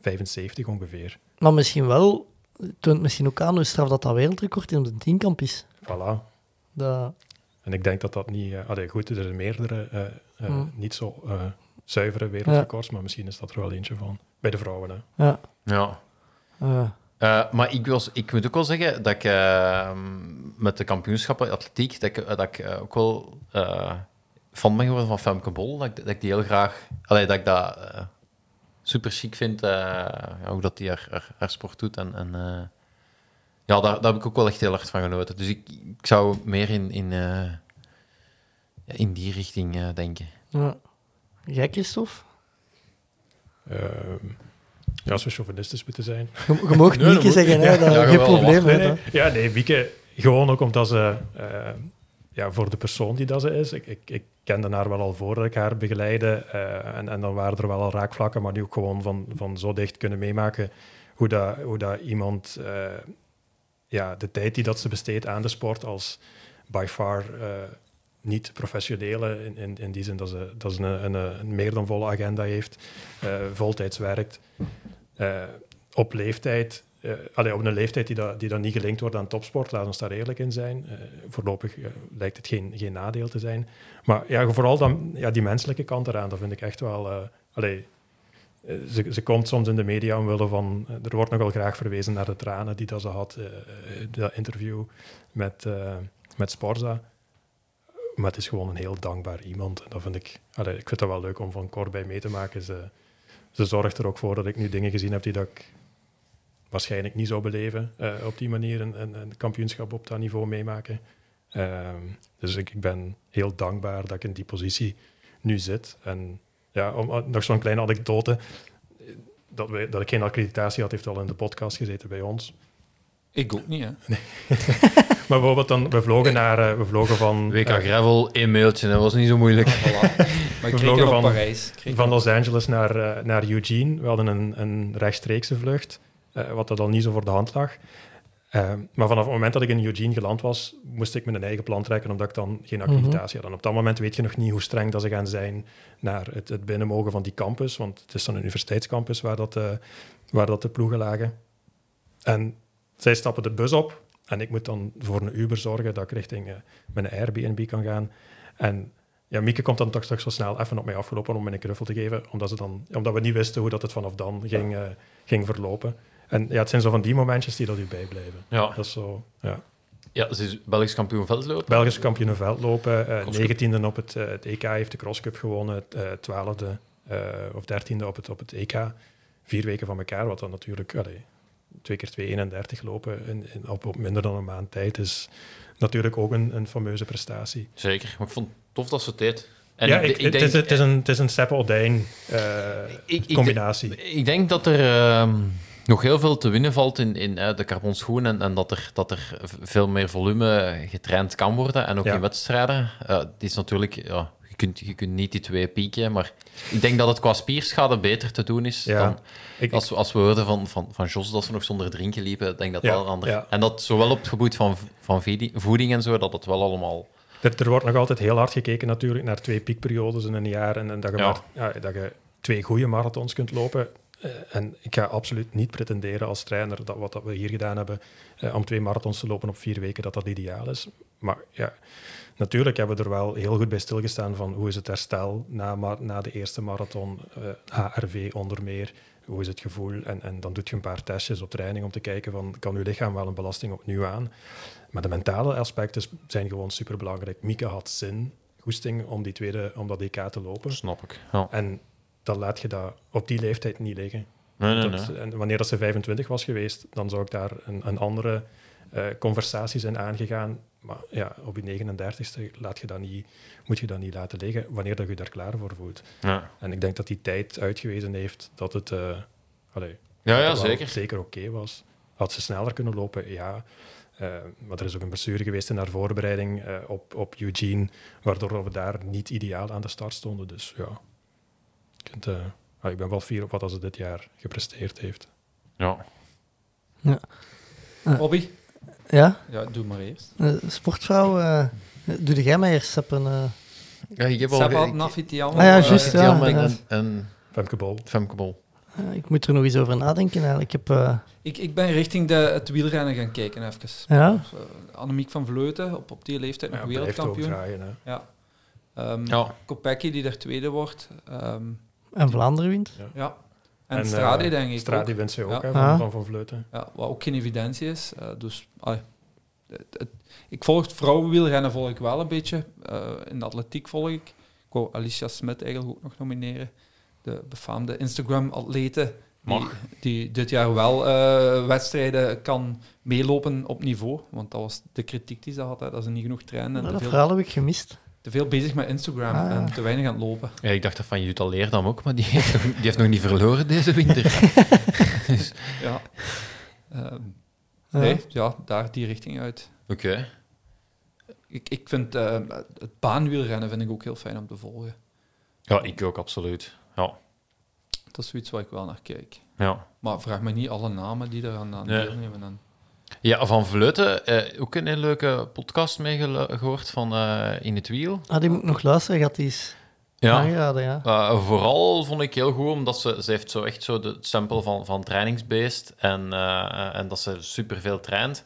S8: 75 ongeveer.
S7: Maar misschien wel, het toont misschien ook aan hoe straf dat dat wereldrecord in op de tienkamp is.
S8: Voilà.
S7: Dat,
S8: En ik denk dat dat niet... eh allee, goed, er zijn meerdere eh, eh,
S7: Hmm.
S8: niet zo eh, zuivere wereldrecords, maar misschien is dat er wel eentje van. Bij de vrouwen, hè.
S7: ja,
S9: Ja.
S7: eh,
S9: Eh, maar ik, was, ik moet ook wel zeggen dat ik eh, met de kampioenschappen atletiek, dat ik, eh, dat ik eh, ook wel eh fan ben geworden van Femke Bol. Dat ik, dat ik die heel graag, allee, dat ik dat eh, super chic vind, eh, ja, hoe dat die haar, haar, haar sport doet. En, en eh, ja, daar, daar heb ik ook wel echt heel hard van genoten. Dus ik, ik zou meer in, in, eh, ja, in die richting eh, denken.
S7: ja. Jij, Christophe?
S8: Ehm, ja, als we chauvinistisch moeten zijn.
S7: Je, je mag
S9: Nee, dat
S7: Nieke
S9: moet
S7: zeggen,
S9: niet.
S7: hè,
S9: Ja,
S7: dat,
S9: ja,
S7: geen
S9: jawel,
S7: probleem. hè,
S8: Nee, nee.
S7: dat.
S8: Ja, nee, Wieke, gewoon ook omdat ze... eh, ja, voor de persoon die dat ze is. Ik, ik, ik kende haar wel al voordat ik haar begeleide. eh, en, en dan waren er wel al raakvlakken, maar nu ook gewoon van, van zo dicht kunnen meemaken hoe dat, hoe dat iemand... eh, ja, de tijd die dat ze besteedt aan de sport als by far eh, niet professionele, in, in, in die zin dat ze, dat ze een, een, een meer dan volle agenda heeft, eh, voltijds werkt, eh, op leeftijd, eh allee, op een leeftijd die, dat, die dan niet gelinkt wordt aan topsport, laat ons daar eerlijk in zijn. Eh, voorlopig eh, lijkt het geen, geen nadeel te zijn. Maar ja, vooral dan, ja, die menselijke kant eraan, dat vind ik echt wel... eh, allee, eh, ze, ze komt soms in de media omwille van... eh, Er wordt nogal graag verwezen naar de tranen die dat ze had. eh, eh, dat interview met, eh, met Sporza. Maar het is gewoon een heel dankbaar iemand. En dat vind ik... allee, ik vind dat wel leuk om van kort bij mee te maken. Ze, ze zorgt er ook voor dat ik nu dingen gezien heb die dat ik waarschijnlijk niet zou beleven. eh, op die manier een, een, een kampioenschap op dat niveau meemaken. Ehm, dus ik, ik ben heel dankbaar dat ik in die positie nu zit. En ja, om, eh, nog zo'n kleine anekdote. eh, Dat, we, dat ik geen accreditatie had, heeft al in de podcast gezeten bij ons.
S5: Ik ook niet, hè.
S8: Maar bijvoorbeeld, dan, we vlogen, naar, eh, we vlogen van,
S9: WK
S8: eh,
S9: Gravel, één mailtje, dat was niet zo moeilijk.
S5: Voilà. Maar ik kreeg
S8: vlogen
S5: hem op
S8: van-
S5: Parijs. Ik kreeg
S8: van Los Angeles naar, eh, naar Eugene. We hadden een, een rechtstreekse vlucht, eh, wat dat al niet zo voor de hand lag. Eh, maar vanaf het moment dat ik in Eugene geland was, moest ik mijn eigen plan trekken, omdat ik dan geen accreditatie had. En op dat moment weet je nog niet hoe streng dat ze gaan zijn naar het, het binnenmogen van die campus, want het is dan een universiteitscampus waar dat, eh, waar dat de ploegen lagen. En zij stappen de bus op en ik moet dan voor een Uber zorgen dat ik richting eh, mijn Airbnb kan gaan. En ja, Mieke komt dan toch, toch zo snel even op mij afgelopen om mij een knuffel te geven, omdat, ze dan, omdat we niet wisten hoe dat het vanaf dan ging, eh, ging verlopen. En ja, het zijn zo van die momentjes die dat u bijblijven.
S9: Ja,
S8: Dat is zo, ja.
S9: ja ze is Belgisch kampioen veldlopen.
S8: Belgisch kampioen veldlopen, eh
S9: Crosscup.
S8: 19e op het, eh, het EK, heeft de crosscup gewonnen, eh, 12e eh, of 13e op het, op het EK. Vier weken van elkaar, wat dan natuurlijk allee, twee keer 231 lopen in, in- op, op minder dan een maand tijd is natuurlijk ook een, een fameuze prestatie.
S9: Zeker, maar ik vond het tof dat ze het deed. En
S8: ja,
S9: ik,
S8: ik,
S9: ik denk, eh,
S8: het, is, het is een, het is een Seppel-Dijn
S9: ik- ik-
S8: combinatie.
S9: ik denk dat er ehm, nog heel veel te winnen valt in, in eh, de carbon schoen en, en dat, er, dat er v- veel meer volume getraind kan worden en ook
S8: Ja.
S9: in wedstrijden. Eh, het is natuurlijk, ja, je, kunt, je kunt niet die twee pieken, maar ik denk dat het qua spierschade beter te doen is
S8: Ja.
S9: dan
S8: Ik-
S9: als, we- als we hoorden van, van, van Jos dat ze nog zonder drinken liepen. Ik denk dat
S8: Ja,
S9: dat een ander...
S8: ja.
S9: En dat zowel op het gebied van, v- van vedi- voeding en zo, dat het wel allemaal...
S8: Er, er wordt nog altijd heel hard gekeken natuurlijk naar twee piekperiodes in een jaar en, en dat, je
S9: Ja.
S8: maar- ja, dat je twee goede marathons kunt lopen. Eh, en ik ga absoluut niet pretenderen als trainer dat wat dat we hier gedaan hebben eh, om twee marathons te lopen op vier weken, dat dat ideaal is. Maar ja, natuurlijk hebben we er wel heel goed bij stilgestaan van hoe is het herstel na, ma- na de eerste marathon, eh, HRV onder meer, hoe is het gevoel? En, en dan doet je een paar testjes op training om te kijken van kan uw lichaam wel een belasting opnieuw aan? Maar de mentale aspecten zijn gewoon superbelangrijk. Mieke had zin, goesting, om, die tweede, om dat DK te lopen.
S9: Snap ik. Ja.
S8: En dan laat je dat op die leeftijd niet liggen.
S9: Nee, nee,
S8: Dat-
S9: nee.
S8: en wanneer dat ze 25 was geweest, dan zou ik daar een, een andere eh, conversatie zijn aangegaan. Maar ja, op je 39ste laat je dat niet, moet je dat niet laten liggen, wanneer dat je daar klaar voor voelt.
S9: Ja,
S8: En ik denk dat die tijd uitgewezen heeft dat het... eh, allee,
S9: ja,
S8: dat
S9: ja
S8: het wel
S9: zeker.
S8: Zeker oké was. Had ze sneller kunnen lopen, ja. Eh, maar er is ook een blessure geweest in haar voorbereiding eh, op, op Eugene, waardoor we daar niet ideaal aan de start stonden. Dus ja, je kunt, eh, ah, ik ben wel fier op wat ze dit jaar gepresteerd heeft.
S9: Ja.
S5: Hobby.
S7: Ja,
S5: Ja, doe maar eerst.
S7: eh, sportvrouw, eh, Doe jij mij eerst Sepp een... eh,
S9: Ja, ik heb al...
S5: Sepp had
S9: ik-
S5: Nafitian.
S7: Ah ja,
S5: eh,
S7: juist, ja.
S9: Jan en,
S7: inderdaad.
S9: en, en
S8: Femke Bol.
S9: Femke Bol.
S7: eh, ik moet er nog eens over nadenken eigenlijk. Ik heb... eh,
S5: Ik, ik ben richting de, het wielrennen gaan kijken, even.
S7: ja,
S5: Eh, Annemiek van Vleuten, op, op die leeftijd nog
S8: Ja, blijft ook
S5: wereldkampioen.
S8: draaien. Hè.
S5: Ja. Ehm
S9: Ja.
S5: Kopecky, die daar tweede wordt. Ehm,
S7: en Vlaanderen wint.
S5: ja. En,
S8: En, eh,
S5: Strade, denk ik
S8: Stradi
S5: ook.
S8: wint ze ook,
S5: Ja.
S8: hè, van,
S7: Ah.
S8: van Van Vleuten.
S5: Ja, wat ook geen evidentie is. Eh, dus, ah, het- het- ik volg het vrouwenwielrennen volg ik wel een beetje. Eh, in de atletiek volg ik. Ik wou Alicia Smit eigenlijk ook nog nomineren. De befaamde Instagram-atlete. Die,
S9: Mag.
S5: die dit jaar wel eh, wedstrijden kan meelopen op niveau. Want dat was de kritiek die ze had. Hè, dat ze niet genoeg trainen.
S7: Ja,
S5: En
S7: dat
S5: te veel,
S7: verhaal heb ik gemist.
S5: te veel bezig met Instagram.
S7: Ah.
S5: En te weinig aan het lopen.
S9: Ja, ik dacht dat van Jutta Leerdam ook, maar die heeft, nog, die heeft nog niet verloren deze winter.
S5: Ja. Ehm,
S7: Ja.
S5: Nee, ja, daar die richting uit.
S9: Oké.
S5: Ik, ik vind eh, het baanwielrennen vind ik ook heel fijn om te volgen.
S9: Ja, ik ook, absoluut. Ja.
S5: Dat is zoiets waar ik wel naar kijk.
S9: Ja.
S5: Maar vraag me niet alle namen die eraan aan
S9: Nee.
S5: deelnemen. En,
S9: ja, Van Vleuten, eh, ook een hele leuke podcast meegehoord van eh, In het Wiel. Ah,
S7: Ah, die moet ik nog luisteren. Gaat die eens aangeraden, ja.
S9: Eh, vooral vond ik heel goed omdat ze, ze heeft zo echt zo de het stempel van, van trainingsbeest en, eh, en dat ze superveel traint.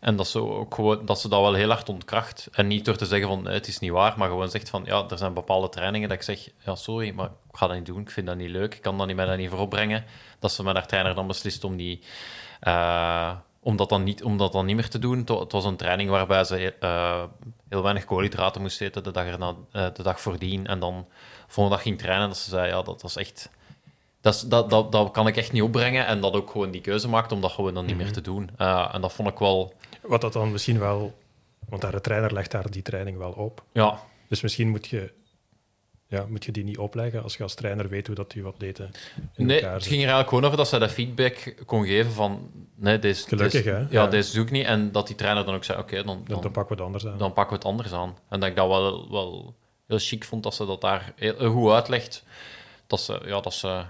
S9: En dat ze, ook gewoon, dat ze dat wel heel hard ontkracht. En niet door te zeggen van nee, het is niet waar, maar gewoon zegt van ja, er zijn bepaalde trainingen dat ik zeg ja, sorry, maar ik ga dat niet doen. Ik vind dat niet leuk. Ik kan dat niet, mij dat niet voor opbrengen. Dat ze met haar trainer dan beslist om die. eh, om dat, dan niet, om dat dan niet meer te doen. Het wa- Het was een training waarbij ze eh, heel weinig koolhydraten moest eten de dag, erna, eh, de dag voordien. En dan volgende dag ging trainen, dat ze zei, ja, dat was echt... Dat, is- dat, dat, dat kan ik echt niet opbrengen. En dat ook gewoon die keuze maakt om dat gewoon dan niet
S8: Mhm.
S9: meer te doen. Eh, en dat vond ik wel...
S8: Wat dat dan misschien wel... Want haar trainer legt daar die training wel op.
S9: Ja,
S8: Dus misschien moet je, ja, moet je die niet opleggen als je als trainer weet hoe dat je wat daten in
S9: nee,
S8: elkaar
S9: het
S8: zit.
S9: ging er eigenlijk gewoon over dat zij dat feedback kon geven van... Nee, deze,
S8: Gelukkig,
S9: deze-
S8: hè?
S9: Ja,
S8: Ja.
S9: deze doe ik niet. En dat die trainer dan ook zei, oké, dan,
S8: Dan,
S9: dan,
S8: dan pakken we het anders aan.
S9: dan pakken we het anders aan. En dat ik dat wel, wel heel chic vond dat ze dat daar heel, heel goed uitlegt. Dat ze, ja, dat ze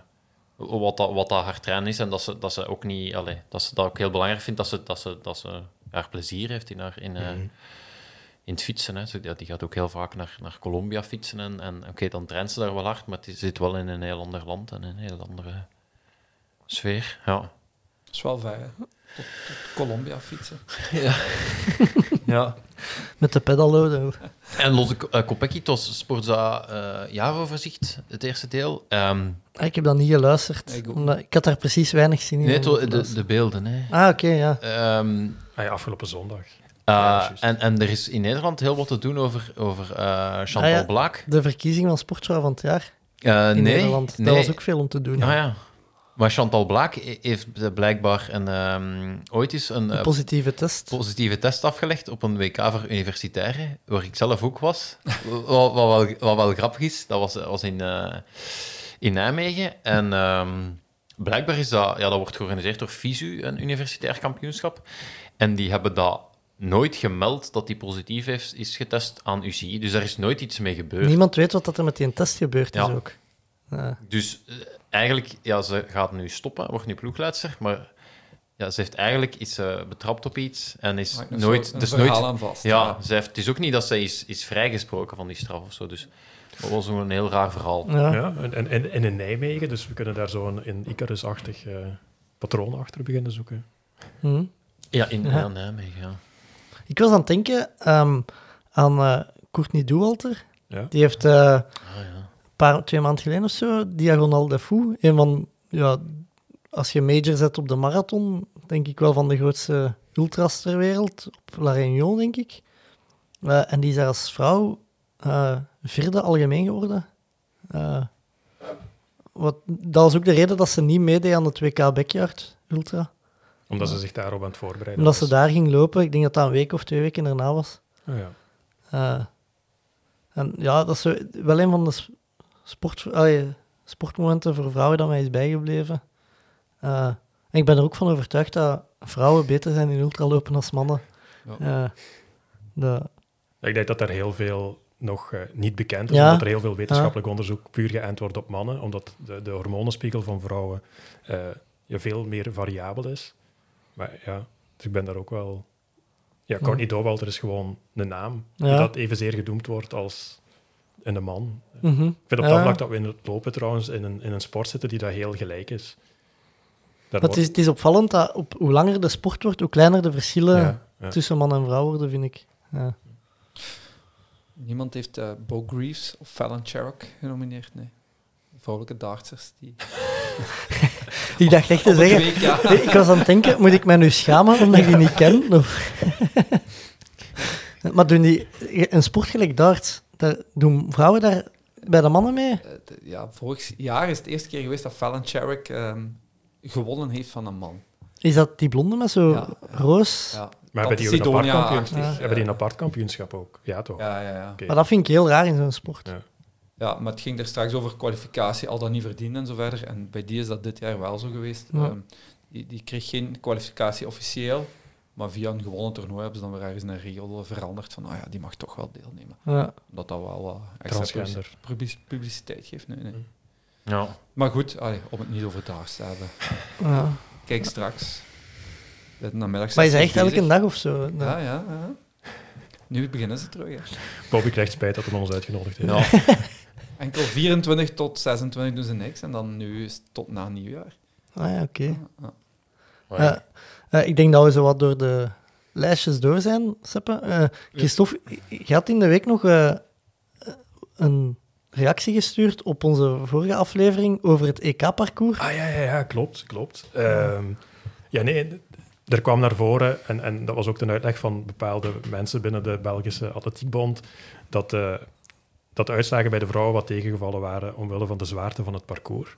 S9: wat, dat, wat dat haar trein is en dat ze, dat ze ook niet, allee, dat ze dat ook heel belangrijk vindt dat ze, dat ze, dat ze haar plezier heeft in, haar, in, eh, in het fietsen. Hè. Ze- ja, die gaat ook heel vaak naar, naar Colombia fietsen en, en oké, dan traint ze daar wel hard, maar het zit wel in een heel ander land en een heel andere sfeer. Ja.
S5: dat is wel fijn. hè. Tot, tot Colombia fietsen.
S9: ja.
S7: Met de pedalloden. ook.
S9: En Lotte Ko- eh, Kopecky, het was Sportza eh, jaaroverzicht, het eerste deel. Ehm,
S7: Ah, ik heb dat niet geluisterd.
S5: Ik ook.
S7: omdat, ik had daar precies weinig zin in.
S9: nee,
S7: om
S9: het wa-
S7: te
S9: de,
S7: luisteren.
S9: de beelden. Hè.
S7: Ah, oké, ja.
S9: Ehm,
S8: Ah ja, afgelopen zondag.
S9: eh,
S8: Ja, juist.
S9: en, en er is in Nederland heel wat te doen over, over eh, Chantal
S7: Ah, ja.
S9: Blaak.
S7: De verkiezing van Sportvrouw van het jaar
S9: Eh,
S7: in
S9: nee,
S7: Nederland.
S9: nee.
S7: Dat was ook veel om te doen.
S9: Ah, ja. Maar Chantal Blaak he- heeft blijkbaar een, ehm, ooit eens een
S7: Een
S9: eh,
S7: positieve test.
S9: positieve test afgelegd op een WK voor universitairen, waar ik zelf ook was. wat, wat, wel, wat wel grappig is, dat was, was in, eh, in Nijmegen. En ehm, blijkbaar is dat, ja, dat wordt georganiseerd door FISU, een universitair kampioenschap. En die hebben dat nooit gemeld dat die positief heeft, is getest aan UCI. Dus daar is nooit iets mee gebeurd.
S7: Niemand weet wat dat er met die test gebeurd is
S9: Ja.
S7: ook. Ja.
S9: Dus eh, eigenlijk, ja, ze gaat nu stoppen, wordt nu ploegleidster, maar... Ja, ze heeft eigenlijk is eh, betrapt op iets en is
S5: Maakt nog zo
S9: nooit,
S5: een
S9: dus
S5: verhaal
S9: nooit,
S5: aan vast.
S9: ja, ze heeft, het is ook niet dat zij is, is vrijgesproken van die straf of zo. Dus dat was nog een heel raar verhaal.
S7: Ja.
S8: Ja, en, en, en, en in Nijmegen, dus we kunnen daar zo'n in Icarus-achtig eh, patroon achter beginnen zoeken.
S7: Hm.
S9: Ja, in
S7: Ja.
S9: ja. Nijmegen, ja.
S7: Ik was aan het denken ehm, aan eh Courtney Doewalter.
S8: Ja.
S7: Die heeft eh,
S9: Ah, ja.
S7: een paar, twee maanden geleden of zo Diagonal de Fou. Een van, ja, als je major zet op de marathon, denk ik wel van de grootste ultras ter wereld. Op La Réunion, denk ik. Eh, en die is daar als vrouw eh, vierde algemeen geworden. Eh, wat, dat was ook de reden dat ze niet meedeed aan het WK Backyard Ultra.
S8: Omdat ze zich daarop aan het voorbereiden
S7: Omdat ze
S8: was.
S7: daar ging lopen. Ik denk dat dat een week of twee weken daarna was.
S8: Ah, ja.
S7: Eh, en ja, dat is zo- wel een van de s- sport, allee, sportmomenten voor vrouwen dat mij is bijgebleven. Eh, en ik ben er ook van overtuigd dat vrouwen beter zijn in ultralopen dan mannen. Eh, de-
S8: Ja, Ik denk dat daar heel veel nog eh, niet bekend is,
S7: Ja.
S8: omdat er heel veel wetenschappelijk onderzoek puur geënt wordt op mannen, omdat de, de hormonenspiegel van vrouwen eh, ja, veel meer variabel is. Maar ja, dus ik ben daar ook wel Ja, Courtney Dowalter is gewoon een naam.
S7: Ja.
S8: Dat evenzeer gedoemd wordt als een man.
S7: Mhm.
S8: Ik vind op dat
S7: Ja.
S8: vlak dat we in het lopen trouwens in een, in een sport zitten die daar heel gelijk is. Daar
S7: Maar het, is, het is opvallend dat op, hoe langer de sport wordt, hoe kleiner de verschillen
S8: Ja, ja.
S7: tussen man en vrouw worden, vind ik. Ja.
S5: Niemand heeft eh, Bo Greaves of Fallon Sherrock genomineerd, nee. Vrouwelijke dartsers die...
S7: Ik dacht echt te
S5: Op het
S7: zeggen,
S5: WK.
S7: Nee, ik was aan het denken, moet ik mij nu schamen omdat ik die niet ken? Of- maar doen die een sport gelijk darts, daar, doen vrouwen daar bij de mannen mee?
S5: Eh, de- ja, vorig jaar is het eerste keer geweest dat Fallon Sherrock ehm, gewonnen heeft van een man.
S7: Is dat die blonde met zo
S5: Ja.
S7: roos?
S5: Ja.
S8: Maar
S5: Dat
S8: hebben die, ook een apart kampioenschap?
S5: Sidonia-achtig,
S8: hebben die
S5: eh,
S8: een apart kampioenschap ook? Ja, toch?
S5: Ja, ja, ja.
S8: Oké.
S7: Maar dat vind ik heel raar in zo'n sport.
S5: Ja, maar het ging er straks over kwalificatie, al dan niet verdienen en zo verder. En bij die is dat dit jaar wel zo geweest.
S7: Ja.
S5: Ehm, die, die kreeg geen kwalificatie officieel, maar via een gewonnen toernooi hebben ze dan weer ergens een regel veranderd van, nou ja, die mag toch wel deelnemen.
S7: Ja.
S5: Omdat dat wel wat extra
S8: Transgender.
S5: publici- publiciteit geeft. Nee, nee.
S9: Ja.
S5: Maar goed, allee, om het niet over daags te hebben.
S7: Ja.
S5: Kijk straks. De namiddag
S7: Maar is
S5: zijn
S7: dat
S5: ze
S7: echt elke
S5: bezig.
S7: dag of zo?
S5: Ja, ja, ja. Nu beginnen ze terug. hè.
S8: Bobby krijgt spijt dat hij ons uitgenodigd heeft.
S9: Ja.
S5: Enkel 24 tot 26 doen ze niks. En dan nu is het tot na nieuwjaar.
S7: Ah ja, oké.
S5: Ja.
S7: Eh, eh, ik denk dat we zo wat door de lijstjes door zijn, Seppe. Eh, Christophe, je had in de week nog eh, eh, een reactie gestuurd op onze vorige aflevering over het EK-parcours.
S8: Ah ja, ja, ja klopt. klopt. Ehm, ja, nee, er kwam naar voren, en, en dat was ook de uitleg van bepaalde mensen binnen de Belgische Atletiekbond, dat, eh, dat de uitslagen bij de vrouwen wat tegengevallen waren omwille van de zwaarte van het parcours.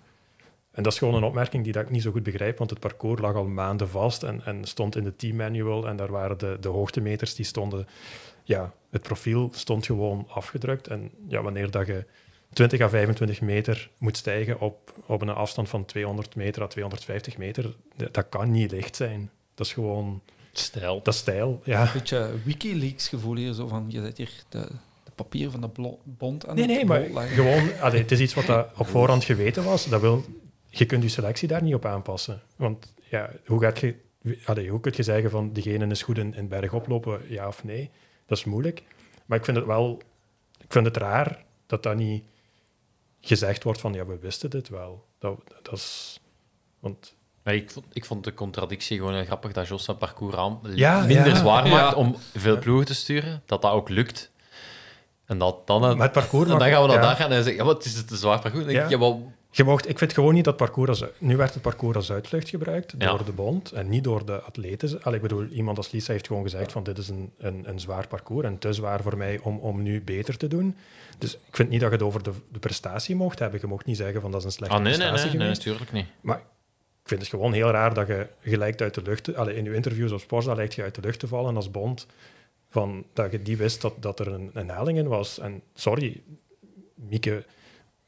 S8: En dat is gewoon een opmerking die dat ik niet zo goed begrijp, want het parcours lag al maanden vast en, en stond in de team manual en daar waren de, de hoogtemeters die stonden... Ja, het profiel stond gewoon afgedrukt. En ja, wanneer dat je 20 à 25 meter moet stijgen op, op een afstand van 200 meter à 250 meter, dat dat kan niet licht zijn. Dat is gewoon,
S9: Stijl.
S8: dat is stijl. Ja.
S5: Een beetje Wikileaks gevoel hier, zo van je zet hier de, de papieren van de blo- bond aan
S8: Nee, nee,
S5: het
S8: maar
S5: bol eh, leggen.
S8: gewoon, allee, het is iets wat dat op voorhand geweten was. Dat wil, je kunt je selectie daar niet op aanpassen. Want ja, hoe, gaat je, allee, hoe kun je zeggen van diegene is goed in, in berg oplopen, ja of nee? Dat is moeilijk. Maar ik vind het wel, ik vind het raar dat dat niet gezegd wordt van ja, we wisten dit wel. Dat, dat is, want
S9: Maar ik, vond, ik vond de contradictie gewoon heel grappig dat Jos zijn parcours aan,
S8: Ja,
S9: minder
S8: ja.
S9: zwaar
S5: Ja.
S9: maakt om veel ploegen te sturen, dat dat ook lukt. En, dat, dan,
S8: Maar het parcours
S9: en dan
S8: mag-
S9: gaan we naar
S8: ja.
S9: daar gaan en zeggen, ja, wat is het een zwaar parcours? Dan denk ik,
S8: Ja.
S9: ja, wel,
S8: Je mocht, ik vind gewoon niet dat parcours als, Nu werd het parcours als uitvlucht gebruikt
S9: Ja.
S8: door de bond en niet door de atleten. Allee, ik bedoel, iemand als Lisa heeft gewoon gezegd van dit is een, een, een zwaar parcours en te zwaar voor mij om, om nu beter te doen. Dus ik vind niet dat je het over de, de prestatie mocht hebben. Je mocht niet zeggen van dat is een slechte
S9: ah, nee, nee,
S8: prestatie
S9: nee, nee,
S8: geweest.
S9: natuurlijk niet.
S8: Maar ik vind het gewoon heel raar dat je gelijk uit de lucht... Allee, in je interviews op Sporza lijkt je uit de lucht te vallen als bond. Van, dat je die wist dat, dat er een, een helling in was. En sorry, Mieke...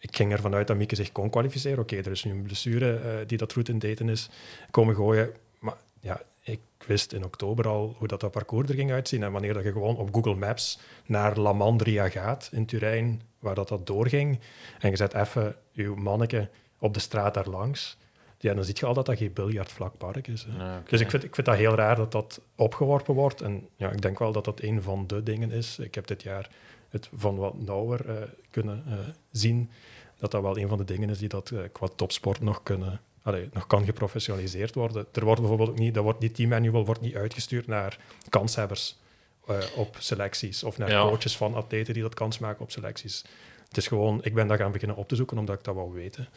S8: Ik ging ervan uit dat Mieke zich kon kwalificeren. Oké, er is nu een blessure eh, die dat roet in Dayton is komen gooien. Maar ja, ik wist in oktober al hoe dat, dat parcours er ging uitzien. En wanneer dat je gewoon op Google Maps naar La Mandria gaat in Turijn, waar dat, dat doorging, en je zet even uw manneke op de straat daar langs, ja, dan zie je al dat dat geen biljartvlak park is. hè.
S9: Ja, oké.
S8: Dus ik vind, ik vind dat heel raar dat dat opgeworpen wordt. En ja, ik denk wel dat dat een van de dingen is. Ik heb dit jaar het van wat nauwer eh, kunnen eh, zien. Dat dat wel een van de dingen is die dat eh, qua topsport nog, kunnen, allee, nog kan geprofessionaliseerd worden. Er wordt bijvoorbeeld ook niet, dat wordt, die teammanual wordt niet uitgestuurd naar kanshebbers eh, op selecties. Of naar
S9: Ja.
S8: coaches van atleten die dat kans maken op selecties. Het is gewoon, ik ben dat gaan beginnen op te zoeken omdat ik dat wou weten.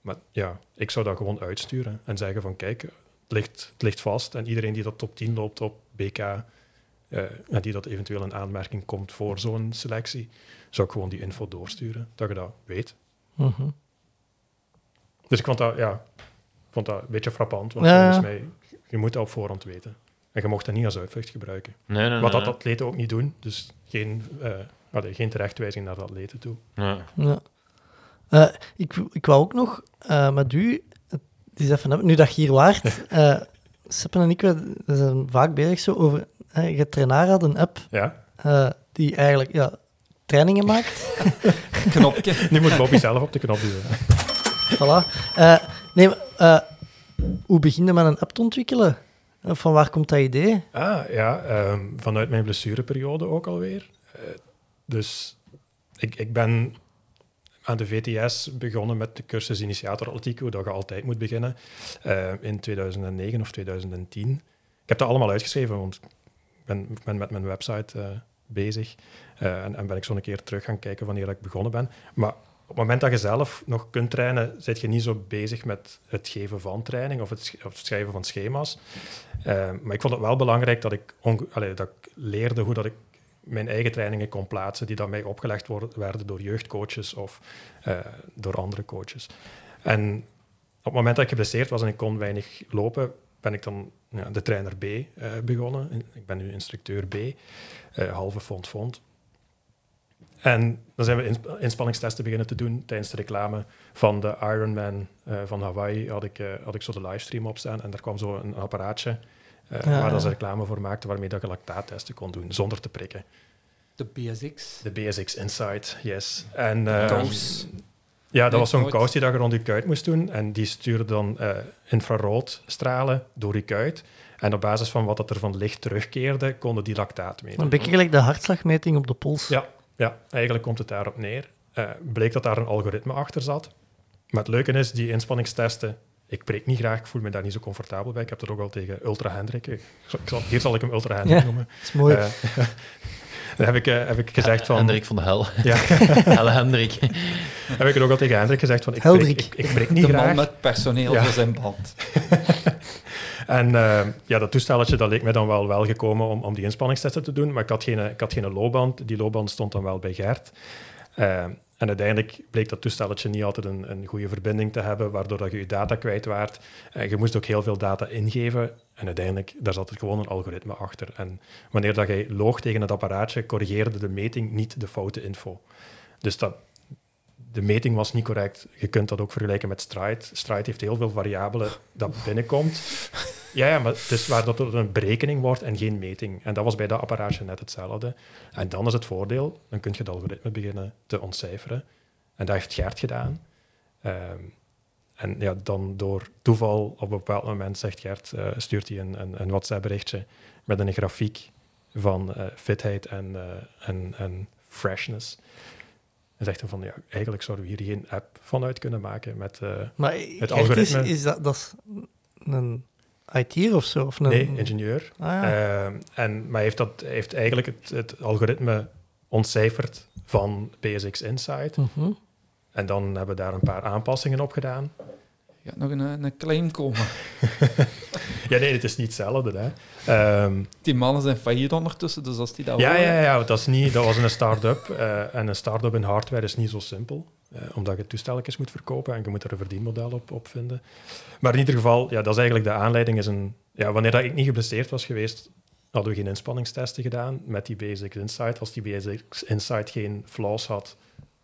S8: Maar ja, ik zou dat gewoon uitsturen en zeggen van kijk, het ligt, het ligt vast. En iedereen die dat top 10 loopt op BK, eh, en die dat eventueel in aanmerking komt voor zo'n selectie, zou ik gewoon die info doorsturen, dat je dat weet.
S7: Mhm.
S8: Dus ik vond dat, ja, ik vond dat een beetje frappant, want
S7: Ja, ja.
S8: volgens mij, je moet dat op voorhand weten. En je mocht dat niet als uitvlucht gebruiken.
S9: Nee, nee,
S8: Wat
S9: nee,
S8: dat atleten ook niet doen, dus geen, eh, allee, geen terechtwijzing naar de atleten toe.
S9: nee. Nee.
S7: Ja. Eh, ik, ik wou ook nog eh, met u, het is even, hebben- nu dat je hier waart, eh Seppen en ik we we zijn vaak bezig zo over, eh, je trainaar had een app
S8: Ja,
S7: eh, die eigenlijk ja, trainingen maakt.
S5: Knopje.
S8: nu moet Bobby zelf op de knop duwen.
S7: Voilà. Eh, nee, maar, eh, hoe begin je met een app te ontwikkelen? Of van waar komt dat idee?
S8: Ah, ja, ehm, vanuit mijn blessureperiode ook alweer. Eh, dus ik, ik ben aan de VTS begonnen met de cursus Initiator Atletiek, hoe dat je altijd moet beginnen, eh, in 2009 of 2010. Ik heb dat allemaal uitgeschreven, want ik ben, ik ben met mijn website eh, bezig. Eh, en, en ben ik zo een keer terug gaan kijken wanneer dat ik begonnen ben. Maar op het moment dat je zelf nog kunt trainen, zit je niet zo bezig met het geven van training of het, sch- of het schrijven van schema's. Eh, maar ik vond het wel belangrijk dat ik, onge- allee, dat ik leerde hoe dat ik mijn eigen trainingen kon plaatsen die dan mij opgelegd wor- werden door jeugdcoaches of eh, door andere coaches. En op het moment dat ik geblesseerd was en ik kon weinig lopen, ben ik dan ja, de trainer B eh, begonnen. En Ik ben nu instructeur B, eh, halve fond fond. En dan zijn we ins- inspanningstesten beginnen te doen tijdens de reclame van de Ironman eh, van Hawaii. Had ik, eh, had ik zo de livestream op staan en daar kwam zo een apparaatje eh,
S7: Ja,
S8: waar dat ze
S7: ja.
S8: reclame voor maakten waarmee dat je lactaattesten kon doen zonder te prikken.
S5: De BSX.
S8: De BSX Insight, yes. En, eh,
S5: Kous.
S8: Ja, dat
S5: Nee,
S8: was zo'n
S5: nooit.
S8: kous die dat je rond je kuit moest doen. En die stuurde dan eh, infraroodstralen door je kuit. En op basis van wat dat er van licht terugkeerde, konden die lactaat meten.
S7: Een beetje gelijk de hartslagmeting op de pols.
S8: Ja, ja, eigenlijk komt het daarop neer. Eh, bleek dat daar een algoritme achter zat. Maar het leuke is, die inspanningstesten... Ik preek niet graag, ik voel me daar niet zo comfortabel bij. Ik heb dat ook al tegen Ultra Hendrik. Ik zal, hier zal ik hem Ultra Hendrik
S7: Ja.
S8: noemen.
S7: Dat is mooi.
S8: Eh, daar heb ik, eh, heb ik gezegd van...
S9: Hendrik van de Hel.
S8: Ja.
S9: Helle Hendrik.
S8: Heb ik het ook al tegen Hendrik gezegd van... Ik prik,
S7: Heldrik.
S8: ik, ik prik niet
S5: De
S8: graag.
S5: man met personeel
S8: Ja.
S5: voor zijn band.
S8: En eh, ja, dat toestelletje dat leek mij dan wel welgekomen om, om die inspanningstesten te doen. Maar ik had, geen, ik had geen loopband. Die loopband stond dan wel bij Gert. Eh, en uiteindelijk bleek dat toestelletje niet altijd een, een goede verbinding te hebben, waardoor dat je je data kwijt waart. Eh, je moest ook heel veel data ingeven. En uiteindelijk, daar zat er gewoon een algoritme achter. En wanneer dat jij loog tegen het apparaatje, corrigeerde de meting niet de foute info. Dus dat, de meting was niet correct. Je kunt dat ook vergelijken met Stride. Stride heeft heel veel variabelen dat binnenkomt. Ja, ja, maar het is waar dat er een berekening wordt en geen meting. En dat was bij dat apparaatje net hetzelfde. En dan is het voordeel, dan kun je het algoritme beginnen te ontcijferen. En dat heeft Gert gedaan. Ehm, en ja, dan door toeval op een bepaald moment, zegt Gert, eh, stuurt hij een, een, een WhatsApp-berichtje met een grafiek van eh, fitheid en, eh, en, en freshness. En zegt dan van, ja, eigenlijk zouden we hier geen app van uit kunnen maken met... eh,
S7: maar het is,
S8: algoritme.
S7: is dat, dat is een IT'er of zo? Of een,
S8: nee, ingenieur.
S7: Ah, ja.
S8: Ehm, en, maar heeft, dat, heeft eigenlijk het, het algoritme ontcijferd van PSX Insight.
S7: Mhm.
S8: En dan hebben we daar een paar aanpassingen op gedaan.
S5: Je gaat nog een, eh, een claim komen.
S8: Ja, nee, het is niet hetzelfde. Hè. Ehm,
S5: Die mannen zijn failliet ondertussen, dus als die dat
S8: ja,
S5: horen-
S8: ja, ja, want dat, is niet, dat was een start-up. eh, en een start-up in hardware is niet zo simpel. eh, omdat je toestelletjes moet verkopen en je moet er een verdienmodel op, op vinden. Maar in ieder geval, ja, dat is eigenlijk de aanleiding. Is een, ja, wanneer dat ik niet geblesseerd was geweest, hadden we geen inspanningstesten gedaan met die Basics Insight. Als die Basics Insight geen flaws had,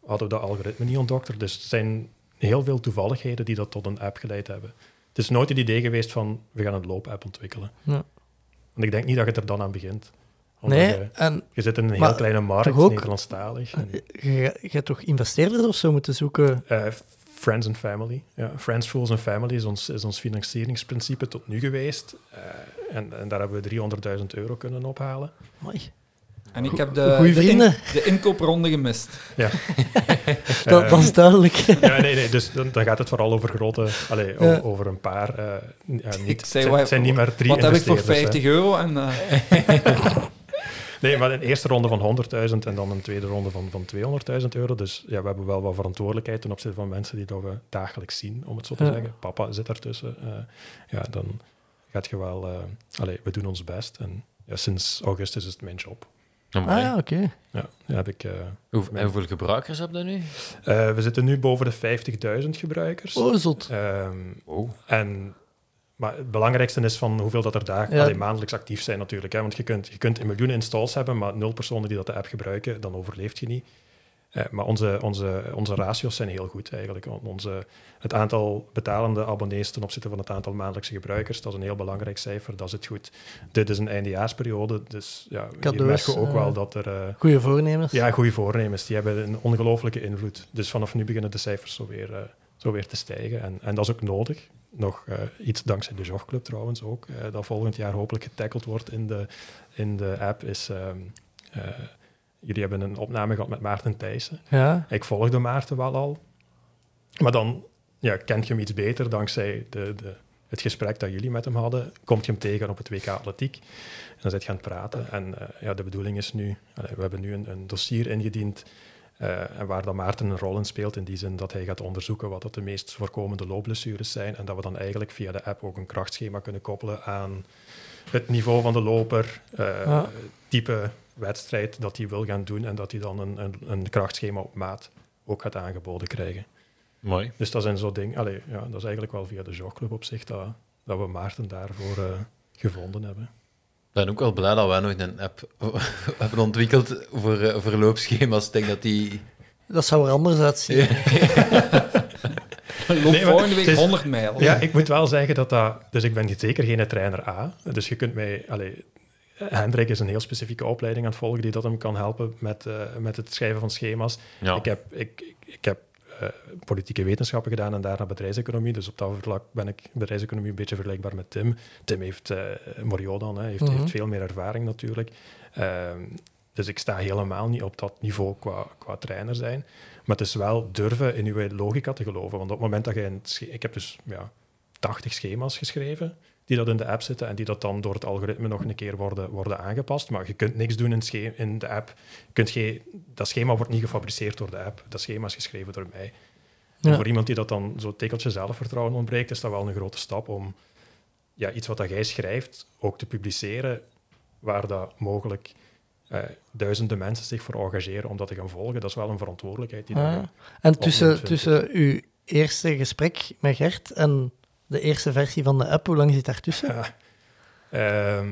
S8: hadden we dat algoritme niet ontdokterd. Dus het zijn heel veel toevalligheden die dat tot een app geleid hebben. Het is nooit het idee geweest van, we gaan een loopapp ontwikkelen.
S7: Ja.
S8: Want ik denk niet dat je er dan aan begint. Omdat
S7: Nee,
S8: je-
S7: en
S8: je zit in een
S7: Maar
S8: heel kleine markt,
S7: toch ook-
S8: Nederlandstalig. En,
S7: je, je hebt toch investeerders of zo moeten zoeken?
S8: eh, friends and Family. Ja, friends, Fools and Family is ons, is ons financieringsprincipe tot nu geweest. Eh, en, en daar hebben we 300.000 euro kunnen ophalen.
S7: Amai.
S5: En ik heb de,
S7: Goeie
S5: de, in-
S7: vrienden.
S5: de inkoopronden gemist.
S7: Dat,
S8: Eh,
S7: dat is duidelijk.
S8: ja, nee, nee, dus dan, dan gaat het vooral over grote... Allee, o-
S7: Ja.
S8: over een paar... eh, n- ja, niet,
S5: Ik zei,
S8: het zijn-
S5: wat-
S8: het zijn niet meer drie
S5: Wat heb ik voor
S8: investeerders, hè.
S5: 50 euro? En, eh,
S8: Nee, maar een eerste ronde van 100.000 en dan een tweede ronde van, van 200.000 euro. Dus ja, we hebben wel wat verantwoordelijkheid ten opzichte van mensen die dat we dagelijks zien, om het zo te
S7: Ja.
S8: zeggen. Papa zit daartussen. Eh, ja, dan gaat je wel... eh allee, we doen ons best. En ja, sinds augustus is het mijn job.
S7: Ah
S9: Amai.
S7: ja, oké.
S8: Ja, dan heb ik... eh,
S9: Hoe, en hoeveel gebruikers heb je nu?
S8: eh, we zitten nu boven de 50.000 gebruikers.
S7: Oh, zot.
S8: Ehm, En, maar het belangrijkste is van hoeveel dat er dagen,
S7: Ja.
S8: allee, maandelijks actief zijn natuurlijk. Hè? Want je kunt, je kunt een miljoen installs hebben, maar nul personen die dat de app gebruiken, dan overleeft je niet. Eh, maar onze, onze, onze ratio's zijn heel goed eigenlijk. On- Onze, het aantal betalende abonnees ten opzichte van het aantal maandelijkse gebruikers, dat is een heel belangrijk cijfer, dat zit goed. Dit is een eindejaarsperiode, dus ja, hier
S7: Cadeaus,
S8: merken we ook
S7: eh.
S8: wel dat er... eh,
S7: Goeie voornemens.
S8: ja, goede voornemens. Die hebben een ongelooflijke invloed. Dus vanaf nu beginnen de cijfers zo weer, eh, zo weer te stijgen. En, en dat is ook nodig. nog eh, iets dankzij de Jogclub trouwens ook, eh, dat volgend jaar hopelijk getackled wordt in de, in de app, is... ehm, eh, jullie hebben een opname gehad met Maarten Thijssen.
S7: Ja,
S8: Ik volgde Maarten wel al. Maar dan ja, kent je hem iets beter dankzij de, de, het gesprek dat jullie met hem hadden. Komt je hem tegen op het WK Atletiek. En dan zit je aan het praten. En eh, ja, de bedoeling is nu... allee, we hebben nu een, een dossier ingediend... eh, en waar dan Maarten een rol in speelt, in die zin dat hij gaat onderzoeken wat dat de meest voorkomende loopblessures zijn. En dat we dan eigenlijk via de app ook een krachtschema kunnen koppelen aan het niveau van de loper, eh,
S7: Ja.
S8: type wedstrijd dat hij wil gaan doen. En dat hij dan een, een, een krachtschema op maat ook gaat aangeboden krijgen.
S9: Mooi.
S8: Dus dat zijn zo'n ding. Allee, ja, dat is eigenlijk wel via de jogclub op zich dat, dat we Maarten daarvoor eh, gevonden hebben.
S9: Ik ben ook wel blij dat wij nooit een app hebben ontwikkeld voor eh, voor loopschema's. Ik denk dat die...
S7: dat zou er anders uitzien.
S5: Loop
S8: maar het
S5: volgende week
S8: is-
S5: 100 mijl.
S8: Ja, ik moet wel zeggen dat dat... Dus ik ben zeker geen trainer A. Dus je kunt mij... Allee, Hendrik is een heel specifieke opleiding aan het volgen die dat hem kan helpen met, eh, met het schrijven van schema's.
S9: Ja.
S8: Ik heb, ik, ik- ik heb eh, politieke wetenschappen gedaan en daarna bedrijfseconomie. Dus op dat vlak ben ik bedrijfseconomie een beetje vergelijkbaar met Tim. Tim heeft, eh Moriot dan, hè, heeft,
S7: Mhm.
S8: heeft veel meer ervaring natuurlijk. Ehm, dus ik sta helemaal niet op dat niveau qua, qua trainer zijn. Maar het is wel durven in uw logica te geloven. Want op het moment dat je... Een sche- ik heb dus ja, 80 schema's geschreven die dat in de app zitten en die dat dan door het algoritme nog een keer worden, worden aangepast. Maar je kunt niks doen in, sche- in de app. Je Kunt geen- dat schema wordt niet gefabriceerd door de app. Dat schema is geschreven door mij. En
S7: Ja.
S8: voor iemand die dat dan zo'n tikkeltje zelfvertrouwen ontbreekt, is dat wel een grote stap om ja, iets wat dat jij schrijft ook te publiceren, waar dat mogelijk eh, duizenden mensen zich voor engageren om dat te gaan volgen. Dat is wel een verantwoordelijkheid. Die dan-
S7: Ah. En tussen,
S8: 120.
S7: tussen uw eerste gesprek met Gert en de eerste versie van de app, hoe lang zit daartussen?
S8: Ehm,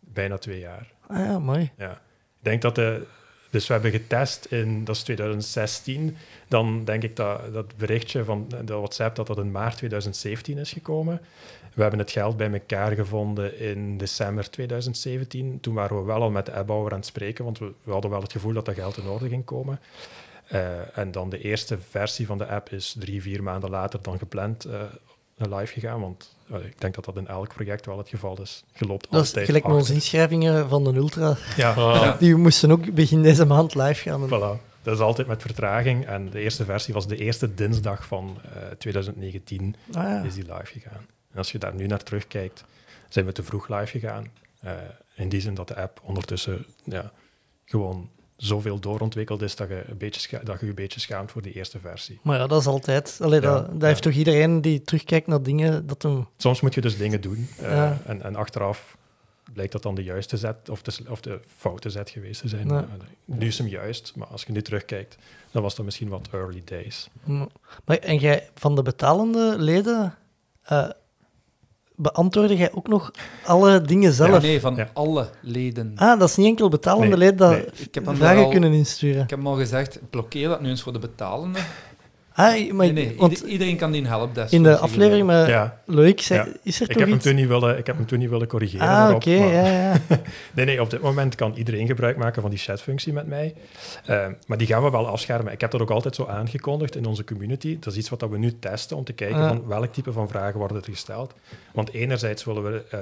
S8: bijna twee jaar.
S7: Ah ja, mooi.
S8: Ja. Ik denk dat de... Dus we hebben getest in, dat is 2016, dan denk ik dat dat berichtje van de WhatsApp, dat dat in maart 2017 is gekomen. We hebben het geld bij elkaar gevonden in december 2017. Toen waren we wel al met de appbouwer aan het spreken, want we, we hadden wel het gevoel dat dat geld in orde ging komen. Eh, en dan de eerste versie van de app is drie, vier maanden later dan gepland eh, live gegaan, want eh, ik denk dat dat in elk project wel het geval is. Je loopt
S7: Dat is
S8: altijd
S7: gelijk met onze
S8: achter.
S7: inschrijvingen van de Ultra.
S8: Ja.
S7: Die moesten ook begin deze maand live gaan. En-
S8: Voilà. Dat is altijd met vertraging. En de eerste versie was de eerste dinsdag van eh, 2019
S7: Ah ja.
S8: is die live gegaan. En als je daar nu naar terugkijkt, zijn we te vroeg live gegaan. Eh, in die zin dat de app ondertussen ja, gewoon zoveel doorontwikkeld is dat je, een beetje scha- dat je je een beetje schaamt voor die eerste versie.
S7: Maar ja, dat is altijd. Allee,
S8: Ja,
S7: dat, dat
S8: ja.
S7: heeft toch iedereen die terugkijkt naar dingen dat hem.
S8: Soms moet je dus dingen doen. eh,
S7: Ja.
S8: en, en achteraf blijkt dat dan de juiste zet of de, s- of de foute zet geweest te zijn.
S7: Ja.
S8: Eh, nu is hem juist, maar als je nu terugkijkt, dan was dat misschien wat early days.
S7: Maar, en jij, van de betalende leden, eh, beantwoordde jij ook nog alle dingen zelf?
S5: Ja, nee, van
S8: Ja.
S5: alle leden.
S7: Ah, dat is niet enkel betalende
S8: Nee,
S7: leden dat
S8: nee.
S5: Ik heb hem
S7: vragen
S5: daar al-
S7: kunnen insturen.
S5: Ik heb hem al gezegd, blokkeer dat nu eens voor de betalende.
S7: Ah, maar,
S5: Nee, nee,
S7: want
S5: ieder- iedereen kan die een helpdesk.
S7: in de
S5: zeggen,
S7: aflevering met
S8: Ja.
S7: Loïc zei,
S8: Ja.
S7: is er
S8: Ik
S7: toch
S8: heb, hem
S7: iets?
S8: toen niet willen, ik heb hem toen niet willen corrigeren.
S7: ah,
S8: daarop,
S7: oké,
S8: maar-
S7: ja, ja.
S8: Nee, nee, op dit moment kan iedereen gebruik maken van die chatfunctie met mij. Eh, maar die gaan we wel afschermen. Ik heb dat ook altijd zo aangekondigd in onze community. Dat is iets wat dat we nu testen om te kijken
S7: Ah.
S8: van welk type van vragen worden er gesteld. Want enerzijds willen we, eh,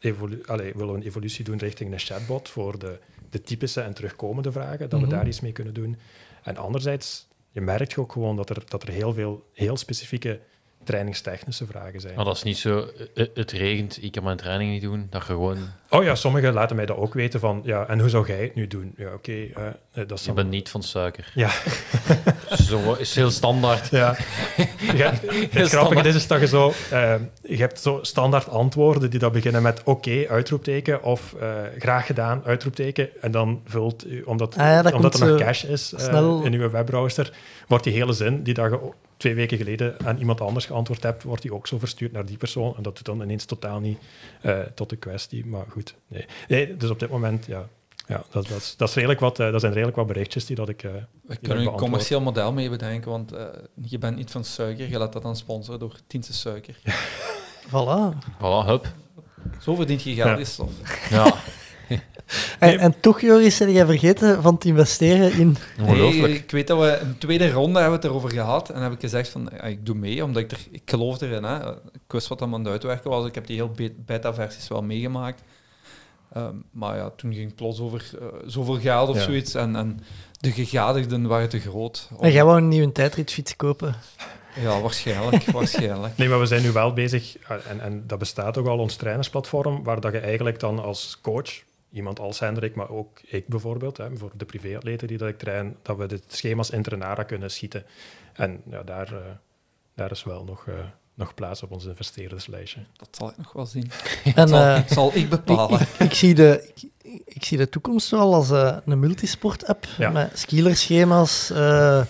S8: evolu- allee, willen we een evolutie doen richting een chatbot voor de, de typische en terugkomende vragen, dat
S7: Mhm.
S8: we daar iets mee kunnen doen. En anderzijds, je merkt ook gewoon dat er, dat er heel veel heel specifieke trainingstechnische vragen zijn.
S9: Maar dat is niet zo... eh, eh, Het regent, ik kan mijn training niet doen. Dat je gewoon...
S8: Oh ja, sommigen laten mij dat ook weten van, ja, en hoe zou jij het nu doen? Ja, oké, eh, eh, dat is
S9: Je
S8: dan-
S9: bent niet van suiker.
S8: Ja.
S9: zo eh, is heel standaard.
S8: Ja. Je hebt- het grappige is, is dat je zo... eh, je hebt zo standaard antwoorden die dat beginnen met oké, uitroepteken, of eh, graag gedaan, uitroepteken. En dan vult, u- omdat,
S7: Ah ja, dat
S8: omdat
S7: komt
S8: er nog
S7: zo
S8: cache is eh,
S7: snel.
S8: in uw webbrowser, wordt die hele zin die dat je o- twee weken geleden aan iemand anders geantwoord hebt, wordt die ook zo verstuurd naar die persoon. En dat doet dan ineens totaal niet eh, tot de kwestie. Maar goed, nee. nee dus op dit moment, ja... Ja, dat, dat, is, dat, is redelijk wat, eh, dat zijn redelijk wat berichtjes die dat ik... eh,
S5: We
S8: dat
S5: kunnen een
S8: beantwoord.
S5: commercieel model mee bedenken, want eh, je bent niet van suiker, je laat dat dan sponsoren door Tiense Suiker.
S7: Voilà.
S9: Voilà, hup.
S5: Zo verdient je geld
S8: Ja.
S5: die stof.
S9: Ja.
S7: En, en toch, Joris, heb jij vergeten van te investeren in...
S9: Ongelooflijk.
S5: ik weet dat we een tweede ronde hebben het erover gehad. En heb ik gezegd van, ja, ik doe mee, omdat ik er... Ik geloof erin, hè. Ik wist wat hem aan het uitwerken was. Ik heb die heel be- beta-versies wel meegemaakt. Ehm, maar ja, toen ging het plots over eh, zoveel geld of
S8: Ja.
S5: zoiets. En, en de gegadigden waren te groot. om-
S7: En jij wou een nieuwe tijdritfiets kopen.
S5: Ja, waarschijnlijk, waarschijnlijk.
S8: Nee, maar we zijn nu wel bezig, eh, en, en dat bestaat ook al, ons trainersplatform, waar dat je eigenlijk dan als coach, iemand als Hendrik, maar ook ik bijvoorbeeld, hè, voor de privéatleten die dat ik train, dat we de schema's in Trenara kunnen schieten. En ja, daar, eh, daar is wel nog, eh, nog plaats op ons investeerderslijstje.
S5: Dat zal ik nog wel zien.
S7: En,
S5: zal,
S7: eh,
S5: zal ik
S7: ik,
S5: bepalen.
S7: ik, ik zie de, ik, ik zie de toekomst wel als eh, een multisport-app
S8: Ja.
S7: met skielerschema's. eh,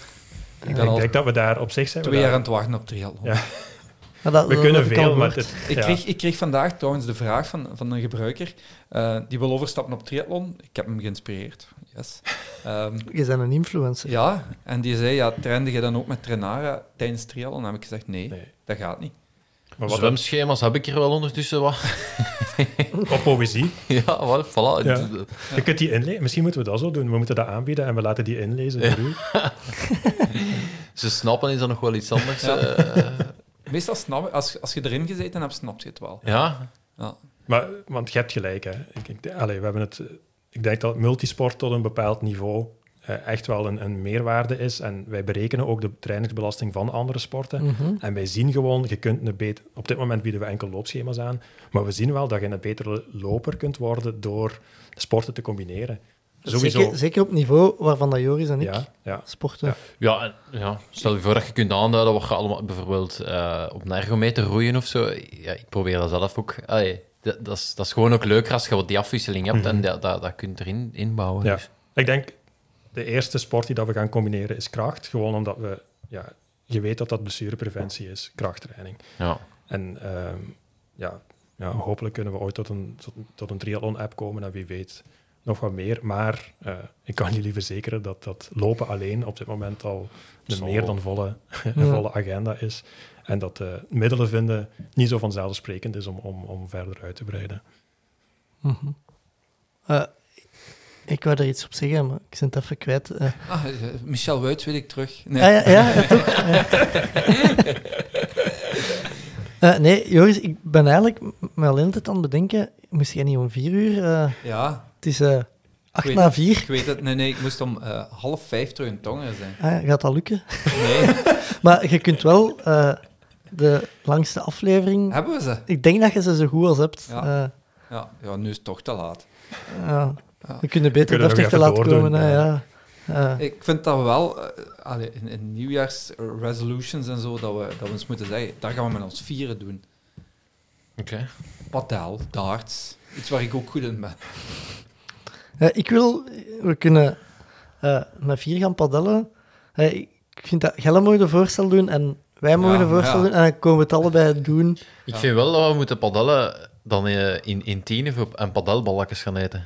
S8: Ik
S5: ben al
S8: denk dat we daar op zich zijn. we
S5: Twee jaar
S8: daar-
S5: aan het wachten op triathlon.
S8: Ja.
S7: maar dat-
S8: we
S7: dat
S8: kunnen
S7: heb ik al
S8: veel, maar
S7: gehoord.
S8: het-
S5: Ik,
S8: ja.
S5: kreeg, ik kreeg vandaag trouwens de vraag van, van een gebruiker eh, die wil overstappen op triathlon. Ik heb hem geïnspireerd. Yes. Ehm,
S7: Je bent een influencer.
S5: ja, en die zei, ja, trainde je dan ook met Trenara tijdens triathlon? Dan heb ik gezegd, nee,
S8: Nee.
S5: dat gaat niet.
S8: Maar wat dan
S9: Zwemschema's heb ik er wel ondertussen wat.
S8: op poëzie.
S9: ja, wel, voilà.
S8: Ja. Je kunt die inlezen. Misschien moeten we dat zo doen. We moeten dat aanbieden en we laten die inlezen voor u.
S9: Ze snappen is dan nog wel iets anders.
S5: Ja.
S9: eh.
S5: Meestal snap je, als, als je erin gezeten hebt, snap je het wel.
S9: ja.
S5: Ja.
S8: Maar, want je hebt gelijk, hè. Ik, ik, allee, we hebben het, eh, ik denk dat multisport tot een bepaald niveau eh, echt wel een, een meerwaarde is. En wij berekenen ook de trainingsbelasting van andere sporten. En wij zien gewoon, je kunt een beter... Op dit moment bieden we enkel loopschema's aan. Maar we zien wel dat je een betere loper kunt worden door sporten te combineren. Sowieso.
S7: Zeker, zeker op het niveau waarvan dat Joris en ik
S8: Ja, ja.
S7: sporten.
S8: Ja.
S9: Ja, en- ja, stel je voor dat je kunt aanduiden wat je allemaal bijvoorbeeld eh, op een ergometer roeien of zo. Ja, ik probeer dat zelf ook. Allee, dat, dat, is, dat is gewoon ook leuker als je wat die afwisseling hebt en dat, dat, dat kunt erin inbouwen.
S8: Mhm. Ja.
S9: Dus.
S8: Ik denk, de eerste sport die dat we gaan combineren is kracht. Gewoon omdat we... Ja, je weet dat dat blessurepreventie is, krachttraining.
S9: Ja.
S8: En ehm, ja, ja, hopelijk kunnen we ooit tot een, tot, een- tot een triathlon-app komen en wie weet nog wat meer. Maar eh, ik kan jullie verzekeren dat dat lopen alleen op dit moment al de
S9: Zo.
S8: meer dan volle, volle agenda is. En dat eh, middelen vinden niet zo vanzelfsprekend is om, om, om verder uit te breiden.
S7: Mhm. Eh, ik wou er iets op zeggen, maar ik ben het even kwijt. Eh,
S5: Ah, eh, Michel Wuits weet ik terug. Nee.
S7: Ah, ja, ja, ja, toch. Ja. Eh, nee, Joris, ik ben eigenlijk m- me al de hele tijd aan het bedenken. Moest jij niet om vier uur? eh,
S5: Ja,
S7: het is eh acht
S5: weet
S7: na
S5: het.
S7: vier.
S5: ik weet het. Nee, nee, ik moest om eh, half vijf terug in Tongeren zijn.
S7: Ah, ja, gaat dat lukken?
S5: Nee,
S7: Maar je kunt wel eh, de langste aflevering.
S5: hebben we ze?
S7: Ik denk dat je ze zo goed als hebt.
S5: Ja.
S7: Eh,
S5: Ja, ja, nu is het toch te laat.
S7: ja. We kunnen beter
S8: kunnen nog
S7: deftig te
S8: even
S7: laten
S8: doordoen,
S7: komen. hè,
S8: ja.
S7: ja. Eh,
S5: Ik vind dat we wel, eh, allee, in, in nieuwjaars resolutions en zo, dat we, dat we eens moeten zeggen, daar gaan we met ons vieren doen.
S9: Oké.
S5: Padel, darts, iets waar ik ook goed in ben.
S7: Mm. Eh, ik wil, we kunnen eh, met vier gaan padellen. Eh, ik vind dat Gelle mooi de voorstel doen en wij mogen
S5: Ja,
S7: de voorstel
S5: ja.
S7: doen en dan komen we het allebei doen.
S9: Ik vind wel dat we moeten padellen dan eh, in, in tienen voor- en padelballetjes gaan eten.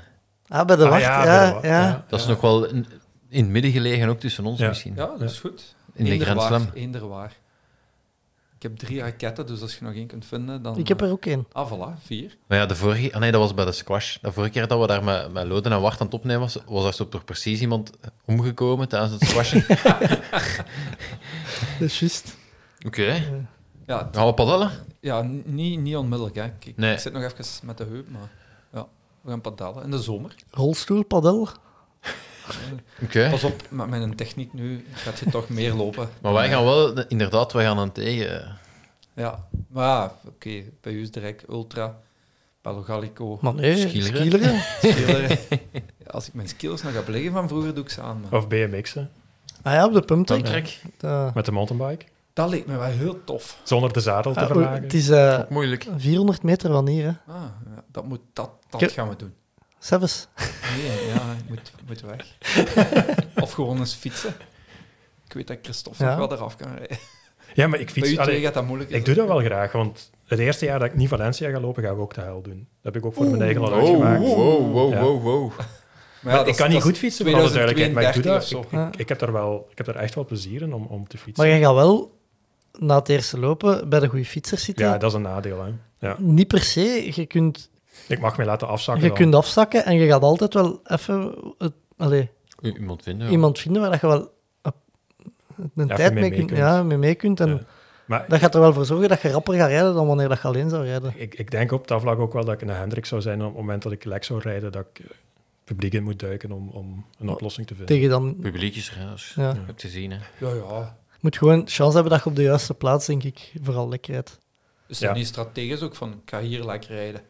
S7: Ah, bij de
S8: Ah,
S7: wacht. Ja,
S8: ja, bij de
S7: ja,
S8: wacht, ja.
S9: Dat is nog wel in, in het midden gelegen, ook tussen ons
S8: Ja.
S9: misschien.
S5: Ja, dat is goed.
S9: In de
S5: Eender
S9: Grand
S5: waar,
S9: Slam.
S5: eender waar. Ik heb drie raketten, dus als je nog één kunt vinden, dan...
S7: Ik heb er ook één.
S5: Ah, voilà, vier.
S9: Maar ja, de vorige... ah nee, dat was bij de squash. De vorige keer dat we daar met, met Loden en Wart aan het opnemen was, was daar zo toch precies iemand omgekomen tijdens het squashen. Oké.
S7: Dat is juist. Eh,
S5: Ja, t-
S9: Gaan we padellen?
S5: ja n- niet niet onmiddellijk, hè. Ik, ik
S9: Nee.
S5: zit nog even met de heup, maar... Ja, we gaan padellen in de zomer.
S7: Rolstoelpadel.
S9: Oké.
S5: Pas op, met mijn techniek nu gaat je toch meer lopen.
S9: Maar wij gaan wel, inderdaad, wij gaan aan tegen. eh,
S5: Ja, maar ja, oké, bij u is direct Ultra, Palo Gallico,
S7: Maar nee,
S9: Skileren.
S7: skileren.
S5: Skiller. Ja, Als ik mijn skills nog heb liggen van vroeger, doe ik ze aan. maar
S8: Of BMX'en
S7: Ah ja, op de pumptrack.
S9: Tankrek.
S7: Eh,
S8: met de mountainbike,
S5: Dat leek me wel heel tof.
S8: zonder de zadel te
S7: ah, oh,
S8: verlagen.
S7: het is eh,
S9: Moeilijk.
S7: 400 meter van hier, hè.
S5: Ah, ja, dat, moet, dat,
S7: Ik-
S5: dat gaan we doen.
S7: Zelfs.
S5: Nee, ja, ik moet, moet weg. of gewoon eens fietsen. Ik weet dat Christophe
S7: Ja.
S5: nog wel eraf kan rijden.
S8: Ja, maar ik
S5: bij u
S8: fiets...
S5: twee
S8: allee,
S5: gaat dat moeilijk.
S8: Ik doe dat wel graag, want het eerste jaar dat ik niet Valencia ga lopen, gaan we ook de hel doen. Dat heb ik ook voor mijn eigen al
S9: Wow,
S8: uitgemaakt.
S9: wow, wow,
S8: Ja.
S9: wow, wow.
S5: Maar ja, dat
S8: ik
S5: is-
S8: kan niet
S5: dat is
S8: goed fietsen, voor alle duidelijkheid,
S5: 2032
S8: maar ik doe dat.
S5: of
S8: Ik,
S5: zo.
S8: ik, ik heb daar wel, ik heb daar echt wel plezier in om, om te fietsen.
S7: Maar jij gaat wel na het eerste lopen bij de goede fietsers zitten.
S8: ja, dat is een nadeel. Hè. Ja.
S7: Niet per se. Je kunt
S8: Ik mag mij laten afzakken.
S7: Je
S8: dan.
S7: kunt afzakken en je gaat altijd wel even het- allee,
S9: I- Iemand vinden. ja.
S7: iemand vinden waar dat je wel een- een
S8: Even
S7: tijd
S8: mee
S7: mee
S8: mee
S7: kunt,
S8: kunt.
S7: ja, mee, mee kunt. En
S8: Ja. Maar
S7: dat gaat er wel voor zorgen dat je rapper gaat rijden dan wanneer dat je alleen zou rijden.
S8: ik, ik denk op dat vlak ook wel dat ik een Hendrik zou zijn. Op het moment dat ik lek zou rijden, dat ik eh, publiek in moet duiken om, om een oplossing te vinden.
S7: Tegen dan
S9: Publiek is er, hè, dus
S7: Ja.
S9: je hebt gezien. Hè.
S5: Ja, ja.
S7: je moet gewoon chance hebben dat je op de juiste plaats, denk ik, vooral lekker rijdt.
S5: Dus
S8: Ja.
S5: dan niet strategisch ook van, ik ga hier lekker rijden.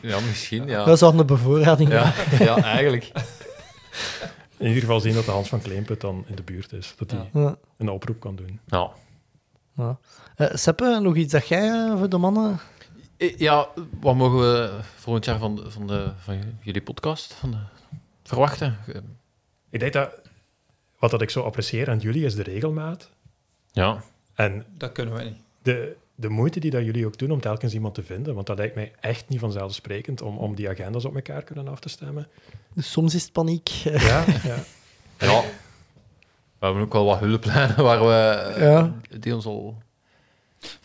S9: Ja, misschien, ja.
S7: Dat is wel een bevoorrading.
S9: Ja, ja, eigenlijk.
S8: In ieder geval zien dat de Hans van Kleemput dan in de buurt is. Dat hij
S7: Ja.
S8: een oproep kan doen.
S9: Nou,
S7: Ja. Eh, Seppe, nog iets dat jij eh, voor de mannen...
S9: I- Eh, ja, wat mogen we volgend jaar van, de- van, de, van jullie podcast van de- verwachten? Eh,
S8: Ik denk dat wat dat ik zo apprecieer aan jullie is de regelmaat.
S9: Ja,
S8: En
S5: Dat kunnen wij niet.
S8: de, de moeite die dat jullie ook doen om telkens iemand te vinden. Want dat lijkt mij echt niet vanzelfsprekend om, om die agendas op elkaar kunnen af te stemmen.
S7: Dus soms is het paniek. eh,
S8: Ja, ja.
S9: ja. We hebben ook wel wat hulplijnen waar we, eh,
S7: Ja.
S9: die ons al...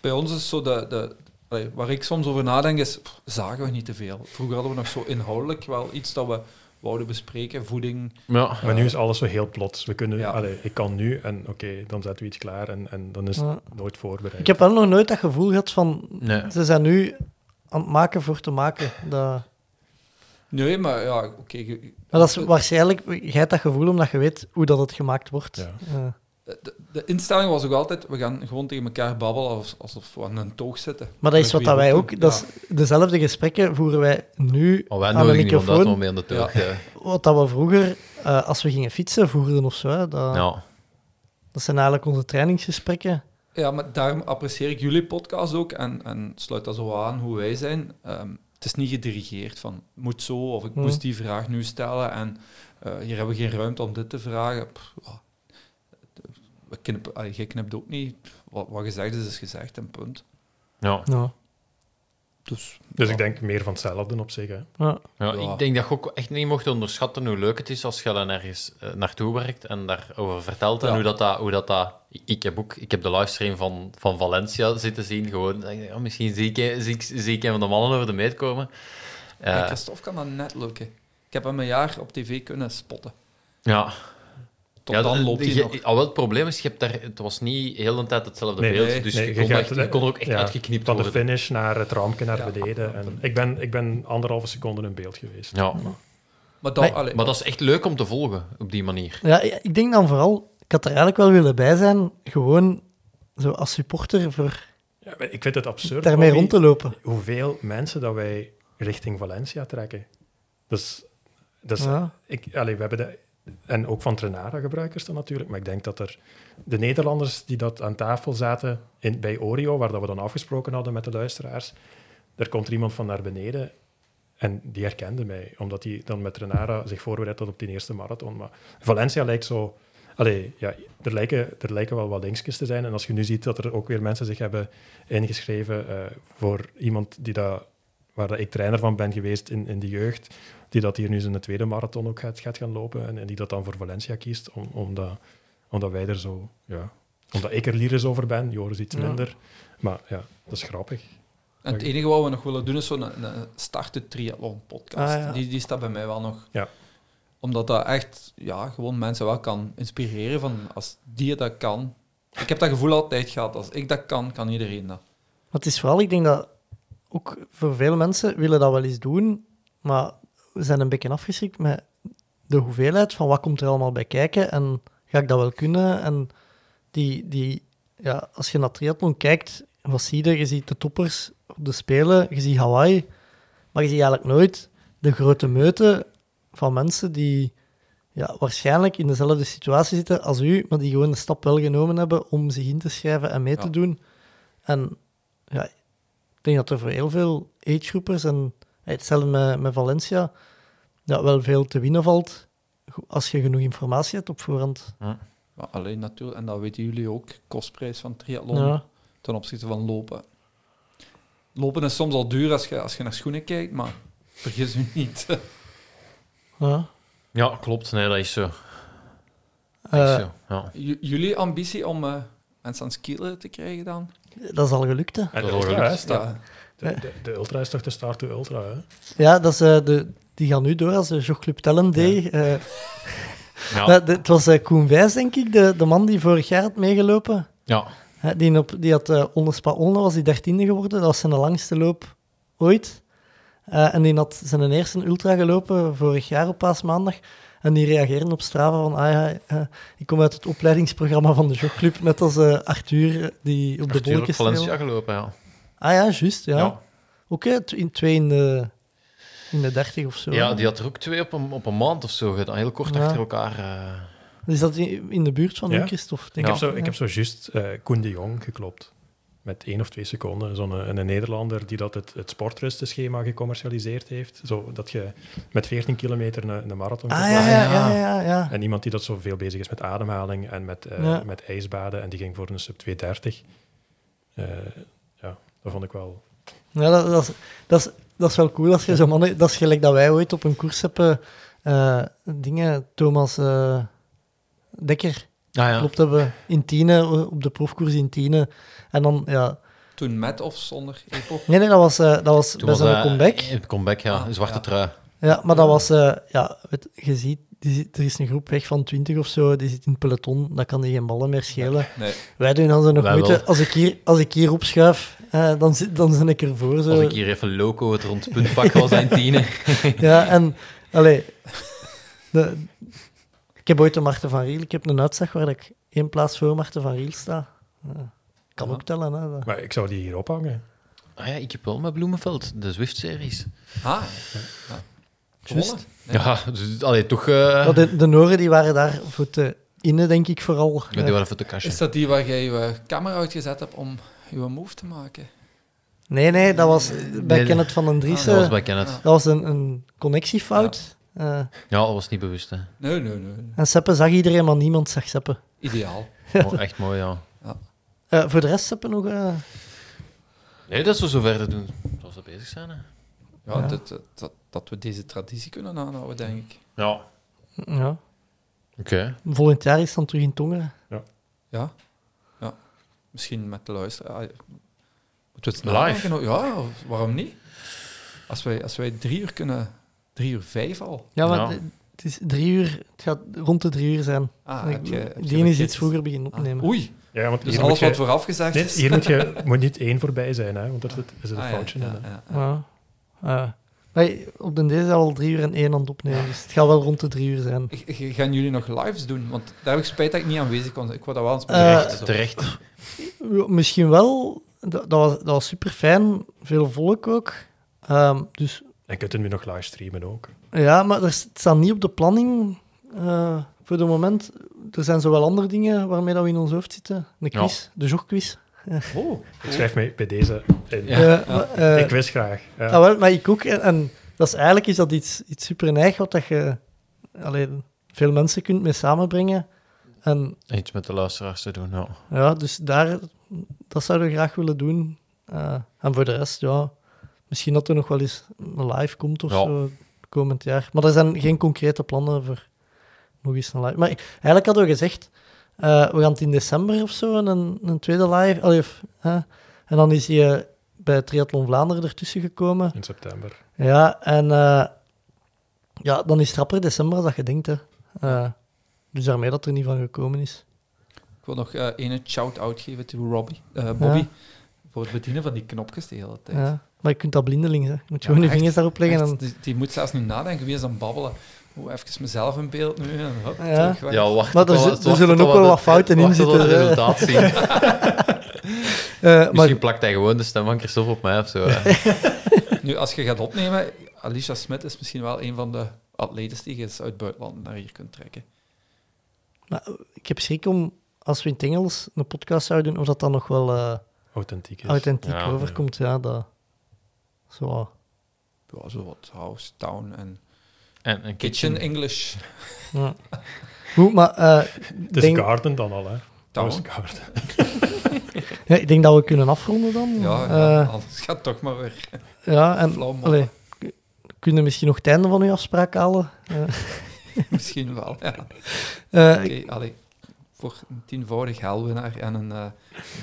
S5: Bij ons is zo de... de allee, waar ik soms over nadenk is, pff, zagen we niet te veel. Vroeger hadden we nog zo inhoudelijk wel iets dat we wouden bespreken. Voeding,
S9: Ja,
S8: Maar nu is alles zo heel plots. We kunnen,
S5: Ja.
S8: allee, ik kan nu en oké, dan zetten we iets klaar en, en dan is
S7: Ja.
S8: het nooit voorbereid.
S7: Ik heb wel nog nooit dat gevoel gehad van...
S9: Nee.
S7: Ze zijn nu aan het maken voor te maken. Dat...
S5: Nee, maar ja, oké. je-
S7: Maar dat is waarschijnlijk, jij hebt dat gevoel omdat je weet hoe dat het gemaakt wordt.
S8: Ja.
S7: Eh,
S5: de, de instelling was ook altijd, we gaan gewoon tegen elkaar babbelen als- alsof we aan een toog zitten.
S7: maar dat is wat
S5: Met
S7: dat
S5: wie
S7: wij
S5: we
S7: ook,
S5: doen.
S7: dat
S5: Ja.
S7: is, dezelfde gesprekken voeren wij nu
S9: Maar wij
S7: aan de
S9: nodigen niemand uit
S7: microfoon.
S9: om mee aan de toog.
S5: Ja.
S9: eh.
S7: Wat dat we vroeger, eh, als we gingen fietsen, voerden of zo. hè. Dat,
S9: Ja.
S7: dat zijn eigenlijk onze trainingsgesprekken.
S5: Ja, maar daarom apprecieer ik jullie podcast ook en, en sluit dat zo aan hoe wij zijn. Ehm, het is niet gedirigeerd van moet zo of ik
S7: Hmm.
S5: moest die vraag nu stellen en eh, hier hebben we geen ruimte om dit te vragen. Pff, ja. we knippen, allee, jij knipt ook niet. Pff, Wat, wat gezegd is, is gezegd en punt.
S9: Ja.
S7: Ja.
S5: Dus,
S8: Dus ik denk meer van hetzelfde op zich. Hè.
S7: Ja.
S9: Ja,
S5: Ja.
S9: ik denk dat je ook echt niet mocht onderschatten hoe leuk het is als je dan ergens eh, naartoe werkt en daarover vertelt. En
S5: Ja.
S9: hoe dat, dat, hoe dat, dat ik- ik heb ook ik heb de livestream van, van Valencia zitten zien. Gewoon, denk ik, oh, misschien zie ik, een- zie, ik, zie ik een van de mannen over de meet komen. Eh,
S5: Bij Christophe kan dat net lukken. Ik heb hem een jaar op tv kunnen spotten.
S9: ja.
S5: Tot
S9: Ja,
S5: dan
S9: de-
S5: loopt
S9: de-
S5: hij
S9: je-
S5: nog.
S9: Al wel, het probleem is, je hebt daar, het was niet heel de tijd hetzelfde
S8: Nee,
S9: beeld.
S5: nee,
S9: dus
S8: Nee,
S9: je,
S8: je
S9: kon er
S8: gaat-
S9: echt, je kon er ook echt
S8: ja,
S9: uitgeknipt
S8: Van de
S9: worden.
S8: finish naar het rampje naar
S5: Ja.
S8: beneden. En ik, ben, ik ben anderhalve seconde in beeld geweest.
S9: Ja.
S5: Maar, dan,
S7: Nee,
S5: allee,
S9: Maar dat is echt leuk om te volgen op die manier.
S7: Ja, ik denk dan vooral, ik had er eigenlijk wel willen bij zijn, gewoon zo als supporter voor
S8: Ja, maar ik vind het absurd
S7: daarmee
S8: Bobby,
S7: rond te lopen.
S8: hoeveel mensen dat wij richting Valencia trekken. Dus, dus
S7: Ja.
S8: ik, allee, we hebben de, en ook van Trenara-gebruikers dan natuurlijk, maar ik denk dat er de Nederlanders die dat aan tafel zaten in, bij Oreo, waar dat we dan afgesproken hadden met de luisteraars, daar komt er iemand van naar beneden en die herkende mij, omdat die dan met Renara zich voorbereid had op die eerste marathon. Maar Valencia lijkt zo... Allee, ja, er lijken, er lijken wel wat linkjes te zijn. En als je nu ziet dat er ook weer mensen zich hebben ingeschreven eh, voor iemand die dat, waar dat ik trainer van ben geweest in, in de jeugd, die dat hier nu zijn tweede marathon ook gaat, gaat gaan lopen en, en die dat dan voor Valencia kiest, om, omdat, omdat wij er zo... Ja, omdat ik er lyrisch over ben, Joris iets
S7: Ja.
S8: minder. Maar ja, dat is grappig.
S5: En het enige wat we nog willen doen is zo'n een, een starten triathlon podcast.
S7: Ah, ja.
S5: die, die staat bij mij wel nog.
S8: Ja.
S5: Omdat dat echt ja, gewoon mensen wel kan inspireren van als die dat kan. Ik heb dat gevoel altijd gehad. Als ik dat kan, kan iedereen dat.
S7: Maar het is vooral, ik denk dat ook voor veel mensen willen dat wel eens doen, maar we zijn een beetje afgeschrikt met de hoeveelheid van wat komt er allemaal bij kijken en ga ik dat wel kunnen? En die, die, ja, als je naar triathlon kijkt, wat zie je? Je ziet de toppers op de Spelen, je ziet Hawaii, maar je ziet eigenlijk nooit de grote meute van mensen die ja, waarschijnlijk in dezelfde situatie zitten als u, maar die gewoon de stap wel genomen hebben om zich in te schrijven en mee
S5: Ja.
S7: te doen. En ja, ik denk dat er voor heel veel agegroepers en hey, hetzelfde met, met Valencia, ja, wel veel te winnen valt go- als je genoeg informatie hebt op voorhand.
S5: Maar alleen natuurlijk, en dat weten jullie ook, kostprijs van triathlon
S7: Ja.
S5: ten opzichte van lopen. Lopen is soms al duur als je, als je naar schoenen kijkt, maar vergis u niet.
S7: Ja.
S9: Ja, klopt. Nee, dat is zo. Dat
S7: Eh,
S9: is zo. Ja.
S5: J- jullie ambitie om eh, mensen aan het skileren te krijgen dan?
S7: dat is al gelukt, hè.
S8: En
S9: Dat
S8: dat
S9: is
S8: is
S9: wel
S8: juist, hè.
S5: Ja.
S8: De, de, de ultra is toch de start to ultra, hè?
S7: Ja, dat is, eh, de, die gaan nu door als de Jogclub Tellen deed. eh.
S9: Ja.
S7: Maar de- het was eh, Koen Wijs, denk ik, de, de man die vorig jaar had meegelopen.
S9: Ja.
S7: Hè, die, op, die had eh onder Spa Olne was hij dertiende geworden. Dat was zijn langste loop ooit. Eh, en die had zijn eerste ultra gelopen vorig jaar op paasmaandag. En die reageren op Strava van, ah ja, eh, ik kom uit het opleidingsprogramma van de jogclub, net als eh, Arthur eh, die op de
S9: Arthur op
S7: bolletjes
S9: Valencia
S7: trail.
S9: gelopen, ja.
S7: Ah ja, juist, ja.
S9: Ja.
S7: Oké, tw- in twee in de, in de dertig of zo.
S9: Ja, die had er ook twee op een, op een maand of zo gedaan. Heel kort
S7: Ja.
S9: achter elkaar. eh.
S7: Is dat in, in de buurt van
S8: Ja.
S7: u, Christophe?
S8: Ik,
S7: denk
S8: heb zo, ik heb zo juist eh, Koen de Jong geklopt. Met één of twee seconden. Zo'n eh, een Nederlander die dat het, het sportrustenschema gecommercialiseerd heeft. Zo, dat je met 14 kilometer een, een marathon
S7: Ah
S8: kunt
S7: ja,
S8: lopen.
S7: ja, ja, ja. ja.
S8: En iemand die dat zo veel bezig is met ademhaling en met, eh,
S7: Ja.
S8: met ijsbaden. En die ging voor een sub 230. Eh, ja, dat vond ik wel...
S7: Ja, dat, dat, is, dat, is, dat is wel cool als je zo'n mannen... Dat is gelijk dat wij ooit op een koers hebben eh, dingen, Thomas eh, Dekker,
S9: Ah, ja.
S7: klopt hebben, in Tiene, op de proefkoers in Tiene. En dan, ja...
S5: Toen met of zonder EPO.
S7: Nee, nee, dat was, eh, dat was
S9: Toen
S7: bij zijn
S9: eh,
S7: comeback.
S9: Een comeback, ja.
S5: Ah,
S9: een zwarte
S5: ja.
S9: trui.
S7: Ja, maar dat was... eh, ja, weet- je ziet, die, zit- er is een groep weg van 20 of zo, die zit in het peloton, dat kan die geen ballen meer schelen.
S5: Nee.
S7: Wij doen dan zo nog
S9: Wij
S7: moeite.
S9: wel.
S7: Als ik hier, als ik hier opschuif, eh, dan, zit, dan ben ik ervoor. Zo.
S9: Als ik hier even loco het rond het punt pak was in tienen.
S7: Ja, en allee, de- ik heb ooit een Marten van Riel. Ik heb een uitslag waar ik één plaats voor Marten van Riel sta. Ja, kan ook tellen. Hè, dat.
S8: Maar ik zou die hier ophangen.
S9: Ah ja, ik heb wel met Bloemenveld, de Zwift-series.
S5: Ah. Ja. Gewonnen? Nee.
S9: Ja, dus allee, toch... eh
S7: Maar de, de Noren die waren daar voor te innen, denk ik vooral.
S9: ja, die
S7: Ja.
S9: waren even te kastje.
S5: Is dat die waar jij je camera uitgezet hebt om je move te maken?
S7: Nee, nee, dat was bij
S9: nee. Ah,
S7: Kenneth van den Dries.
S9: Dat was
S7: eh,
S9: bij Kenneth.
S7: dat was een, een connectiefout. Eh,
S9: Ja, dat was niet bewust, hè.
S5: Nee, nee, nee.
S7: en Seppen zag iedereen, maar niemand zag Seppen.
S5: Ideaal.
S9: Oh, echt mooi, ja.
S7: Eh, voor de rest Seppen nog... eh,
S9: Nee, dat ze zo verder doen zoals ze bezig zijn, hè.
S5: Ja,
S7: Ja.
S5: Dat, dat, dat, dat we deze traditie kunnen aanhouden, denk ik.
S9: Ja.
S7: ja,
S9: Oké.
S7: volgend jaar is dan terug in Tongeren.
S5: Ja. ja. Misschien met de luisteraar. ah, Moeten we het
S9: Live.
S5: nadenken? Ja, of- waarom niet? Als wij, als wij drie uur kunnen... Drie uur vijf al?
S7: Ja, maar
S9: Ja.
S7: d- het is drie uur. Het gaat rond de drie uur zijn.
S5: Ah,
S7: Ik-
S5: heb je- heb je
S7: die is
S5: bekeken?
S7: iets vroeger beginnen
S5: Ah,
S7: opnemen.
S5: Oei,
S8: Ja, want
S5: dus
S8: hier,
S5: alles
S8: moet
S5: wat
S8: je,
S5: vooraf gezegd
S8: nee,
S5: is...
S8: hier moet je moet niet één voorbij zijn, hè, want daar zit, er zit een
S5: Ah, ja,
S8: foutje
S5: ja,
S8: in. hè.
S5: ja, ja.
S7: Ja. Ja. Maar op den deze al drie uur en één aan het opnemen. Dus het gaat wel rond de drie uur zijn.
S5: G- g- Gaan jullie nog lives doen? Want daar heb ik spijt dat ik niet aanwezig kon zijn. Ik wou dat wel eens Dus
S7: Eh,
S5: berichten, zo.
S9: Terecht.
S7: Ja, Misschien wel. Dat, dat was, dat was super fijn. Veel volk ook. Ehm, dus
S8: En je kunt het nu nog livestreamen ook.
S7: ja, maar er s- het staat niet op de planning eh, voor het moment. Er zijn zowel andere dingen waarmee dat we in ons hoofd zitten. De
S9: Ja.
S7: quiz, de jogquiz.
S5: Oh,
S8: Ik schrijf mij bij deze in.
S9: Ja.
S7: Eh, maar, eh,
S8: ik wist graag. Ja.
S7: Ah, wel, maar ik ook. En, en dat is, eigenlijk is dat iets, iets super neig wat dat je alleen veel mensen kunt mee samenbrengen. En
S9: Iets met de luisteraars te doen, ja.
S7: ja, dus daar, dat zouden we graag willen doen. Eh, en voor de rest, ja, misschien dat er nog wel eens een live komt of
S9: Ja.
S7: zo komend jaar. Maar er zijn geen concrete plannen voor nog eens een live. Maar eigenlijk hadden we gezegd, eh, we gaan het in december of zo een, een tweede live. allee, of, hè. en dan is hij eh, bij Triathlon Vlaanderen ertussen gekomen.
S8: In september.
S7: Ja, en eh, ja, dan is het rapper december als dat je denkt. Hè. Eh, dus daarmee dat er niet van gekomen is.
S5: ik wil nog eh een shout-out geven to Robbie, eh, Bobby.
S7: Ja.
S5: Voor het bedienen van die knopjes de hele tijd.
S7: Ja. Maar je kunt dat blindelings. Hè. Je moet
S5: Ja,
S7: gewoon je
S5: echt,
S7: vingers daarop leggen.
S5: Echt,
S7: En,
S5: die, die moet zelfs niet nadenken, wie is aan babbelen? Hoe even mezelf in beeld nu en hop,
S7: Ja.
S5: terug weg.
S9: Ja, wacht.
S7: Maar er
S9: tot-
S7: zi-
S9: wacht
S7: er zullen
S9: tot
S7: ook wel
S9: we
S7: wat
S9: de-
S7: fouten in
S9: wacht tot we
S7: zitten, hè.
S9: het resultaat zien.
S7: eh, maar
S9: Misschien plakt hij gewoon de stem van Christophe op mij of zo. hè.
S5: Nu, als je gaat opnemen, Alicia Smit is misschien wel een van de atletes die je eens uit het buitenland naar hier kunt trekken.
S7: ik heb schrik om, als we in het Engels een podcast zouden doen, of dat dan nog wel eh,
S8: Authentiek is.
S7: authentiek
S9: Ja,
S7: overkomt. Ja, dat... Zo.
S5: Ja, zo wat house, town en
S9: En een
S5: kitchen
S9: kitchen.
S5: English.
S7: Ja. Goed, maar eh,
S8: Het is
S7: Denk-
S8: Garden dan al, hè?
S5: Town.
S8: Het is Garden.
S7: ja, ik denk dat we kunnen afronden dan.
S5: Ja, ja,
S7: Eh,
S5: anders gaat toch maar weer.
S7: ja en
S5: Vlam op.
S7: allee, k- kunnen we misschien nog het einde van uw afspraak halen? Eh,
S5: Misschien wel. Ja. Oké,
S7: eh,
S5: allee, Voor een tienvoudig helwinnaar en een eh,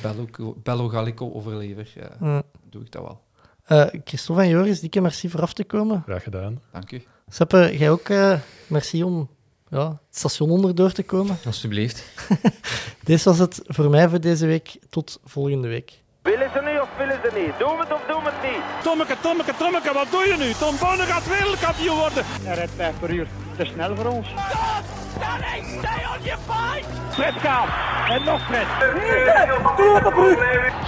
S5: Bello- Bello-Gallico-overlever
S7: eh.
S5: doe ik dat wel.
S7: Eh, Christophe en Joris, dikke merci voor af te komen.
S8: Graag gedaan.
S5: Dank u.
S7: Seppe, jij ook eh, merci om ja, het station onderdoor te komen.
S9: Alsjeblieft.
S7: Dit was het voor mij voor deze week. Tot volgende week.
S1: Willen ze nu of willen ze niet? Doen we het of doen we het niet?
S2: Tommeke, Tommeke, Tommeke, wat doe je nu? Tom Bonne gaat wereldkampioen worden.
S3: Hij rijdt 5 per uur. Te snel voor ons.
S4: Stop! Stanley, stay on your bike!
S1: Fred Kaap. En nog Fred.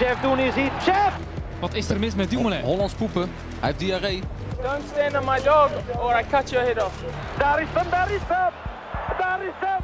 S1: Jeff Doen is hier. Jeff!
S10: Wat is er mis met Dumoulin? Hollands poepen. Hij heeft diarree.
S6: Don't stand on my dog or I cut your head off.
S1: Daar is hem, daar is hem. Daar is hem.